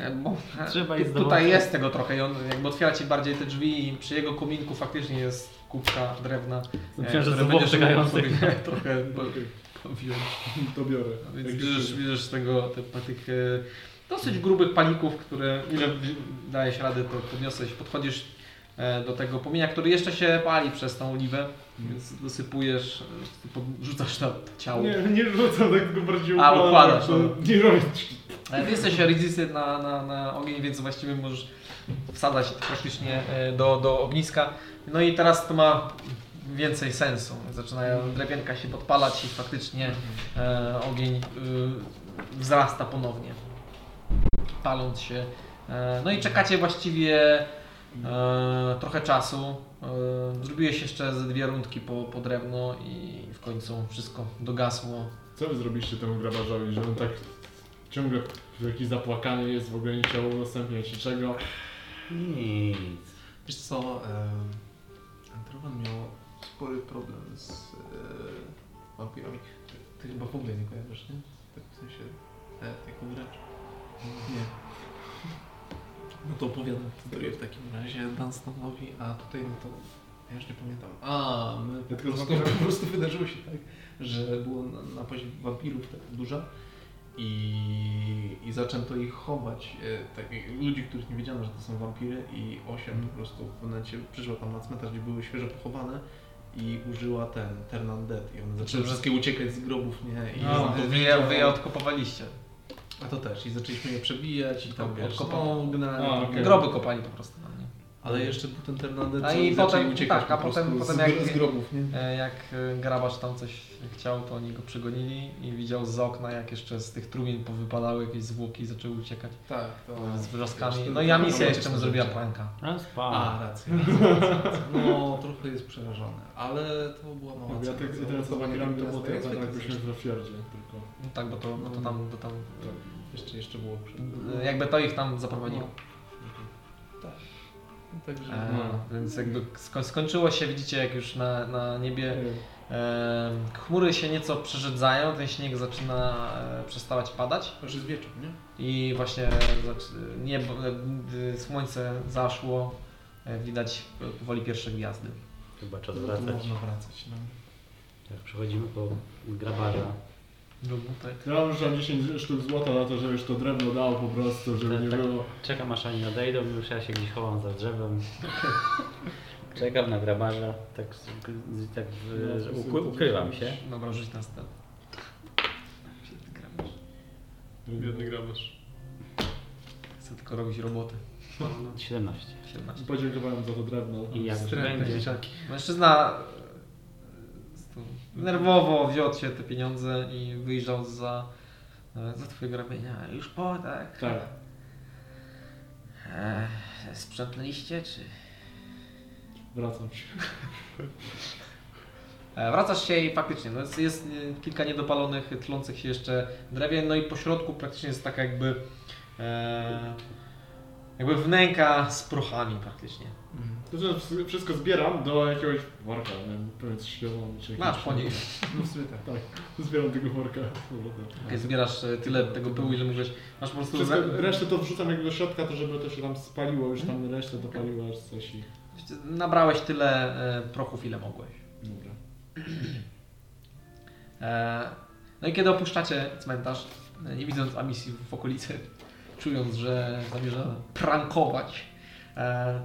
S1: E, Bo
S4: Trzeba
S1: Trzeba
S4: jest
S1: jest
S4: dowolny.
S1: tutaj jest tego trochę i on jakby otwiera ci bardziej te drzwi i przy jego kominku faktycznie jest kubka drewna. e,
S4: Myślałem, że
S1: które
S4: znowu
S1: będziesz mógł
S4: obczekających.
S1: sobie trochę powiąć.
S2: To biorę.
S1: Więc
S2: Jak
S1: bierzesz,
S2: się-
S1: bierzesz z tego te, tych e, dosyć grubych palików, które ile dajesz radę, to podniosłeś. Podchodzisz e, do tego płomienia, który jeszcze się pali przez tą oliwę, więc dosypujesz, e, podrzucasz na ciało.
S2: Nie, nie rzucam, tak tylko bardziej
S1: A,
S2: układam,
S1: układasz,
S2: to
S1: no.
S2: Nie robię.
S1: E, Ty jesteś resistent na, na, na ogień, więc właściwie możesz wsadzać praktycznie e, do, do ogniska. No i teraz to ma więcej sensu. Zaczynają drewienka się podpalać i faktycznie e, ogień y, wzrasta ponownie, paląc się. E, no i czekacie właściwie e, trochę czasu. E, zrobiłeś jeszcze ze dwie rundki po, po drewno i w końcu wszystko dogasło.
S2: Co wy zrobiliście temu grabarzowi, że on tak ciągle jakiś zapłakany jest, w ogóle nie chciał udostępniać niczego?
S4: Nic.
S5: Wiesz co, Antrowan miał spory problem z e, wampirami. Ty, ty chyba w ogóle nie kojarzysz, nie? Tak w sensie, e, jako gracz. Nie. No to opowiadam historię w takim razie Dunstanowi, a tutaj no to ja już nie pamiętam. A, my po,
S2: Ja tylko
S5: prostu,
S2: zobaczyłem.
S5: po prostu wydarzyło się tak, że było na, napaść wampirów tak duża i, i zaczęto ich chować, e, takich ludzi, których nie wiedziano, że to są wampiry i osiem
S2: Mhm.
S5: po prostu w momencie przyszła tam na cmentarz, gdzie były świeżo pochowane i użyła ten, Ternandet i one zaczęły wszystkie uciekać z grobów, nie? I
S1: No,
S5: i-
S1: wy, je- wy je odkopowaliście.
S5: a to też. I zaczęliśmy je przebijać i tam
S1: Tam
S5: wiesz,
S1: odkopano.
S5: no, generalnie.
S2: A,
S5: tam-
S2: okej.
S1: Groby kopali po prostu. No, nie?
S5: Ale jeszcze był ten Ternandet,
S1: A
S5: co
S1: No i
S5: zaczęli
S1: potem-
S5: uciekać
S1: tak, a
S5: po prostu
S1: potem-
S5: z,
S1: potem jak-
S5: z grobów, nie?
S1: E, Jak e, grabarz tam coś chciał, to oni go przygonili i widział z okna, jak jeszcze z tych trumien powypadały jakieś zwłoki i zaczęły uciekać
S5: Tak, to...
S1: z wrzaskami. No i Amicia jeszcze mu zrobiła płanka.
S4: Raz,
S5: A, racja, racja, racja. No, trochę jest przerażony, ale to była mała
S2: Ja tak
S5: cena.
S2: teraz to nie robię, to było
S5: Zdaję
S2: teraz
S5: sobie to
S2: jakbyśmy w Rafiardzie tylko.
S1: No tak, bo to, bo to tam, bo tam
S5: Jeszcze, jeszcze było przed...
S1: e, jakby to ich tam zaprowadziło.
S5: No, Także...
S1: E, Więc jakby sko- skończyło się, widzicie jak już na, na niebie e, chmury się nieco przerzedzają, ten śnieg zaczyna e, przestawać padać.
S5: To już jest wieczór, nie?
S1: I właśnie zac- niebo, y, słońce zaszło, y, widać powoli pierwsze gwiazdy.
S4: Chyba czas
S5: No, to
S4: wracać.
S5: można wracać, no.
S4: Jak przechodzimy po grabarza.
S2: Ja już mam 10 sztuk złota na to, żebyś to drewno dał po prostu, żeby
S4: Tak,
S2: nie
S4: tak.
S2: było.
S4: Czekam aż oni odejdą, już ja się gdzieś chowam za drzewem. Czekam na grabarza, tak, z- z- tak w, że ukry, ukrywam się.
S1: Dobra, rzuć następny.
S2: Biedny grabarz.
S1: Chcę tylko robić roboty.
S4: 17.
S1: 17.
S2: Podziękowałem za to drewno.
S4: I jak już
S1: Stręte
S4: będzie,
S1: dzieciaki. Mężczyzna y, nerwowo wziął od siebie te pieniądze i wyjrzał za, e, za twojego ramienia. Już po, tak?
S2: Tak.
S8: E, sprzątnęliście, czy...
S2: Wracam się.
S1: E, Wracasz się i faktycznie no jest, jest e, kilka niedopalonych, tlących się jeszcze drewien, no i po środku praktycznie jest taka jakby e, jakby wnęka z prochami praktycznie.
S2: To znaczy, wszystko zbieram do jakiegoś worka, nie wiem, powiedz śpiewam czy
S1: Masz po niej,
S5: No w sumie tak.
S2: Tak, zbieram tego worka. z powrotem.
S1: jak zbierasz e, tyle tego pyłu, ile możesz, masz po prostu...
S2: Wszystko,
S1: za-
S2: resztę to wrzucam jakby do środka, to żeby to się tam spaliło, już tam
S4: Mhm.
S2: resztę dopaliło aż coś i...
S1: Nabrałeś tyle e, prochów, ile mogłeś.
S2: Dobra.
S1: E, No i kiedy opuszczacie cmentarz, e, nie widząc Amisji w okolicy, czując, że zamierza prankować, e,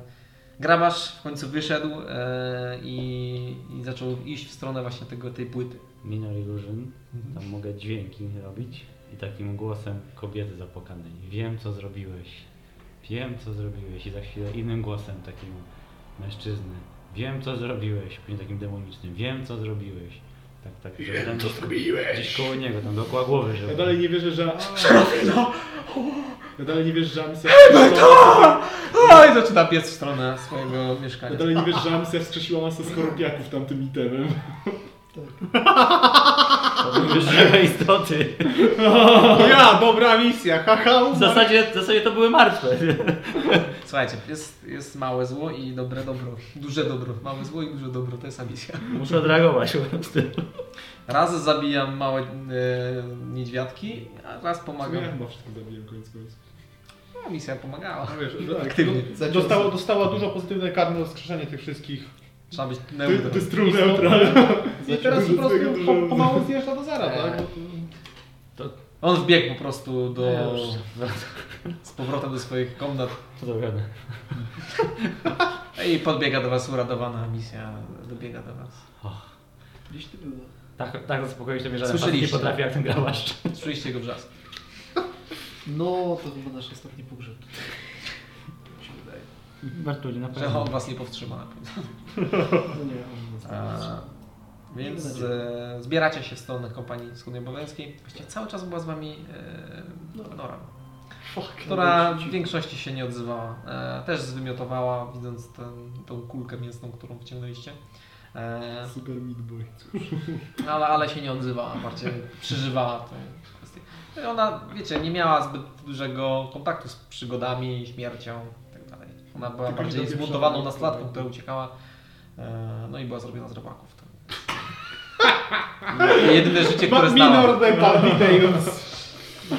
S1: grabarz w końcu wyszedł e, i, i zaczął iść w stronę właśnie tego, tej płyty.
S4: Minor Illusion, tam mogę dźwięki robić i takim głosem kobiety zapłakanej. Wiem co zrobiłeś, wiem co zrobiłeś i za chwilę innym głosem takim mężczyzny. Wiem co zrobiłeś, później takim demonicznym, wiem co zrobiłeś. Tak, tak, wiem co zrobiłeś. Gdzieś koło niego, tam dookoła głowy, żeby...
S2: Ja dalej nie wierzę, że... Ja dalej nie wierzę, że Amisja wskrzesiła...
S1: O, No i zaczyna biec w stronę swojego
S2: Ja
S1: mieszkania.
S2: dalej nie wierzę, że Amisja wskrzesiła masę skorupiaków tamtym itemem.
S4: To były żywe istoty.
S5: Ja, dobra misja, haha!
S4: W zasadzie, w zasadzie to były martwe.
S1: Słuchajcie, jest, jest małe zło i dobre dobro. Duże dobro. Małe zło i duże dobro, to jest Amisja.
S4: Muszę odreagować po prostu.
S1: Raz zabijam małe e, niedźwiadki, a raz pomagam.
S2: Ja chyba wszystko zabiję koniec końców.
S1: Komisja pomagała.
S6: No wiesz, do-
S1: Aktywnie.
S13: Zaciął-
S6: Dostała, dostała dużo pozytywne karne za skrzeszenie tych wszystkich.
S1: Trzeba być neutral.
S2: True neutral.
S6: I teraz po prostu po, pomału zjeżdża do zera,
S1: Eee.
S6: tak? Bo
S1: On wbiegł po prostu
S4: No.
S1: do...
S9: Ja już.
S1: z powrotem do swoich komnat
S4: To dobre.
S1: i podbiega do was uradowana misja, dobiega do was.
S13: Gdzieś ty było.
S4: Tak, tak zaspokoić sobie żaden facet nie
S1: Słyszeliście.
S4: potrafi jak ten grałasz.
S1: Słyszeliście jego wrzask.
S13: No, to chyba nasz ostatni pogrzeb. Mi się wydaje.
S4: Bartuli, na
S1: Że on
S4: pewno.
S1: was nie powstrzyma na pewno.
S13: No nie, on nie
S1: A, Więc e, zbieracie się w stronę kompanii Skudniobowęckiej. Właściwie cały czas była z wami
S9: No.
S1: e, Nora,
S9: Tak,
S1: która w większości się nie odzywała. E, też zwymiotowała, widząc ten, tą kulkę mięsną, którą wciągnęliście. E,
S2: Super Meat Boy.
S1: No, ale, ale się nie odzywała, bardziej przeżywała tę kwestię. No i Ona, wiecie, nie miała zbyt dużego kontaktu z przygodami, śmiercią i tak dalej. Ona była
S2: Tylko
S1: bardziej
S2: nie dopieszona.
S1: zbuntowaną nastolatką, która uciekała. e, No i była zrobiona z robaków. To- Jedyne życie, które znała.
S6: Minor Detal Details.
S1: E,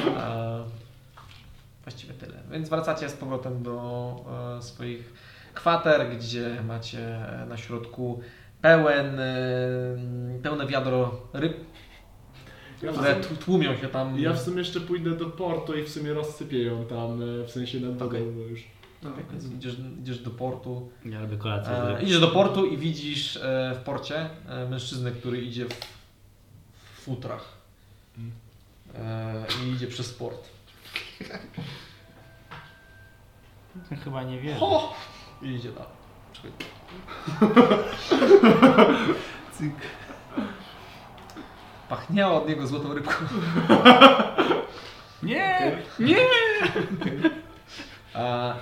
S1: Właściwie tyle. Więc wracacie z powrotem do e, swoich kwater, gdzie macie e, na środku pełen, e, pełne wiadro ryb,
S2: Ja w,
S1: które
S2: sumie,
S1: tu- tłumią się tam.
S2: ja w sumie jeszcze pójdę do portu i w sumie rozsypię ją tam, e, w sensie nad wodą
S1: Okej.
S2: bo już.
S1: Więc idziesz, idziesz do portu.
S4: Ja robię kolację.
S1: E, idziesz do portu i widzisz e, w porcie e, mężczyznę, który idzie w, w futrach. E, I idzie przez port.
S4: Chyba nie wiem.
S1: Ho! I idzie dalej. Czekaj. Pachniało od niego złotą rybką.
S4: Nie!
S1: E,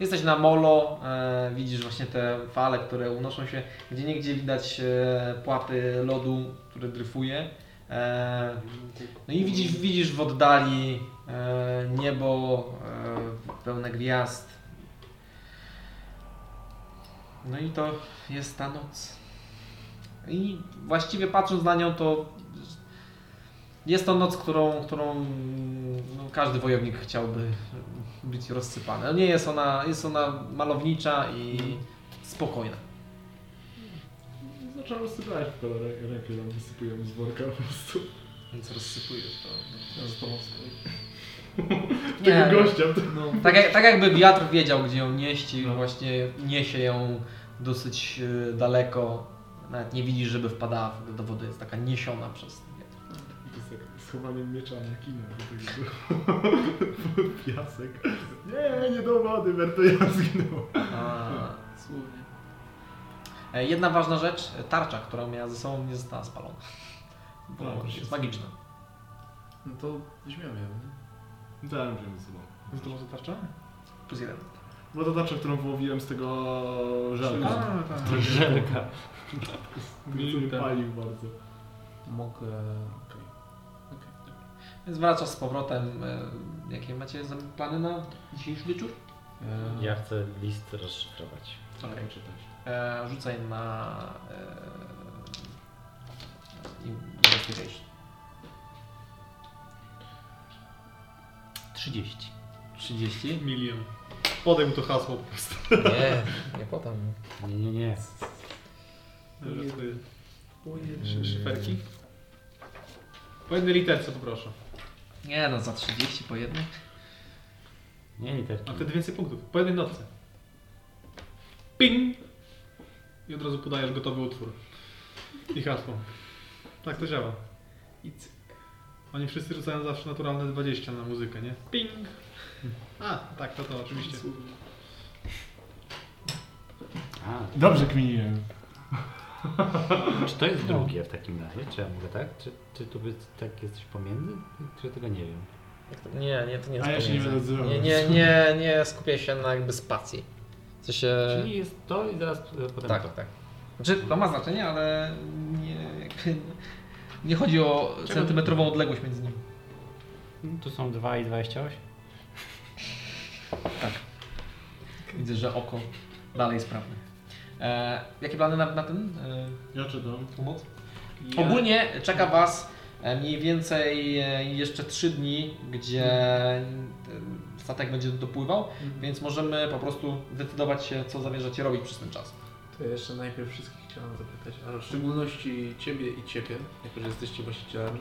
S1: jesteś na molo, e, widzisz właśnie te fale, które unoszą się, gdzie niegdzie widać e, płaty lodu, które dryfuje. E, no i widzisz, widzisz w oddali e, niebo e, pełne gwiazd. No i to jest ta noc. I właściwie patrząc na nią, to jest to noc, którą, którą no, każdy wojownik chciałby być rozsypany. No Nie jest ona, jest ona malownicza i spokojna.
S2: Zacząłem rozsypać, tylko rę- rękę tam wysypuję z worka po prostu.
S1: Więc rozsypujesz to. no.
S2: Tego
S1: Nie.
S2: gościa.
S1: Tak, jak, tak jakby wiatr wiedział, gdzie ją nieści, właśnie niesie ją dosyć e, daleko. Nawet nie widzisz, żeby wpadała w- do wody. Jest taka niesiona przez wiatr.
S2: To jest jak schowanie miecza na kinę do tego. Piasek. Nie, nie do wody, Berto, ja zginął.
S1: A, E, Jedna ważna rzecz, e, tarcza, którą miała ze sobą, nie została spalona. Bo
S2: Tak,
S1: jest magiczna.
S5: No to weźmiemy ją, nie?
S2: Tak, wiem ze sobą.
S6: To może tarcza?
S1: Plus jeden.
S2: No to tarczę, którą wyłowiłem z tego żelka.
S9: A, tak.
S4: Żelka.
S2: Który mnie palił bardzo.
S5: Mogę... okej.
S1: Więc wracasz z powrotem. E, Jakie macie za- plany na dzisiejszy wieczór?
S5: Eee,
S4: Ja chcę list rozszyfrować.
S6: Tak,
S1: Okej.
S2: Trzeba czytać.
S1: E, rzucaj na e, investigation.
S4: 30.
S1: 30.
S6: Milion. Podaj mu to hasło po prostu.
S10: Nie, nie podam.
S4: Nie, nie, nie.
S6: Szy- Szyferki. Po jednej literce poproszę.
S1: Nie no, za 30 po jednej.
S4: Nie literki.
S6: A wtedy więcej punktów. Po jednej notce. Ping! I od razu podajesz gotowy utwór. I hasło. Tak to działa. I cyk. Oni wszyscy rzucają zawsze naturalne 20 na muzykę, nie? Ping! A, tak, to to oczywiście.
S4: A,
S2: Dobrze kminiłem.
S4: Czy to jest drugie w takim razie? Czy ja mogę tak? Czy, czy tu by tak jest coś pomiędzy? Czy ja tego nie wiem?
S10: Jak to- Nie, nie, to nie jest
S2: A ja się nie
S10: pomiędzy.
S2: będę odzywał.
S10: nie, nie, nie, nie skupię się na jakby spacji. W sensie...
S4: Czyli jest to i zaraz e, potem to.
S10: Tak, tak.
S1: Znaczy, to ma znaczenie, ale nie, jakby, nie chodzi o centymetrową odległość między nimi.
S4: No, Tu są 2 i 28.
S1: Widzę, że oko dalej sprawne. E, jakie plany na, na ten? E,
S2: Ja czytam.
S1: Ogólnie czeka Was E, Mniej więcej e, jeszcze 3 dni, gdzie e, statek będzie dopływał, więc możemy po prostu decydować się, co zamierzacie robić przez ten czas.
S5: To ja jeszcze najpierw wszystkich chciałem zapytać, a w szczególności ciebie i ciebie, jako że jesteście właścicielami.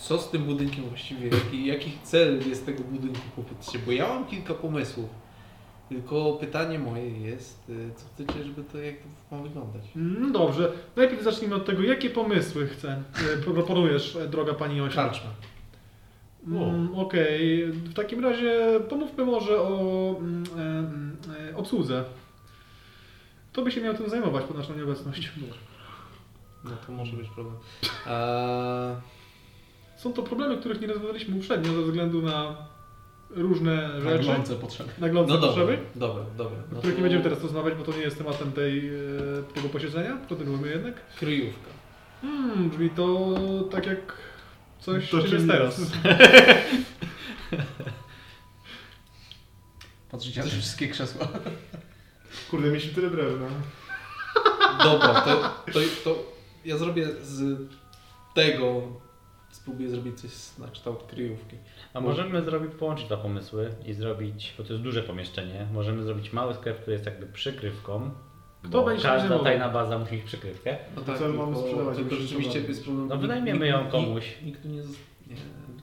S5: Co z tym budynkiem właściwie? Jaki, jaki cel jest tego budynku kupycie? Bo ja mam kilka pomysłów. Tylko pytanie moje jest, y, co chcecie, żeby to jak to ma wyglądać?
S6: Mm, Dobrze, najpierw zacznijmy od tego, jakie pomysły chcę, e, proponujesz, e, droga pani Osia.
S5: Karczma.
S6: Mm, Okej, w takim razie pomówmy może o mm, e, mm, e, obsłudze. Kto by się miał tym zajmować pod naszą nieobecność?
S5: No to może być problem. Eee,
S6: Są to problemy, których nie rozwiązaliśmy uprzednio ze względu na różne rzeczy,
S2: Naglące potrzeby.
S6: naglące
S5: no dobra,
S6: Znaczy, potrzeby,
S5: dobra, dobra.
S6: o
S5: No
S6: których
S5: to
S6: nie będziemy teraz rozmawiać, bo to nie jest tematem tej, e, tego posiedzenia. Kontynuujemy jednak.
S5: Kryjówka.
S6: Hmm, brzmi to tak jak coś,
S2: To
S6: czym
S2: czym
S6: jest teraz.
S2: jest.
S1: Patrzycie na te wszystkie krzesła.
S2: Kurde, mieliśmy tyle no. drewna.
S5: Dobra, to, to, to ja zrobię z tego, spróbuję zrobić coś na kształt kryjówki.
S4: A możemy zrobić, połączyć dwa pomysły i zrobić, bo to jest duże pomieszczenie, możemy zrobić mały sklep, który jest jakby przykrywką.
S6: Kto
S4: bo
S6: będzie się
S4: Każda
S6: zajmował?
S4: tajna baza musi mieć przykrywkę.
S5: No
S2: co mamy sprzedawać?
S5: Tylko
S2: Już
S5: rzeczywiście
S2: sprzedamy.
S5: jest problem.
S4: No wynajmiemy ją komuś.
S5: Nikt, nikt tu nie zostanie.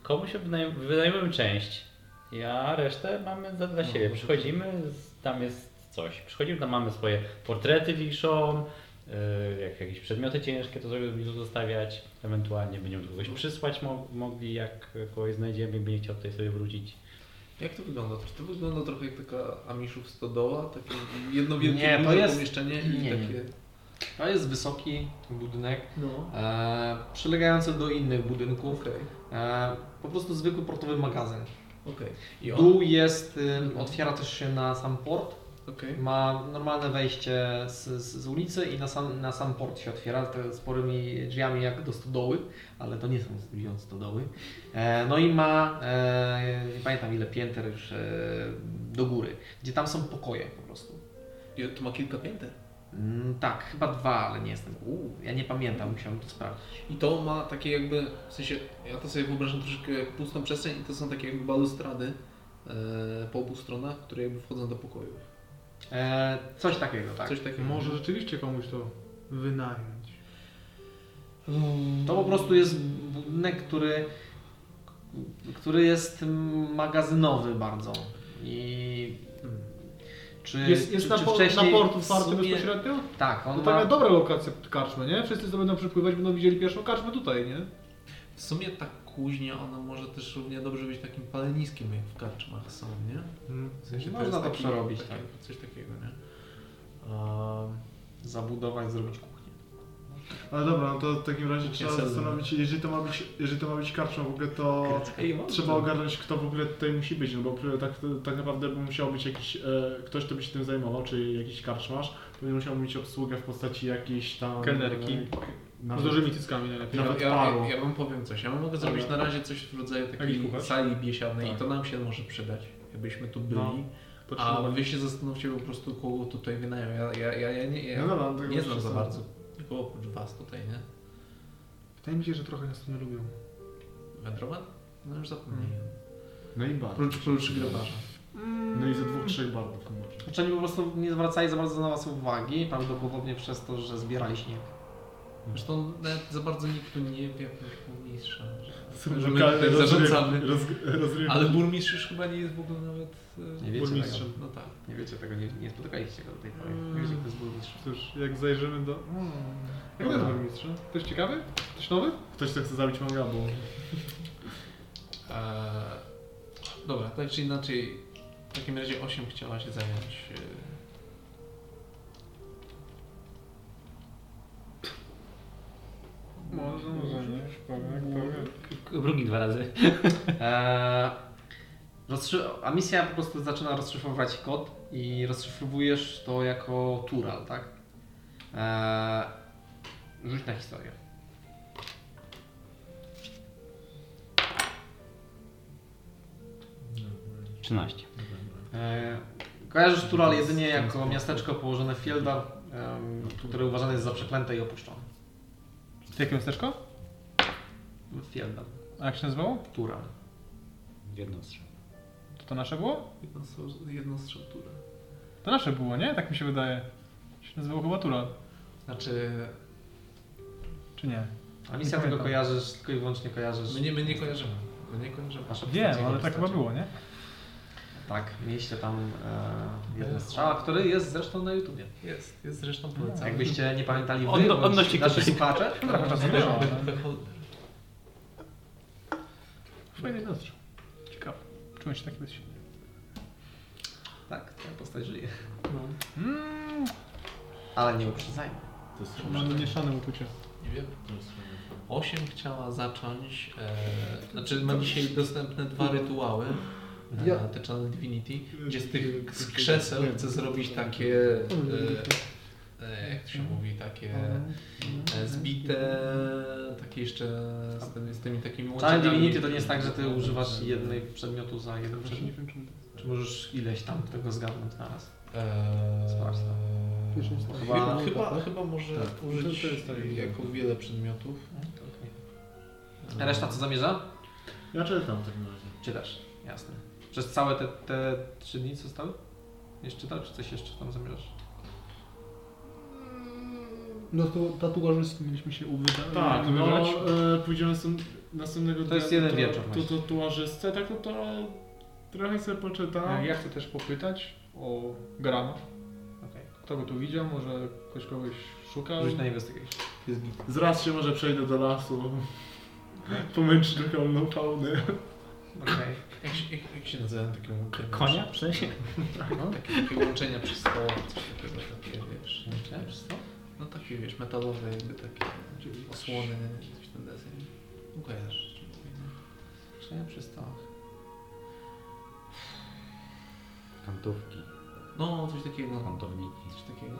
S4: Komuś wynajm- wynajmujemy część, ja resztę mamy za dla siebie. Przychodzimy, z- tam jest coś. Przychodzimy, tam mamy swoje portrety wiszą, yy, jak jakieś przedmioty ciężkie, to sobie będziemy zostawiać. Ewentualnie będziemy kogoś przysłać mo- mogli, jak kogoś znajdziemy i będzie chciał tutaj sobie wrócić.
S5: Jak to wygląda? Czy to wygląda trochę jak taka Amishów stodoła? Takie jedno wielkie
S1: Nie, to
S5: duże
S1: jest-
S5: pomieszczenie i
S1: nie, nie.
S5: takie...
S1: To jest wysoki budynek,
S5: No,
S1: e, przylegający do innych budynków.
S5: okej,
S1: E, po prostu zwykły portowy magazyn.
S5: okej,
S1: I Dół jest, y, otwiera też się na sam port.
S5: okej.
S1: Ma normalne wejście z, z, z ulicy i na sam, na sam port się otwiera te sporymi drzwiami jak do stodoły, ale to nie są drzwi od stodoły. E, no i ma, e, nie pamiętam ile pięter już e, do góry, gdzie tam są pokoje po prostu.
S5: I Tu ma kilka pięter.
S1: Mm, tak, chyba dwa, ale nie jestem. Uu, ja nie pamiętam, musiałem to sprawdzić.
S5: I to ma takie jakby, w sensie, ja to sobie wyobrażam troszeczkę jak pustą przestrzeń i to są takie jakby balustrady e, po obu stronach, które jakby wchodzą do pokoju.
S1: E, coś takiego, tak.
S5: Coś takiego.
S6: Może rzeczywiście komuś to wynająć.
S5: Mm.
S1: To po prostu jest budynek, który, który jest magazynowy bardzo. I czy
S6: Jest, jest
S1: czy,
S6: na,
S1: czy
S6: po, na
S1: wcześniej
S6: portu
S1: w
S6: otwarty
S1: sumie-
S6: bezpośrednio? No
S1: Tak,
S6: To
S1: on
S6: taka
S1: ma,
S6: dobra lokacja pod karczmę, nie? Wszyscy co będą przypływać, będą widzieli pierwszą karczmę tutaj, nie?
S5: W sumie ta kuźnia, ona może też równie dobrze być takim paleniskiem, jak w karczmach są, nie? W sensie
S1: Można
S5: jest
S1: to przerobić,
S5: taki,
S1: tak.
S5: Coś takiego, nie? Um,
S1: zabudować, zrobić kuchnię.
S2: Ale dobra, no to w takim razie trzeba
S5: Jestem.
S2: zastanowić się, jeżeli to ma być, jeżeli to ma być karczma w ogóle, to
S5: Ej, mam
S2: trzeba ogarnąć, kto w ogóle tutaj musi być, no bo tak, tak naprawdę by musiał być jakiś, e, ktoś, kto by się tym zajmował, czyli jakiś karczmarz, pewnie musiał mieć obsługę w postaci jakiejś tam...
S6: Kelnerki.
S2: E,
S6: Z
S2: nawet,
S6: dużymi cyckami najlepiej.
S5: Ja,
S2: nawet
S5: ja,
S2: paru.
S5: ja, ja wam powiem coś. Ja mogę zrobić na razie coś w rodzaju
S2: Jakiś
S5: takiej
S2: kucharz?
S5: sali biesiadnej
S2: Tak.
S5: i to nam się może przydać, jakbyśmy tu byli.
S2: No.
S5: A
S2: Potrzeba-
S5: wy się zastanówcie po prostu, kogo tutaj wynają. Ja, ja, ja, ja nie, ja
S2: No dobra, no to
S5: nie
S2: już
S5: znam za
S2: wszyscy-
S5: bardzo. Tylko oprócz was tutaj, nie?
S6: Wydaje mi się, że trochę nas tu nie lubią.
S5: Wędrowan? No już zapomniałem.
S2: No i bar.
S5: Prócz, prócz grabarza.
S2: No i ze dwóch, trzech barów. no może.
S1: Znaczy oni po prostu nie zwracali za bardzo na was uwagi, prawdopodobnie przez to, że zbierali śnieg.
S5: Zresztą nawet za bardzo nikt tu nie wie, jakoś burmistrza. Że,
S2: Są
S5: że my
S2: lokalne
S5: tutaj
S2: rozrywki-
S5: zarzucamy.
S2: Roz, rozrywki.
S5: Ale burmistrz już chyba nie jest w ogóle nawet
S1: Nie
S5: nie
S1: wiecie
S5: burmistrzem. No tak.
S1: Nie wiecie tego, nie, nie spotykaliście go do tej pory.
S5: Hmm.
S1: Nie wiecie, kto jest burmistrz.
S6: Cóż, jak zajrzymy do... Hmm. Jak to jest burmistrz? Ktoś ciekawy? Ktoś nowy?
S2: Ktoś, kto chce zabić manga, bo...
S5: Eee, dobra, tak czy inaczej, w takim razie 8 chciała się zająć. e,
S6: Może, może nie.
S4: Brugi dwa razy.
S1: Eee, rozszy- a misja po prostu zaczyna rozszyfrować kod i rozszyfrowujesz to jako tural, tak? Eee, rzuć na historię.
S4: Trzynaście.
S1: Eee, kojarzysz tural jedynie jako miasteczko położone w eee, Fieldar, em, które uważane jest za przeklęte i opuszczone.
S6: Jakie miasteczko?
S5: Fieldan.
S9: A jak się nazywało?
S5: Tura.
S4: Jedno strzał.
S9: To to nasze było?
S5: Jedno, strzał- jedno strzał Tura.
S9: To nasze było, nie? Tak mi się wydaje. Się nazywało chyba Tura,
S5: Znaczy,
S9: czy nie?
S1: A misja
S9: Nie
S1: tego
S9: pamiętam.
S1: kojarzysz, tylko i wyłącznie kojarzysz.
S5: my nie, my nie kojarzymy. My nie kojarzymy.
S9: Wiem, ale tak chyba było, nie?
S1: Tak, mieliście tam e,
S9: Eee.
S1: jeden strzał, który jest zresztą na YouTubie.
S5: Jest, jest zresztą polecam.
S9: Tak.
S1: Jakbyście nie pamiętali wy,
S4: Odno-
S1: bądź
S4: odnośnie
S1: nasi
S4: krytyki.
S1: słuchacze,
S9: Trochę czasu było. ale
S2: Fajny nastrój.
S9: Ciekawe. Czułem się tak kiedyś.
S1: tak, twoja postać żyje.
S9: Mmm,
S1: Ale nie uprzedzajmy.
S2: To jest
S6: No,
S9: mam mieszane uczucie.
S5: Nie wiem. 8 chciała zacząć. E, znaczy, ma dzisiaj dostępne dwa rytuały.
S13: Ja-
S5: Ja. Te Channel Divinity, gdzie z tych z krzeseł chce zrobić takie. E, e, jak to się mówi, takie e, zbite, takie jeszcze z, tymi- z tymi takimi
S1: Challenge
S5: łączeniami.
S1: Divinity to nie jest tak, że ty używasz jednej przedmiotu za jeden przedmiot. Czy możesz ileś tam tego zgadnąć na raz?
S5: Eee,
S1: Sprawdź to.
S5: Chyba,
S1: Chyba-
S5: chyba, chyba może
S2: Tak.
S5: użyć
S2: To jest tak.
S5: jako wiele przedmiotów.
S1: No, A Reszta co zamierza?
S2: Ja czytam w takim razie.
S1: Czytasz, jasne. Przez całe te, te trzy dni co stały? Jeszcze czytasz, czy coś jeszcze tam zamierzasz?
S6: No to tatuażystki mieliśmy się uwydać.
S2: Tak, no
S6: wybrać.
S2: e, pójdziemy z następnego
S1: To jest
S2: dnia
S1: jeden
S2: do-
S1: wieczór
S2: do
S1: właśnie.
S2: tatuażystę, tak no to trochę sobie poczytam.
S6: Ja chcę też popytać o Grama.
S1: Okej.
S6: Kto go tu widział? Może ktoś kogoś szukał?
S1: Rzuć na investigation.
S2: Zraz się może przejdę do lasu. Pomęczyć lokalną faunę.
S1: Okej.
S5: Jak się, jak, jak się nazywa takie łączenie?
S4: Konia? W sensie?
S1: Tak, no.
S5: Takie, takie łączenia przy stołach, coś takiego, takie wiesz.
S1: Okay.
S5: No takie wiesz, metalowe jakby takie osłony, jakiś ten deseń. No Kojarzysz. czym to jest.
S1: Czy ja przy stołach?
S4: Kantówki,
S5: No, coś takiego.
S4: kantowniki.
S5: Coś takiego.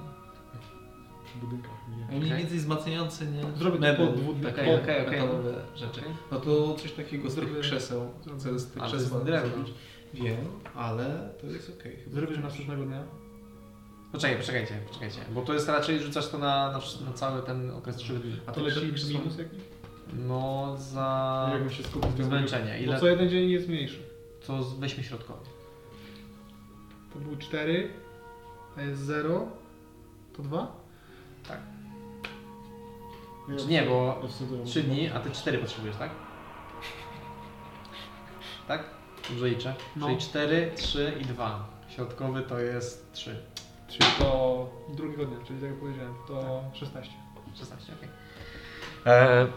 S2: Przy budynkach, nie.
S5: Mniej
S1: Okej.
S5: więcej wzmacniające, nie?
S6: Zrobię
S5: Mebel,
S6: to podwód-
S5: takie
S1: okej, okej,
S5: metalowe rzeczy.
S1: Okej.
S5: No to coś takiego z tych
S1: Zrobię-
S5: krzeseł. Chcę z tych
S1: Ale to jest
S5: krzeseł
S1: drewno.
S5: zrobić. Wiem, ale to jest okej. chyba.
S6: Zrobisz następnego dnia?
S1: Poczekaj, poczekajcie, poczekajcie. Bo to jest raczej rzucasz to na, na, wsz- na cały ten okres 3 dni.
S5: A
S6: To
S5: to
S6: leci
S5: leci krzesło.
S6: minus jakiś?
S1: No za
S2: Jakbym się skupił na
S1: zmęczenie.
S6: Bo
S1: Ile
S6: co jeden dzień jest mniejszy.
S1: to z- weźmy środkowy.
S6: To był 4, a jest 0, to 2.
S2: Ja
S1: Czy nie, bo
S2: ja w sumie to-
S1: 3 dni, a ty 4 potrzebujesz, tak? Tak? Dobrze liczę.
S6: No.
S1: Czyli 4, 3 i 2. Środkowy to jest 3.
S6: Czyli to drugiego dnia, czyli tak jak powiedziałem, to 16.
S1: 16, okej. E,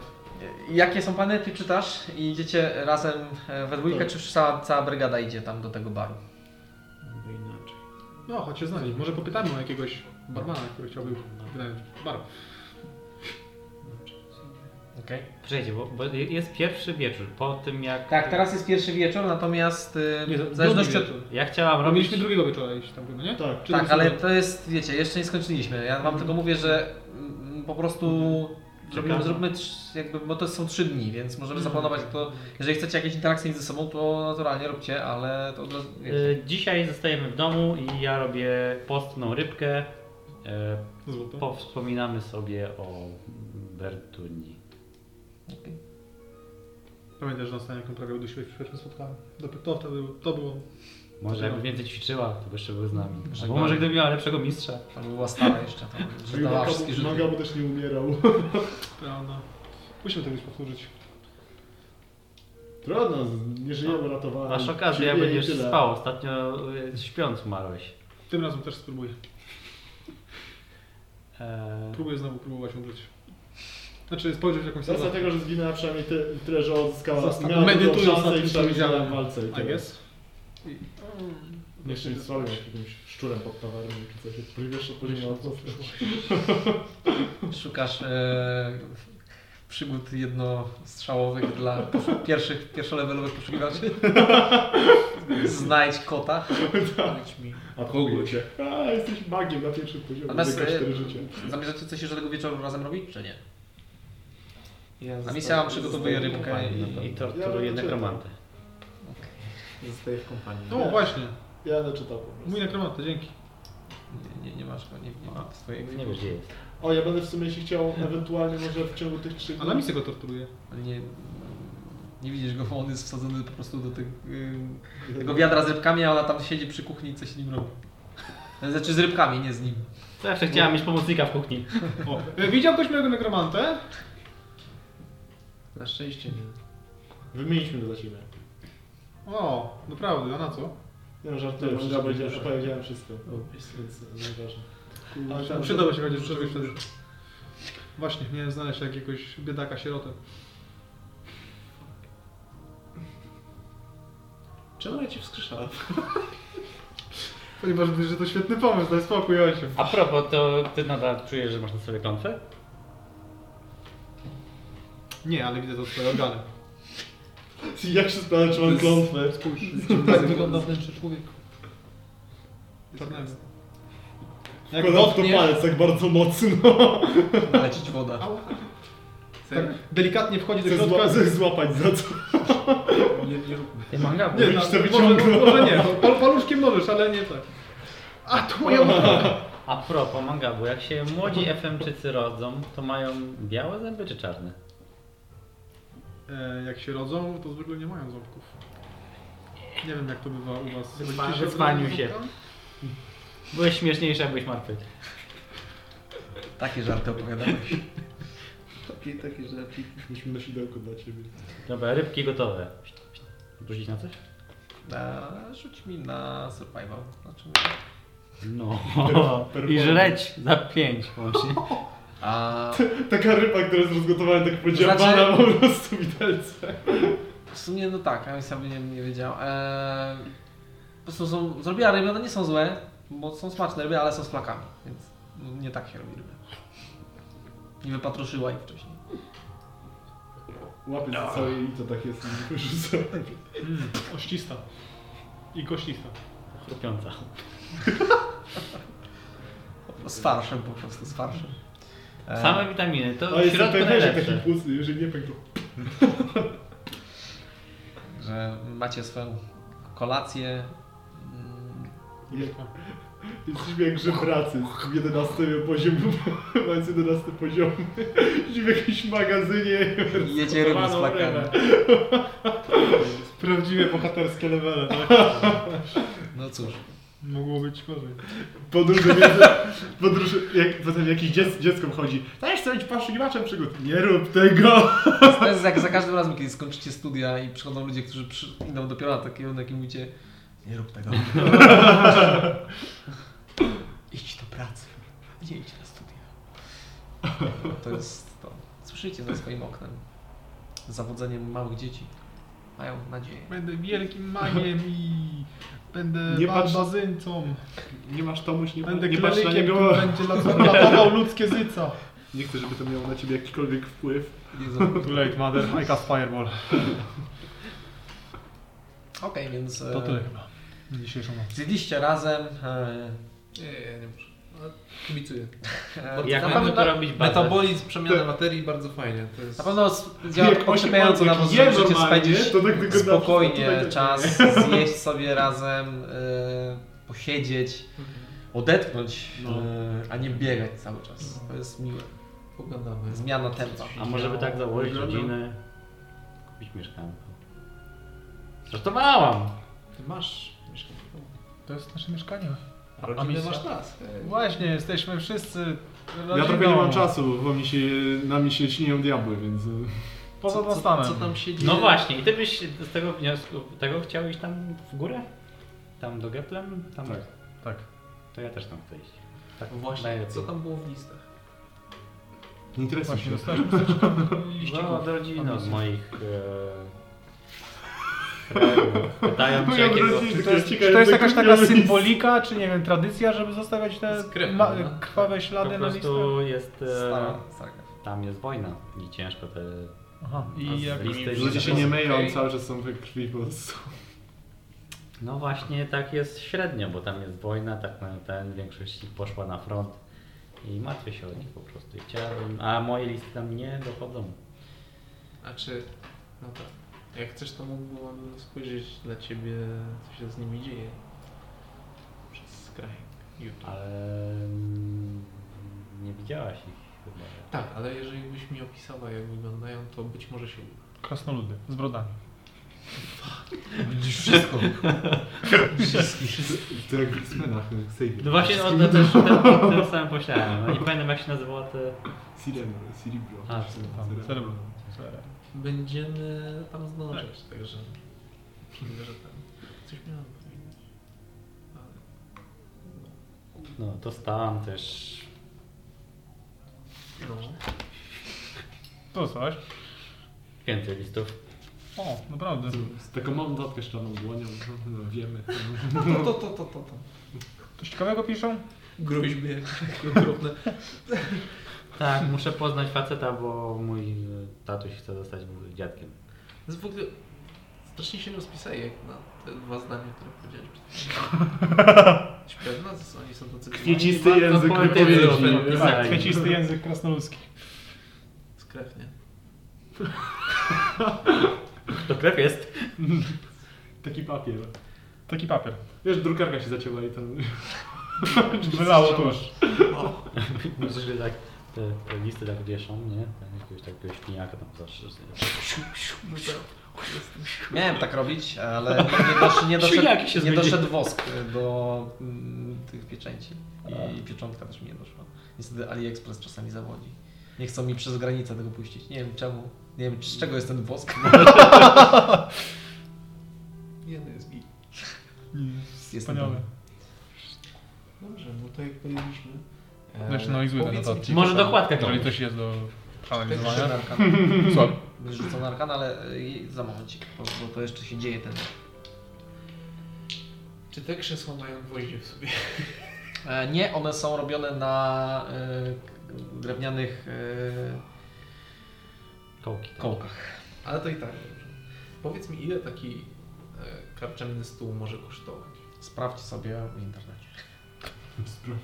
S1: Jakie są plany? Ty czytasz i idziecie razem e, we dwójkę,
S2: Tak.
S1: czy cała, cała brygada idzie tam do tego baru?
S5: Albo inaczej.
S6: No, chodź się z nami. Może popytamy o jakiegoś barmana, który chciałby wynająć bar.
S1: Okej.
S4: Przejdzie, bo, bo jest pierwszy wieczór po tym jak...
S1: Tak, teraz jest pierwszy wieczór, natomiast y,
S6: Nie,
S1: w zależności od...
S6: drugi wieczór.
S4: Ja chciałam robić...
S6: Robiliśmy drugiego wieczora iść tam chyba, nie?
S2: Tak,
S6: Czy
S1: Tak,
S6: to
S1: ale
S6: jest-
S1: to jest, wiecie, jeszcze nie skończyliśmy. Ja wam tylko mówię, że mm, po prostu zrobimy,
S4: Czekamy.
S1: zróbmy, trz- jakby, bo to są trzy dni, więc możemy zaplanować to. Jeżeli chcecie jakieś interakcje między sobą, to naturalnie róbcie, ale to od razu, wiecie.
S4: Y, Dzisiaj zostajemy w domu i ja robię postną rybkę. E,
S2: Złoto.
S4: Powspominamy sobie o Bertuni.
S6: Pamiętasz, że ostatnio jak ją prawie udusiłeś przy pierwszym spotkaniu? Dopiero to wtedy to było.
S4: Może jakby więcej ćwiczyła, to by jeszcze był z nami.
S1: Żegnamy.
S4: Albo może gdyby miała lepszego mistrza.
S1: To była stara jeszcze, tam zdawała wszystkie rzuty.
S2: Maga bo też nie umierał.
S6: Prawda. Musimy to już powtórzyć.
S2: Trudno, z- nie żyjemy, ratowałem.
S4: Masz okazję, ja
S2: ciebie i
S4: będziesz
S2: tyle.
S4: spał. Ostatnio y, śpiąc umarłeś.
S6: Tym razem też spróbuję.
S4: E,
S6: Próbuję znowu próbować umrzeć. Znaczy spojrzeć w jakąś
S2: Z racji tego, że zginęła przynajmniej ty, tyle, że odzyskała
S6: Zastan-
S2: miała dużą
S6: medytując nad
S2: szansę
S6: tym, co
S2: i przynajmniej
S6: widziałem. Tak
S2: zginęła w walce. I
S6: I
S2: tyle.
S6: guess.
S2: Nie jeszcze nic zrobić jakimś szczurem pod tawarem czy coś. Próbujesz odpowiednio odpowiedź.
S1: Szukasz e, przygód jednostrzałowych dla poszu- pierwszych, pierwszolevelowych poszukiwaczy. Znajdź kota.
S5: Powiedz mi.
S2: A kogo cię? A, jesteś magiem na pierwszym poziomie.
S1: Natomiast
S2: Zagasz cztery
S1: e,
S2: życie.
S1: zamierzacie coś jeszcze tego wieczoru razem robić, czy nie?
S5: Ja
S1: A
S5: zosta-
S1: misja wam przygotowuje
S5: zostaję w
S1: rybkę
S5: kompanii, na
S1: i-
S5: pewno.
S4: I
S2: Ja
S4: torturuje
S2: będę
S4: nekromantę.
S5: Zostaję w kompanii.
S6: No właśnie,
S2: Ja będę czytał po prostu.
S6: mój nekromata, dzięki.
S1: Nie, nie, nie masz go, nie, nie ma swojego.
S4: Nie wiesz gdzie jest.
S2: O, ja będę w sumie jeśli chciał ewentualnie może w ciągu tych 3
S6: A na misję go torturuje.
S1: Ale nie, Nie widzisz go, bo on jest wsadzony po prostu do tych, y, tego wiadra z rybkami, a ona tam siedzi przy kuchni i coś z nim robi. Znaczy z rybkami, nie z nim.
S4: Zawsze chciałam mieć pomocnika w kuchni.
S2: O, e, widział ktoś mojego nekromantę?
S5: Na szczęście nie.
S3: Wymieniliśmy go za ciebie.
S2: O, naprawdę, a na co?
S3: Nie no, żartuję,
S2: Dobrze,
S3: ja powiedziałem,
S2: dobrze.
S3: powiedziałem wszystko. Więc e, nieważne.
S2: Ale
S3: tak,
S6: Tam
S2: tam-
S6: przydałby się chociaż czegoś wtedy. Właśnie, miałem znaleźć jakiegoś biedaka sierotę.
S3: Czemu ja cię wskrzeszałem?
S2: Ponieważ wiesz, że to świetny pomysł, daj spokój, ojciec.
S4: A propos, to ty nadal czujesz, że masz na sobie klątwę?
S6: Nie, ale widzę to swoje organy.
S3: Jak się sprawdza, czy mam klątwę?
S5: Tak wygląda wnętrze człowieka.
S6: Czarnego. Jak
S3: Wkładam w to
S6: dotkniesz,
S3: palec tak bardzo mocno.
S1: Lecić woda.
S6: tak delikatnie wchodzi do
S3: Chcę,
S6: środka.
S3: zła chcę złapać za co.
S5: Nie, nie róbmy.
S4: Ty manga,
S6: Nie, no,
S3: Mówisz, że
S6: może,
S3: wyciągnął.
S6: może nie, pal, paluszkiem możesz, ale nie tak. A to moja mama!
S4: A propos manga, bo jak się młodzi FM-czycy rodzą, to mają białe zęby czy czarne?
S6: E, jak się rodzą, to zwykle nie mają ząbków. Nie wiem jak to bywa u was. Rodzicie
S4: Wyspaniu
S6: rodzą
S4: się.
S6: ząbkami?
S4: Byłeś śmieszniejszy, jak byłeś martwy.
S1: Takie żarty opowiadałeś.
S13: Takie, takie rzeczy.
S3: Musimy na sidełko dla ciebie.
S4: Dobra, rybki gotowe. Rzucić na coś?
S1: Eee, rzuć mi na survival. Znaczy,
S4: No.
S3: per-
S4: I żreć za pięć łącznie.
S1: a
S3: Taka ryba, która jest rozgotowana tak podziabana
S1: Znaczy-
S3: po prostu widelce.
S1: w sumie no tak, ja sam nie, nie wiedział. Eee, po prostu są, zrobiła ryby, one nie są złe, bo są smaczne ryby, ale są z flakami, więc no, nie tak się robi ryby. Nie wypatroszyła ich wcześniej.
S3: Łapie no. całe i to tak jest. Rzucę. Mm,
S2: Oścista. I koścista.
S4: Chrupiąca.
S1: Z farszem po prostu, z farszem. Eee,
S4: Same witaminy, E. No to
S3: A
S4: w
S3: jestem
S4: środku
S3: pewien, że taki
S4: najlepsze.
S3: płucny, jeżeli nie pękł.
S1: Że macie swoją kolację. mm,
S3: Jesteśmy jak żebracy z 11 poziomu, mając 11 poziom. Jesteśmy w jakimś magazynie.
S1: i Jecie ryby z
S3: Rozkopaną
S1: flakami.
S3: rybę.
S2: Prawdziwe bohaterskie levele, tak?
S1: No cóż.
S2: Mogło być gorzej.
S3: Podróże między... Podróż, jak potem jakieś dziec, dziecko chodzi. Dajesz chcę być poszukiwaczem przygód. Nie rób tego!
S1: To jest jak za każdym razem, kiedy skończycie studia i przychodzą ludzie, którzy przy... idą dopiero na taki kierunek i mówicie nie rób tego. idź do pracy, nie idź na studia. To jest to. Słyszycie za swoim oknem zawodzenie małych dzieci. Mają nadzieję.
S9: Będę wielkim magiem i będę
S3: Nie
S9: nie
S3: patrz-
S9: barbarzyńcą.
S3: Nie masz Tomuś, nie,
S9: Będę
S3: nie patrz na
S9: klerykiem,
S3: niego.
S9: który będzie lat- ratował ludzkie zyca.
S3: Nie chcę, żeby to miało na ciebie jakikolwiek wpływ.
S1: Nie za- Okej,
S2: Too late, mother. I cast fireball.
S1: więc
S2: To
S1: e,
S2: tyle chyba. Na Dzisiejszą noc.
S1: zjedliście razem. E,
S5: Nie, ja nie muszę. Ale kibicuję.
S1: e,
S4: Jak
S1: na
S4: mamy
S1: pewno,
S4: to robić bazę?
S5: Metabolizm, przemiana materii, bardzo fajnie. To jest...
S1: na pewno s- działa
S3: Jak osiem
S1: odczepiająco na
S3: lat,
S1: was,
S3: jak
S1: że
S3: je
S1: możecie
S3: normalnie,
S1: spędzić
S3: to tak wygląda wszystko
S1: spokojnie
S3: tutaj tak
S1: czas zjeść sobie razem, y, posiedzieć, odetchnąć,
S3: No.
S1: y, a nie biegać cały czas. To jest miłe.
S5: Pogadamy.
S1: Zmiana tempa.
S4: A może by tak założyć rodzinę? Kupić mieszkanko. Żartowałam!
S5: Ty masz mieszkanie.
S9: To jest nasze mieszkanie.
S5: A rodzinę masz nas.
S9: Właśnie, jesteśmy wszyscy rodziną.
S2: Ja trochę nie mam czasu, bo mi się, na mnie się śnią diabły, więc... e,
S9: Poza
S5: Co,
S9: Bostonem.
S5: co, co tam się dzieje?
S4: No właśnie, i ty byś z tego wniosku, tego chciał iść tam w górę? Tam do Geplem? Tam...
S2: Tak, tak.
S4: To ja też tam chcę iść. Tak,
S5: No Właśnie,
S4: najlepiej.
S5: co tam było w listach?
S2: Nie interesuj
S9: Właśnie,
S2: się.
S9: dostałem chusteczkę
S4: No,
S9: liścików.
S4: od rodziny, No, od moich... e, krewnych. Pytają cię,
S3: Moja
S4: jakiego...
S3: rodzina-
S9: Czy to jest,
S3: Ciekawe,
S9: czy to jest
S3: jak
S9: jakaś
S3: to
S9: taka
S3: jest.
S9: symbolika, czy nie wiem, tradycja, żeby zostawiać te
S5: Z krewem,
S9: ma-
S5: no.
S9: krwawe
S4: Po
S9: ślady na listach?
S4: prostu jest... E,
S1: Stara, stara.
S4: tam jest wojna i ciężko te...
S9: Aha.
S4: a z
S9: I jak...
S4: listy
S2: Ludzie się
S4: to-
S2: nie myją,
S5: Okej.
S2: cały czas są we krwi po prostu.
S4: No właśnie tak jest średnio, bo tam jest wojna, tak na ten większość ich poszła na front i martwię się o nich po prostu. I Chciałbym, a moje listy tam nie dochodzą.
S5: A czy... No tak. Jak chcesz, to mógłbym spojrzeć dla ciebie, co się z nimi dzieje. Przez kraj. YouTube.
S4: Ale mm, nie widziałaś ich chyba.
S5: Tak, ale jeżeli byś mi opisała, jak wyglądają, to być może się uda.
S9: Krasnoludy z brodami.
S10: Widzisz wszystko.
S2: To jak w X-Menach, jak Xavier.
S4: No właśnie, o to też o tym samym myślałem. No Nie pamiętam jak się nazywało te...
S2: Cerebro, Cerebro.
S4: A,
S9: Tam, cerebro. Cerebro.
S5: Będziemy tam zdążyć, także myślę, że tam coś miałem.
S4: No, dostałam też...
S5: No.
S9: To coś.
S4: Więcej listów.
S9: O, naprawdę.
S2: Z taką małą datkę szczaną dłonią, no, wiemy.
S5: No to, to, to, to, to, to.
S9: Coś ciekawego piszą?
S5: Groźby jakieś okropne.
S4: Tak, muszę poznać faceta, bo mój y, tatuś chce zostać dziadkiem.
S5: To jest w ogóle strasznie się rozpisali jak na te dwa zdania, które powiedziałeś przed chwilą. Jesteś pewna? że Oni są tacy
S2: Kwiecisty język wypowiedzi.
S9: Tak, kwiacisty język krasnoludzki.
S5: Skrewnie.
S4: To krew jest.
S2: Taki papier.
S9: Taki papier.
S2: Wiesz, drukarka się zacięła i tam...
S9: Wylało tuż.
S4: Myślę, że tak te, te listy tak wieszą, nie? Tam Jakiegoś takiego śpiniaka tam zawsze.
S5: No
S1: Miałem tak robić, ale nie, dosz, nie,
S4: Siniaki się
S1: doszedł, nie
S4: zmienili.
S1: doszedł wosk y, do mm, tych pieczęci. I pieczątka też mi nie doszła. Niestety AliExpress czasami zawodzi. Nie chcą mi przez granicę tego puścić. Nie wiem czemu. Nie wiem z czego jest ten wosk.
S5: Nie, no jest git.
S9: Wspaniałe.
S13: Dobrze, no to jak powiedzieliśmy. e,
S9: Znaczy, no i zły ten
S13: powiedz mi,
S9: notatnik.
S13: czy-
S4: Może dokładkę
S5: No.
S9: Jeżeli
S4: komuś.
S9: coś jest do
S1: Będziesz
S9: przeanalizowania.
S1: rzucony arkan.
S9: Słucham.
S1: Będziesz rzucony arkan, ale y, za momencik, bo, bo to jeszcze się dzieje ten.
S5: Czy te krzesła mają gwoździe w sobie?
S1: E, Nie, one są robione na y, drewnianych y,
S4: Kołki. tak.
S1: kołkach.
S5: Ale to i tak dobrze. Powiedz mi, ile taki e, karczemny stół może kosztować?
S1: Sprawdź sobie w internecie.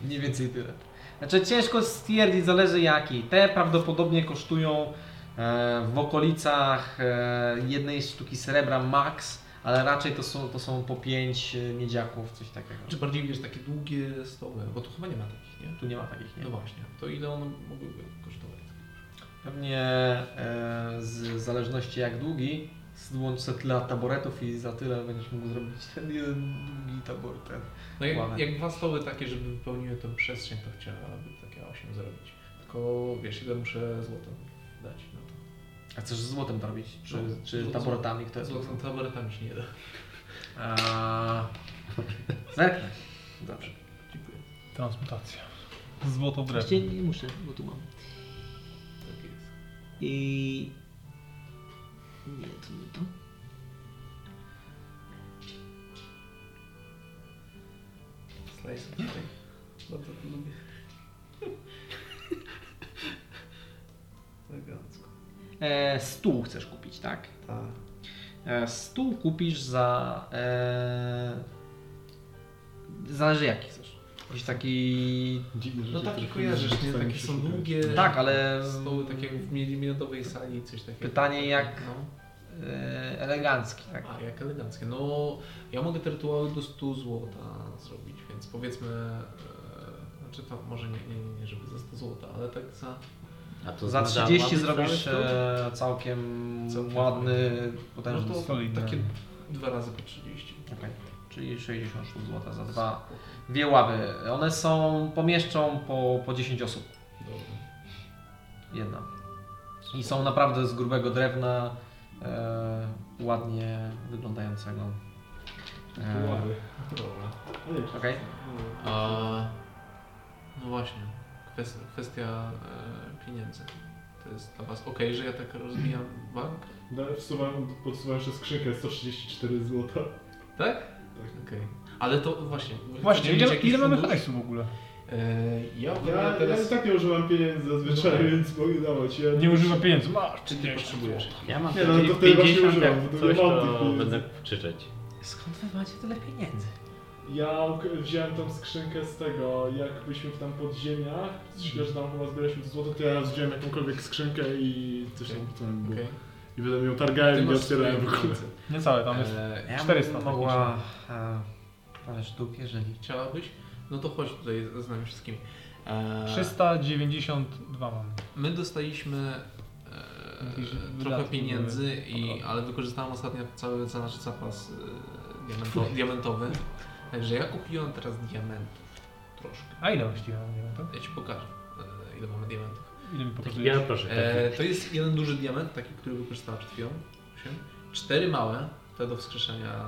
S1: Mniej więcej tyle. Znaczy ciężko stwierdzić, zależy jaki. Te prawdopodobnie kosztują e, w okolicach e, jednej sztuki srebra max, ale raczej to są, to są po 5 miedziaków, coś takiego.
S5: Czy bardziej wiesz, takie długie stoły? Bo tu chyba nie ma takich, nie?
S1: Tu nie ma takich, nie?
S5: No właśnie. To ile one mogłyby kosztować?
S1: Pewnie e, z w zależności jak długi, złącz se tyle taboretów i za tyle będziesz mógł zrobić ten jeden długi tabor. Ten.
S5: No jak,
S1: Ładne.
S5: jak dwa stoły takie, żeby wypełniły tę przestrzeń, to chciałabym takie 8 zrobić. Tylko wiesz, ile muszę złotym dać na to.
S1: A chcesz z złotem to robić? Czy,
S5: No,
S1: czy
S5: zł-
S1: taboretami? Kto jest?
S5: Złotym taboretami się nie da.
S1: A... Zerknę. Dobrze.
S5: Dziękuję.
S9: Transmutacja. Złoto drewno.
S1: Właściwie nie muszę, bo tu mam.
S5: Tak jest.
S1: I... Nie, to nie to.
S5: Slice of cake. Bardzo to lubię. Elegancko.
S1: E, stół chcesz kupić, tak?
S5: Tak.
S1: E, stół kupisz za... E... Zależy jaki chcesz. Jakiś taki...
S2: Dziwne rzeczy.
S5: No taki
S2: które
S5: kojarzysz, nie?
S2: w stanie
S5: Takie
S2: się
S5: są
S2: szukać.
S5: długie.
S1: Tak, ale...
S5: E, Stoły tak jak w milimetrowej sali, coś takiego.
S1: Pytanie jak-
S5: No.
S1: E, elegancki, tak?
S5: A, jak eleganckie. No, ja mogę te rytuały do 100 złota zrobić, więc powiedzmy, e, znaczy to może nie, nie, nie, nie żeby za 100 złota, ale tak za...
S4: A to znaczy,
S1: Za
S4: zna-
S1: 30
S4: ma-
S1: zrobisz e, całkiem,
S5: Całkiem
S1: ładny,
S5: No
S1: potężny
S5: to
S1: stół.
S9: solidne.
S5: takie dwa razy po 30.
S1: Okej. Czyli 60 sztuk złota za dwa dwie ławy. One są, pomieszczą po, po 10 osób.
S5: Dobra.
S1: Jedna. I są naprawdę z grubego drewna, e, ładnie wyglądającego. E,
S2: Ławy.
S5: Dobra.
S1: Okej.
S5: A, no właśnie, kwestia, kwestia e, pieniędzy. To jest dla Was okej, że ja tak rozbijam bank?
S2: Da- No, Wsuwam, podsuwam jeszcze skrzynkę 134 zł.
S5: Tak? Okej. Ale to właśnie...
S9: Właśnie,
S5: chcecie
S9: ile,
S5: mieć jakiś
S9: ile mamy
S5: fundusz?
S9: hajsu w ogóle?
S5: E, ja w ogóle
S2: Ja, No tak. ja i
S5: teraz...
S2: tak nie używam pieniędzy zazwyczaj,
S5: Dobra.
S2: więc mogę dawać. Ja...
S9: Nie używa pieniędzy. Masz,
S5: Czy ty potrzebujesz?
S4: Ja mam
S2: Nie, no, to
S4: no,
S2: wtedy właśnie
S4: 50,
S2: używam,
S4: jak
S2: bo to
S4: coś,
S2: nie mam tych
S4: to
S2: pieniędzy.
S4: będę krzyczeć.
S1: Skąd wy macie tyle pieniędzy?
S2: Ja uk- wziąłem tą skrzynkę z tego, jak byliśmy w tam podziemiach, że tam chyba zbieraliśmy to złoto, to ja wziąłem jakąkolwiek skrzynkę i coś tam potem było.
S5: Okej.
S2: I potem ją targałem i nie otwierałem w ogóle.
S9: Niecałe, tam jest
S5: E,
S1: Ja
S9: 400
S1: bym mogła e, parę sztuk, jeżeli...
S5: chciałabyś? No to chodź tutaj z nami wszystkimi. E,
S9: 392 mam.
S5: My dostaliśmy e,
S9: Jakieś
S5: trochę
S9: wydatki
S5: pieniędzy, i, ale wykorzystałem ostatnio cały za- nasz zapas e, diamento, diamentowy. Także ja kupiłem teraz diamentów. Troszkę.
S9: A ile właściwie mamy to?
S5: Ja ci pokażę, e, ile mamy diamentów.
S9: Ile mi
S4: Taki
S9: pokazujesz?
S4: biały proszę.
S5: E, to jest jeden duży diament, taki, który wykorzystałem przed chwilą. Osiem. Cztery małe, te do wskrzeszenia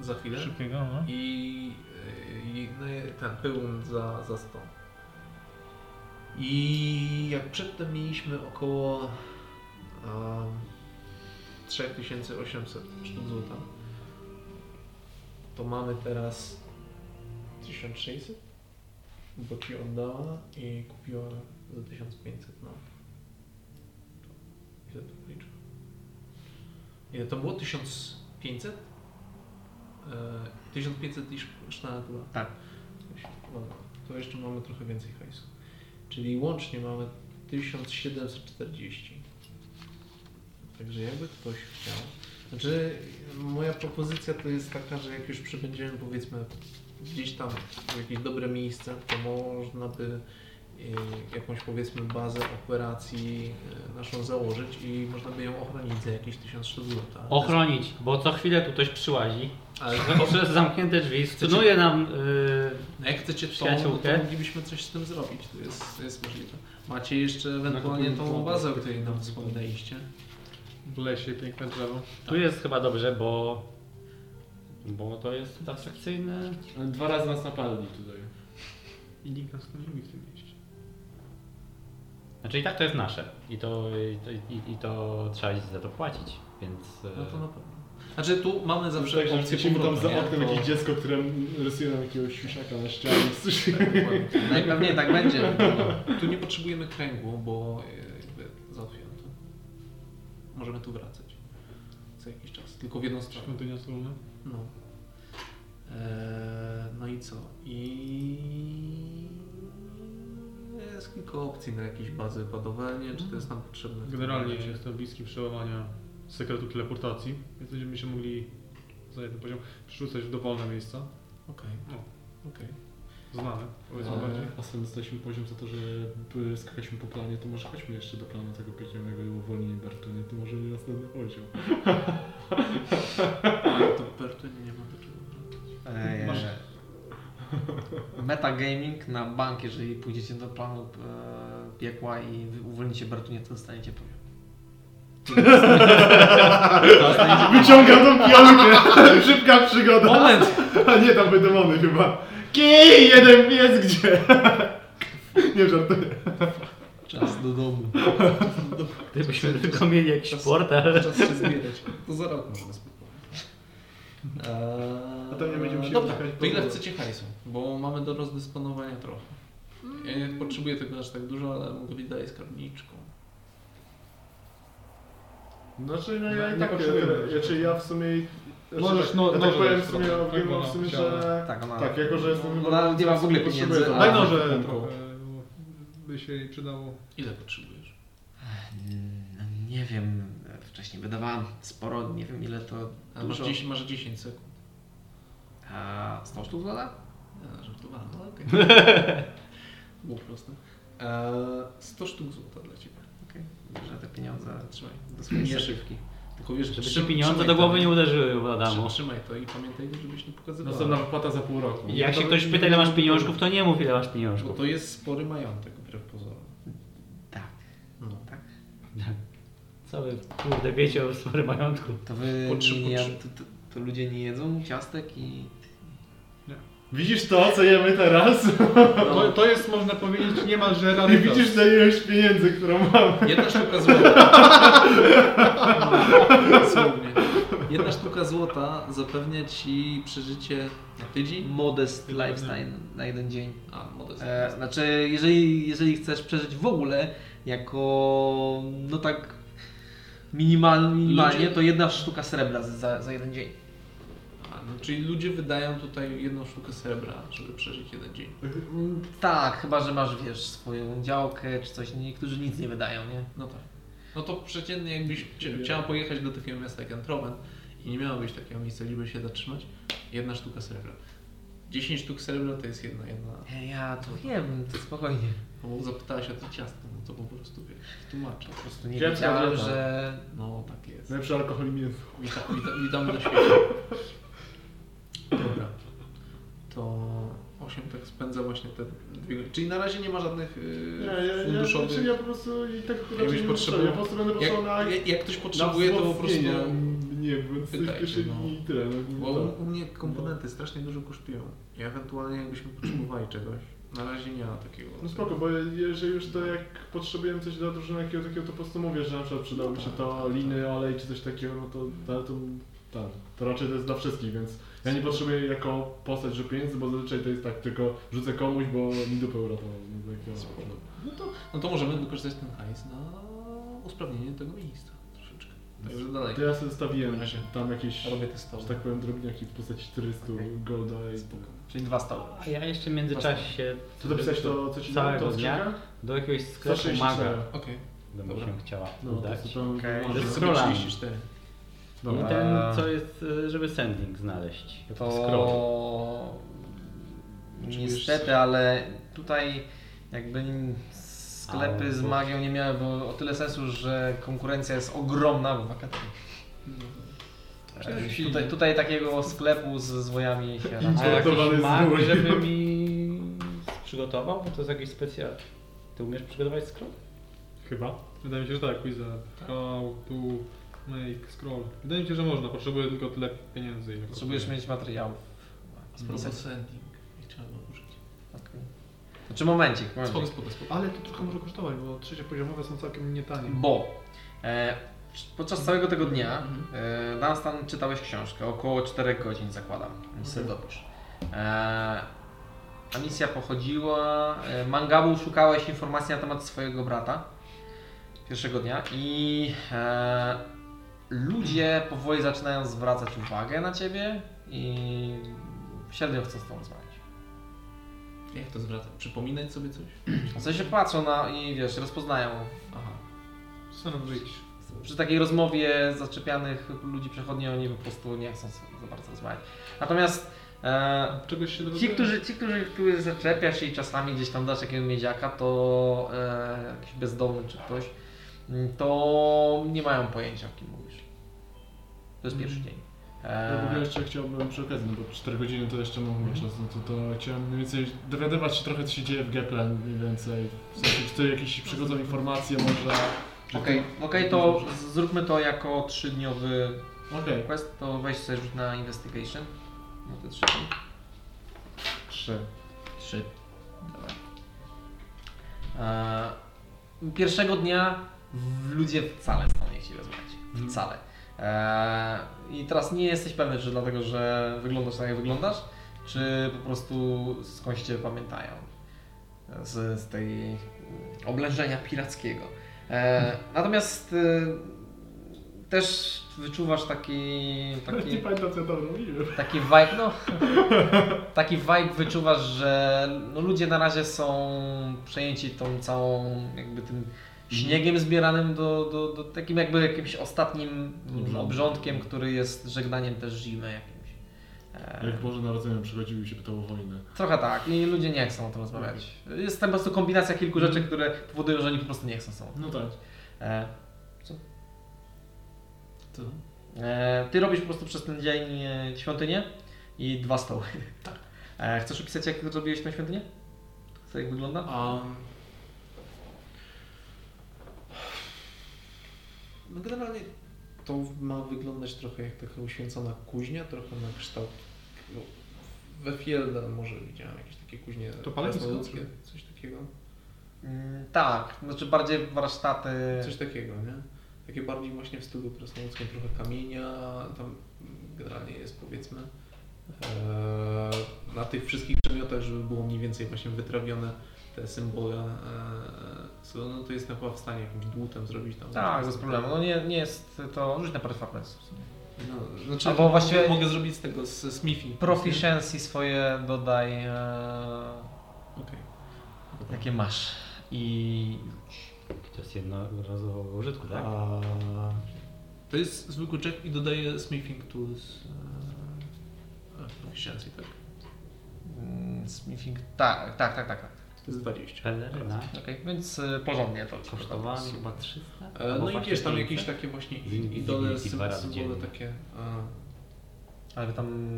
S5: za chwilę.
S9: Szybkiego, no.
S5: I, i no, i ten pełen za, za 100. I jak przedtem mieliśmy około um, 3800 sztuk złota, to mamy teraz 1600, bo ci oddała i kupiła za 1500. No. Ile to policzę? Ile to było? 1500? E, 1500 niż sztana była.
S1: Tak.
S5: Dobra, to jeszcze mamy trochę więcej hajsu. Czyli łącznie mamy 1740. Także jakby ktoś chciał. Znaczy, moja propozycja to jest taka, że jak już przybędziemy powiedzmy gdzieś tam w jakieś dobre miejsce, to można by e, jakąś powiedzmy bazę operacji e, naszą założyć i można by ją ochronić za jakieś 1000 sztuk złota.
S4: Ochronić, bo co chwilę tu ktoś przyłazi.
S5: Ale
S4: Poprzez zamknięte drzwi stunuje E, nam yy,
S5: No jak chcecie tą, no
S4: Przyjaciółkę?
S5: to moglibyśmy coś z tym zrobić, to jest, to jest możliwe. Macie jeszcze ewentualnie tą bazę, o której nam wspominaliście.
S6: W lesie piękne drzewo.
S4: Tu jest chyba dobrze, bo. Bo to jest abstrakcyjne.
S3: Dwa razy nas napadli tutaj.
S6: I nikt nas nie lubi w tym mieście.
S4: Znaczy i tak to jest nasze. I to, i, to- i, i to trzeba jest za to płacić, więc. e,
S5: No to na pewno. Znaczy tu
S2: No
S5: mamy zawsze
S2: Także
S5: opcję
S2: widzimy tak, tam
S5: powrotu,
S2: za
S5: nie?
S2: oknem
S3: No.
S5: To-
S2: jakieś dziecko, które rysuje nam jakiegoś siusiaka na ścianie.
S5: dokładnie.
S1: Najpewniej tak będzie.
S5: Tu nie potrzebujemy kręgu, bo e, jakby załatwiłem to. Możemy tu wracać. Co jakiś czas, tylko w jedną stronę.
S2: Świątynia Solna?
S5: No. Eee, no i co? I jest kilka opcji na jakieś bazy ładowanie, czy to jest nam potrzebne. w tym
S2: Generalnie
S5: momencie?
S2: jestem bliski przełamania sekretu teleportacji, więc będziemy się mogli za jeden poziom przerzucać w dowolne miejsca.
S5: Okej.
S2: No.
S5: Okej.
S2: Znane, powiedzmy
S5: Eee.
S2: bardziej.
S3: A sam dostaliśmy poziom za to, że by skakaliśmy po planie, to może chodźmy jeszcze do planu tego piekielnego i uwolnienie Bertunie, to może nie następny poziom.
S5: Ale to Bertunie nie ma do czego.
S1: Eee,
S2: Masz-
S1: e, Metagaming na bank, jeżeli pójdziecie do planu e, piekła i wy- uwolnicie Bertunię, to dostaniecie poziom.
S2: Wyciągam tą pionkę! Szybka przygoda! Moment! A nie, tam będą one chyba. Kij! Jeden jest gdzie! Nie żartuję.
S1: Czas do domu.
S4: Gdybyśmy tylko mieli jakiś portal.
S5: Czas się zbierać. To za rok możemy spróbować. Eee,
S2: A to nie będziemy się
S5: Dobra,
S2: uciekać
S5: to
S2: po
S5: ile
S2: drodze.
S5: chcecie hajsu? Bo mamy do rozdysponowania trochę. Ja nie potrzebuję tego aż tak dużo, ale mogę być dalej skarbniczką.
S2: Znaczy, no
S6: No,
S2: ja i
S6: nie
S2: tak
S6: potrzebuję
S2: tyle.
S6: tego.
S2: Znaczy, ja w sumie.
S6: Możesz,
S2: znaczy,
S6: no-
S2: ja tak
S6: noże
S2: powiem
S6: dać
S2: w sumie,
S6: trochę, tak,
S2: ja mam
S6: bo
S2: w sumie,
S6: chciałem.
S2: że.
S1: Tak, ona.
S2: Tak, jako że
S6: No,
S2: jestem
S1: Ona nie ma w ogóle pieniędzy,
S2: potrzebuję-
S1: a-
S2: Daj noże!
S6: Trochę e, by się jej przydało.
S5: Ile potrzebujesz?
S1: Mm, Nie wiem, wcześniej wydawałam sporo, nie wiem ile to
S5: A masz,
S1: dużo.
S5: 10, masz 10 sekund.
S1: A 100 sztuk zada?
S5: Ja żartowałem, ale okej. Okay. Było proste. Eee, 100 sztuk złota dla Ciebie.
S1: Okej, bierze te pieniądze
S5: Trzymaj.
S1: do swojej
S5: Nie.
S1: szybki.
S5: Tylko wiesz,
S4: Żeby
S5: trzym-
S4: ci pieniądze
S5: trzymaj
S4: do głowy
S5: to.
S4: nie uderzyły u
S5: Trzy-
S4: Adamu.
S5: Trzymaj to i pamiętaj, żebyś nie pokazywał.
S6: No,
S3: Następna wypłata za pół roku.
S4: I Jak się ktoś pyta, ile masz pieniążków, to nie mów, ile masz
S5: Bo
S4: pieniążków.
S5: to jest spory majątek, wbrew pozorom.
S1: Tak.
S5: No.
S4: Co wy kurde wiecie o swoim majątku?
S1: To wy
S5: Potrzeb-
S1: nie,
S5: potrzeb-
S1: to, to, to ludzie nie jedzą ciastek i
S2: Widzisz to, co jemy teraz?
S6: To, to jest, można powiedzieć, niemalże
S5: no,
S2: Nie
S6: rarytas.
S2: widzisz na ilość pieniędzy, którą mamy.
S5: Jedna sztuka złota. No, dosłownie. Jedna sztuka złota zapewnia ci przeżycie na tydzień.
S1: modest lifestyle na jeden dzień.
S5: A, modest.
S1: E, znaczy, jeżeli, jeżeli chcesz przeżyć w ogóle jako, no tak minimal, minimalnie,
S5: Ludzie-
S1: to jedna sztuka srebra za, za jeden dzień.
S5: A, no, czyli ludzie wydają tutaj jedną sztukę srebra, żeby przeżyć jeden dzień.
S1: Mm, Tak, chyba że masz, wiesz, swoją działkę czy coś. Niektórzy nic nie wydają, nie?
S5: No tak. No to przeciętnie jakbyś chcia- chciała pojechać do takiego miasta jak Antrowen i nie miało być takiego miejsca, gdzie by się zatrzymać, jedna sztuka srebra. 10 sztuk srebra to jest jedna, jedna.
S1: Ja to wiem, to spokojnie.
S5: No bo zapytałaś o to ciasto, no to po prostu wiesz, tłumaczę.
S1: Po prostu nie
S3: Kiepska
S1: wiedziałem,
S3: dieta.
S1: że...
S5: No tak jest.
S3: Lepszy alkohol i mięso.
S5: Wita, wita, witamy na świecie. Dobra. To 8 tak spędza właśnie te dwie godziny. Czyli na razie nie ma żadnych yy,
S2: Nie, ja, ja, ja,
S5: funduszowych.
S2: znaczy ja po prostu i tak
S5: byś
S2: raczej nie potrzebuję.
S5: potrzebował-
S2: Ja po prostu będę
S5: jak,
S2: potrzebował na, na
S5: jak, jak ktoś potrzebuje, to po prostu.
S2: wzmocnienia. Nie, bo z tych
S5: Pytajcie, no.
S2: kieszeni i tyle.
S5: Bo
S2: No,
S5: u,
S2: tak.
S5: u mnie komponenty strasznie dużo kosztują. I ewentualnie jakbyśmy potrzebowali czegoś. Na razie nie ma takiego.
S2: no spoko, bo jeżeli już to jak potrzebujemy coś dla drużyny jakiego takiego, to po prostu mówię, że na przykład przydałoby się to liny, olej czy coś takiego, no to, ale to, tak, to raczej to jest dla wszystkich, więc ja nie potrzebuję jako postać, że pieniędzy, bo zazwyczaj to jest tak, tylko rzucę komuś, bo mi dupę uratował. no, jak ja-
S5: No to, no to możemy wykorzystać ten hajs na usprawnienie tego miejsca troszeczkę. Także dalej.
S2: To ja sobie zostawiłem
S5: Na razie.
S2: tam jakieś,
S5: Robię te stoły.
S2: że tak powiem, drobniaki w postaci 400 golda i...
S5: Spoko.
S1: Czyli dwa stoły.
S4: A ja jeszcze w międzyczasie
S2: To dopisać to, co ci
S4: całego
S2: to
S4: dnia
S2: skrzynka?
S4: do jakiegoś sklepu
S2: 164.
S4: maga
S5: Okej.
S4: bym
S5: Dobra.
S4: się chciała
S2: No,
S4: udać.
S2: to zupełnie
S1: Okej.
S2: może-
S4: Ze
S5: Zrobię
S4: scrollami.
S5: 34.
S4: I
S2: Dobra.
S4: ten, co jest, y, żeby sending znaleźć.
S1: To
S4: Scroll.
S1: niestety, ale tutaj jakby sklepy z magią nie miały bo o tyle sensu, że konkurencja jest ogromna, bo wakacje.
S5: No.
S1: E, Tutaj, tutaj takiego sklepu z zwojami się
S4: A
S1: raczej.
S2: Importowany
S4: jakiś
S2: z
S4: mag,
S2: Rosji.
S4: żeby mi przygotował, bo to jest jakiś specjal. Ty umiesz przygotować scroll?
S2: Chyba.
S9: Wydaje mi się, że tak, quiza. How to make scroll. Wydaje mi się, że można, potrzebuję tylko tyle pieniędzy. ile
S1: Potrzebujesz mieć materiałów.
S5: Spróbuj
S1: Niestety.
S5: sending. I trzeba go użyć.
S1: Okej. Znaczy momencik, momencik.
S5: Spoko, spoko, spoko.
S6: Ale to trochę może kosztować, bo trzeciopoziomowe są całkiem nietanie.
S1: Bo e, podczas całego tego dnia e, Dunstan czytałeś książkę, około 4 godzin zakładam, więc sobie dopisz. E, a misja pochodziła, e, Mangabu szukałeś informacji na temat swojego brata pierwszego dnia i e, ludzie powoli zaczynają zwracać uwagę na ciebie i średnio chcą z tobą rozmawiać.
S5: Jak to zwracam? Przypominać sobie coś?
S1: W sensie patrzą na i wiesz, rozpoznają
S5: Aha.
S9: Sandwich.
S1: przy takiej rozmowie zaczepianych ludzi przechodni oni po prostu nie chcą sobie za bardzo rozmawiać. Natomiast e,
S9: Czegoś się
S1: ci,
S9: dowiaduję?
S1: którzy, ci, którzy, których zaczepiasz i czasami gdzieś tam dasz jakiegoś miedziaka, to e, jakiś bezdomny czy ktoś, m, to nie mają pojęcia o kim mówisz. To jest pierwszy dzień.
S2: Ja w ogóle
S1: E,
S2: jeszcze chciałbym przy okazji, no bo 4 godziny to jeszcze mam czas, no to, to chciałem mniej więcej dowiadywać się trochę co się dzieje w Geple mniej więcej. W sensie, czy tu jakieś przychodzą informacje może. że
S1: Okej,
S2: tu-
S1: okej, to z- zróbmy to jako trzydniowy
S2: Okej.
S1: quest, to weź sobie rzut na investigation. No to trzy.
S2: Trzy.
S1: Trzy. Dobra. E, pierwszego dnia w- ludzie wcale z tobą nie chcieli rozmawiać. Wcale. E, I teraz nie jesteś pewny, czy dlatego, że wyglądasz tak, jak wyglądasz, czy po prostu skądś cię pamiętają. Z, z tej mm, oblężenia pirackiego. E, natomiast e, też wyczuwasz taki...
S2: Nawet
S1: taki
S2: nie pamiętam co ja tam mówiłem.
S1: Taki vibe, no. Taki vibe wyczuwasz, że no ludzie na razie są przejęci tą całą, jakby tym śniegiem zbieranym do, do, do takim jakby jakimś ostatnim mm, obrządkiem, który jest żegnaniem też zimy jakimś. E,
S2: Jak Boże Narodzenie przychodził i się pytał o wojnę.
S1: trochę tak i ludzie nie chcą o tym rozmawiać. Jest tam po prostu kombinacja kilku rzeczy, które powodują, że oni po prostu nie chcą są.
S2: No tak.
S1: E,
S5: To?
S1: E, ty robisz po prostu przez ten dzień e, świątynię i dwa stoły.
S5: Tak.
S1: E, chcesz opisać, jak zrobiłeś tę świątynię? Co jak wygląda?
S5: A... No generalnie to ma wyglądać trochę jak taka uświęcona kuźnia, trochę na kształt... No, we Fielda może widziałem jakieś takie kuźnie
S9: To palenisko,
S5: krasnoludzkie,
S9: czy-
S5: coś takiego.
S1: Mm, tak, znaczy bardziej warsztaty.
S5: Coś takiego, nie? Takie bardziej właśnie w stylu krasnoludzkim, trochę kamienia, tam generalnie jest powiedzmy e, na tych wszystkich przedmiotach, żeby było mniej więcej właśnie wytrawione te symbole, e, so, no to jestem chyba w stanie jakimś dłutem zrobić tam.
S1: Tak, bez problemu. No nie, nie jest to rzuć na performance.
S5: No, znaczy,
S1: Albo
S5: Albo
S1: właściwie-
S5: właściwie mogę zrobić z tego, z smithing.
S1: Proficiency swoje dodaj, e,
S5: Okej.
S1: jakie masz. I e,
S4: To jest jednorazowo użytku, tak?
S5: A, To jest zwykły check i dodaję smithing tools. e, e, Proficiency, tak?
S1: więc mi fig... mm, Tak, tak, tak, tak. tak.
S5: To jest 20.
S4: Peleryna
S1: Okej, więc y, porządnie to
S4: kosztowała mi chyba 300?
S5: E,
S4: albo
S5: No i
S4: właśnie
S5: wiesz, tam
S4: 500.
S5: jakieś takie właśnie
S4: Linki,
S5: idole,
S4: linki dwa
S5: sym-
S4: razy
S5: symbole
S4: dziennie.
S5: takie. e,
S1: Ale wy tam...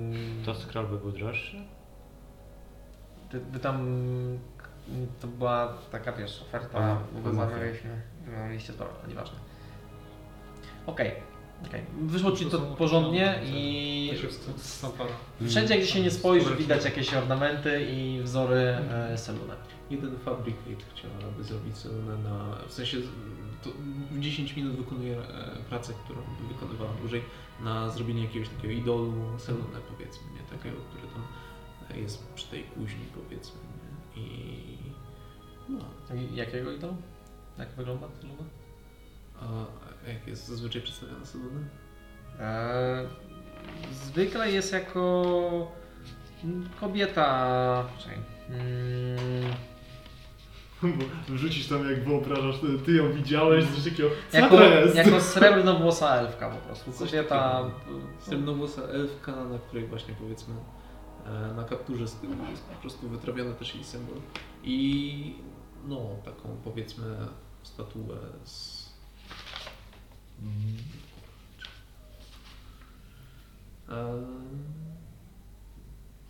S4: To scroll by był droższy?
S1: Ty, wy tam... To była taka, wiesz, oferta,
S4: A,
S1: bo
S4: promocja.
S1: zamawialiśmy. No, liście dobra, nieważne. Okej. okej. Wyszło ci to porządnie i
S9: To się wst- stampara.
S1: wszędzie, gdzie się nie spojrzy, widać jakieś ornamenty i wzory e, selune.
S5: Jeden fabricate chciałaby zrobić Selena na... W sensie z- to w 10 minut wykonuje e, pracę, którą wykonywała dłużej na zrobienie jakiegoś takiego idolu Selena powiedzmy, nie? Takiego, który tam e, jest przy tej kuźni powiedzmy, nie? I... No,
S1: I Jakiego i to? Jak wygląda seluna?
S5: a jak jest zazwyczaj przedstawiana Selena?
S1: E, Zwykle jest jako mm, kobieta. Czekaj. Mm,
S2: Bo Wrzucisz tam jak wyobrażasz, ty- ty ją widziałeś, coś takiego, co
S1: Jako,
S2: to jest?
S1: jako srebrnowłosa elfka po prostu.
S5: Coś
S1: Kobieta.
S5: Srebrnowłosa elfka, na której właśnie powiedzmy e, na kapturze z tyłu jest po prostu wytrawiony też jej symbol. I no, taką powiedzmy statuę z... E,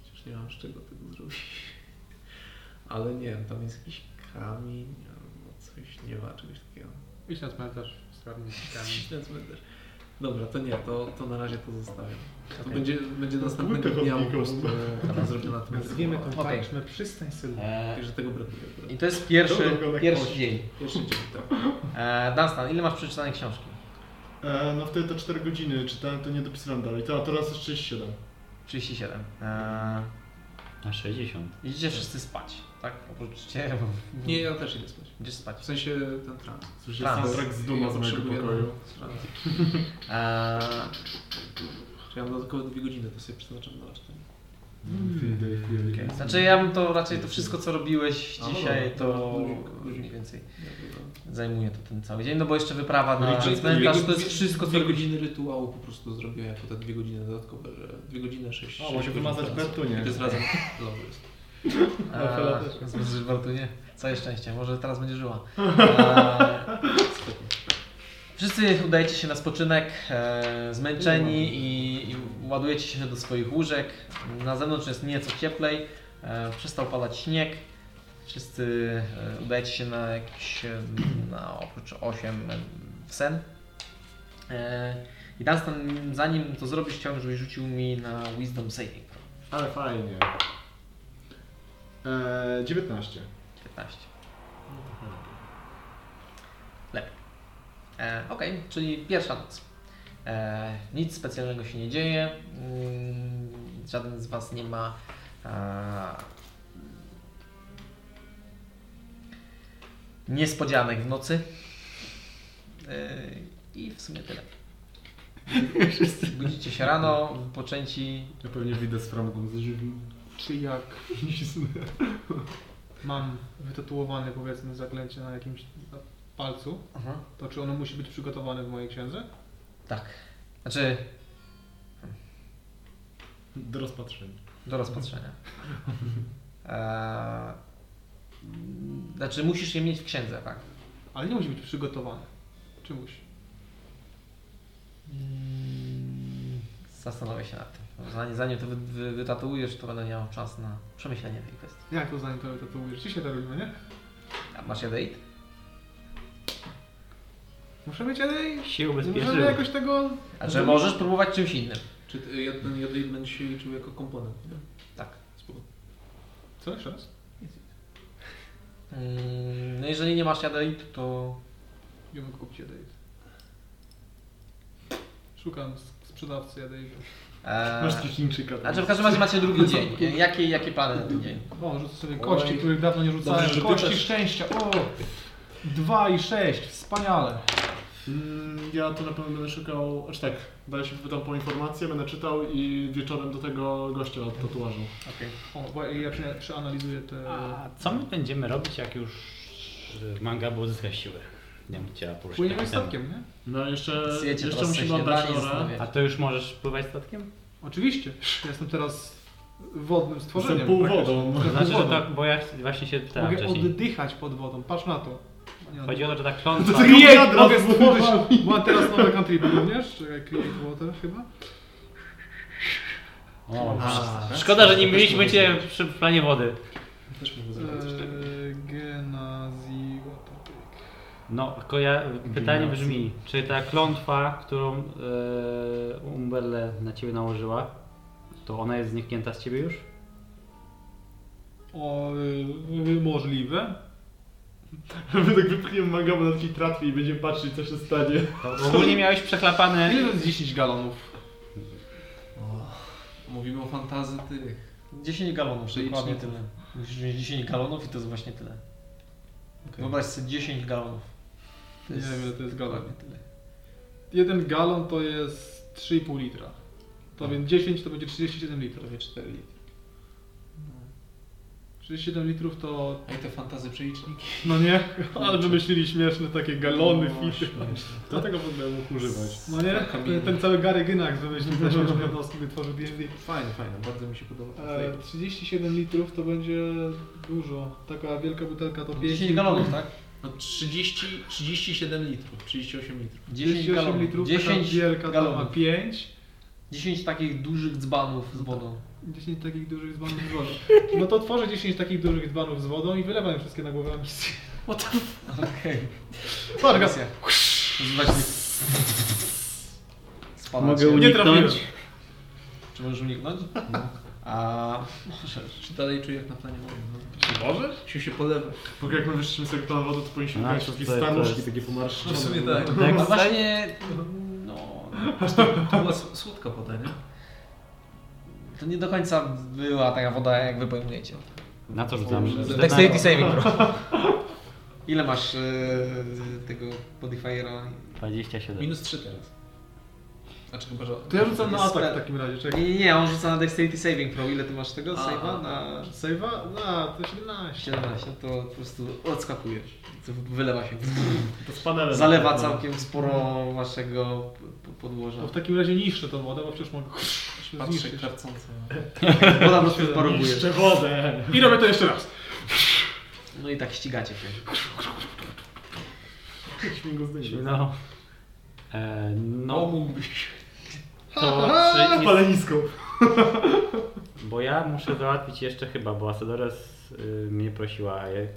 S5: Chociaż nie mam z czego tego zrobić. Ale nie wiem, tam jest jakiś kamień albo coś, nie ma czegoś takiego.
S9: Idź na cmentarz, skarbnik.
S5: Ściśle cmentarz. Dobra, to nie, to, to na razie to zostawiam. To
S1: Okej.
S5: będzie, będzie następnego
S2: Płytę
S5: dnia
S2: chodnikowską.
S5: e, zrobiona tym
S6: Nazwiemy tą
S1: Okej.
S6: taczmę przystań Sylwii.
S1: E,
S5: Także tego brakuje. akurat.
S1: I to jest pierwszy,
S2: Dobra,
S1: pierwszy
S2: kość.
S1: dzień.
S5: Jeszcze dzień, tak.
S1: E, Dunstan, ile masz przeczytanej książki?
S2: E, no wtedy to 4 godziny czytałem, to nie dopisałem dalej, to, a teraz jest 37.
S1: 37. E,
S4: Na 60.
S1: idziecie wszyscy spać, tak? Oprócz ciebie.
S5: Nie, ja też idę spać.
S1: Idziesz spać.
S5: W sensie ten trans.
S2: Słyszę
S1: Trans.
S2: soundtrack z Duma z mojego
S5: Tak. potrzebuję
S2: pokoju.
S5: trans.
S1: E,
S5: Czyli ja mam dodatkowe dwie godziny, to sobie przeznaczam na resztę.
S2: Mm.
S1: okej. Znaczy ja bym to raczej to wszystko co robiłeś
S5: A, no
S1: dzisiaj
S5: dobra,
S1: to
S5: dobra, luzik, luzik.
S1: mniej więcej
S5: Nie, to-
S1: zajmuje to ten cały dzień, no bo jeszcze wyprawa na
S5: Czyli
S1: cmentarz,
S5: dwie-
S1: to jest wszystko co
S5: Dwie
S1: robisz.
S5: godziny rytuału po prostu zrobiłem jako te dwie godziny dodatkowe, że dwie godziny, sześć.
S2: O, bo się
S5: godzin
S2: wymazać
S5: transu.
S2: Bertunie.
S5: I to jest razem. Dobrze jest.
S1: Eee, Zmysł Bartunie. Całe szczęście, może teraz będzie żyła. Eee, wszyscy udajecie się na spoczynek, eee, zmęczeni i, i ładujecie się do swoich łóżek. Na zewnątrz jest nieco cieplej, eee, przestał padać śnieg. Wszyscy eee, udajecie się na jakiś, eee, na oprócz 8 w sen. Eee, I Dunstan, zanim to zrobisz, chciałbym, żebyś rzucił mi na Wisdom Saving Throw.
S2: Ale fajnie. E, 19.
S1: 15. Lepiej. E, Okej, czyli pierwsza noc. E, nic specjalnego się nie dzieje. Mm, żaden z Was nie ma. E, niespodzianek w nocy. E, I w sumie tyle. Budzicie się rano, wypoczęci.
S2: Ja pewnie wyjdę z framugą ze żywym.
S6: Czy jak mam wytatuowane powiedzmy zaklęcie na jakimś na palcu, to czy ono musi być przygotowane w mojej księdze?
S1: Tak. Znaczy,
S2: Do rozpatrzenia.
S1: Do rozpatrzenia. Eee, znaczy, musisz je mieć w księdze, tak?
S6: Ale nie musi być przygotowane. Czy musi?
S1: Zastanowię się nad tym. Zanim, zanim to wy, wy, wytatuujesz, to będę miał czas na przemyślenie tej kwestii.
S6: Jak to zanim to wytatuujesz? Dzisiaj to robimy, nie?
S1: A masz jadeit?
S6: Muszę mieć jednej...
S4: Się
S6: Nie możemy
S4: ubezpieczyły.
S6: jakoś tego...
S1: A
S2: Mhm.
S1: czy możesz próbować czymś innym?
S5: Czy ty- ja- ten jodid będzie się liczył jako komponent? Nie?
S1: Tak.
S5: Spoko.
S6: Co jeszcze raz?
S1: Mm, No jeżeli nie masz jadeit, to
S6: Nie mogę kupić jednej. Szukam s- sprzedawcy jednej.
S1: eee,
S2: Masz coś Chińczyka. tam.
S1: znaczy w każdym razie macie drugi dzień. Jakie, jakie plany na ten dzień?
S6: O, rzucę sobie kości, których dawno nie rzucałem.
S5: Dobrze, że
S6: kości
S5: pytasz.
S6: szczęścia, o! 2 i 6, wspaniale.
S2: Mm, Ja to na pewno będę szukał. Aż tak, daję się pytam po informację, będę czytał i wieczorem do tego gościa od tatuażu.
S6: Okej. O, bo ja prze- przeanalizuję te...
S4: A co my będziemy robić, jak już manga by uzyska siłę? Ja bym chciała poruszyć
S6: Płyniemy
S4: taki temat.
S6: statkiem, nie?
S2: No jeszcze,
S1: Zjecie
S2: jeszcze
S1: teraz
S2: musimy
S1: sobie
S2: oddać
S1: śniadanie i
S2: Norę.
S1: zastanawiacie.
S4: A to już możesz pływać statkiem?
S6: Oczywiście. Jestem teraz
S14: wodnym stworzeniem.
S2: Jestem pół wodą.
S6: No
S4: To znaczy, że
S14: wodą.
S4: tak, bo ja właśnie się pytałem
S14: Mogę
S4: wcześniej.
S14: oddychać pod wodą, patrz na to. Nie,
S4: Chodzi
S6: no
S4: o to, że tak klątwa...
S14: Create, mogę stworzyć. Mam teraz nowe contribute również, czekaj, create water chyba.
S4: O,
S2: tak?
S4: szkoda, że nie mieliśmy cię przy planie wody.
S6: Też mogę zrobić coś takiego.
S14: Eee, Genazji water.
S4: No, tylko ja, pytanie brzmi, czy ta klątwa, którą e, Umberle na ciebie nałożyła, to ona jest zniknięta z ciebie już?
S6: O, y, y, możliwe.
S2: My tak wypchniemy mangamo na takiej tratwie i będziemy patrzeć, co się stanie.
S4: To ogólnie miałeś przeklapane...
S14: Ile to jest 10 galonów?
S5: Mówimy o fantazy tych.
S1: 10 galonów,
S5: Czyli
S1: dokładnie
S5: czy-
S1: tyle.
S6: tak.
S1: Musisz mieć 10 galonów i to jest właśnie tyle. Wyobraź sobie 10 galonów. To
S6: Nie wiem, ile to jest galon.
S1: dokładnie tyle.
S6: Jeden galon to jest 3,5 litra.
S14: No.
S6: To więc 10 to będzie 37 litrów.
S5: Prawie 4 litry.
S6: 37 litrów to...
S5: A i te fantazy przeliczniki.
S6: No nie, ale wymyślili śmieszne takie galony,
S14: No
S6: fity.
S2: Do tego będę mógł używać.
S6: No nie,
S5: Kamil.
S6: ten cały Gary Gynax wymyślił te śmieszne jednostki, wytworzył D&D.
S5: Fajne, fajne, bardzo mi się podoba. ten
S6: E,
S5: projekt.
S6: 37 litrów to będzie dużo. Taka wielka butelka to 5
S1: 10 galonów, tak?
S5: No 30, 37 litrów, 38 litrów.
S1: 10
S6: 38 litrów,
S1: galonów.
S6: 10 taka
S1: 10
S6: wielka to ma
S1: galonów.
S6: 5.
S1: 10 takich dużych dzbanów z wodą.
S6: 10 takich dużych dzbanów z wodą. No to tworzę 10 takich dużych dzbanów z wodą i wylewam je wszystkie na głowę misji.
S1: Okej.
S6: Patrz,
S1: Misja. Używać tych- Spadać.
S4: Mogę
S6: Nie trafiłem.
S4: uniknąć?
S1: Czy możesz uniknąć? A możesz.
S5: Czy dalej czuję jak na planie wody? No. Czy możesz? Czy się polewa?
S2: Bo jak my wyszliśmy sobie plan wody, to powinniśmy
S4: A,
S2: mieć
S4: to
S2: takie
S4: tutaj to
S2: staruszki,
S4: jest-
S2: takie pomarszczone.
S5: W sumie tak.
S1: A
S4: Tak,
S1: właśnie, no,
S5: To była s- słodka woda, nie?
S1: to nie do końca była taka woda, jak wy pojmujecie. Tak
S4: na co rzucam?
S15: Dexterity saving throw.
S1: Ile masz e, tego modifiera?
S4: 27.
S5: Minus 3 teraz. Znaczy chyba, że...
S6: To ja rzucam na
S1: Jest
S6: atak
S1: spell.
S6: w takim razie,
S1: Nie,
S6: czekaj.
S1: nie, nie, on rzuca na Dexterity Saving Pro. Ile ty masz tego
S5: A.
S1: save'a? Na
S6: Save'a? A, to 17.
S1: 17, to po prostu odskakujesz. To wylewa się.
S2: To z panelem.
S6: no,
S2: No.
S1: Zalewa całkiem sporo waszego p- podłoża.
S6: To No, w takim razie niszczę tą wodę, bo przecież mogę
S5: Patrzę
S6: zniszczyć.
S5: karcąco.
S1: Woda po prostu parowuje.
S2: Jeszcze wodę!
S6: I robię to jeszcze raz.
S1: No i tak ścigacie się.
S2: Śmigu zdejmę.
S4: No. E,
S5: No
S4: no,
S5: mógłbyś.
S4: to
S2: A,
S4: trzy-
S2: palenisko.
S4: Bo ja muszę załatwić jeszcze chyba, bo Asadores y, mnie prosiła, a ja, y,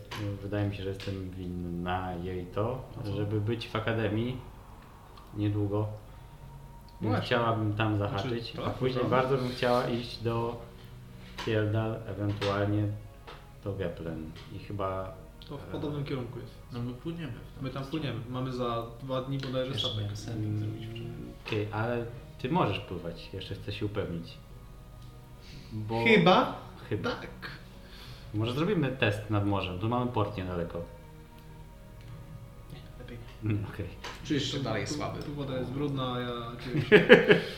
S4: wydaje mi się, że jestem winna jej to,
S6: No
S4: żeby być w akademii niedługo. Więc
S6: Właśnie.
S4: Chciałabym tam zahaczyć,
S6: tak,
S4: a później
S6: tak.
S4: bardzo bym chciała iść do Fieldal, ewentualnie do Geplen. I chyba
S6: To w podobnym kierunku jest.
S5: No my płyniemy. w to.
S6: My tam płyniemy. Mamy za dwa dni bodajże
S5: Jeszcze
S6: statek.
S5: taki sending zrobić wczoraj.
S4: Okej, ale mm, ty możesz pływać, jeszcze chcę się upewnić. Bo...
S6: Chyba.
S4: Chyba. Tak. Może zrobimy test nad morzem, tu mamy port niedaleko. Nie, lepiej. Okej.
S1: Czujesz się dalej
S6: Tu-
S1: słaby.
S6: Tu woda jest brudna, a ja gdzieś...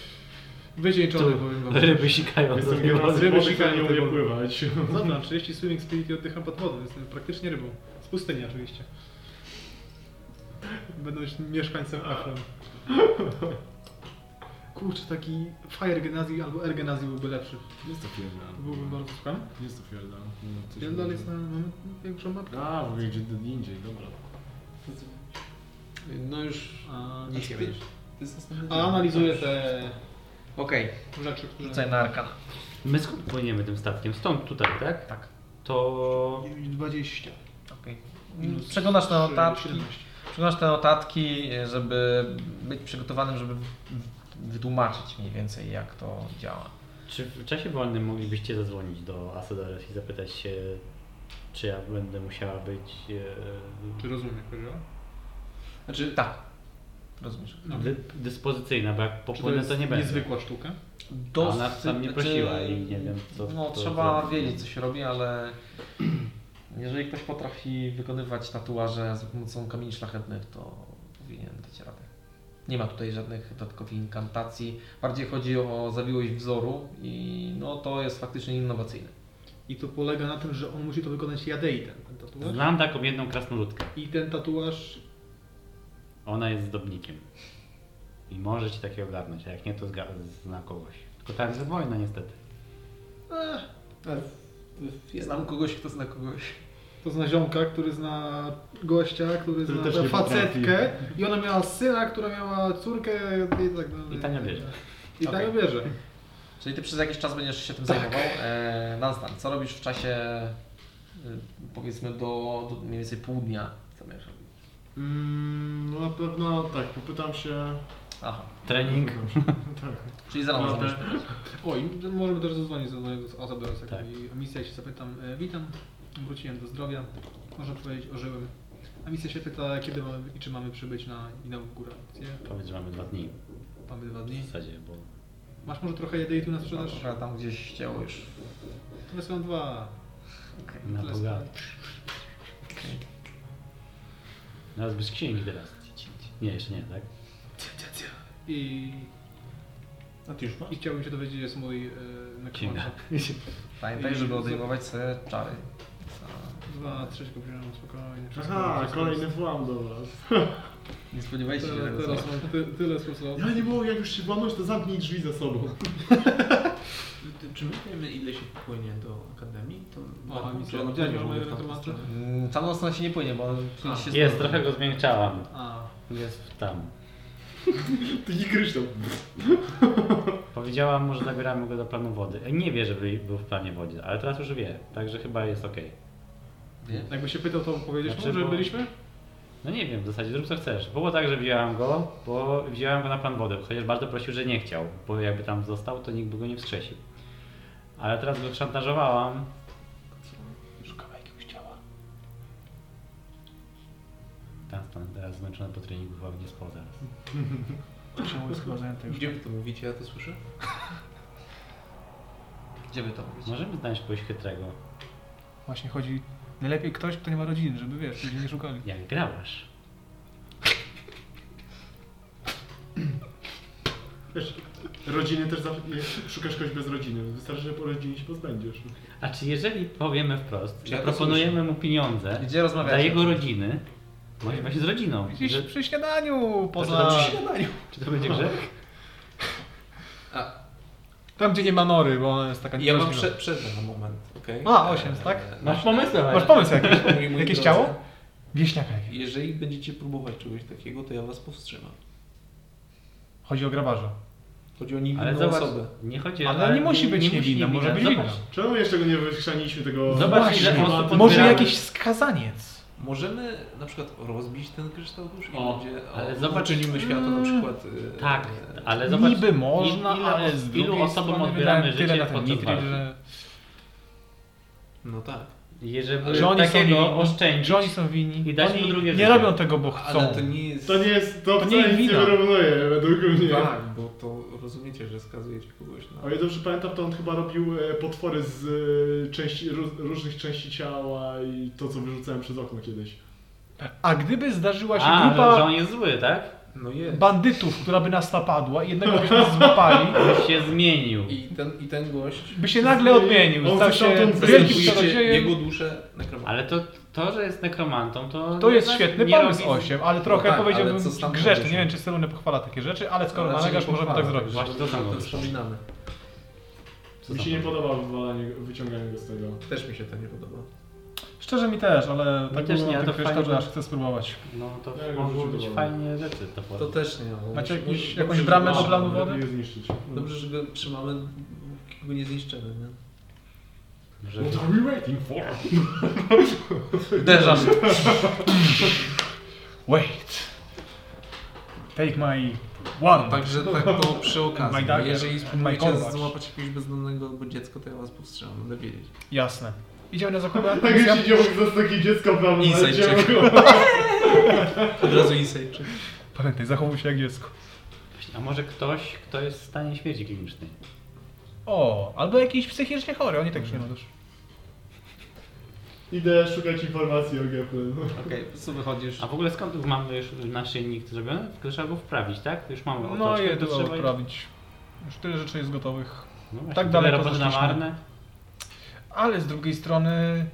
S6: Wycieńczony powiem wam.
S4: Ryby sikają do
S2: Jestem
S4: tej
S2: raz
S4: wody.
S6: ryby
S2: ryby, która
S6: sikają
S2: nie
S6: do tej
S2: umie
S6: wody.
S2: pływać.
S6: Dobra, 30 swimming speed i oddycham pod wodą. Jestem praktycznie rybą. Z pustyni oczywiście. Będąc mieszkańcem Afron. Kurczę, taki Fire Genazji albo Air Genazji byłby lepszy.
S2: Jest to no. pierdal.
S6: Byłbym bardzo słucham.
S2: Jest to pierdal. No, coś
S6: Pierdol
S2: nie-
S6: jest na mamy większą mapkę.
S2: A, w ogóle gdzie indziej, dobra.
S1: No już
S6: A,
S1: nic nie
S5: ty-
S1: będziesz.
S5: To jest następny
S6: a analizuję te
S1: Okej,
S6: rzeczy, które...
S1: rzucaj na arkana.
S4: My skąd płyniemy tym statkiem? Stąd, tutaj, tak?
S1: Tak.
S4: To...
S6: 20.
S1: Okej.
S6: Minus
S15: Przeglądasz te
S6: trzy,
S15: notatki,
S6: 17.
S15: przeglądasz te notatki, żeby być przygotowanym, żeby w- wytłumaczyć mniej więcej jak to działa.
S4: Czy w czasie wolnym moglibyście zadzwonić do Asadores i zapytać się, czy ja będę musiała być... e,
S6: Czy rozumiem, jak powiedziałem?
S5: Znaczy,
S15: Tak. Rozumiesz.
S4: E, dy, dyspozycyjna, bo jak
S6: No. Czy to
S4: popłynę,
S6: jest
S4: to nie będę.
S6: niezwykła sztuka?
S4: A ona tam mnie prosiła i nie wiem, co-
S1: No
S4: co
S1: trzeba
S4: zrobić.
S1: wiedzieć co się robi, ale jeżeli ktoś potrafi wykonywać tatuaże za pomocą kamieni szlachetnych, to powinien dać radę. Nie ma tutaj żadnych dodatkowych inkantacji. Bardziej chodzi o zawiłość wzoru i no to jest faktycznie innowacyjne.
S6: I to polega na tym, że on musi to wykonać jadei, ten, ten tatuaż.
S4: Znam taką jedną krasnoludkę.
S6: I ten tatuaż
S4: Ona jest zdobnikiem. I może ci takie ogarnąć, a jak nie, to zga- zna kogoś. Tylko tak, że wojna niestety.
S1: Znam kogoś, kto zna kogoś.
S6: To zna ziomka, który zna gościa, który,
S2: Który
S6: zna
S2: też nie
S6: facetkę i ona miała syna, która miała córkę i tak dalej.
S4: I tania bierze.
S6: I
S1: Okej.
S6: tak bierze.
S1: Czyli ty przez jakiś czas będziesz się tym zajmował. E, Dunstan, co robisz w czasie y, powiedzmy do, do mniej więcej pół dnia? Zamierzasz robić?
S2: Mm, no na pewno tak, popytam się.
S1: Aha,
S6: Mhm.
S4: Trening.
S1: czyli za rano
S2: Dobra.
S1: zamierzasz.
S6: O, i możemy też zadzwonić do mojego Azabelsa.
S4: Tak.
S6: Tak. Misja się zapytam, e, witam, wróciłem do zdrowia, można powiedzieć, ożyłem. A misja się pyta, kiedy mamy i czy mamy przybyć na inaugurację.
S4: Powiedz, że mamy dwa dni
S6: Mamy dwa
S4: w
S6: dni.
S4: zasadzie, bo
S6: Masz może trochę jedy i tu na sprzedaż?
S1: Trochę No tam gdzieś ciało już.
S6: To wysłałem dwa.
S4: na
S6: Tyle
S4: Boga.
S6: stoi.
S4: Teraz bez księgi teraz. Nie, jeszcze nie, tak?
S6: I,
S13: A ty już masz?
S6: I chciałbym się dowiedzieć, gdzie jest mój e,
S4: Księga.
S6: nekromancer.
S1: Pamiętaj,
S6: I-
S1: żeby odejmować sobie czary.
S6: Dwa, trzeciego wziąłem spokojnie. wszystko
S2: Aha,
S6: wszystko
S2: kolejny włam do was.
S1: Nie spodziewaj się, że
S6: Tyle,
S1: tego
S6: teraz mam ty, tyle sposobów.
S2: Ja nie było, jak już się włamujesz, to zamknij drzwi za sobą.
S5: Czy my wiemy, ile się popłynie do akademii? To
S6: Aha, misja.
S5: Czy ona
S6: Widziałeś,
S5: płynie w ogóle
S6: mamy
S5: w tamtą
S6: retomację?
S5: stronę?
S1: Mm, Tam mocno się nie płynie, bo on
S5: A,
S1: się
S4: Jest, trochę go zmiękczałam.
S6: A,
S4: Jest tam.
S2: Ty nie kryształ.
S4: Powiedziałam mu, że zabieramy go do planu wody. E, Nie wie, żeby był w planie wody, ale teraz już wie, także chyba jest okej.
S1: Wie?
S6: jakby się pytał, to powiedziesz mu,
S4: Znaczy,
S6: że
S4: bo-
S6: byliśmy?
S4: No nie wiem, w zasadzie zrób co chcesz. Było tak, że wzięłam go, bo wzięłam go na plan wody, chociaż bardzo prosił, że nie chciał, bo jakby tam został, to nikt by go nie wskrzesił. Ale teraz go szantażowałam. Szukała jakiegoś ciała. Tam stan, teraz zmęczony po treningu, chyba nie spał teraz.
S5: Czemu jest chyba zajęte już? Gdzie wy to mówicie? Ja to słyszę?
S1: Gdzie by to mówić?
S4: Możemy znaleźć kogoś chytrego,
S5: Właśnie chodzi... Najlepiej ktoś, kto nie ma rodziny, żeby wiesz, ludzie nie szukali.
S4: jak grałaś.
S2: Wiesz, rodziny też zawsze, nie, szukasz kogoś bez rodziny. Wystarczy, że po rodzinie się pozbędziesz.
S4: A czy jeżeli powiemy wprost,
S5: Czy ja to
S4: proponujemy mu pieniądze
S1: Gdzie
S4: dla
S1: rozmawiacie?
S4: jego rodziny, może właśnie z rodziną, że,
S5: Gdzieś przy śniadaniu,
S4: Tak, to
S5: poza...
S4: przy czy to będzie grzech?
S6: Tam, gdzie nie ma nory, bo ona jest taka
S5: Ja wam
S6: niemożliwa.
S5: prze, przerwę na moment, okej?
S6: A, osiem, tak?
S5: Eee,
S4: Masz pomysł?
S6: Masz pomysł jakiś?
S5: moi- moi
S6: Jakieś
S5: drodzy,
S6: ciało? Wieśniaka jakiegoś.
S5: Jeżeli będziecie próbować czegoś takiego, to ja was powstrzymam.
S6: Chodzi o grabarza.
S5: Chodzi o niewinną
S4: Ale zobacz,
S5: osobę.
S4: nie chodzi
S6: Ale nie musi być niewinna, może być
S4: Zobacz,
S6: winna.
S2: Czemu jeszcze go nie wychrzaniliśmy tego...
S4: Zobacz, ile
S2: tematu?
S4: osób
S6: Może
S4: Podbieramy.
S6: jakiś skazaniec.
S5: Możemy na przykład rozbić ten kryształ dusz i
S4: O,
S5: będzie... O,
S4: ale zobacz-
S5: Czynimy światu na przykład... eee,
S4: Tak, ale zobacz.
S6: Niby można,
S4: ile-
S6: ale z
S4: ilu
S6: drugiej
S4: osobom
S6: strony
S4: odbieramy
S6: wydałem tyle
S4: życie
S6: na ten
S4: podczas
S6: nitrit,
S4: walki?
S6: że...
S5: No tak.
S4: Jeżeli
S6: że oni są no.
S4: takiego
S6: winni.
S4: oszczędzić
S6: Że oni są winni.
S4: i dać
S6: Oni
S4: mu drugie
S6: nie
S4: życie.
S6: robią tego, bo
S5: Ale
S6: chcą.
S5: to nie jest...
S2: To nie jest, to,
S6: To nie
S2: wcale
S6: jest
S2: nic nie
S6: wina.
S2: wyrównuje, według mnie.
S5: Tak, bo to rozumiecie, że skazujecie kogoś na...
S2: O ile dobrze pamiętam, to on chyba robił e, potwory z e, części, ró, różnych części ciała i to, co wyrzucałem przez okno kiedyś.
S6: A gdyby zdarzyła się
S4: A, no, że, że
S6: grupa
S4: on jest zły, tak?
S5: No jest.
S6: bandytów, która by nas napadła i jednego byśmy złapali,
S4: Już się zmienił.
S5: I ten, I ten gość...
S6: by się nagle odmienił.
S2: On
S6: Stał
S2: coś
S6: się
S2: tam tu
S6: wielkim
S2: zastępuje.
S5: Zastępujecie jego
S6: czarodziejem.
S5: duszę na krewetkę.
S4: Ale to, to, że jest nekromantą, to.
S6: To jest
S4: nie-
S6: świetny
S4: nie
S6: pomysł
S4: robi-
S6: 8, ale trochę
S5: tak, ale co z
S6: powiedziałbym
S5: tamtym
S6: grzeczny.
S5: gościem?
S6: Nie wiem, czy Selune pochwala takie rzeczy, ale skoro
S5: Ale raczej
S6: nalegasz,
S5: nie
S6: możemy tak
S5: pochwala.
S6: zrobić.
S4: Właśnie to samo.
S5: To wspominamy.
S4: Co
S2: Mi
S4: tam
S2: się nie
S4: powiedzieć?
S2: podoba wywalanie, wyciąganie go z tego.
S5: Też mi się to nie podoba.
S6: Szczerze mi też, ale
S4: Mi
S6: tak
S4: też
S6: było
S4: nie,
S6: na
S4: ale
S6: tych
S4: to
S6: kryształ,
S4: fajnie.
S6: że aż chcę spróbować.
S4: No to
S2: Ja go
S4: mogą
S2: rzuciłem
S4: być
S2: do
S4: fajnie rzeczy. To,
S5: To
S4: powiem.
S5: też nie. bo
S6: Macie jakąś-
S5: musi-
S2: No,
S5: musi-
S6: jakąś
S5: musi-
S6: bramę
S5: musi-
S6: do planu
S2: Lepiej
S6: wody?
S2: je zniszczyć.
S5: Dobrze, że go trzymamy, póki go nie zniszczymy, nie?
S4: Że...
S2: What are No we waiting for?
S1: Uderzasz.
S6: Wait. Take my one.
S5: Także tak to przy okazji.
S6: My dagger,
S5: No, Jeżeli
S6: my
S5: spróbujecie
S6: combat.
S5: złapać jakiegoś bezdomnego albo dziecko, to ja was powstrzymam, będę wiedzieć.
S6: Jasne. Idziemy na zakupy.
S2: Tak jak się dzieło z takie dziecko prawo
S5: Inside
S2: leciało.
S5: Od razu insight check.
S6: Pamiętaj, zachowuj się jak dziecko.
S4: A może ktoś, kto jest w stanie śmierci klinicznej?
S6: O, albo jakiś psychicznie chory, oni tak już nie ma też.
S2: Idę szukać informacji o Geplin.
S1: Okej, po prostu wychodzisz.
S4: A w ogóle skąd mamy już naszyjnik zrobiony? Tylko trzeba go wprawić, tak? Już mamy otoczkę,
S6: No
S4: to
S6: je trzeba
S4: trzeba-
S6: odprawić. Już tyle rzeczy jest gotowych.
S4: No właśnie,
S6: Tak
S4: tyle
S6: daleko
S4: roboty na
S6: zeszliśmy.
S4: marne.
S6: Ale z drugiej strony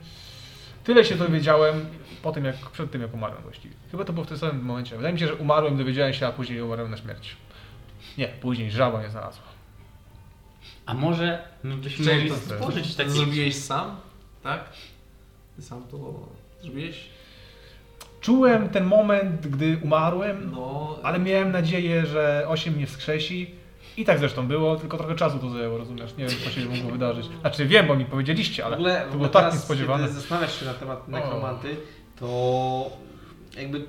S6: tyle się dowiedziałem po tym, jak, przed tym jak umarłem właściwie. Chyba to było w tym samym momencie. Wydaje mi się, że umarłem, dowiedziałem się, a później umarłem na śmierć. Nie, później żaba mnie znalazła.
S4: A może my byśmy
S5: Czekaj,
S4: mogli
S5: to-
S4: stworzyć
S5: To
S4: takie...
S5: zrobiłeś sam, tak? Ty sam to zrobiłeś?
S6: Czułem ten moment, gdy umarłem,
S5: No,
S6: ale miałem nadzieję, że 8 mnie wskrzesi. I tak zresztą było, tylko trochę czasu to zajęło, rozumiesz? Nie wiem, co się mogło wydarzyć. Znaczy wiem, bo mi powiedzieliście,
S1: W
S6: ale
S1: ogóle,
S6: to
S1: w ogóle
S6: było tak
S1: teraz,
S6: niespodziewane.
S1: Kiedy zastanawiasz się na temat nekromanty, to jakby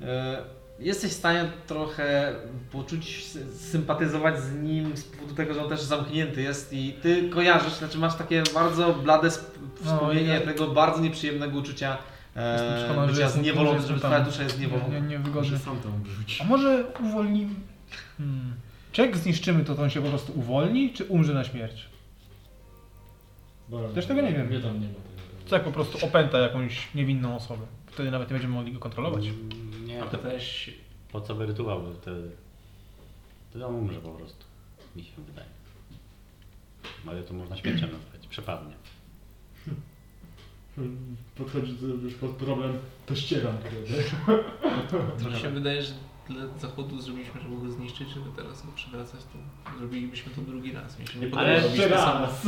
S1: e, jesteś w stanie trochę poczuć, sy- sympatyzować z nim z powodu tego, że on też zamknięty jest i ty kojarzysz, znaczy masz takie bardzo blade sp- wspomnienie
S6: No, ja-
S1: tego bardzo nieprzyjemnego uczucia
S6: Jestem
S1: e,
S6: przekonany, że
S1: bycia
S6: jestem-
S1: zniewolonym,
S6: jestem
S1: że
S6: tam.
S1: twoja dusza jest
S6: Nie, nie,
S1: niewolona.
S6: nie wygorzy.
S2: Sam tam wrzucić.
S6: A może uwolnimy... Hmm. Czy jak zniszczymy to, to on się po prostu uwolni, czy umrze na śmierć?
S2: Dobra,
S6: Też tego nie wiem.
S2: Nie tam nie ma
S6: Co
S2: tego.
S6: jak tak po prostu opęta jakąś niewinną osobę? Wtedy nawet nie będziemy mogli go kontrolować.
S4: Mm, Nie, to też po co by rytuał był wtedy? Wtedy on umrze po prostu, mi się wydaje. No, Ale to można śmiercią nazwać, przepadnie.
S2: Podchodzi do- już pod problem, to tak? ścieram krew.
S5: to mi się wydaje, że dla zachodu zrobiliśmy, żeby go zniszczyć, żeby teraz go przywracać, to zrobilibyśmy to drugi raz. Mi się nie podoba
S4: Ale
S5: robić
S2: Jeszcze
S5: to samo.
S2: raz!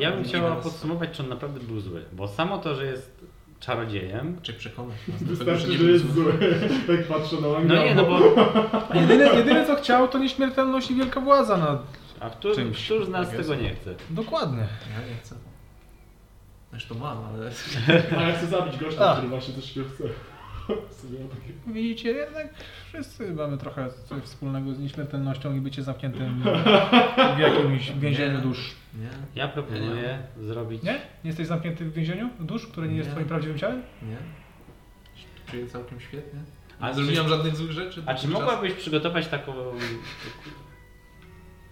S4: Ja bym
S5: Drugi
S4: chciała
S5: raz.
S4: podsumować, czy on naprawdę był zły, bo samo to, że jest czarodziejem...
S5: Czy przekonać nas do tego, że
S2: Wystarczy,
S5: nie
S2: że jest
S5: był zły.
S2: zły. Jak patrzę na
S4: No
S2: Langdama.
S4: nie, no bo...
S6: Jedyne, jedyne co chciał to nieśmiertelność i wielka władza nad...
S4: A któż,
S6: Czymś
S4: któż z nas
S5: tak jest.
S4: tego nie chce?
S6: Dokładnie.
S5: Ja nie chcę. Zresztą mam, ale...
S2: A ja chcę zabić
S6: A.
S2: gościa, który właśnie też się chce. Sobie mam takie...
S6: Widzicie, jednak wszyscy mamy trochę coś wspólnego z nieśmiertelnością i bycie zamkniętym w jakimś więzieniu
S5: Nie.
S6: dusz.
S5: Nie,
S4: Ja proponuję zrobić...
S6: Nie? Nie jesteś zamknięty w więzieniu dusz, które nie jest
S5: Nie.
S6: twoim prawdziwym ciałem?
S5: nie. Czuję całkiem świetnie.
S4: A
S5: Nie
S4: czy-
S5: zrobiłam żadnych złych rzeczy.
S4: A czy
S5: dotychczas.
S4: mogłabyś przygotować taką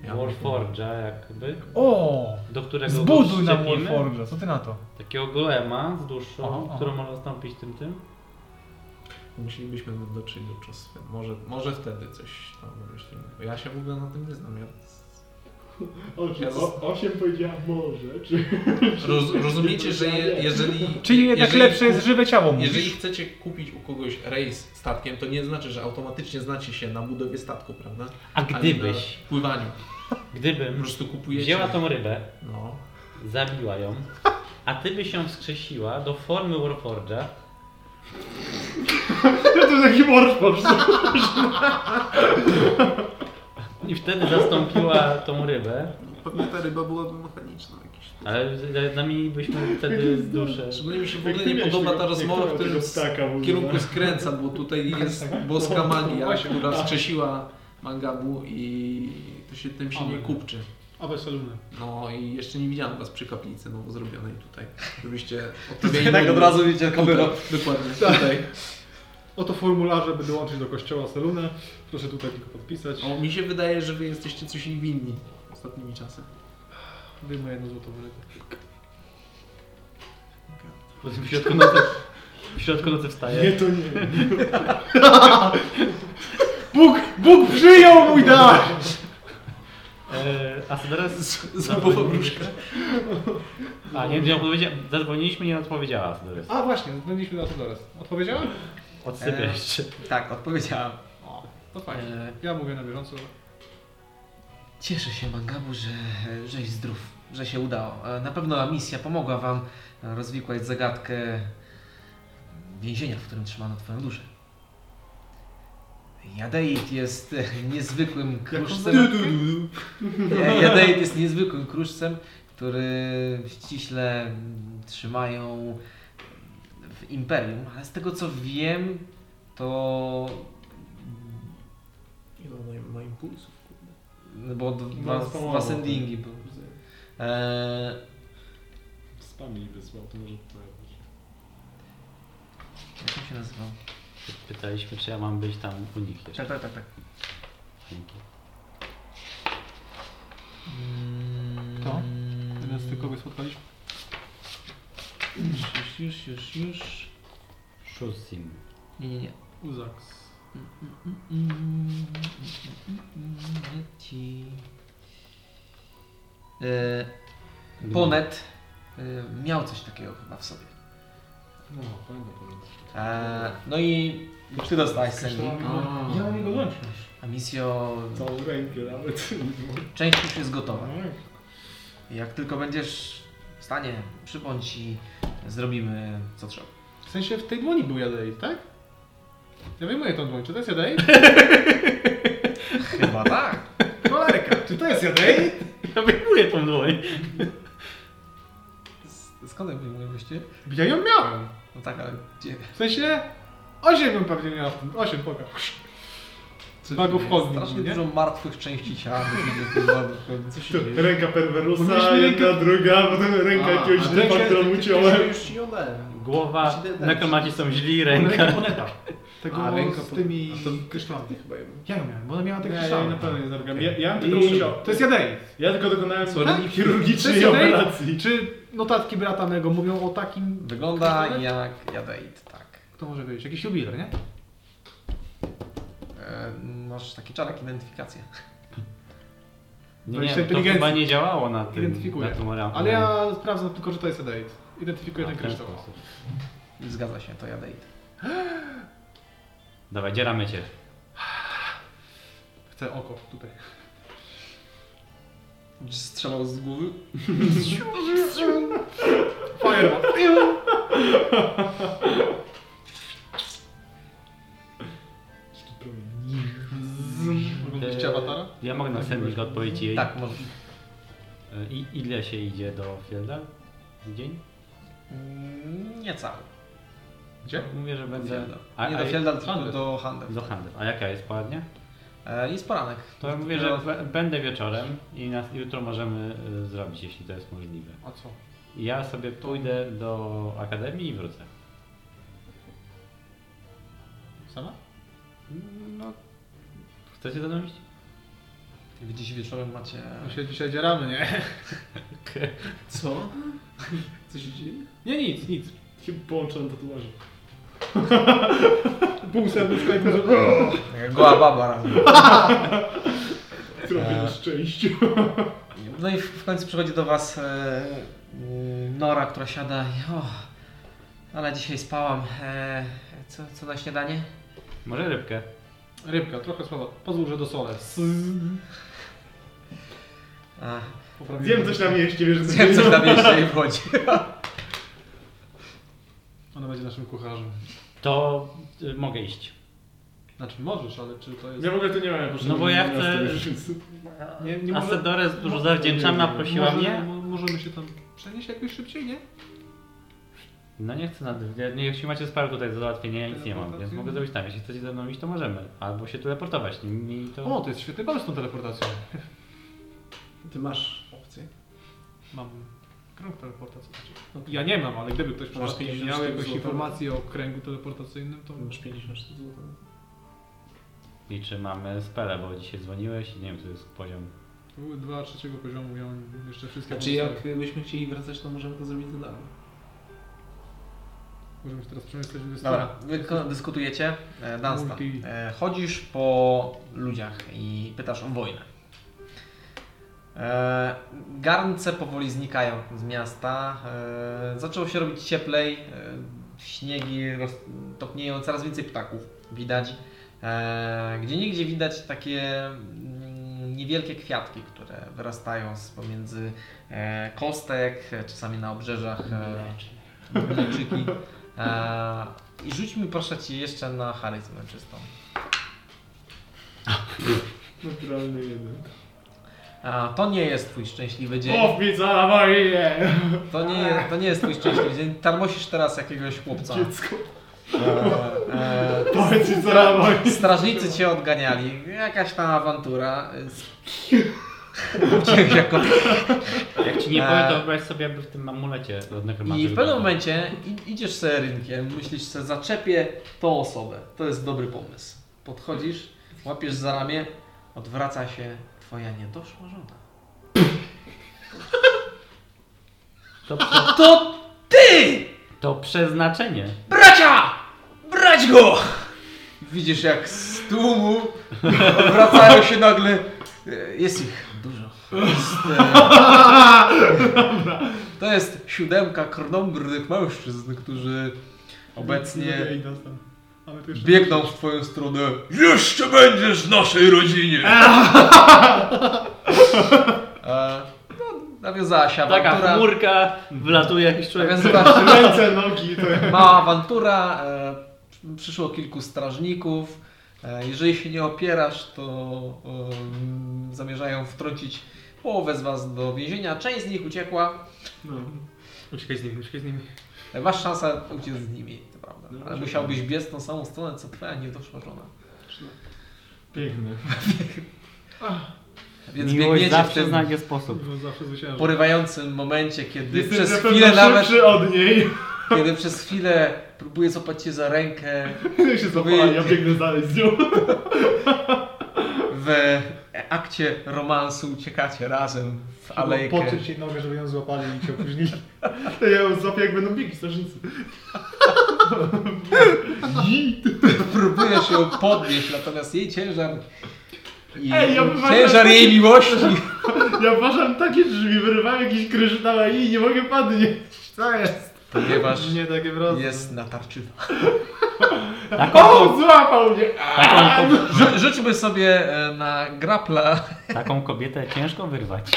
S5: Ja
S4: Warforge'a jakby,
S6: O!
S4: do którego go
S6: Zbuduj nam
S4: wszczepimy?
S6: Warforge'a, co ty na to?
S4: Takiego golema z duszą,
S6: Aha, aha.
S4: którą można zastąpić tym tym.
S5: Musielibyśmy dotrzeć do czasu. Może, może wtedy coś tam wymyślimy. Bo ja się w ogóle na tym nie znam. Ja...
S2: Osiem, o, osiem powiedziała może, czy...
S5: Roz, rozumiecie, że je, jeżeli.
S6: Czyli jednak
S5: jeżeli-
S6: lepsze jest żywe ciało, mówisz?
S5: Jeżeli chcecie kupić u kogoś rejs statkiem, to nie znaczy, że automatycznie znacie się na budowie statku, prawda?
S4: A
S5: Ani
S4: gdybyś,
S5: na pływaniu. Po
S4: gdybym
S5: prostu kupujecie.
S4: wzięła tą rybę,
S5: No.
S4: zabiła ją, a ty byś ją wskrzesiła do formy Warforge'a,
S2: To jest taki morsz po prostu.
S4: i wtedy zastąpiła tą rybę,
S5: Pewnie ta ryba byłaby mechaniczna jakiś.
S4: ale z- zamienilibyśmy wtedy duszę.
S5: Szczególnie mi się w
S2: Jak
S5: ogóle
S2: ty
S5: nie
S2: miałeś
S5: podoba
S2: tego-
S5: ta rozmowa,
S2: tego-
S5: w którym
S2: tego staka w ogóle.
S5: kierunku skręca, bo tutaj
S6: Tak,
S5: jest boska magia, która wskrzesiła Mangabu i to się tym się nie kupczy.
S16: A weź alumny.
S5: No i jeszcze nie widziałem was przy kaplicy nowo zrobionej tutaj, żebyście
S1: I
S5: odpowiedzieli.
S1: tak od razu widzicie kamerę.
S5: Dokładnie,
S6: Tak.
S5: tutaj.
S16: Oto formularze, by dołączyć do kościoła Selunę. Proszę tutaj tylko podpisać.
S5: O, mi się wydaje, że wy jesteście coś im winni ostatnimi czasy.
S16: Wyjmę jedno złoto wylepię.
S4: Potem W środku nocy, w środku nocy
S2: Nie,
S4: wstaje.
S2: to nie.
S16: Bóg, Bóg przyjął mój dar!
S4: E, a co teraz?
S5: Zabawa wróżka.
S4: A nie, nie odpowiedzia... zadzwoniliśmy i nie odpowiedziała. co teraz.
S16: A właśnie, byliśmy na to zaraz. Odpowiedziała?
S4: Odsypia
S1: E,
S4: jeszcze.
S1: Tak, odpowiedziałam.
S16: To fajnie.
S9: Eee.
S16: Ja mówię na bieżąco.
S1: Cieszę się, Mangabu, że żeś zdrów, że się udało. E, Na pewno misja pomogła wam e, rozwikłać zagadkę więzienia, w którym trzymano twoją duszę. Jadeit jest e, niezwykłym kruszcem. E, Jadeit jest niezwykłym kruszcem, który ściśle mm, trzymają w imperium, ale z tego co wiem, to
S5: Ile ona ma impulsów?
S1: no bo d-
S2: No,
S1: dwa,
S2: wspomogło,
S1: dwa
S2: tak.
S1: sendingi były. E,
S2: Spam mi wysłał, to może tutaj.
S1: Jak on się nazywał?
S4: Pytaliśmy, czy ja mam być tam u nich jeszcze.
S1: Tak, tak, tak. tak.
S4: Dzięki.
S1: Mm.
S6: Kto? Jeden z tych, kogo spotkaliśmy?
S1: Już, już, już, już.
S4: Shusim.
S1: Nie, nie, Mm, nie.
S16: Uzaks.
S1: mm, Ci. E, Ponet e, miał coś takiego chyba w sobie.
S2: No, fajnie powiem.
S1: E, no i ty dostałeś sending.
S2: A.
S9: Ja mam jego lunch
S1: A misjo,
S2: Całą rękę nawet.
S1: część już jest gotowa. Jak tylko będziesz w stanie, przybądź i zrobimy co trzeba.
S6: W sensie w tej dłoni był Jadei, tak? Ja wyjmuję tą dłoń. Czy to jest Jadei?
S1: Chyba tak.
S6: Cholerka, czy to jest Jadei?
S4: Ja wyjmuję tą dłoń.
S6: Skąd ja wyjmuję właściwie? Ja ją miałem.
S1: No tak, ale gdzie?
S6: W sensie 8 bym pewnie miał. 8 poka. Bagów chodni.
S1: Strasznie
S6: nie?
S1: dużo martwych części ciała wyjdzie z tej wody w końcu.
S2: Ręka perwerusa,
S6: Mieliśmy
S2: jedna, druga, potem ręka jakiegoś typa, którą uciąłem.
S5: Już ci ją dałem.
S4: Głowa, nekromaci są źli, ręka.
S9: Moneta. Tego
S2: A, ręka
S9: z
S2: po-
S9: tymi
S2: a to
S9: kryształami.
S13: Chyba ją.
S9: Ja ją miałem, bo ona miała te
S2: Nie, ja jej na
S9: kryształy.
S2: pewno nie zerkam. Ja, ja mam
S9: I
S2: tylko uciął.
S9: to jest Jadei.
S2: Ja tylko dokonałem
S9: Tak?
S2: chirurgicznej
S9: Czy-
S2: operacji.
S9: Czy notatki brata mego mówią o takim...
S1: Wygląda jak jadeit, tak.
S9: Kto może wiedzieć? Jakiś jubiler, nie?
S1: E, masz taki czarek identyfikacja.
S4: Nie,
S9: Wejście
S4: nie, to
S9: inteligencji.
S4: chyba nie działało na tym,
S9: Identyfikuję.
S4: na tym Tak, orałem.
S9: Ale ja sprawdzam tylko, że to jest Edate. Identyfikuję
S4: Na
S9: ten
S4: ten
S9: kryształ.
S4: sposób.
S1: Zgadza się, to jadeit.
S4: Dawaj, dzieramy cię.
S9: Chcę oko tutaj.
S1: Strzelał z głowy.
S9: Fireball.
S6: Oglądaliście
S4: Eee,
S6: awatara?
S4: Ja mogę na sending odpowiedzieć jej.
S1: Tak, może.
S4: I ile się idzie do Fielda? Dzień?
S1: Mm, Nie cały.
S6: Gdzie?
S4: Mówię, że będę...
S1: Fielda.
S4: A,
S1: Nie
S4: a,
S1: do Fielda, tylko
S6: Handel.
S1: do Handel.
S4: Do handel. A jaka jest poradnia?
S1: E, Jest poranek.
S4: To
S6: No,
S4: ja mówię, że b- będę wieczorem i nas, jutro możemy y, zrobić, jeśli to jest możliwe.
S9: A co?
S4: Ja sobie pójdę do akademii i wrócę.
S6: Sama?
S4: No... Chcecie ze mną iść?
S1: Wy dziś wieczorem macie...
S6: No się dzisiaj dzieramy, nie?
S5: Co?
S13: Co się dzieje?
S6: Nie, nic, nic.
S2: Chyba połączone tatuaże.
S6: Pół serduszka i pół
S1: Goła baba razem.
S2: Trochę na szczęściu.
S1: No i w w końcu przychodzi do was e, mm, Nora, która siada i o, ale dzisiaj spałam. E, co, co na śniadanie?
S4: Może rybkę?
S6: Rybka, trochę słowa. Pozwól, że do sole.
S1: A,
S2: Zjem coś na mieście, wiesz, co
S1: zjem coś na mieście i wchodzi.
S6: Ona będzie naszym kucharzem.
S4: To y, mogę iść.
S6: Znaczy możesz, ale czy to jest...
S2: Ja w ogóle to nie mam, ja poszedłem
S4: No bo ja
S2: na miasto
S4: chcę-
S2: już, więc-
S6: Nie,
S4: A Sedores dużo zawdzięczana, prosiła
S6: Może,
S4: mnie.
S6: mo- możemy się tam przenieść jakoś szybciej, nie?
S4: No nie chcę nad... nie- nie- Jeśli macie sprawę tutaj do załatwienia, ja nic nie mam, więc mogę zrobić tam. Jeśli chcecie ze mną iść, to możemy. Albo się teleportować. Nie- nie-
S6: O,
S4: To...
S6: to jest świetny pomysł z tą teleportacją.
S13: Ty masz opcję.
S6: Mam krąg teleportacji. Ja nie mam, ale gdyby ktoś przypadkiem
S13: 50
S6: miał
S13: sztuk
S6: jakąś
S13: złota.
S6: informację o kręgu teleportacyjnym, to...
S13: Masz 50 sztuk złota.
S4: I czy mamy spele, bo dzisiaj dzwoniłeś i nie wiem, co jest poziom.
S6: Były dwa trzeciego poziomu, ja mam jeszcze wszystkie
S5: Znaczy
S6: pozostałe.
S5: jakbyśmy chcieli wracać, to możemy to zrobić za darmo.
S6: Możemy się teraz przemyśleć, gdzie jest
S1: Dobra, wy ko- dyskutujecie. E, Dunstan,
S6: Multi.
S1: e, chodzisz po ludziach i pytasz o wojnę. E, garnce powoli znikają z miasta. E, zaczęło się robić cieplej. E, śniegi roz- topnieją, coraz więcej ptaków widać. E, gdzie nigdzie widać takie mm, niewielkie kwiatki, które wyrastają z pomiędzy e, kostek, e, czasami na obrzeżach. E, Mleczyki. Eee, I rzuć mi proszę Cię jeszcze na charyzmę czystą.
S2: Naturalny jeden.
S1: Eee, to nie jest Twój szczęśliwy dzień.
S2: Ofica moje!
S1: To nie, je- to nie jest Twój szczęśliwy dzień. Tarmosisz teraz jakiegoś chłopca.
S2: Dziecko.
S1: Eee,
S2: Powiedz mi, co na moje.
S1: eee, strażnicy Cię odganiali. Jakaś tam awantura. Uciekł jako
S4: Jak ci nie
S1: Eee.
S4: powiem, to wyobraź sobie, jakby w tym amulecie od nekromanty
S1: I w pewnym
S4: wyglądał.
S1: momencie i- idziesz sobie rynkiem, myślisz sobie, zaczepię tą osobę. To jest dobry pomysł. Podchodzisz, łapiesz za ramię, odwraca się twoja niedoszła żona.
S4: To, prze...
S1: To ty!
S4: to przeznaczenie.
S1: Bracia! Brać go! Widzisz jak z tłumu odwracają się nagle... e, Jest ich dużo. Jest, e, to jest siódemka krnąbrnych mężczyzn, którzy Obecnie
S2: Drugie i następne. A my tu jeszcze-
S1: biegną w twoją stronę. Jeszcze będziesz w naszej rodzinie! E, no, nawiązała się
S4: Taka
S1: awantura.
S4: chmurka, wylatuje jakiś człowiek.
S1: Nawiązała się
S2: Ręce, nogi, to
S1: Mała awantura, e, przyszło kilku strażników. E, jeżeli się nie opierasz, to em, zamierzają wtrącić połowę z was do więzienia. Część z nich uciekła.
S9: Uciekaj z nimi, uciekaj z nimi.
S1: E, Masz szansę uciec z nimi, to prawda.
S2: No,
S1: Ale
S2: no,
S1: musiałbyś biec tą samą stronę, co twoja niedoszła żona.
S2: piękne.
S1: Więc
S4: Miłość
S1: biegniecie w
S4: zawsze
S1: tym
S4: znajdzie sposób.
S9: No zawsze zwyciężam.
S1: porywającym momencie, kiedy
S2: Jesteś
S1: przez
S2: na pewno
S1: chwilę nawet,
S2: szybszy od niej.
S1: kiedy przez chwilę próbuje złapać cię za rękę,
S2: Ja się zapala, ja biegnę dalej z nią.
S1: w akcie romansu uciekacie razem w alejkę.
S9: Poczuć jej nogę, żeby ją złapali i cię opóźnili.
S2: Ja ją złapię jak będą biegi strażnicy.
S1: Próbujesz ją podnieść, natomiast jej ciężar. I
S2: Ej, ja bym
S1: ciężar
S2: właśnie-
S1: jej miłości.
S2: Ja ważam takie drzwi, wyrywałem jakieś kryształy i nie mogę padnieć. Co jest?
S1: Ponieważ
S9: Nie tak takie wrazy.
S1: jest natarczywa.
S4: Tak.
S2: O, złapał mnie!
S4: Taką, ko-
S1: Rzu- Rzućmy sobie e, na grapla.
S4: taką kobietę ciężko wyrwać.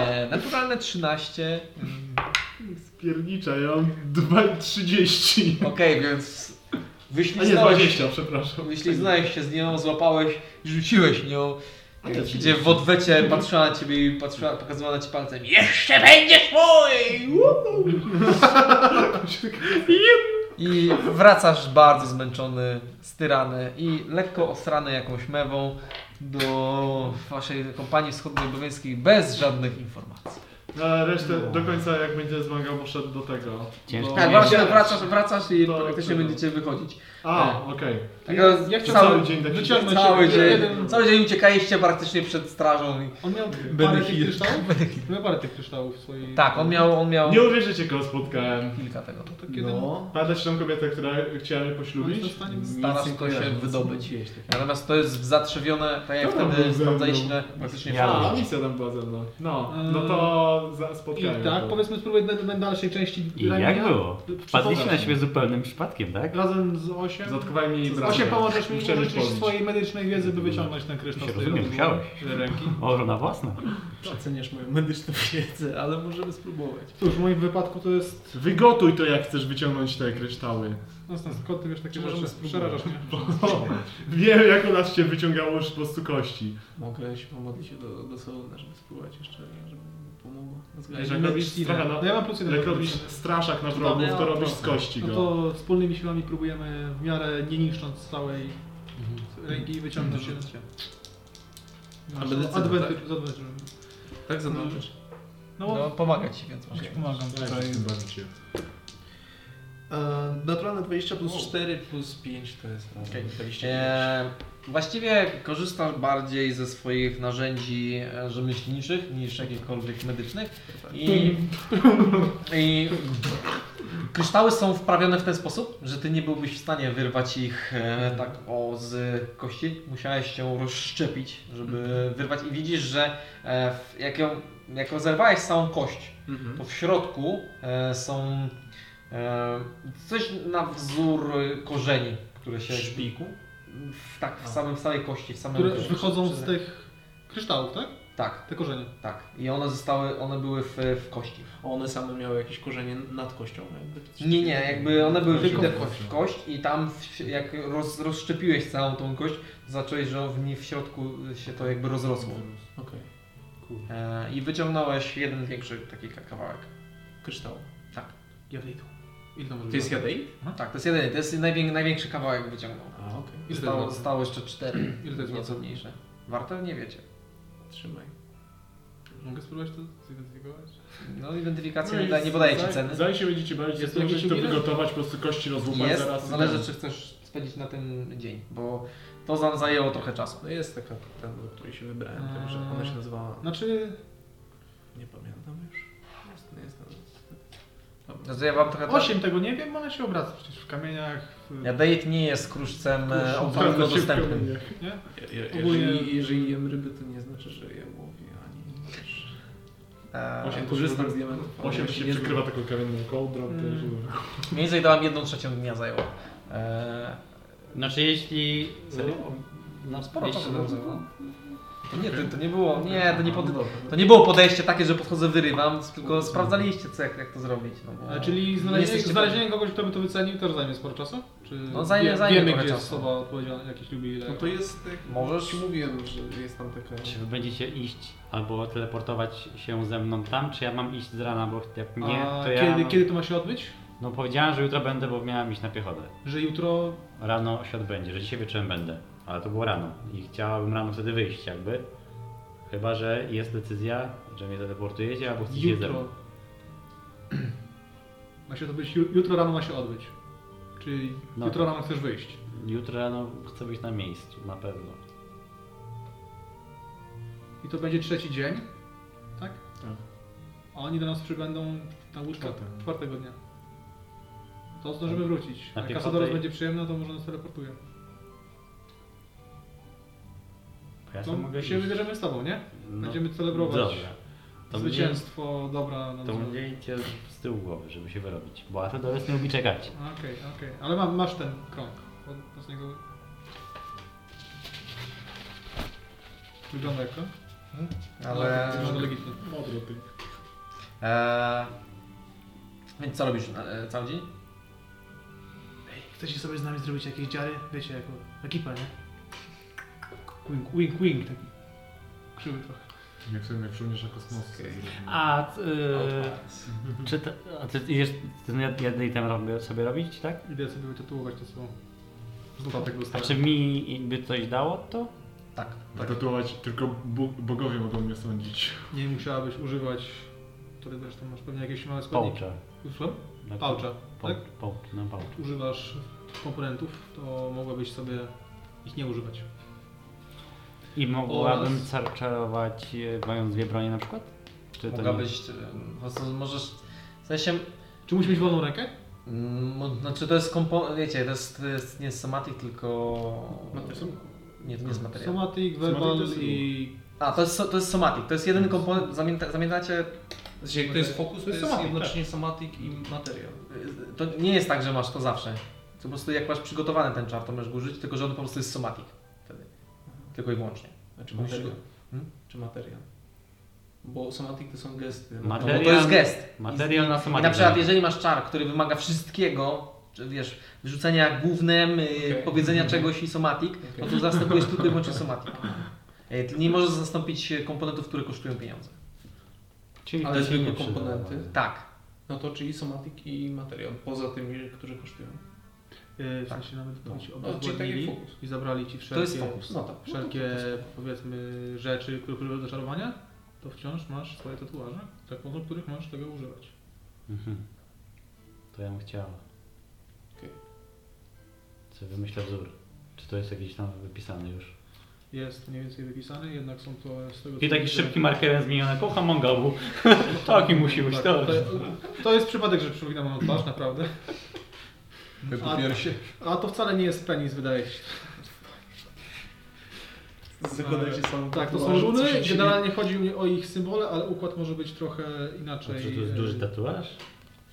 S1: E, naturalne 13. Mm,
S2: Spiernicza, ja mam 2,30.
S1: Okej, więc
S2: A nie,
S1: wyślizgnąłeś
S2: 20, przepraszam.
S1: Wyśliznałeś się z nią, złapałeś i rzuciłeś nią.
S2: A to
S1: Gdzie w odwecie patrzyła na ciebie i patrzyła, pokazywała na ci palcem. Jeszcze będziesz mój! Woo! I wracasz bardzo zmęczony, styrany i lekko osrany jakąś mewą do waszej kompanii wschodniobowiejskiej bez żadnych informacji.
S2: A No, resztę do końca jak będzie zmagał poszedł do tego.
S4: Ciężko.
S2: Do...
S1: Tak,
S4: właśnie
S1: właśnie wracasz, wracasz i
S2: To-
S1: praktycznie będziecie wychodzić.
S2: A, okej.
S1: Tak,
S9: Ja
S2: Cały, cały dzień taki.
S9: wyciągnąć
S1: Cały
S9: jeden-
S1: dzień,
S9: jeden-
S1: cały dzień uciekaliście praktycznie przed strażą. I...
S9: On miał parę
S6: Benny
S9: tych
S6: Hill.
S9: kryształów? Miał parę tych kryształów w swojej...
S1: Tak, on miał, on miał
S2: Nie uwierzycie kogo spotkałem.
S1: kilka tego.
S9: To kiedy... No.
S2: Pamiętasz tą kobietę, która chciała mnie poślubić?
S1: Starasz się to się wydobyć. Natomiast to jest zatrzewione, tak jak
S2: Kto tam
S1: wtedy
S2: był ze
S1: sprawdzaliście
S2: mną?
S1: praktycznie
S4: Ja.
S1: wszystko.
S2: A, misja tam była ze mną. No, no to za,
S9: I
S2: spotkałem.
S9: tak,
S2: to.
S9: powiedzmy spróbuj na, na dalszej części
S4: I jak było? Wpadliście na siebie zupełnym przypadkiem, tak?
S9: Razem z 8?
S2: Zatkowałem jej bramę.
S9: 8 pomożesz mi
S2: Muszę
S9: użyczyć
S2: wypomnieć.
S9: swojej medycznej wiedzy, by wyciągnąć ten
S4: Ja
S9: kryształ
S4: się
S9: z tej
S4: rozumiem,
S9: od-
S4: musiałeś.
S9: ręki.
S4: Może na własne.
S5: Przeceniasz moją medyczną wiedzę, ale możemy spróbować.
S9: Cóż, w moim wypadku to jest...
S2: Wygotuj to jak chcesz wyciągnąć te kryształy.
S9: No stąd, skąd ty wiesz takie
S5: Czy możemy
S9: rzeczy? Przerażasz mnie.
S2: Wiem jak u nas się wyciągało już po prostu kości.
S5: Mogę się pomodlić do, do Soluna, żeby spróbować jeszcze, żeby mi pomogło. Na względzie
S2: Wiesz, jak robisz,
S5: medycyny.
S2: trochę na,
S9: No ja mam plus jeden.
S2: jak robisz straszak na wrogów, to robisz z kości
S9: No
S2: go.
S9: to wspólnymi siłami próbujemy w miarę nie niszcząc całej ręki wyciągnąć
S1: Mhm.
S9: się. No,
S5: A medycyna,
S9: Adventure,
S5: tak?
S9: z adventure.
S5: Tak zaznaczysz.
S9: No,
S1: No, pomaga ci, więc masz.
S17: Pomagam tutaj.
S2: Zobaczcie.
S13: E, naturalne 20 plus
S5: Plus
S13: 4.
S5: 4 plus 5 to jest razem.
S1: Okej.
S5: 25.
S1: E, właściwie korzystasz bardziej ze swoich narzędzi e, rzemieślniczych niż jakichkolwiek medycznych. I, i kryształy są wprawione w ten sposób, że ty nie byłbyś w stanie wyrwać ich e, tak o z kości. Musiałeś się rozszczepić, żeby wyrwać. I widzisz, że e, w- jak ją, jak rozerwałeś całą kość,
S5: Mhm.
S1: to w środku e, są e, coś na wzór korzeni, które się.
S5: Szpiku?
S1: W, tak, w samym w samej kości, w samym
S9: które wychodzą z tych kryształów, tak?
S1: Tak,
S9: Te korzenie.
S1: tak. I one zostały, one były w, w kości.
S5: One same miały jakieś korzenie nad kością jakby. czy coś
S1: Nie, nie, jakby one były
S5: Tylko
S1: wbite
S5: w kość.
S1: w kość i tam w, jak roz, rozszczepiłeś całą tą kość, zacząłeś, że w niej w środku się to jakby rozrosło.
S5: Okej.
S1: E, I wyciągnąłeś jeden większy taki ka- kawałek.
S5: Kryształ.
S1: Tak.
S5: Jadeitu.
S9: Ile to może
S5: To jest
S9: być?
S5: jadeit?
S1: Tak, to jest jedyny, to jest najwię, największy kawałek wyciągnął.
S5: A, okej.
S9: Ile to
S1: Zostało,
S9: jest
S1: zostało jeszcze cztery,
S9: Ile to jest
S1: nieco
S9: warte?
S1: mniejsze. Warte? Nie wiecie.
S5: Trzymaj.
S9: Mogę spróbować to zidentyfikować?
S1: No, identyfikacja
S2: No i
S1: nie, daje- nie podaje ci
S2: za-
S1: ceny.
S2: Zanim tak, się będziecie bawić,
S5: Jest
S2: to
S5: jakiś
S2: możecie to
S5: ingredients?
S2: wygotować, po prostu kości rozłupać
S1: Jest,
S2: zaraz. i
S5: no
S1: zależy
S2: tak.
S1: czy chcesz spędzić na ten dzień, bo to nam zajęło trochę czasu.
S5: No jest taka ten, do której się wybrałem, tylko że ona się nazywała...
S9: Znaczy,
S5: Nie pamiętam już. Jest, nie jestem... Dobra.
S1: Znaczy ja wam trochę...
S9: 8 tego nie wiem, ale się obraca przecież w kamieniach. W...
S1: Jadeit nie jest kruszcem e,
S9: Kruszcem,
S1: ogólno
S2: Bardzo szybko
S1: dostępnym.
S2: mnie.
S5: Je, je,
S9: Ogólnie-
S5: jeżeli, jeżeli jem ryby, to nie znaczy, że je łowię, ani też...
S1: E,
S2: Osiem
S5: Korzystam z
S2: osiem
S5: diamentów. ale
S2: Osiem
S5: ja
S2: się
S5: nie
S2: przykrywa taką kamienną kołdrą. to
S1: Mm.
S2: już dobra.
S1: Mniej więcej dałam jedną trzecią dnia zajęło. E,
S4: Znaczy jeśli...
S1: Serio?
S4: No
S1: sporo
S4: jeśli-
S1: czasu zajęło. To nie, to, to nie było, nie, to nie, pod, to nie było podejście takie, że podchodzę, wyrywam, tylko sprawdzaliście co, jak, jak to zrobić. No, bo
S6: A czyli
S1: nie
S6: znalezienie,
S1: jesteście-
S6: znalezienie kogoś, kto by to wycenił, też zajmie sporo czasu? Czy
S1: No, zajmie-
S6: wie,
S1: zajmie
S6: wiemy,
S1: trochę
S6: gdzie jest
S1: czasu.
S6: osoba odpowiedzialna, jakiś lubi ile...
S5: No to jest, jak
S1: Możesz?
S5: Możesz? mówiłem, że jest tam taka...
S4: Czy wy będziecie iść albo teleportować się ze mną tam, czy ja mam iść z rana, bo jak
S6: A
S4: nie, to ja...
S6: kiedy, kiedy to ma się odbyć?
S4: No powiedziałem, że jutro będę, bo miałem iść na piechotę.
S6: Że jutro...
S4: Rano się odbędzie, że dzisiaj wieczorem będę. Ale to było rano i chciałabym rano wtedy wyjść jakby. Chyba, że jest decyzja, że mnie teleportujecie albo chcecie ze mną.
S6: Jutro... Ma się odbyć, ju- jutro rano ma się odbyć. Czyli
S4: No.
S6: jutro rano chcesz wyjść.
S4: Jutro rano chcę być na miejscu, na pewno.
S6: I to będzie trzeci dzień, tak?
S2: Tak.
S6: A oni do nas przybędą na łódkę
S2: Czwartego.
S6: czwartego dnia. To zdążymy wrócić.
S4: Na
S6: Jak
S4: piechotę
S6: Kasadoros
S4: i-
S6: będzie przyjemna, to może nas teleportuje.
S4: Bo ja
S6: No,
S4: sam mogę
S6: się
S4: iść.
S6: wybierzemy z tobą, nie?
S4: No,
S6: Będziemy celebrować
S4: Dobra. To
S6: zwycięstwo dobra na
S4: Mnie, to mnie idzie z tyłu głowy, żeby się wyrobić. Bo a to do nie lubi czekać.
S6: Okej, okej. Ale ma, masz ten krąg. Od, od niego... Wygląda jak krąg?
S1: Ale...
S6: Wygląda legitnie.
S2: Modro ty.
S1: E, więc co robisz na- e, cały dzień?
S5: Chcecie sobie z nami zrobić jakieś dziary? Wiecie, jako ekipa, nie?
S6: Wing, wing, wing taki. Krzywy trochę.
S2: Jak sobie jak żołnierza kosmosu.
S4: A, yy, czy to, a ty idziesz ten jednej tam robię- sobie robić, tak?
S6: Idę sobie wytatuować to słowo.
S2: Statek
S4: A
S6: Tak.
S2: dostałem.
S4: czy Znaczy mi by coś dało to?
S1: Tak.
S2: Tak. Tatuować tylko bu- bogowie mogą mnie sądzić.
S6: Nie musiałabyś używać... To ty zresztą masz pewnie jakieś małe składniki.
S4: Poucza.
S6: Usłyszałem? Paucza,
S4: Poucz,
S6: tak?
S4: poucz, no poucz.
S6: Używasz komponentów, to mogłabyś sobie ich nie używać.
S4: I mogłabym
S6: Oraz-
S4: czar- czarować e, mając dwie bronie na przykład? Czy to nie?
S1: Mogłabyś, e, po prostu możesz, w sensie,
S6: Czy musisz mieć wolną rękę?
S1: mm, znaczy to jest kompo, wiecie, to jest, to jest nie somatic, tylko... Nie, to nie jest materiał.
S6: Somatic,
S2: Somatic
S6: verbal
S2: to jest
S6: i...
S1: A, to jest, so- to jest somatic, to jest jeden
S4: Mm.
S1: komponent, zamięta, zamiętacie,
S5: Znaczy, jak to jest fokus,
S6: jest
S5: to jest tak.
S6: somatik,
S5: jednocześnie somatik i materiał.
S1: y, to nie jest tak, że masz to zawsze. To po prostu jak masz przygotowany ten czar, to możesz go użyć, tylko że on po prostu jest somatic wtedy. Tylko i wyłącznie.
S5: Znaczy
S1: Musisz
S5: materiał.
S1: Hmm?
S5: Czy materiał. Bo somatik to są gesty.
S1: No,
S4: Materiał-
S1: bo to jest gest.
S4: Materiał na
S1: I
S4: somatik.
S1: na przykład,
S4: zamiast.
S1: jeżeli masz czar, który wymaga wszystkiego, czy wiesz, wyrzucenia głównym, y,
S5: Okej.
S1: powiedzenia czegoś i somatik, no to zastępujesz tylko i wyłącznie somatik. Y, ty Nie możesz zastąpić y, komponentów, które kosztują pieniądze.
S4: Czyli
S5: Ale
S4: to się
S5: zwykłe
S4: nie przyda.
S5: komponenty.
S1: Tak.
S5: No to czyli somatik i materiał, poza tymi, które kosztują.
S6: Yy, w
S1: Tak.
S6: sensie nawet
S1: No.
S6: no. ci
S5: No, czyli taki
S6: obezwładnili
S5: fokus.
S6: i zabrali ci
S1: To jest
S6: wszelkie,
S1: fokus.
S5: No tak. No to-
S6: wszelkie powiedzmy rzeczy, które używasz do czarowania, to wciąż masz swoje tatuaże, tak po których możesz tego używać.
S4: Mhm. To ja bym chciała.
S5: Okej.
S4: Co wymyśla wzór? Czy to jest jakiś tam wypisany już?
S6: Jest mniej więcej wypisany, jednak są to z tego
S4: I
S6: co
S4: taki
S6: widzę-
S4: szybki markerem zmieniony. Kocham Mongobu. Taki musi być
S6: tak,
S4: to.
S6: to, to jest przypadek, że przypominam moją twarz, naprawdę. A, a to wcale nie jest penis, wydaje się.
S18: Zakładajcie samą
S6: Tak, to są
S18: tatuaż,
S6: runy.
S18: co się dzieje.
S6: Generalnie chodzi mi o ich symbole, ale układ może być trochę inaczej.
S4: Czy to jest duży
S6: e,
S4: tatuaż?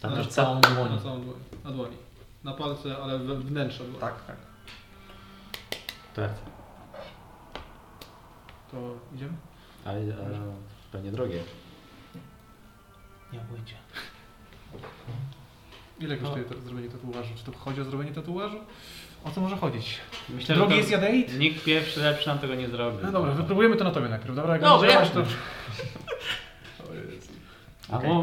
S4: Tam
S6: na
S4: też
S1: całą
S6: Na
S1: dłoń.
S6: całą dłoń. Na dłoni. Na palce, ale we wnętrza dłoni.
S1: Tak, tak.
S4: Tak.
S6: To idziemy?
S4: Ale ale pewnie drogie.
S5: Nie mam pojęcia.
S6: Ile kosztuje to, zrobienie tatuażu? Czy to chodzi o zrobienie tatuażu? O co może chodzić?
S4: Myślę, że
S19: Drogi
S4: to-
S19: jest jadeit?
S4: Nikt pierwszy lepszy nam tego nie zrobi.
S19: No dobra, wypróbujemy to na tobie najpierw, dobra? Jak
S4: Dobra,
S19: będzie działać, to...
S4: Albo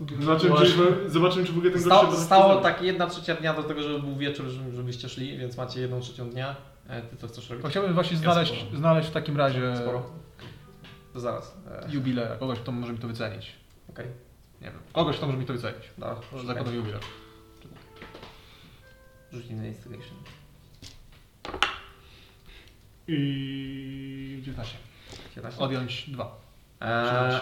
S6: No
S2: Zobaczymy czy, zobaczymy, czy w ogóle ten gość
S1: Sta,
S2: potrafi
S1: stało
S2: poznać.
S1: tak jedna trzecia dnia do tego, żeby był wieczór, żeby- żebyście szli, więc macie jedną trzecią dnia. E, Ty to chcesz robić?
S19: To Chciałbym właśnie znaleźć, znaleźć w takim razie
S6: e,
S1: Sporo. To zaraz. E,
S19: jubilera, kogoś, kto może mi to wycenić.
S1: Okej,
S19: Nie wiem, kogoś, kto może mi to wycenić.
S1: dobra.
S19: Zakładam jubiler.
S1: Rzuć na instigation.
S19: I 19.
S1: 17.
S19: Odjąć 2.
S1: Eee,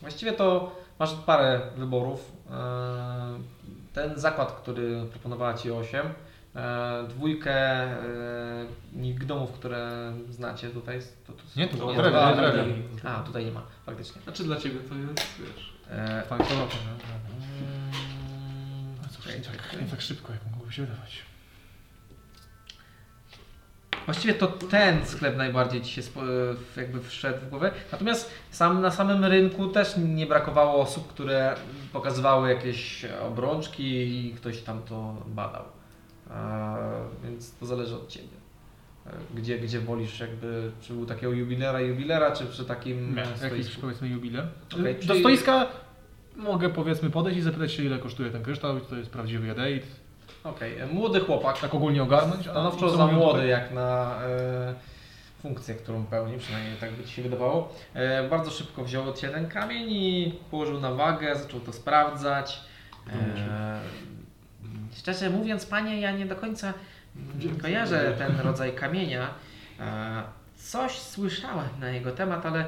S1: właściwie to masz E, parę wyborów. Eee, ten zakład, który proponowała Ci 8, e, dwójkę e, nick domów, które znacie tutaj. To, to są-
S20: Nie, to było
S1: nie,
S20: drewno,
S1: a,
S20: nie drewno.
S1: A, tutaj nie ma, faktycznie.
S5: Znaczy dla ciebie to jest, wiesz...
S1: E,
S21: Tak, to lata,
S1: mm, czekaj, czekaj.
S21: nie tak szybko, jak mogłoby się wydawać.
S1: Właściwie to ten sklep najbardziej ci się spo- e, w- jakby wszedł w głowę. Natomiast sam na samym rynku też nie brakowało osób, które pokazywały jakieś obrączki i ktoś tam to badał. Eee, więc to zależy od ciebie. Eee, Gdzie, gdzie wolisz, jakby, czy był takiego jubilera, jubilera, czy przy takim
S21: Miałem jakiś
S1: stoisku?
S21: powiedzmy jubiler.
S1: Okej,
S21: Do
S1: czyli-
S21: stoiska mogę powiedzmy podejść i zapytać się ile kosztuje ten kryształ, czy to jest prawdziwy jadeit.
S1: Okej, e, młody chłopak.
S21: Tak ogólnie ogarnąć.
S1: Stanowczo
S21: co
S1: no, za
S21: mówią
S1: młody
S21: tutaj?
S1: jak na e, funkcję, którą pełni, przynajmniej tak by ci się wydawało. E, bardzo szybko wziął od ciebie ten kamień i położył na wagę, zaczął to sprawdzać.
S21: No,
S1: E, szczerze mówiąc, panie, ja nie do końca mm, kojarzę ten rodzaj kamienia. E, coś słyszałem na jego temat, ale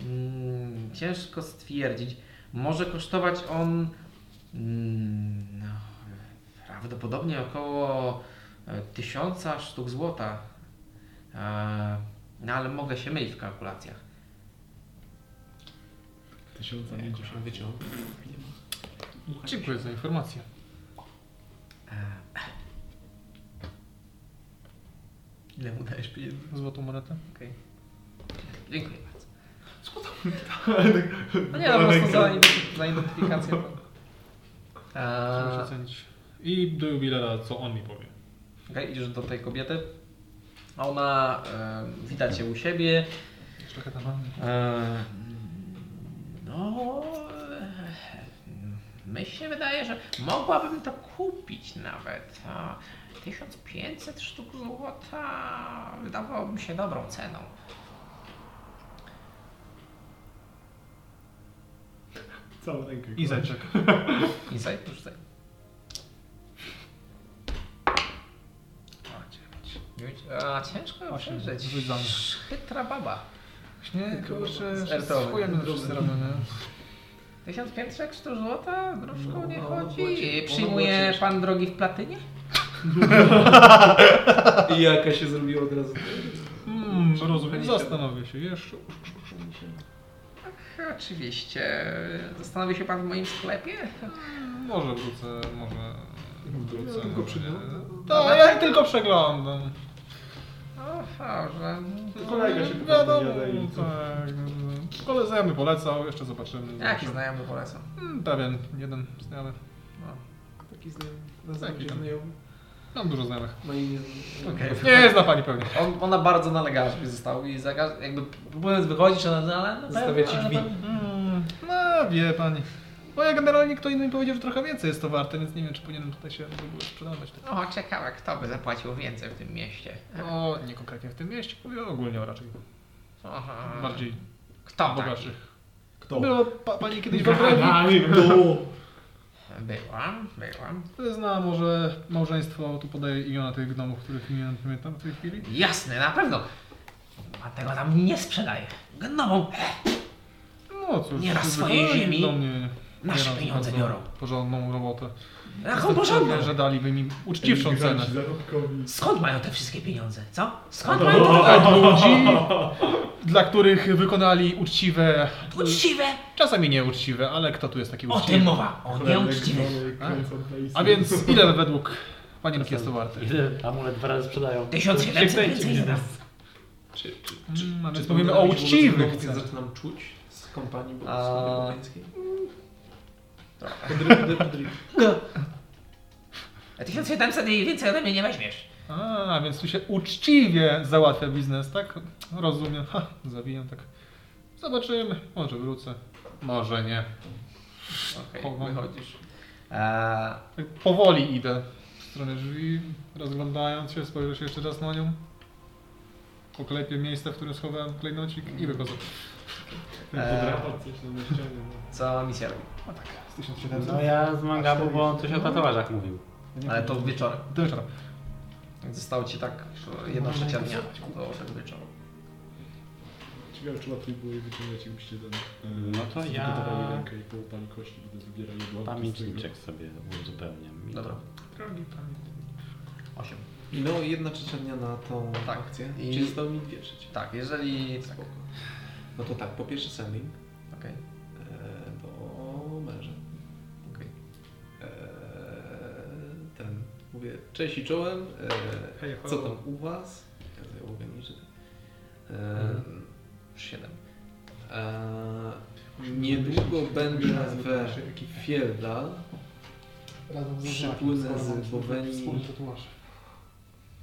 S1: mm, ciężko stwierdzić. Może kosztować on mm, no, prawdopodobnie około e, tysiąca sztuk złota. E, No ale mogę się mylić w kalkulacjach.
S2: Tysiąca nie
S5: Jakoś się wyciął.
S21: Dziękuję za informację.
S1: E, Ile mu dajesz pieniędzy?
S21: Złotą monetę.
S1: Okej. Dziękuję bardzo. No nie, no po prostu za, ident- za identyfikację. to-
S6: Muszę
S1: E,
S6: ocenić. I do jubilera, co on mi powie.
S1: Okej, idziesz do tej kobiety. A Ona e, wita cię u siebie.
S21: Trochę tam mamy.
S1: E, No. e, Mi się wydaje, że mogłabym to kupić nawet. A 1500 sztuk złota wydawałoby mi się dobrą ceną.
S2: Całą rękę.
S21: I zeczek.
S1: I zaj, rzucaj. Dziewięć. A ciężko
S21: Osiem.
S1: przeżyć.
S21: Rzucamy.
S1: Chytra baba.
S21: Nie, kurczę,
S1: Startowy.
S21: z chujem to wszyscy robią, nie?
S1: 1500 sztuk złota? Gruszką nie
S5: No, ono
S1: chodzi.
S5: było ciężko. Ono było
S1: Przyjmuje
S5: ciężko.
S1: pan drogi w platynie?
S22: I jaka się zrobiła od razu.
S21: Hmm, rozumiem. Zastanowię się, jeszcze.
S1: Ach, Oczywiście. Zastanowi się pan w moim sklepie?
S6: Może wrócę, może wrócę.
S22: tylko
S6: może
S22: przyglądam.
S6: nie. Tak, ja tylko przeglądam.
S1: Aha, że...
S2: Kolega się po prostu
S6: Wiadomo,
S2: jada i co.
S6: tak. no. Kole znajomy polecał, jeszcze zobaczymy.
S1: Jaki znajomy polecam?
S6: Hmm, Pewien, jeden znajomy.
S1: No.
S22: Taki znajomy.
S5: Tak,
S22: Na
S6: Taki
S22: zasadzie
S6: tam.
S22: znajomy.
S6: Mam dużo znajomych.
S22: No i nie
S6: Nie, zna pani pewnie.
S1: On, ona bardzo nalegała, żeby został i za każ- jakby próbując wychodzić, ona no, ale na pewno,
S22: Zostawia ci
S1: ale na
S22: drzwi.
S1: pewno.
S6: Mm, No, wie pani. Bo ja generalnie kto inny mi powiedział, że trochę więcej jest to warte, więc nie wiem, czy powinienem tutaj się w ogóle sprzedawać.
S1: O, ciekawe, kto by zapłacił więcej w tym mieście.
S6: No, nie konkretnie w tym mieście, mówię ogólnie o raczej
S1: Aha.
S6: bardziej
S1: Kto tak? taki?
S6: bogatszych.
S1: No.
S2: Kto?
S6: Było pa, pani kiedyś w Okręgu.
S2: Ani kto?
S1: Byłam, byłam.
S6: e, Zna może małżeństwo, tu podaje imiona tych gnomów, których imion nie pamiętam w tej chwili.
S1: Jasne, na pewno. A tego tam nie sprzedaję. Gnomom
S6: No cóż,
S1: Nie na
S6: to
S1: swojej
S6: wykonali
S1: ziemi
S6: do mnie
S1: nasze
S6: nieraz
S1: pieniądze
S6: bardzo
S1: biorą.
S6: Porządną robotę.
S1: Rachą
S6: Jestem
S1: porządną.
S6: pewien, że daliby mi uczciwszą cenę.
S2: Emigranci zachodkowi.
S1: Skąd mają te wszystkie pieniądze, co? Skąd
S2: No.
S1: mają te
S6: Od ludzi, dla których wykonali uczciwe,
S5: No.
S1: uczciwe?
S6: czasami nieuczciwe, ale kto tu jest taki
S1: O tym
S6: uczciwy?
S1: mowa, o
S2: Chlebek,
S1: nieuczciwych.
S2: gnoły, kręcą pejsy.
S6: A więc ile według pani Ruki jest to warte?
S4: Ile amulet dwa razy sprzedają?
S1: 1700 więcej za nas.
S5: Czy, czy,
S6: Mm, a więc
S5: czy
S6: mówimy
S5: to
S6: o
S5: na siłę
S6: uczciwych
S5: znowu
S6: cenach.
S5: zaczynam czuć z kompanii
S1: A-
S5: bogatskiej.
S1: A 1700 i więcej ode mnie nie weźmiesz.
S6: A, więc tu się uczciwie załatwia biznes, tak? Rozumiem. Ha, zawijam tak. Zobaczymy. Może wrócę. Może nie.
S1: Okej,
S6: Kogo?
S1: wychodzisz. Eee,
S6: Tak powoli idę w stronę drzwi, rozglądając się, spojrzę się jeszcze raz na nią. Poklepię miejsce, w którym schowałem klejnocik i wychodzę.
S1: Eee.
S2: Podrapał coś tam na ścianie. no.
S1: e, co misja robi?
S6: Z 1700.
S4: No ja z mangabu, bo on coś o tatuażach mówił.
S1: Ale to wieczorem.
S6: Do wieczora.
S1: Zostało ci tak jedna trzecia dnia do tego wieczoru.
S2: Ciekawe, czy łatwiej było je wyciągać, jakbyście ten...
S4: No to ja-
S2: Eee, Wygotowali rękę i połupali kości, gdy wybierali błąd.
S4: Pamiętniczek sobie uzupełniam.
S1: Dobra.
S6: Drogi panie.
S1: 8.
S5: No i jedna trzecia dnia na tą
S1: Tak.
S5: akcję.
S1: I-
S5: Czyli zostało mi dwie trzecie.
S1: Tak, jeżeli... Tak.
S5: Spoko. No to tak, po pierwsze sending
S1: Okej.
S5: e, do męża.
S1: Okej.
S5: E, ten, mówię, cześć i czołem,
S17: Hej,
S5: e,
S17: ho.
S5: co tam u was? Ja tutaj mówię niżej. E,
S1: Mhm.
S5: Siedem. E, niedługo będę we Fieldal.
S13: Razem z
S5: Przypłynę
S13: Zakiem,
S5: z
S13: skoro mam
S5: Bowenii.
S13: Wspólny tatuaż.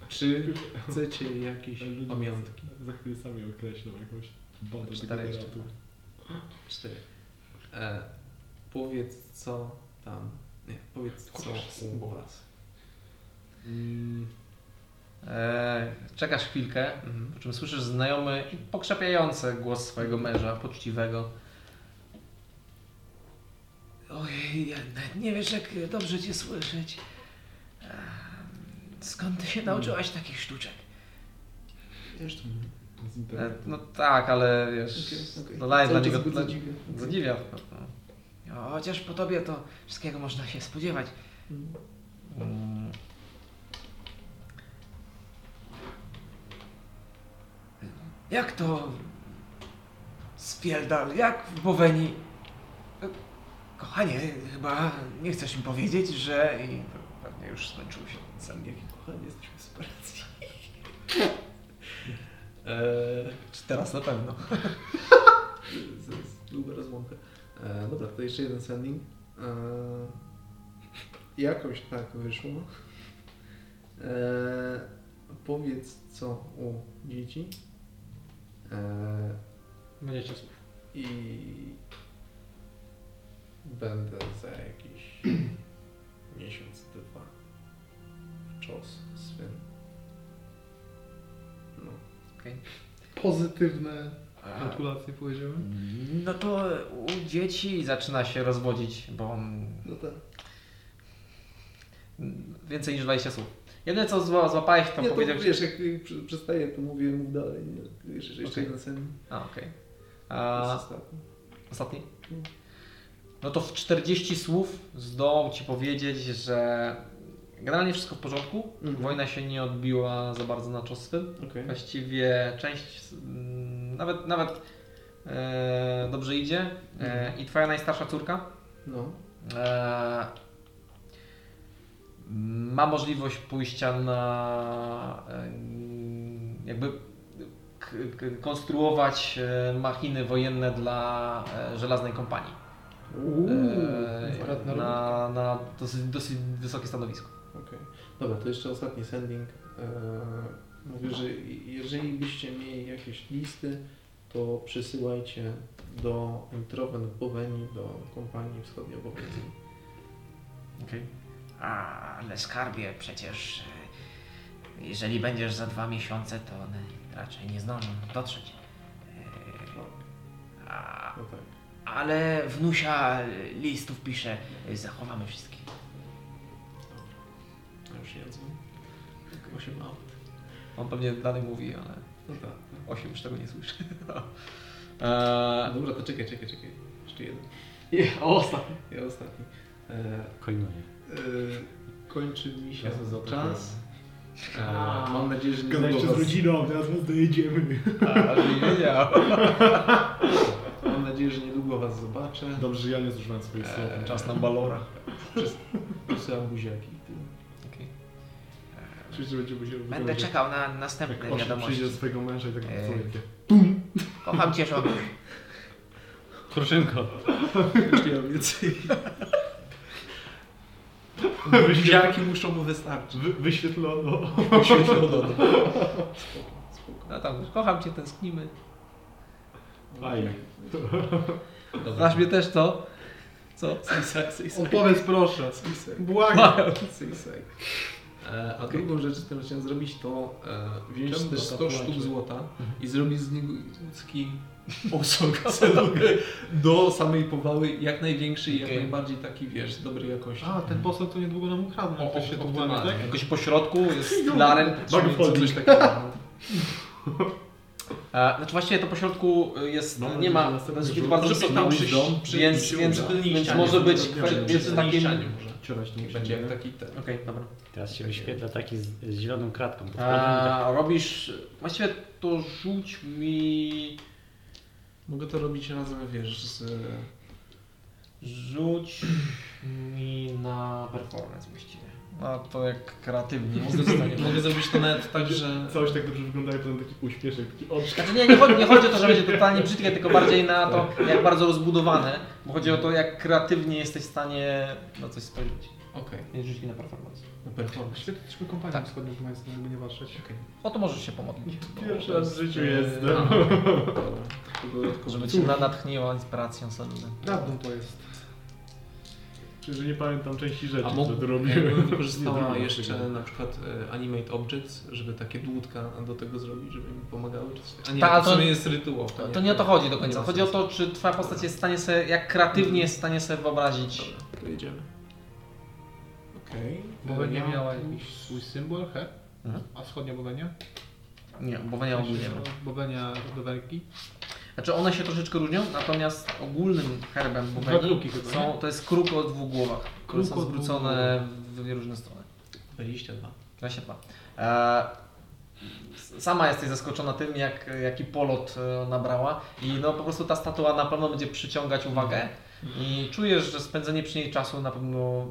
S5: Czy chcecie jakieś pamiątki?
S2: Za chwilę sami określą jakąś badę
S5: Cztery
S2: tego
S5: jeszcze.
S2: tematu.
S5: Cztery. E, powiedz co tam. Nie, powiedz co u was.
S2: Mm,
S1: Eee, czekasz chwilkę, po czym słyszysz znajomy i pokrzepiający głos swojego męża, poczciwego.
S8: Ojej, ja nawet nie wiesz, jak dobrze cię słyszeć. Ehm, Skąd ty się nauczyłaś takich sztuczek?
S5: Jeszcze
S2: z
S1: E,
S2: internetu.
S1: no tak, ale wiesz,
S5: Okej, okej.
S1: no daje dla
S13: Cały
S1: niego...
S13: czas go
S1: Dla,
S13: zadziwia.
S1: zadziwia. No.
S8: No, chociaż po tobie to wszystkiego można się spodziewać.
S1: Mm.
S8: Jak to spierdal, jak w Boweni? E, Kochanie, chyba nie chcesz mi powiedzieć, że... I pewnie już skończył się sen.
S5: Jakie kochanie, jesteśmy w separacji. Eee,
S1: E, Teraz na pewno.
S5: z- z- Długa rozłąka. Eee, dobra, to jeszcze jeden sending. Eee, jakoś tak wyszło. Eee, powiedz co u dzieci. Eee,
S6: Będziecie słów.
S5: I będę za jakiś miesiąc, dwa czas swym. No.
S9: Pozytywne kalkulacje powiedziałem.
S1: No to u dzieci zaczyna się rozwodzić, bo on
S13: No tak.
S1: więcej niż 20 słów. Jedyne co zła- złapałeś, to
S13: Nie, to
S1: powiedział
S13: wiesz, jak jak przy- przestaję, to mówię, mów dalej. Nie? Wiesz, jeszcze
S1: Okej.
S13: jeden sen.
S1: A, okej.
S13: A...
S1: A Ostatni? No to w 40 słów zdołał ci powiedzieć, że generalnie wszystko w porządku.
S13: Mhm.
S1: Wojna się nie odbiła za bardzo na czas swym.
S13: Okej.
S1: Właściwie część mm, nawet, nawet e, dobrze idzie.
S13: Mhm.
S1: E, I twoja najstarsza córka
S5: No.
S1: e, ma możliwość pójścia na e, jakby k- k- konstruować e, machiny wojenne dla e, żelaznej kompanii.
S13: akurat na
S1: E, Eee, na, na dosyć, dosyć wysokie stanowisko.
S5: Okej. Dobra, to jeszcze ostatni sending. Eee, mówię, że jeżeli byście mieli jakieś listy, to przesyłajcie do Introwen w Bowenii, do kompanii wschodniowowieckiej.
S8: A, ale skarbie przecież, e, jeżeli będziesz za dwa miesiące, to one raczej nie zdążą dotrzeć. E, A,
S5: No tak.
S8: ale wnusia listów pisze, e, zachowamy wszystkie.
S5: A już jedzą. Osiem aut.
S1: On pewnie dalej mówi, ale
S5: No tak.
S1: 8 już tego nie słyszy. Eee,
S5: Dobra, to czekaj, czekaj, czekaj. Jeszcze jeden.
S1: je- o, ostatni.
S5: Ja ostatni. Eee,
S4: Koinuje.
S5: Yy, kończy mi się
S2: Razem z autokarem.
S5: czas. Eee, mam nadzieję, że nie
S2: Gadaliście
S5: było
S2: z
S5: was,
S2: rodziną, teraz my dojedziemy.
S1: Ale nie wiedział.
S5: mam nadzieję, że niedługo was zobaczę.
S2: Dobrze, że ja nie zużywam swoich słów.
S5: Eee,
S1: Czas na balora.
S5: Przesyłam buziaki.
S2: Czuć, że będzie musiał
S8: Będę czekał na następne
S2: Jak on przyjdzie do
S8: wiadomości.
S2: swojego męża i tak
S8: Eee.
S2: całuje.
S8: Kocham cię, żono.
S4: Kruszynko.
S5: Już nie mam więcej. Buziaki muszą mu wystarczyć.
S2: Wy, wyświetlono.
S5: Oświetlono.
S1: No tam, kocham cię, tęsknimy.
S2: Fajnie.
S1: Znasz mnie też to. Co?
S9: Odpowiedz proszę.
S5: Błagam. E, A drugą rzecz, którą chciałem zrobić, to e, wziąć
S2: Czemu
S5: też
S2: taka
S5: 100
S2: płacze?
S5: sztuk złota
S1: Mhm.
S5: i zrobić z niego ludzki osąg celowy do samej powały, jak największy i jak
S1: Okej.
S5: najbardziej taki, wiesz, dobrej jakości.
S9: A, ten poseł to niedługo nam ukradł,
S5: O,
S9: jak ktoś
S5: o,
S9: się tu
S5: optymalnie.
S9: włamie, tak?
S1: Jakoś po środku jest Laren.
S5: Czy Coś takiego.
S1: E, Znaczy właściwie to po środku y, jest,
S5: No,
S2: Mam
S1: nie
S2: nadzieję,
S1: ma,
S2: że
S1: to
S2: następny
S1: jest
S2: rząd
S1: bardzo
S2: może
S1: wysoko,
S2: być na
S1: więc,
S2: wisdom,
S1: więc, więc,
S5: Przy
S1: więc
S5: ścianie,
S1: może być
S5: przy
S1: kwe- więc
S5: ścianie
S1: takim
S5: może.
S2: podcierać to
S5: Będzie jak taki ten.
S1: Okej, dobra.
S4: Teraz się wyświetla taki z, z zieloną kratką. tak.
S1: A, robisz. Właściwie to rzuć mi.
S5: Mogę to robić razem, wiesz, z...
S1: Rzuć mi na performance właściwie.
S9: A to jak kreatywnie.
S5: Zdecydowanie. Mogę zrobić to nawet tak, że...
S2: Całość tak dobrze wygląda, a potem taki uśmieszek, taki oczka.
S1: Znaczy nie, nie chodzi, nie chodzi o to, że będzie totalnie brzydkie, tylko bardziej na to,
S10: Tak.
S1: jak bardzo rozbudowane, bo chodzi o to, jak kreatywnie jesteś w stanie na coś spojrzeć.
S5: Okej,
S1: Więc rzuć mi na performance.
S5: na performance.
S6: Świetliśmy kompanię tak. wschodnią w Mając, żeby nie patrzeć.
S1: No
S9: O to możesz się pomodlić.
S2: Pierwszy raz w życiu jest.
S10: Żeby cię na- natchniło inspiracją solidną.
S6: Dawno to jest.
S2: Czyli, że nie pamiętam części rzeczy,
S5: A
S2: które
S5: mógłbym
S2: robiłem.
S5: wykorzystała
S2: Nie
S5: jeszcze na przykład e, Animate Objects, żeby takie dłutka do tego zrobić, żeby mi pomagały czy coś. A nie,
S10: Ta,
S5: to,
S10: to-
S5: w sumie jest rytuał.
S10: To, to nie o to chodzi do końca.
S5: ma
S10: Chodzi o
S5: sensu.
S10: to, czy twoja postać jest w stanie sobie, jak kreatywnie jest w stanie sobie wyobrazić.
S5: To jedziemy. Okej.
S9: Bogenia
S5: Ja-
S9: miała jakiś swój symbol, he?
S1: Mhm.
S9: A wschodnia Bogenia?
S1: Nie, bo nie ogólnie. ma.
S9: Bogenia do Belgii.
S1: Znaczy one się troszeczkę różnią, natomiast ogólnym herbem
S9: kruki
S1: Bugenii
S9: chyba,
S1: są, to jest kruk o dwóch głowach, które są
S9: Kruk o dwóch
S1: zwrócone w dwie różne strony.
S5: 22.
S1: 22. E, sama jesteś zaskoczona tym, jak, jaki polot e, nabrała i no po prostu ta statua na pewno będzie przyciągać uwagę i czujesz, że spędzenie przy niej czasu na pewno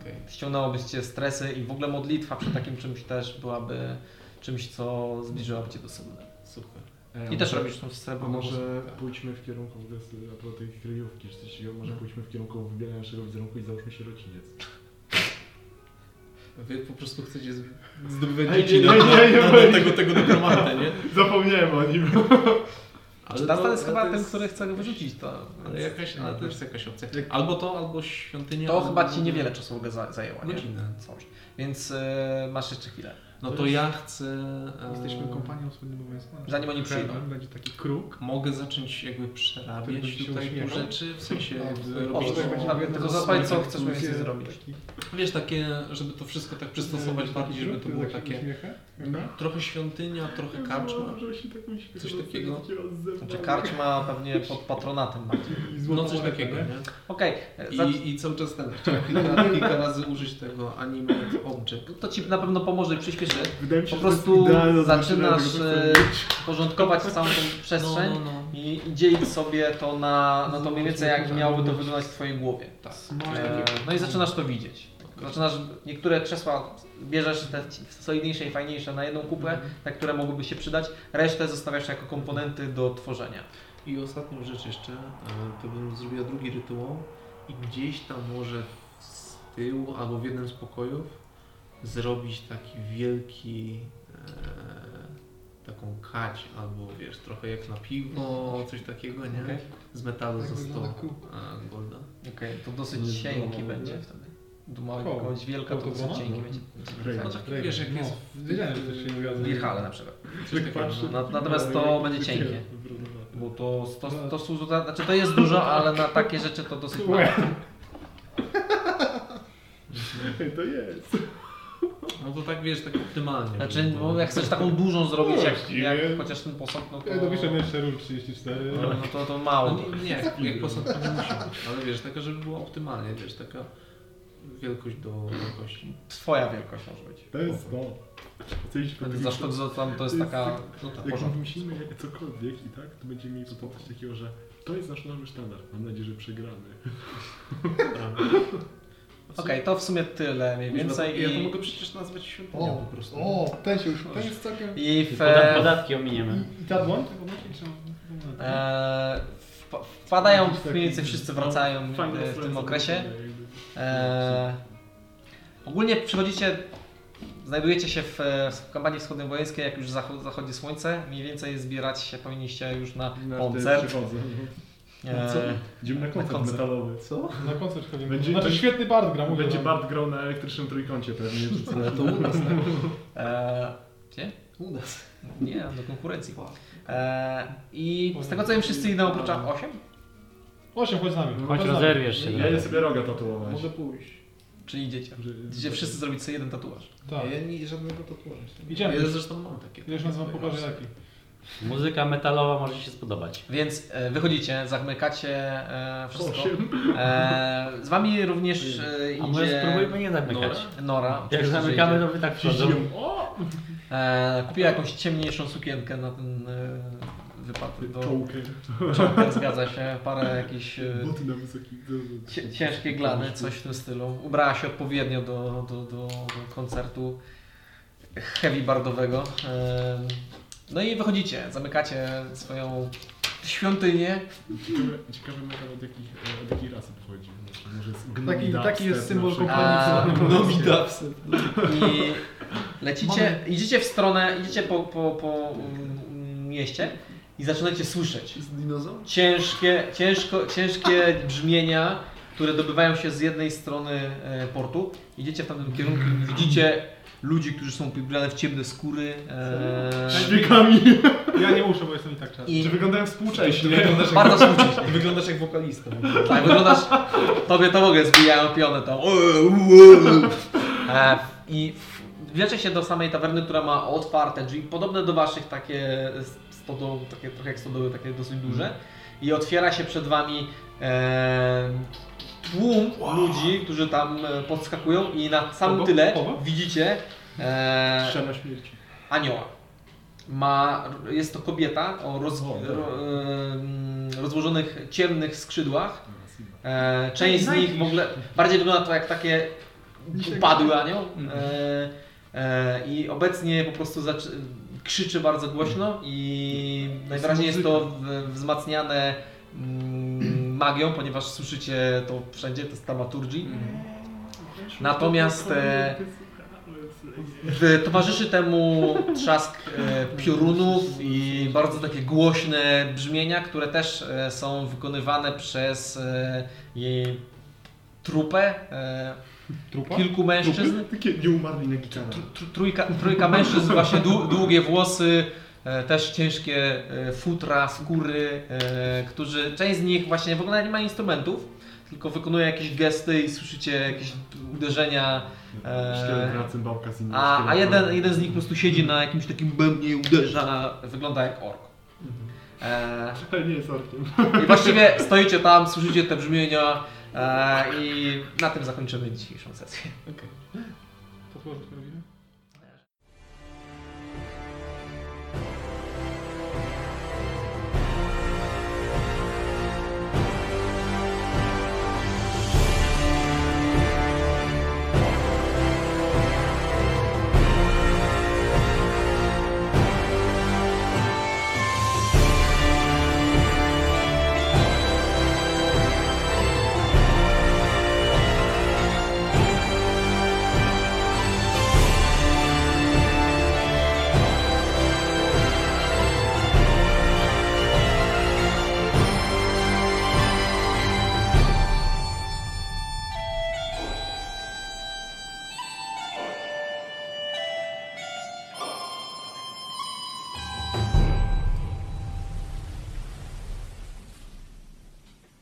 S5: Okej.
S1: ściągnęłoby z Cię stresy i w ogóle modlitwa przy takim czymś też byłaby czymś, co zbliżyłoby Cię do sedna.
S5: Super.
S2: E,
S1: I też
S2: może-
S1: robisz tą
S2: A
S1: srebrną
S2: może pójdźmy w kierunku, w ogóle z- a propos tej kryjówki, czy coś takiego, może pójdźmy w kierunku wybielania naszego wizerunku i załóżmy sierociniec.
S5: Wy po prostu chcecie z- zdobywać
S2: Ej,
S5: dzieci
S2: nie,
S5: na,
S2: nie,
S5: na,
S2: nie,
S5: na,
S2: nie.
S5: tego, tego nekromantę, nie?
S2: Zapomniałem o nim.
S10: Znaczy,
S5: Ale
S1: Dastan jest
S5: ale
S1: chyba
S5: to
S1: ten,
S5: jest-
S1: który chce go wyrzucić, to...
S5: Ale, jakaś, Znaczy, ale to jest jakaś opcja. Albo to, albo świątynia.
S1: To
S5: albo...
S1: chyba ci niewiele czasu mogę za- zajęło, nie?
S5: Godzinę. tak.
S1: Coś. Więc e, masz jeszcze chwilę.
S5: No to ja chcę. e,
S9: Jesteśmy kompanią wschodnią Bogenia.
S1: Zanim oni przyjdą.
S9: Będzie taki kruk.
S5: Mogę zacząć jakby
S9: Który będzie
S5: przerabiać
S9: się
S5: tutaj
S9: uśmiechał.
S5: tu rzeczy, w sensie
S9: No,
S5: robić
S1: O,
S5: to,
S1: tak będzie tylko zasłać, co chcesz mniej więcej zrobić.
S5: wiesz, takie, żeby to wszystko tak przystosować bardziej, żeby to było takie trochę świątynia, trochę karczma. No,
S2: Może się tak uśmiechał,
S5: Coś takiego.
S2: takiego z zewnątrz.
S1: Znaczy karczma pewnie pod patronatem bardziej.
S2: I złotą
S5: No coś
S2: monetę,
S5: takiego,
S2: nie?
S5: nie?
S1: Okej, e, za-
S5: I, I cały czas ten, chciałem kilka, kilka razy użyć tego animate object.
S1: to ci na pewno pomoże i przyspieszy.
S2: Wydaje mi się,
S1: Po
S2: że to jest
S1: prostu
S2: idealne
S1: zaczynasz
S2: zaznaczenie
S1: e,
S2: tego, co
S1: porządkować całą tą
S5: No,
S1: przestrzeń
S5: no, no.
S1: i i dzielić sobie to na, na to mniej więcej jak miałoby to wyglądać w twojej głowie.
S5: Tak.
S1: E, No i zaczynasz to widzieć. Zaczynasz niektóre krzesła bierzesz te ci- solidniejsze i fajniejsze na jedną kupę, na które mogłyby się przydać, resztę zostawiasz jako komponenty do tworzenia.
S5: I ostatnią rzecz jeszcze, e, to bym zrobiła drugi rytuał i gdzieś tam może z tyłu albo w jednym z pokojów zrobić taki wielki e, taką kać albo wiesz, trochę jak na piwo, coś takiego, nie?
S1: Okej.
S5: Z metalu
S9: Tak
S5: ze 100
S9: wygląda kół.
S5: e, golda.
S1: Okej, to dosyć cienki będzie wtedy. Duma
S9: Koło.
S1: jakąś wielka, to
S9: Koło
S1: dosyć
S9: dwoma?
S1: cienki będzie.
S2: Rejm.
S5: No tak, wiesz, jak
S9: No,
S5: jest
S9: wiedziałem, że się nie zgadza.
S1: Wirhale na przykład.
S9: Tak
S2: Tak
S5: coś takiego.
S2: patrzy.
S5: no.
S1: Nat- Natomiast to będzie cienkie. Bo to, to, to, to, są- to, znaczy to jest dużo, ale na takie rzeczy to dosyć mało.
S2: To jest.
S5: No to tak, wiesz, tak optymalnie.
S1: Znaczy,
S5: żeby
S1: bo
S5: było.
S1: jak chcesz taką dużą zrobić, jak,
S2: Właściwie.
S1: jak chociaż ten posąg, no to,
S9: Ja dopiszę jeszcze ról 34.
S1: no, no to, to
S5: No
S1: mało.
S5: nie, nie, jak, jak posąg to nie musi być, ale wiesz, taka, żeby była optymalnie, wiesz, taka wielkość do wielkości.
S1: Twoja wielkość może być.
S2: To jest to. Chcieliśmy
S1: Wtedy
S2: tego-
S1: Zaszkodzą tam, to jest taka... No tak,
S2: Jak
S1: porządku.
S2: musimy jak cokolwiek i tak, to będziemy mieli potem coś takiego, że to jest nasz nowy standard. Mam nadzieję, że przegramy.
S1: Okej, to w sumie tyle mniej więcej.
S5: Ja to
S1: I,
S5: mogę przecież nazwać świątynią po
S9: O,
S5: prostu.
S9: o, ten się już, ten jest całkiem...
S1: i w...
S4: Poda- podatki ominiemy.
S9: I, i ta dłoń tego nosi, czy...
S1: E, wpa- wpadają,
S9: Jakiś taki-
S1: mniej więcej wszyscy wracają
S2: Fajna
S1: e, w
S2: strona
S1: tym okresie.
S2: zawodowa, jakby.
S1: E, ogólnie przychodzicie, znajdujecie się w, e, w kampanii wschodniowojenskiej, jak już zachod, zachodzi słońce, mniej więcej zbierać się powinniście już na
S2: Na te
S1: koncert.
S2: przychodzę.
S1: E,
S2: Idziemy na koncert
S1: koncert.
S2: metalowy.
S5: Co?
S9: Na koncert chodzimy.
S2: Będzie-
S9: znaczy
S2: będzie-
S9: świetny Bard gra, mówię.
S2: Będzie
S9: wam.
S2: Bart grał na elektrycznym trójkącie pewnie. Czy coś.
S5: Ale to u nas tak.
S1: e, gdzie?
S5: U nas.
S1: Nie, do konkurencji. E, I z tego co wiem, wszyscy idą oprócz 8?
S9: Osiem, chodź z nami.
S4: Choć
S9: z nami.
S4: rozerwiesz się.
S2: Ja
S4: trochę.
S2: idę sobie roga tatuować.
S5: Może pójść.
S1: Czy idziecie?
S2: Że-
S1: Idziecie wszyscy zrobić sobie jeden tatuaż.
S9: Tak.
S5: Ja nie żadnego tatuażu.
S9: Idziemy.
S5: Ja zresztą mam takie.
S9: Wiesz, nas wam pokaże jaki.
S4: Muzyka metalowa może się spodobać.
S1: Więc e, wychodzicie, zamykacie e, wszystko. E, z wami również e, idzie...
S4: A może spróbujmy nie zamykać.
S1: Nora.
S4: Jak
S1: oczywiście, że
S4: zamykamy,
S1: idzie.
S4: to wy tak wchodzą.
S1: E, kupiła jakąś ciemniejszą sukienkę na ten e, wypad. Do...
S2: Czołkiem.
S1: Czołkiem, zgadza się. Parę jakichś e,
S2: Buty na wysokich.
S1: cie- ciężkie glany, coś w tym stylu. Ubrała się odpowiednio do, do, do, do koncertu heavy bardowego. E, no i wychodzicie, zamykacie swoją świątynię.
S2: Ciekawe- Ciekawe metal od jakich, e, od jakiej rasy pochodzi. Znaczy, Może jest
S6: Taki, taki jest symbol
S1: A,
S6: kompanii.
S1: Nowi Dubstep. I lecicie, idziecie w stronę, idziecie po, po, po mm, mieście i zaczynacie słyszeć
S13: Z dinozaurem?
S1: ciężkie, ciężko, ciężkie brzmienia, które dobywają się z jednej strony e, portu. Idziecie w tamtym kierunku i widzicie ludzi, którzy są ubrani w ciemne skóry. E,
S2: Szwikami.
S6: Ja nie muszę, bo jestem i tak czarny.
S1: I
S2: Czy wyglądają współcześnie?
S1: Wyglądasz bardzo smutnie.
S13: Wyglądasz jak wokalista.
S1: Tak, wyglądasz. Tobie to mogę zbijają pionę tam. E, I wlecze się do samej tawerny, która ma otwarte drzwi, podobne do waszych takie stodoły, takie trochę jak stodoły, takie dosyć duże.
S13: Mm.
S1: I otwiera się przed wami e, tłum ludzi, którzy tam e, podskakują i na samym tyle widzicie e,
S2: Trzena śmierci.
S1: anioła. Ma, jest to kobieta o roz,
S2: O, dobra.
S1: ro, em, rozłożonych ciemnych skrzydłach. E, część z nich w ogóle bardziej wygląda to jak takie upadły anioł. E, e, I obecnie po prostu zaczy, krzyczy bardzo głośno i najwyraźniej jest to w, wzmacniane mm, magią, ponieważ słyszycie to wszędzie, to jest tamaturgi. Natomiast e, w- towarzyszy temu trzask e, piorunów i bardzo takie głośne brzmienia, które też e, są wykonywane przez e, jej trupę. e, Kilku mężczyzn.
S2: Takie nie umarli na gitarze.
S1: Tr- Trójka, trójka mężczyzn, właśnie dłu- długie włosy, e, też ciężkie e, futra, skóry, e, którzy, część z nich właśnie w ogóle nie ma instrumentów, tylko wykonuje jakieś gesty i słyszycie jakieś uderzenia.
S2: Szkielet
S1: E,
S2: na cymbałka z innym
S1: a, a
S2: szkieletem.
S1: jeden, jeden z nich po prostu siedzi na jakimś takim bębnie i uderza, wygląda jak ork. E,
S2: Ale nie jest orkiem.
S1: I właściwie stoicie tam, słyszycie te brzmienia e, i na tym zakończymy dzisiejszą sesję.
S6: To co robimy?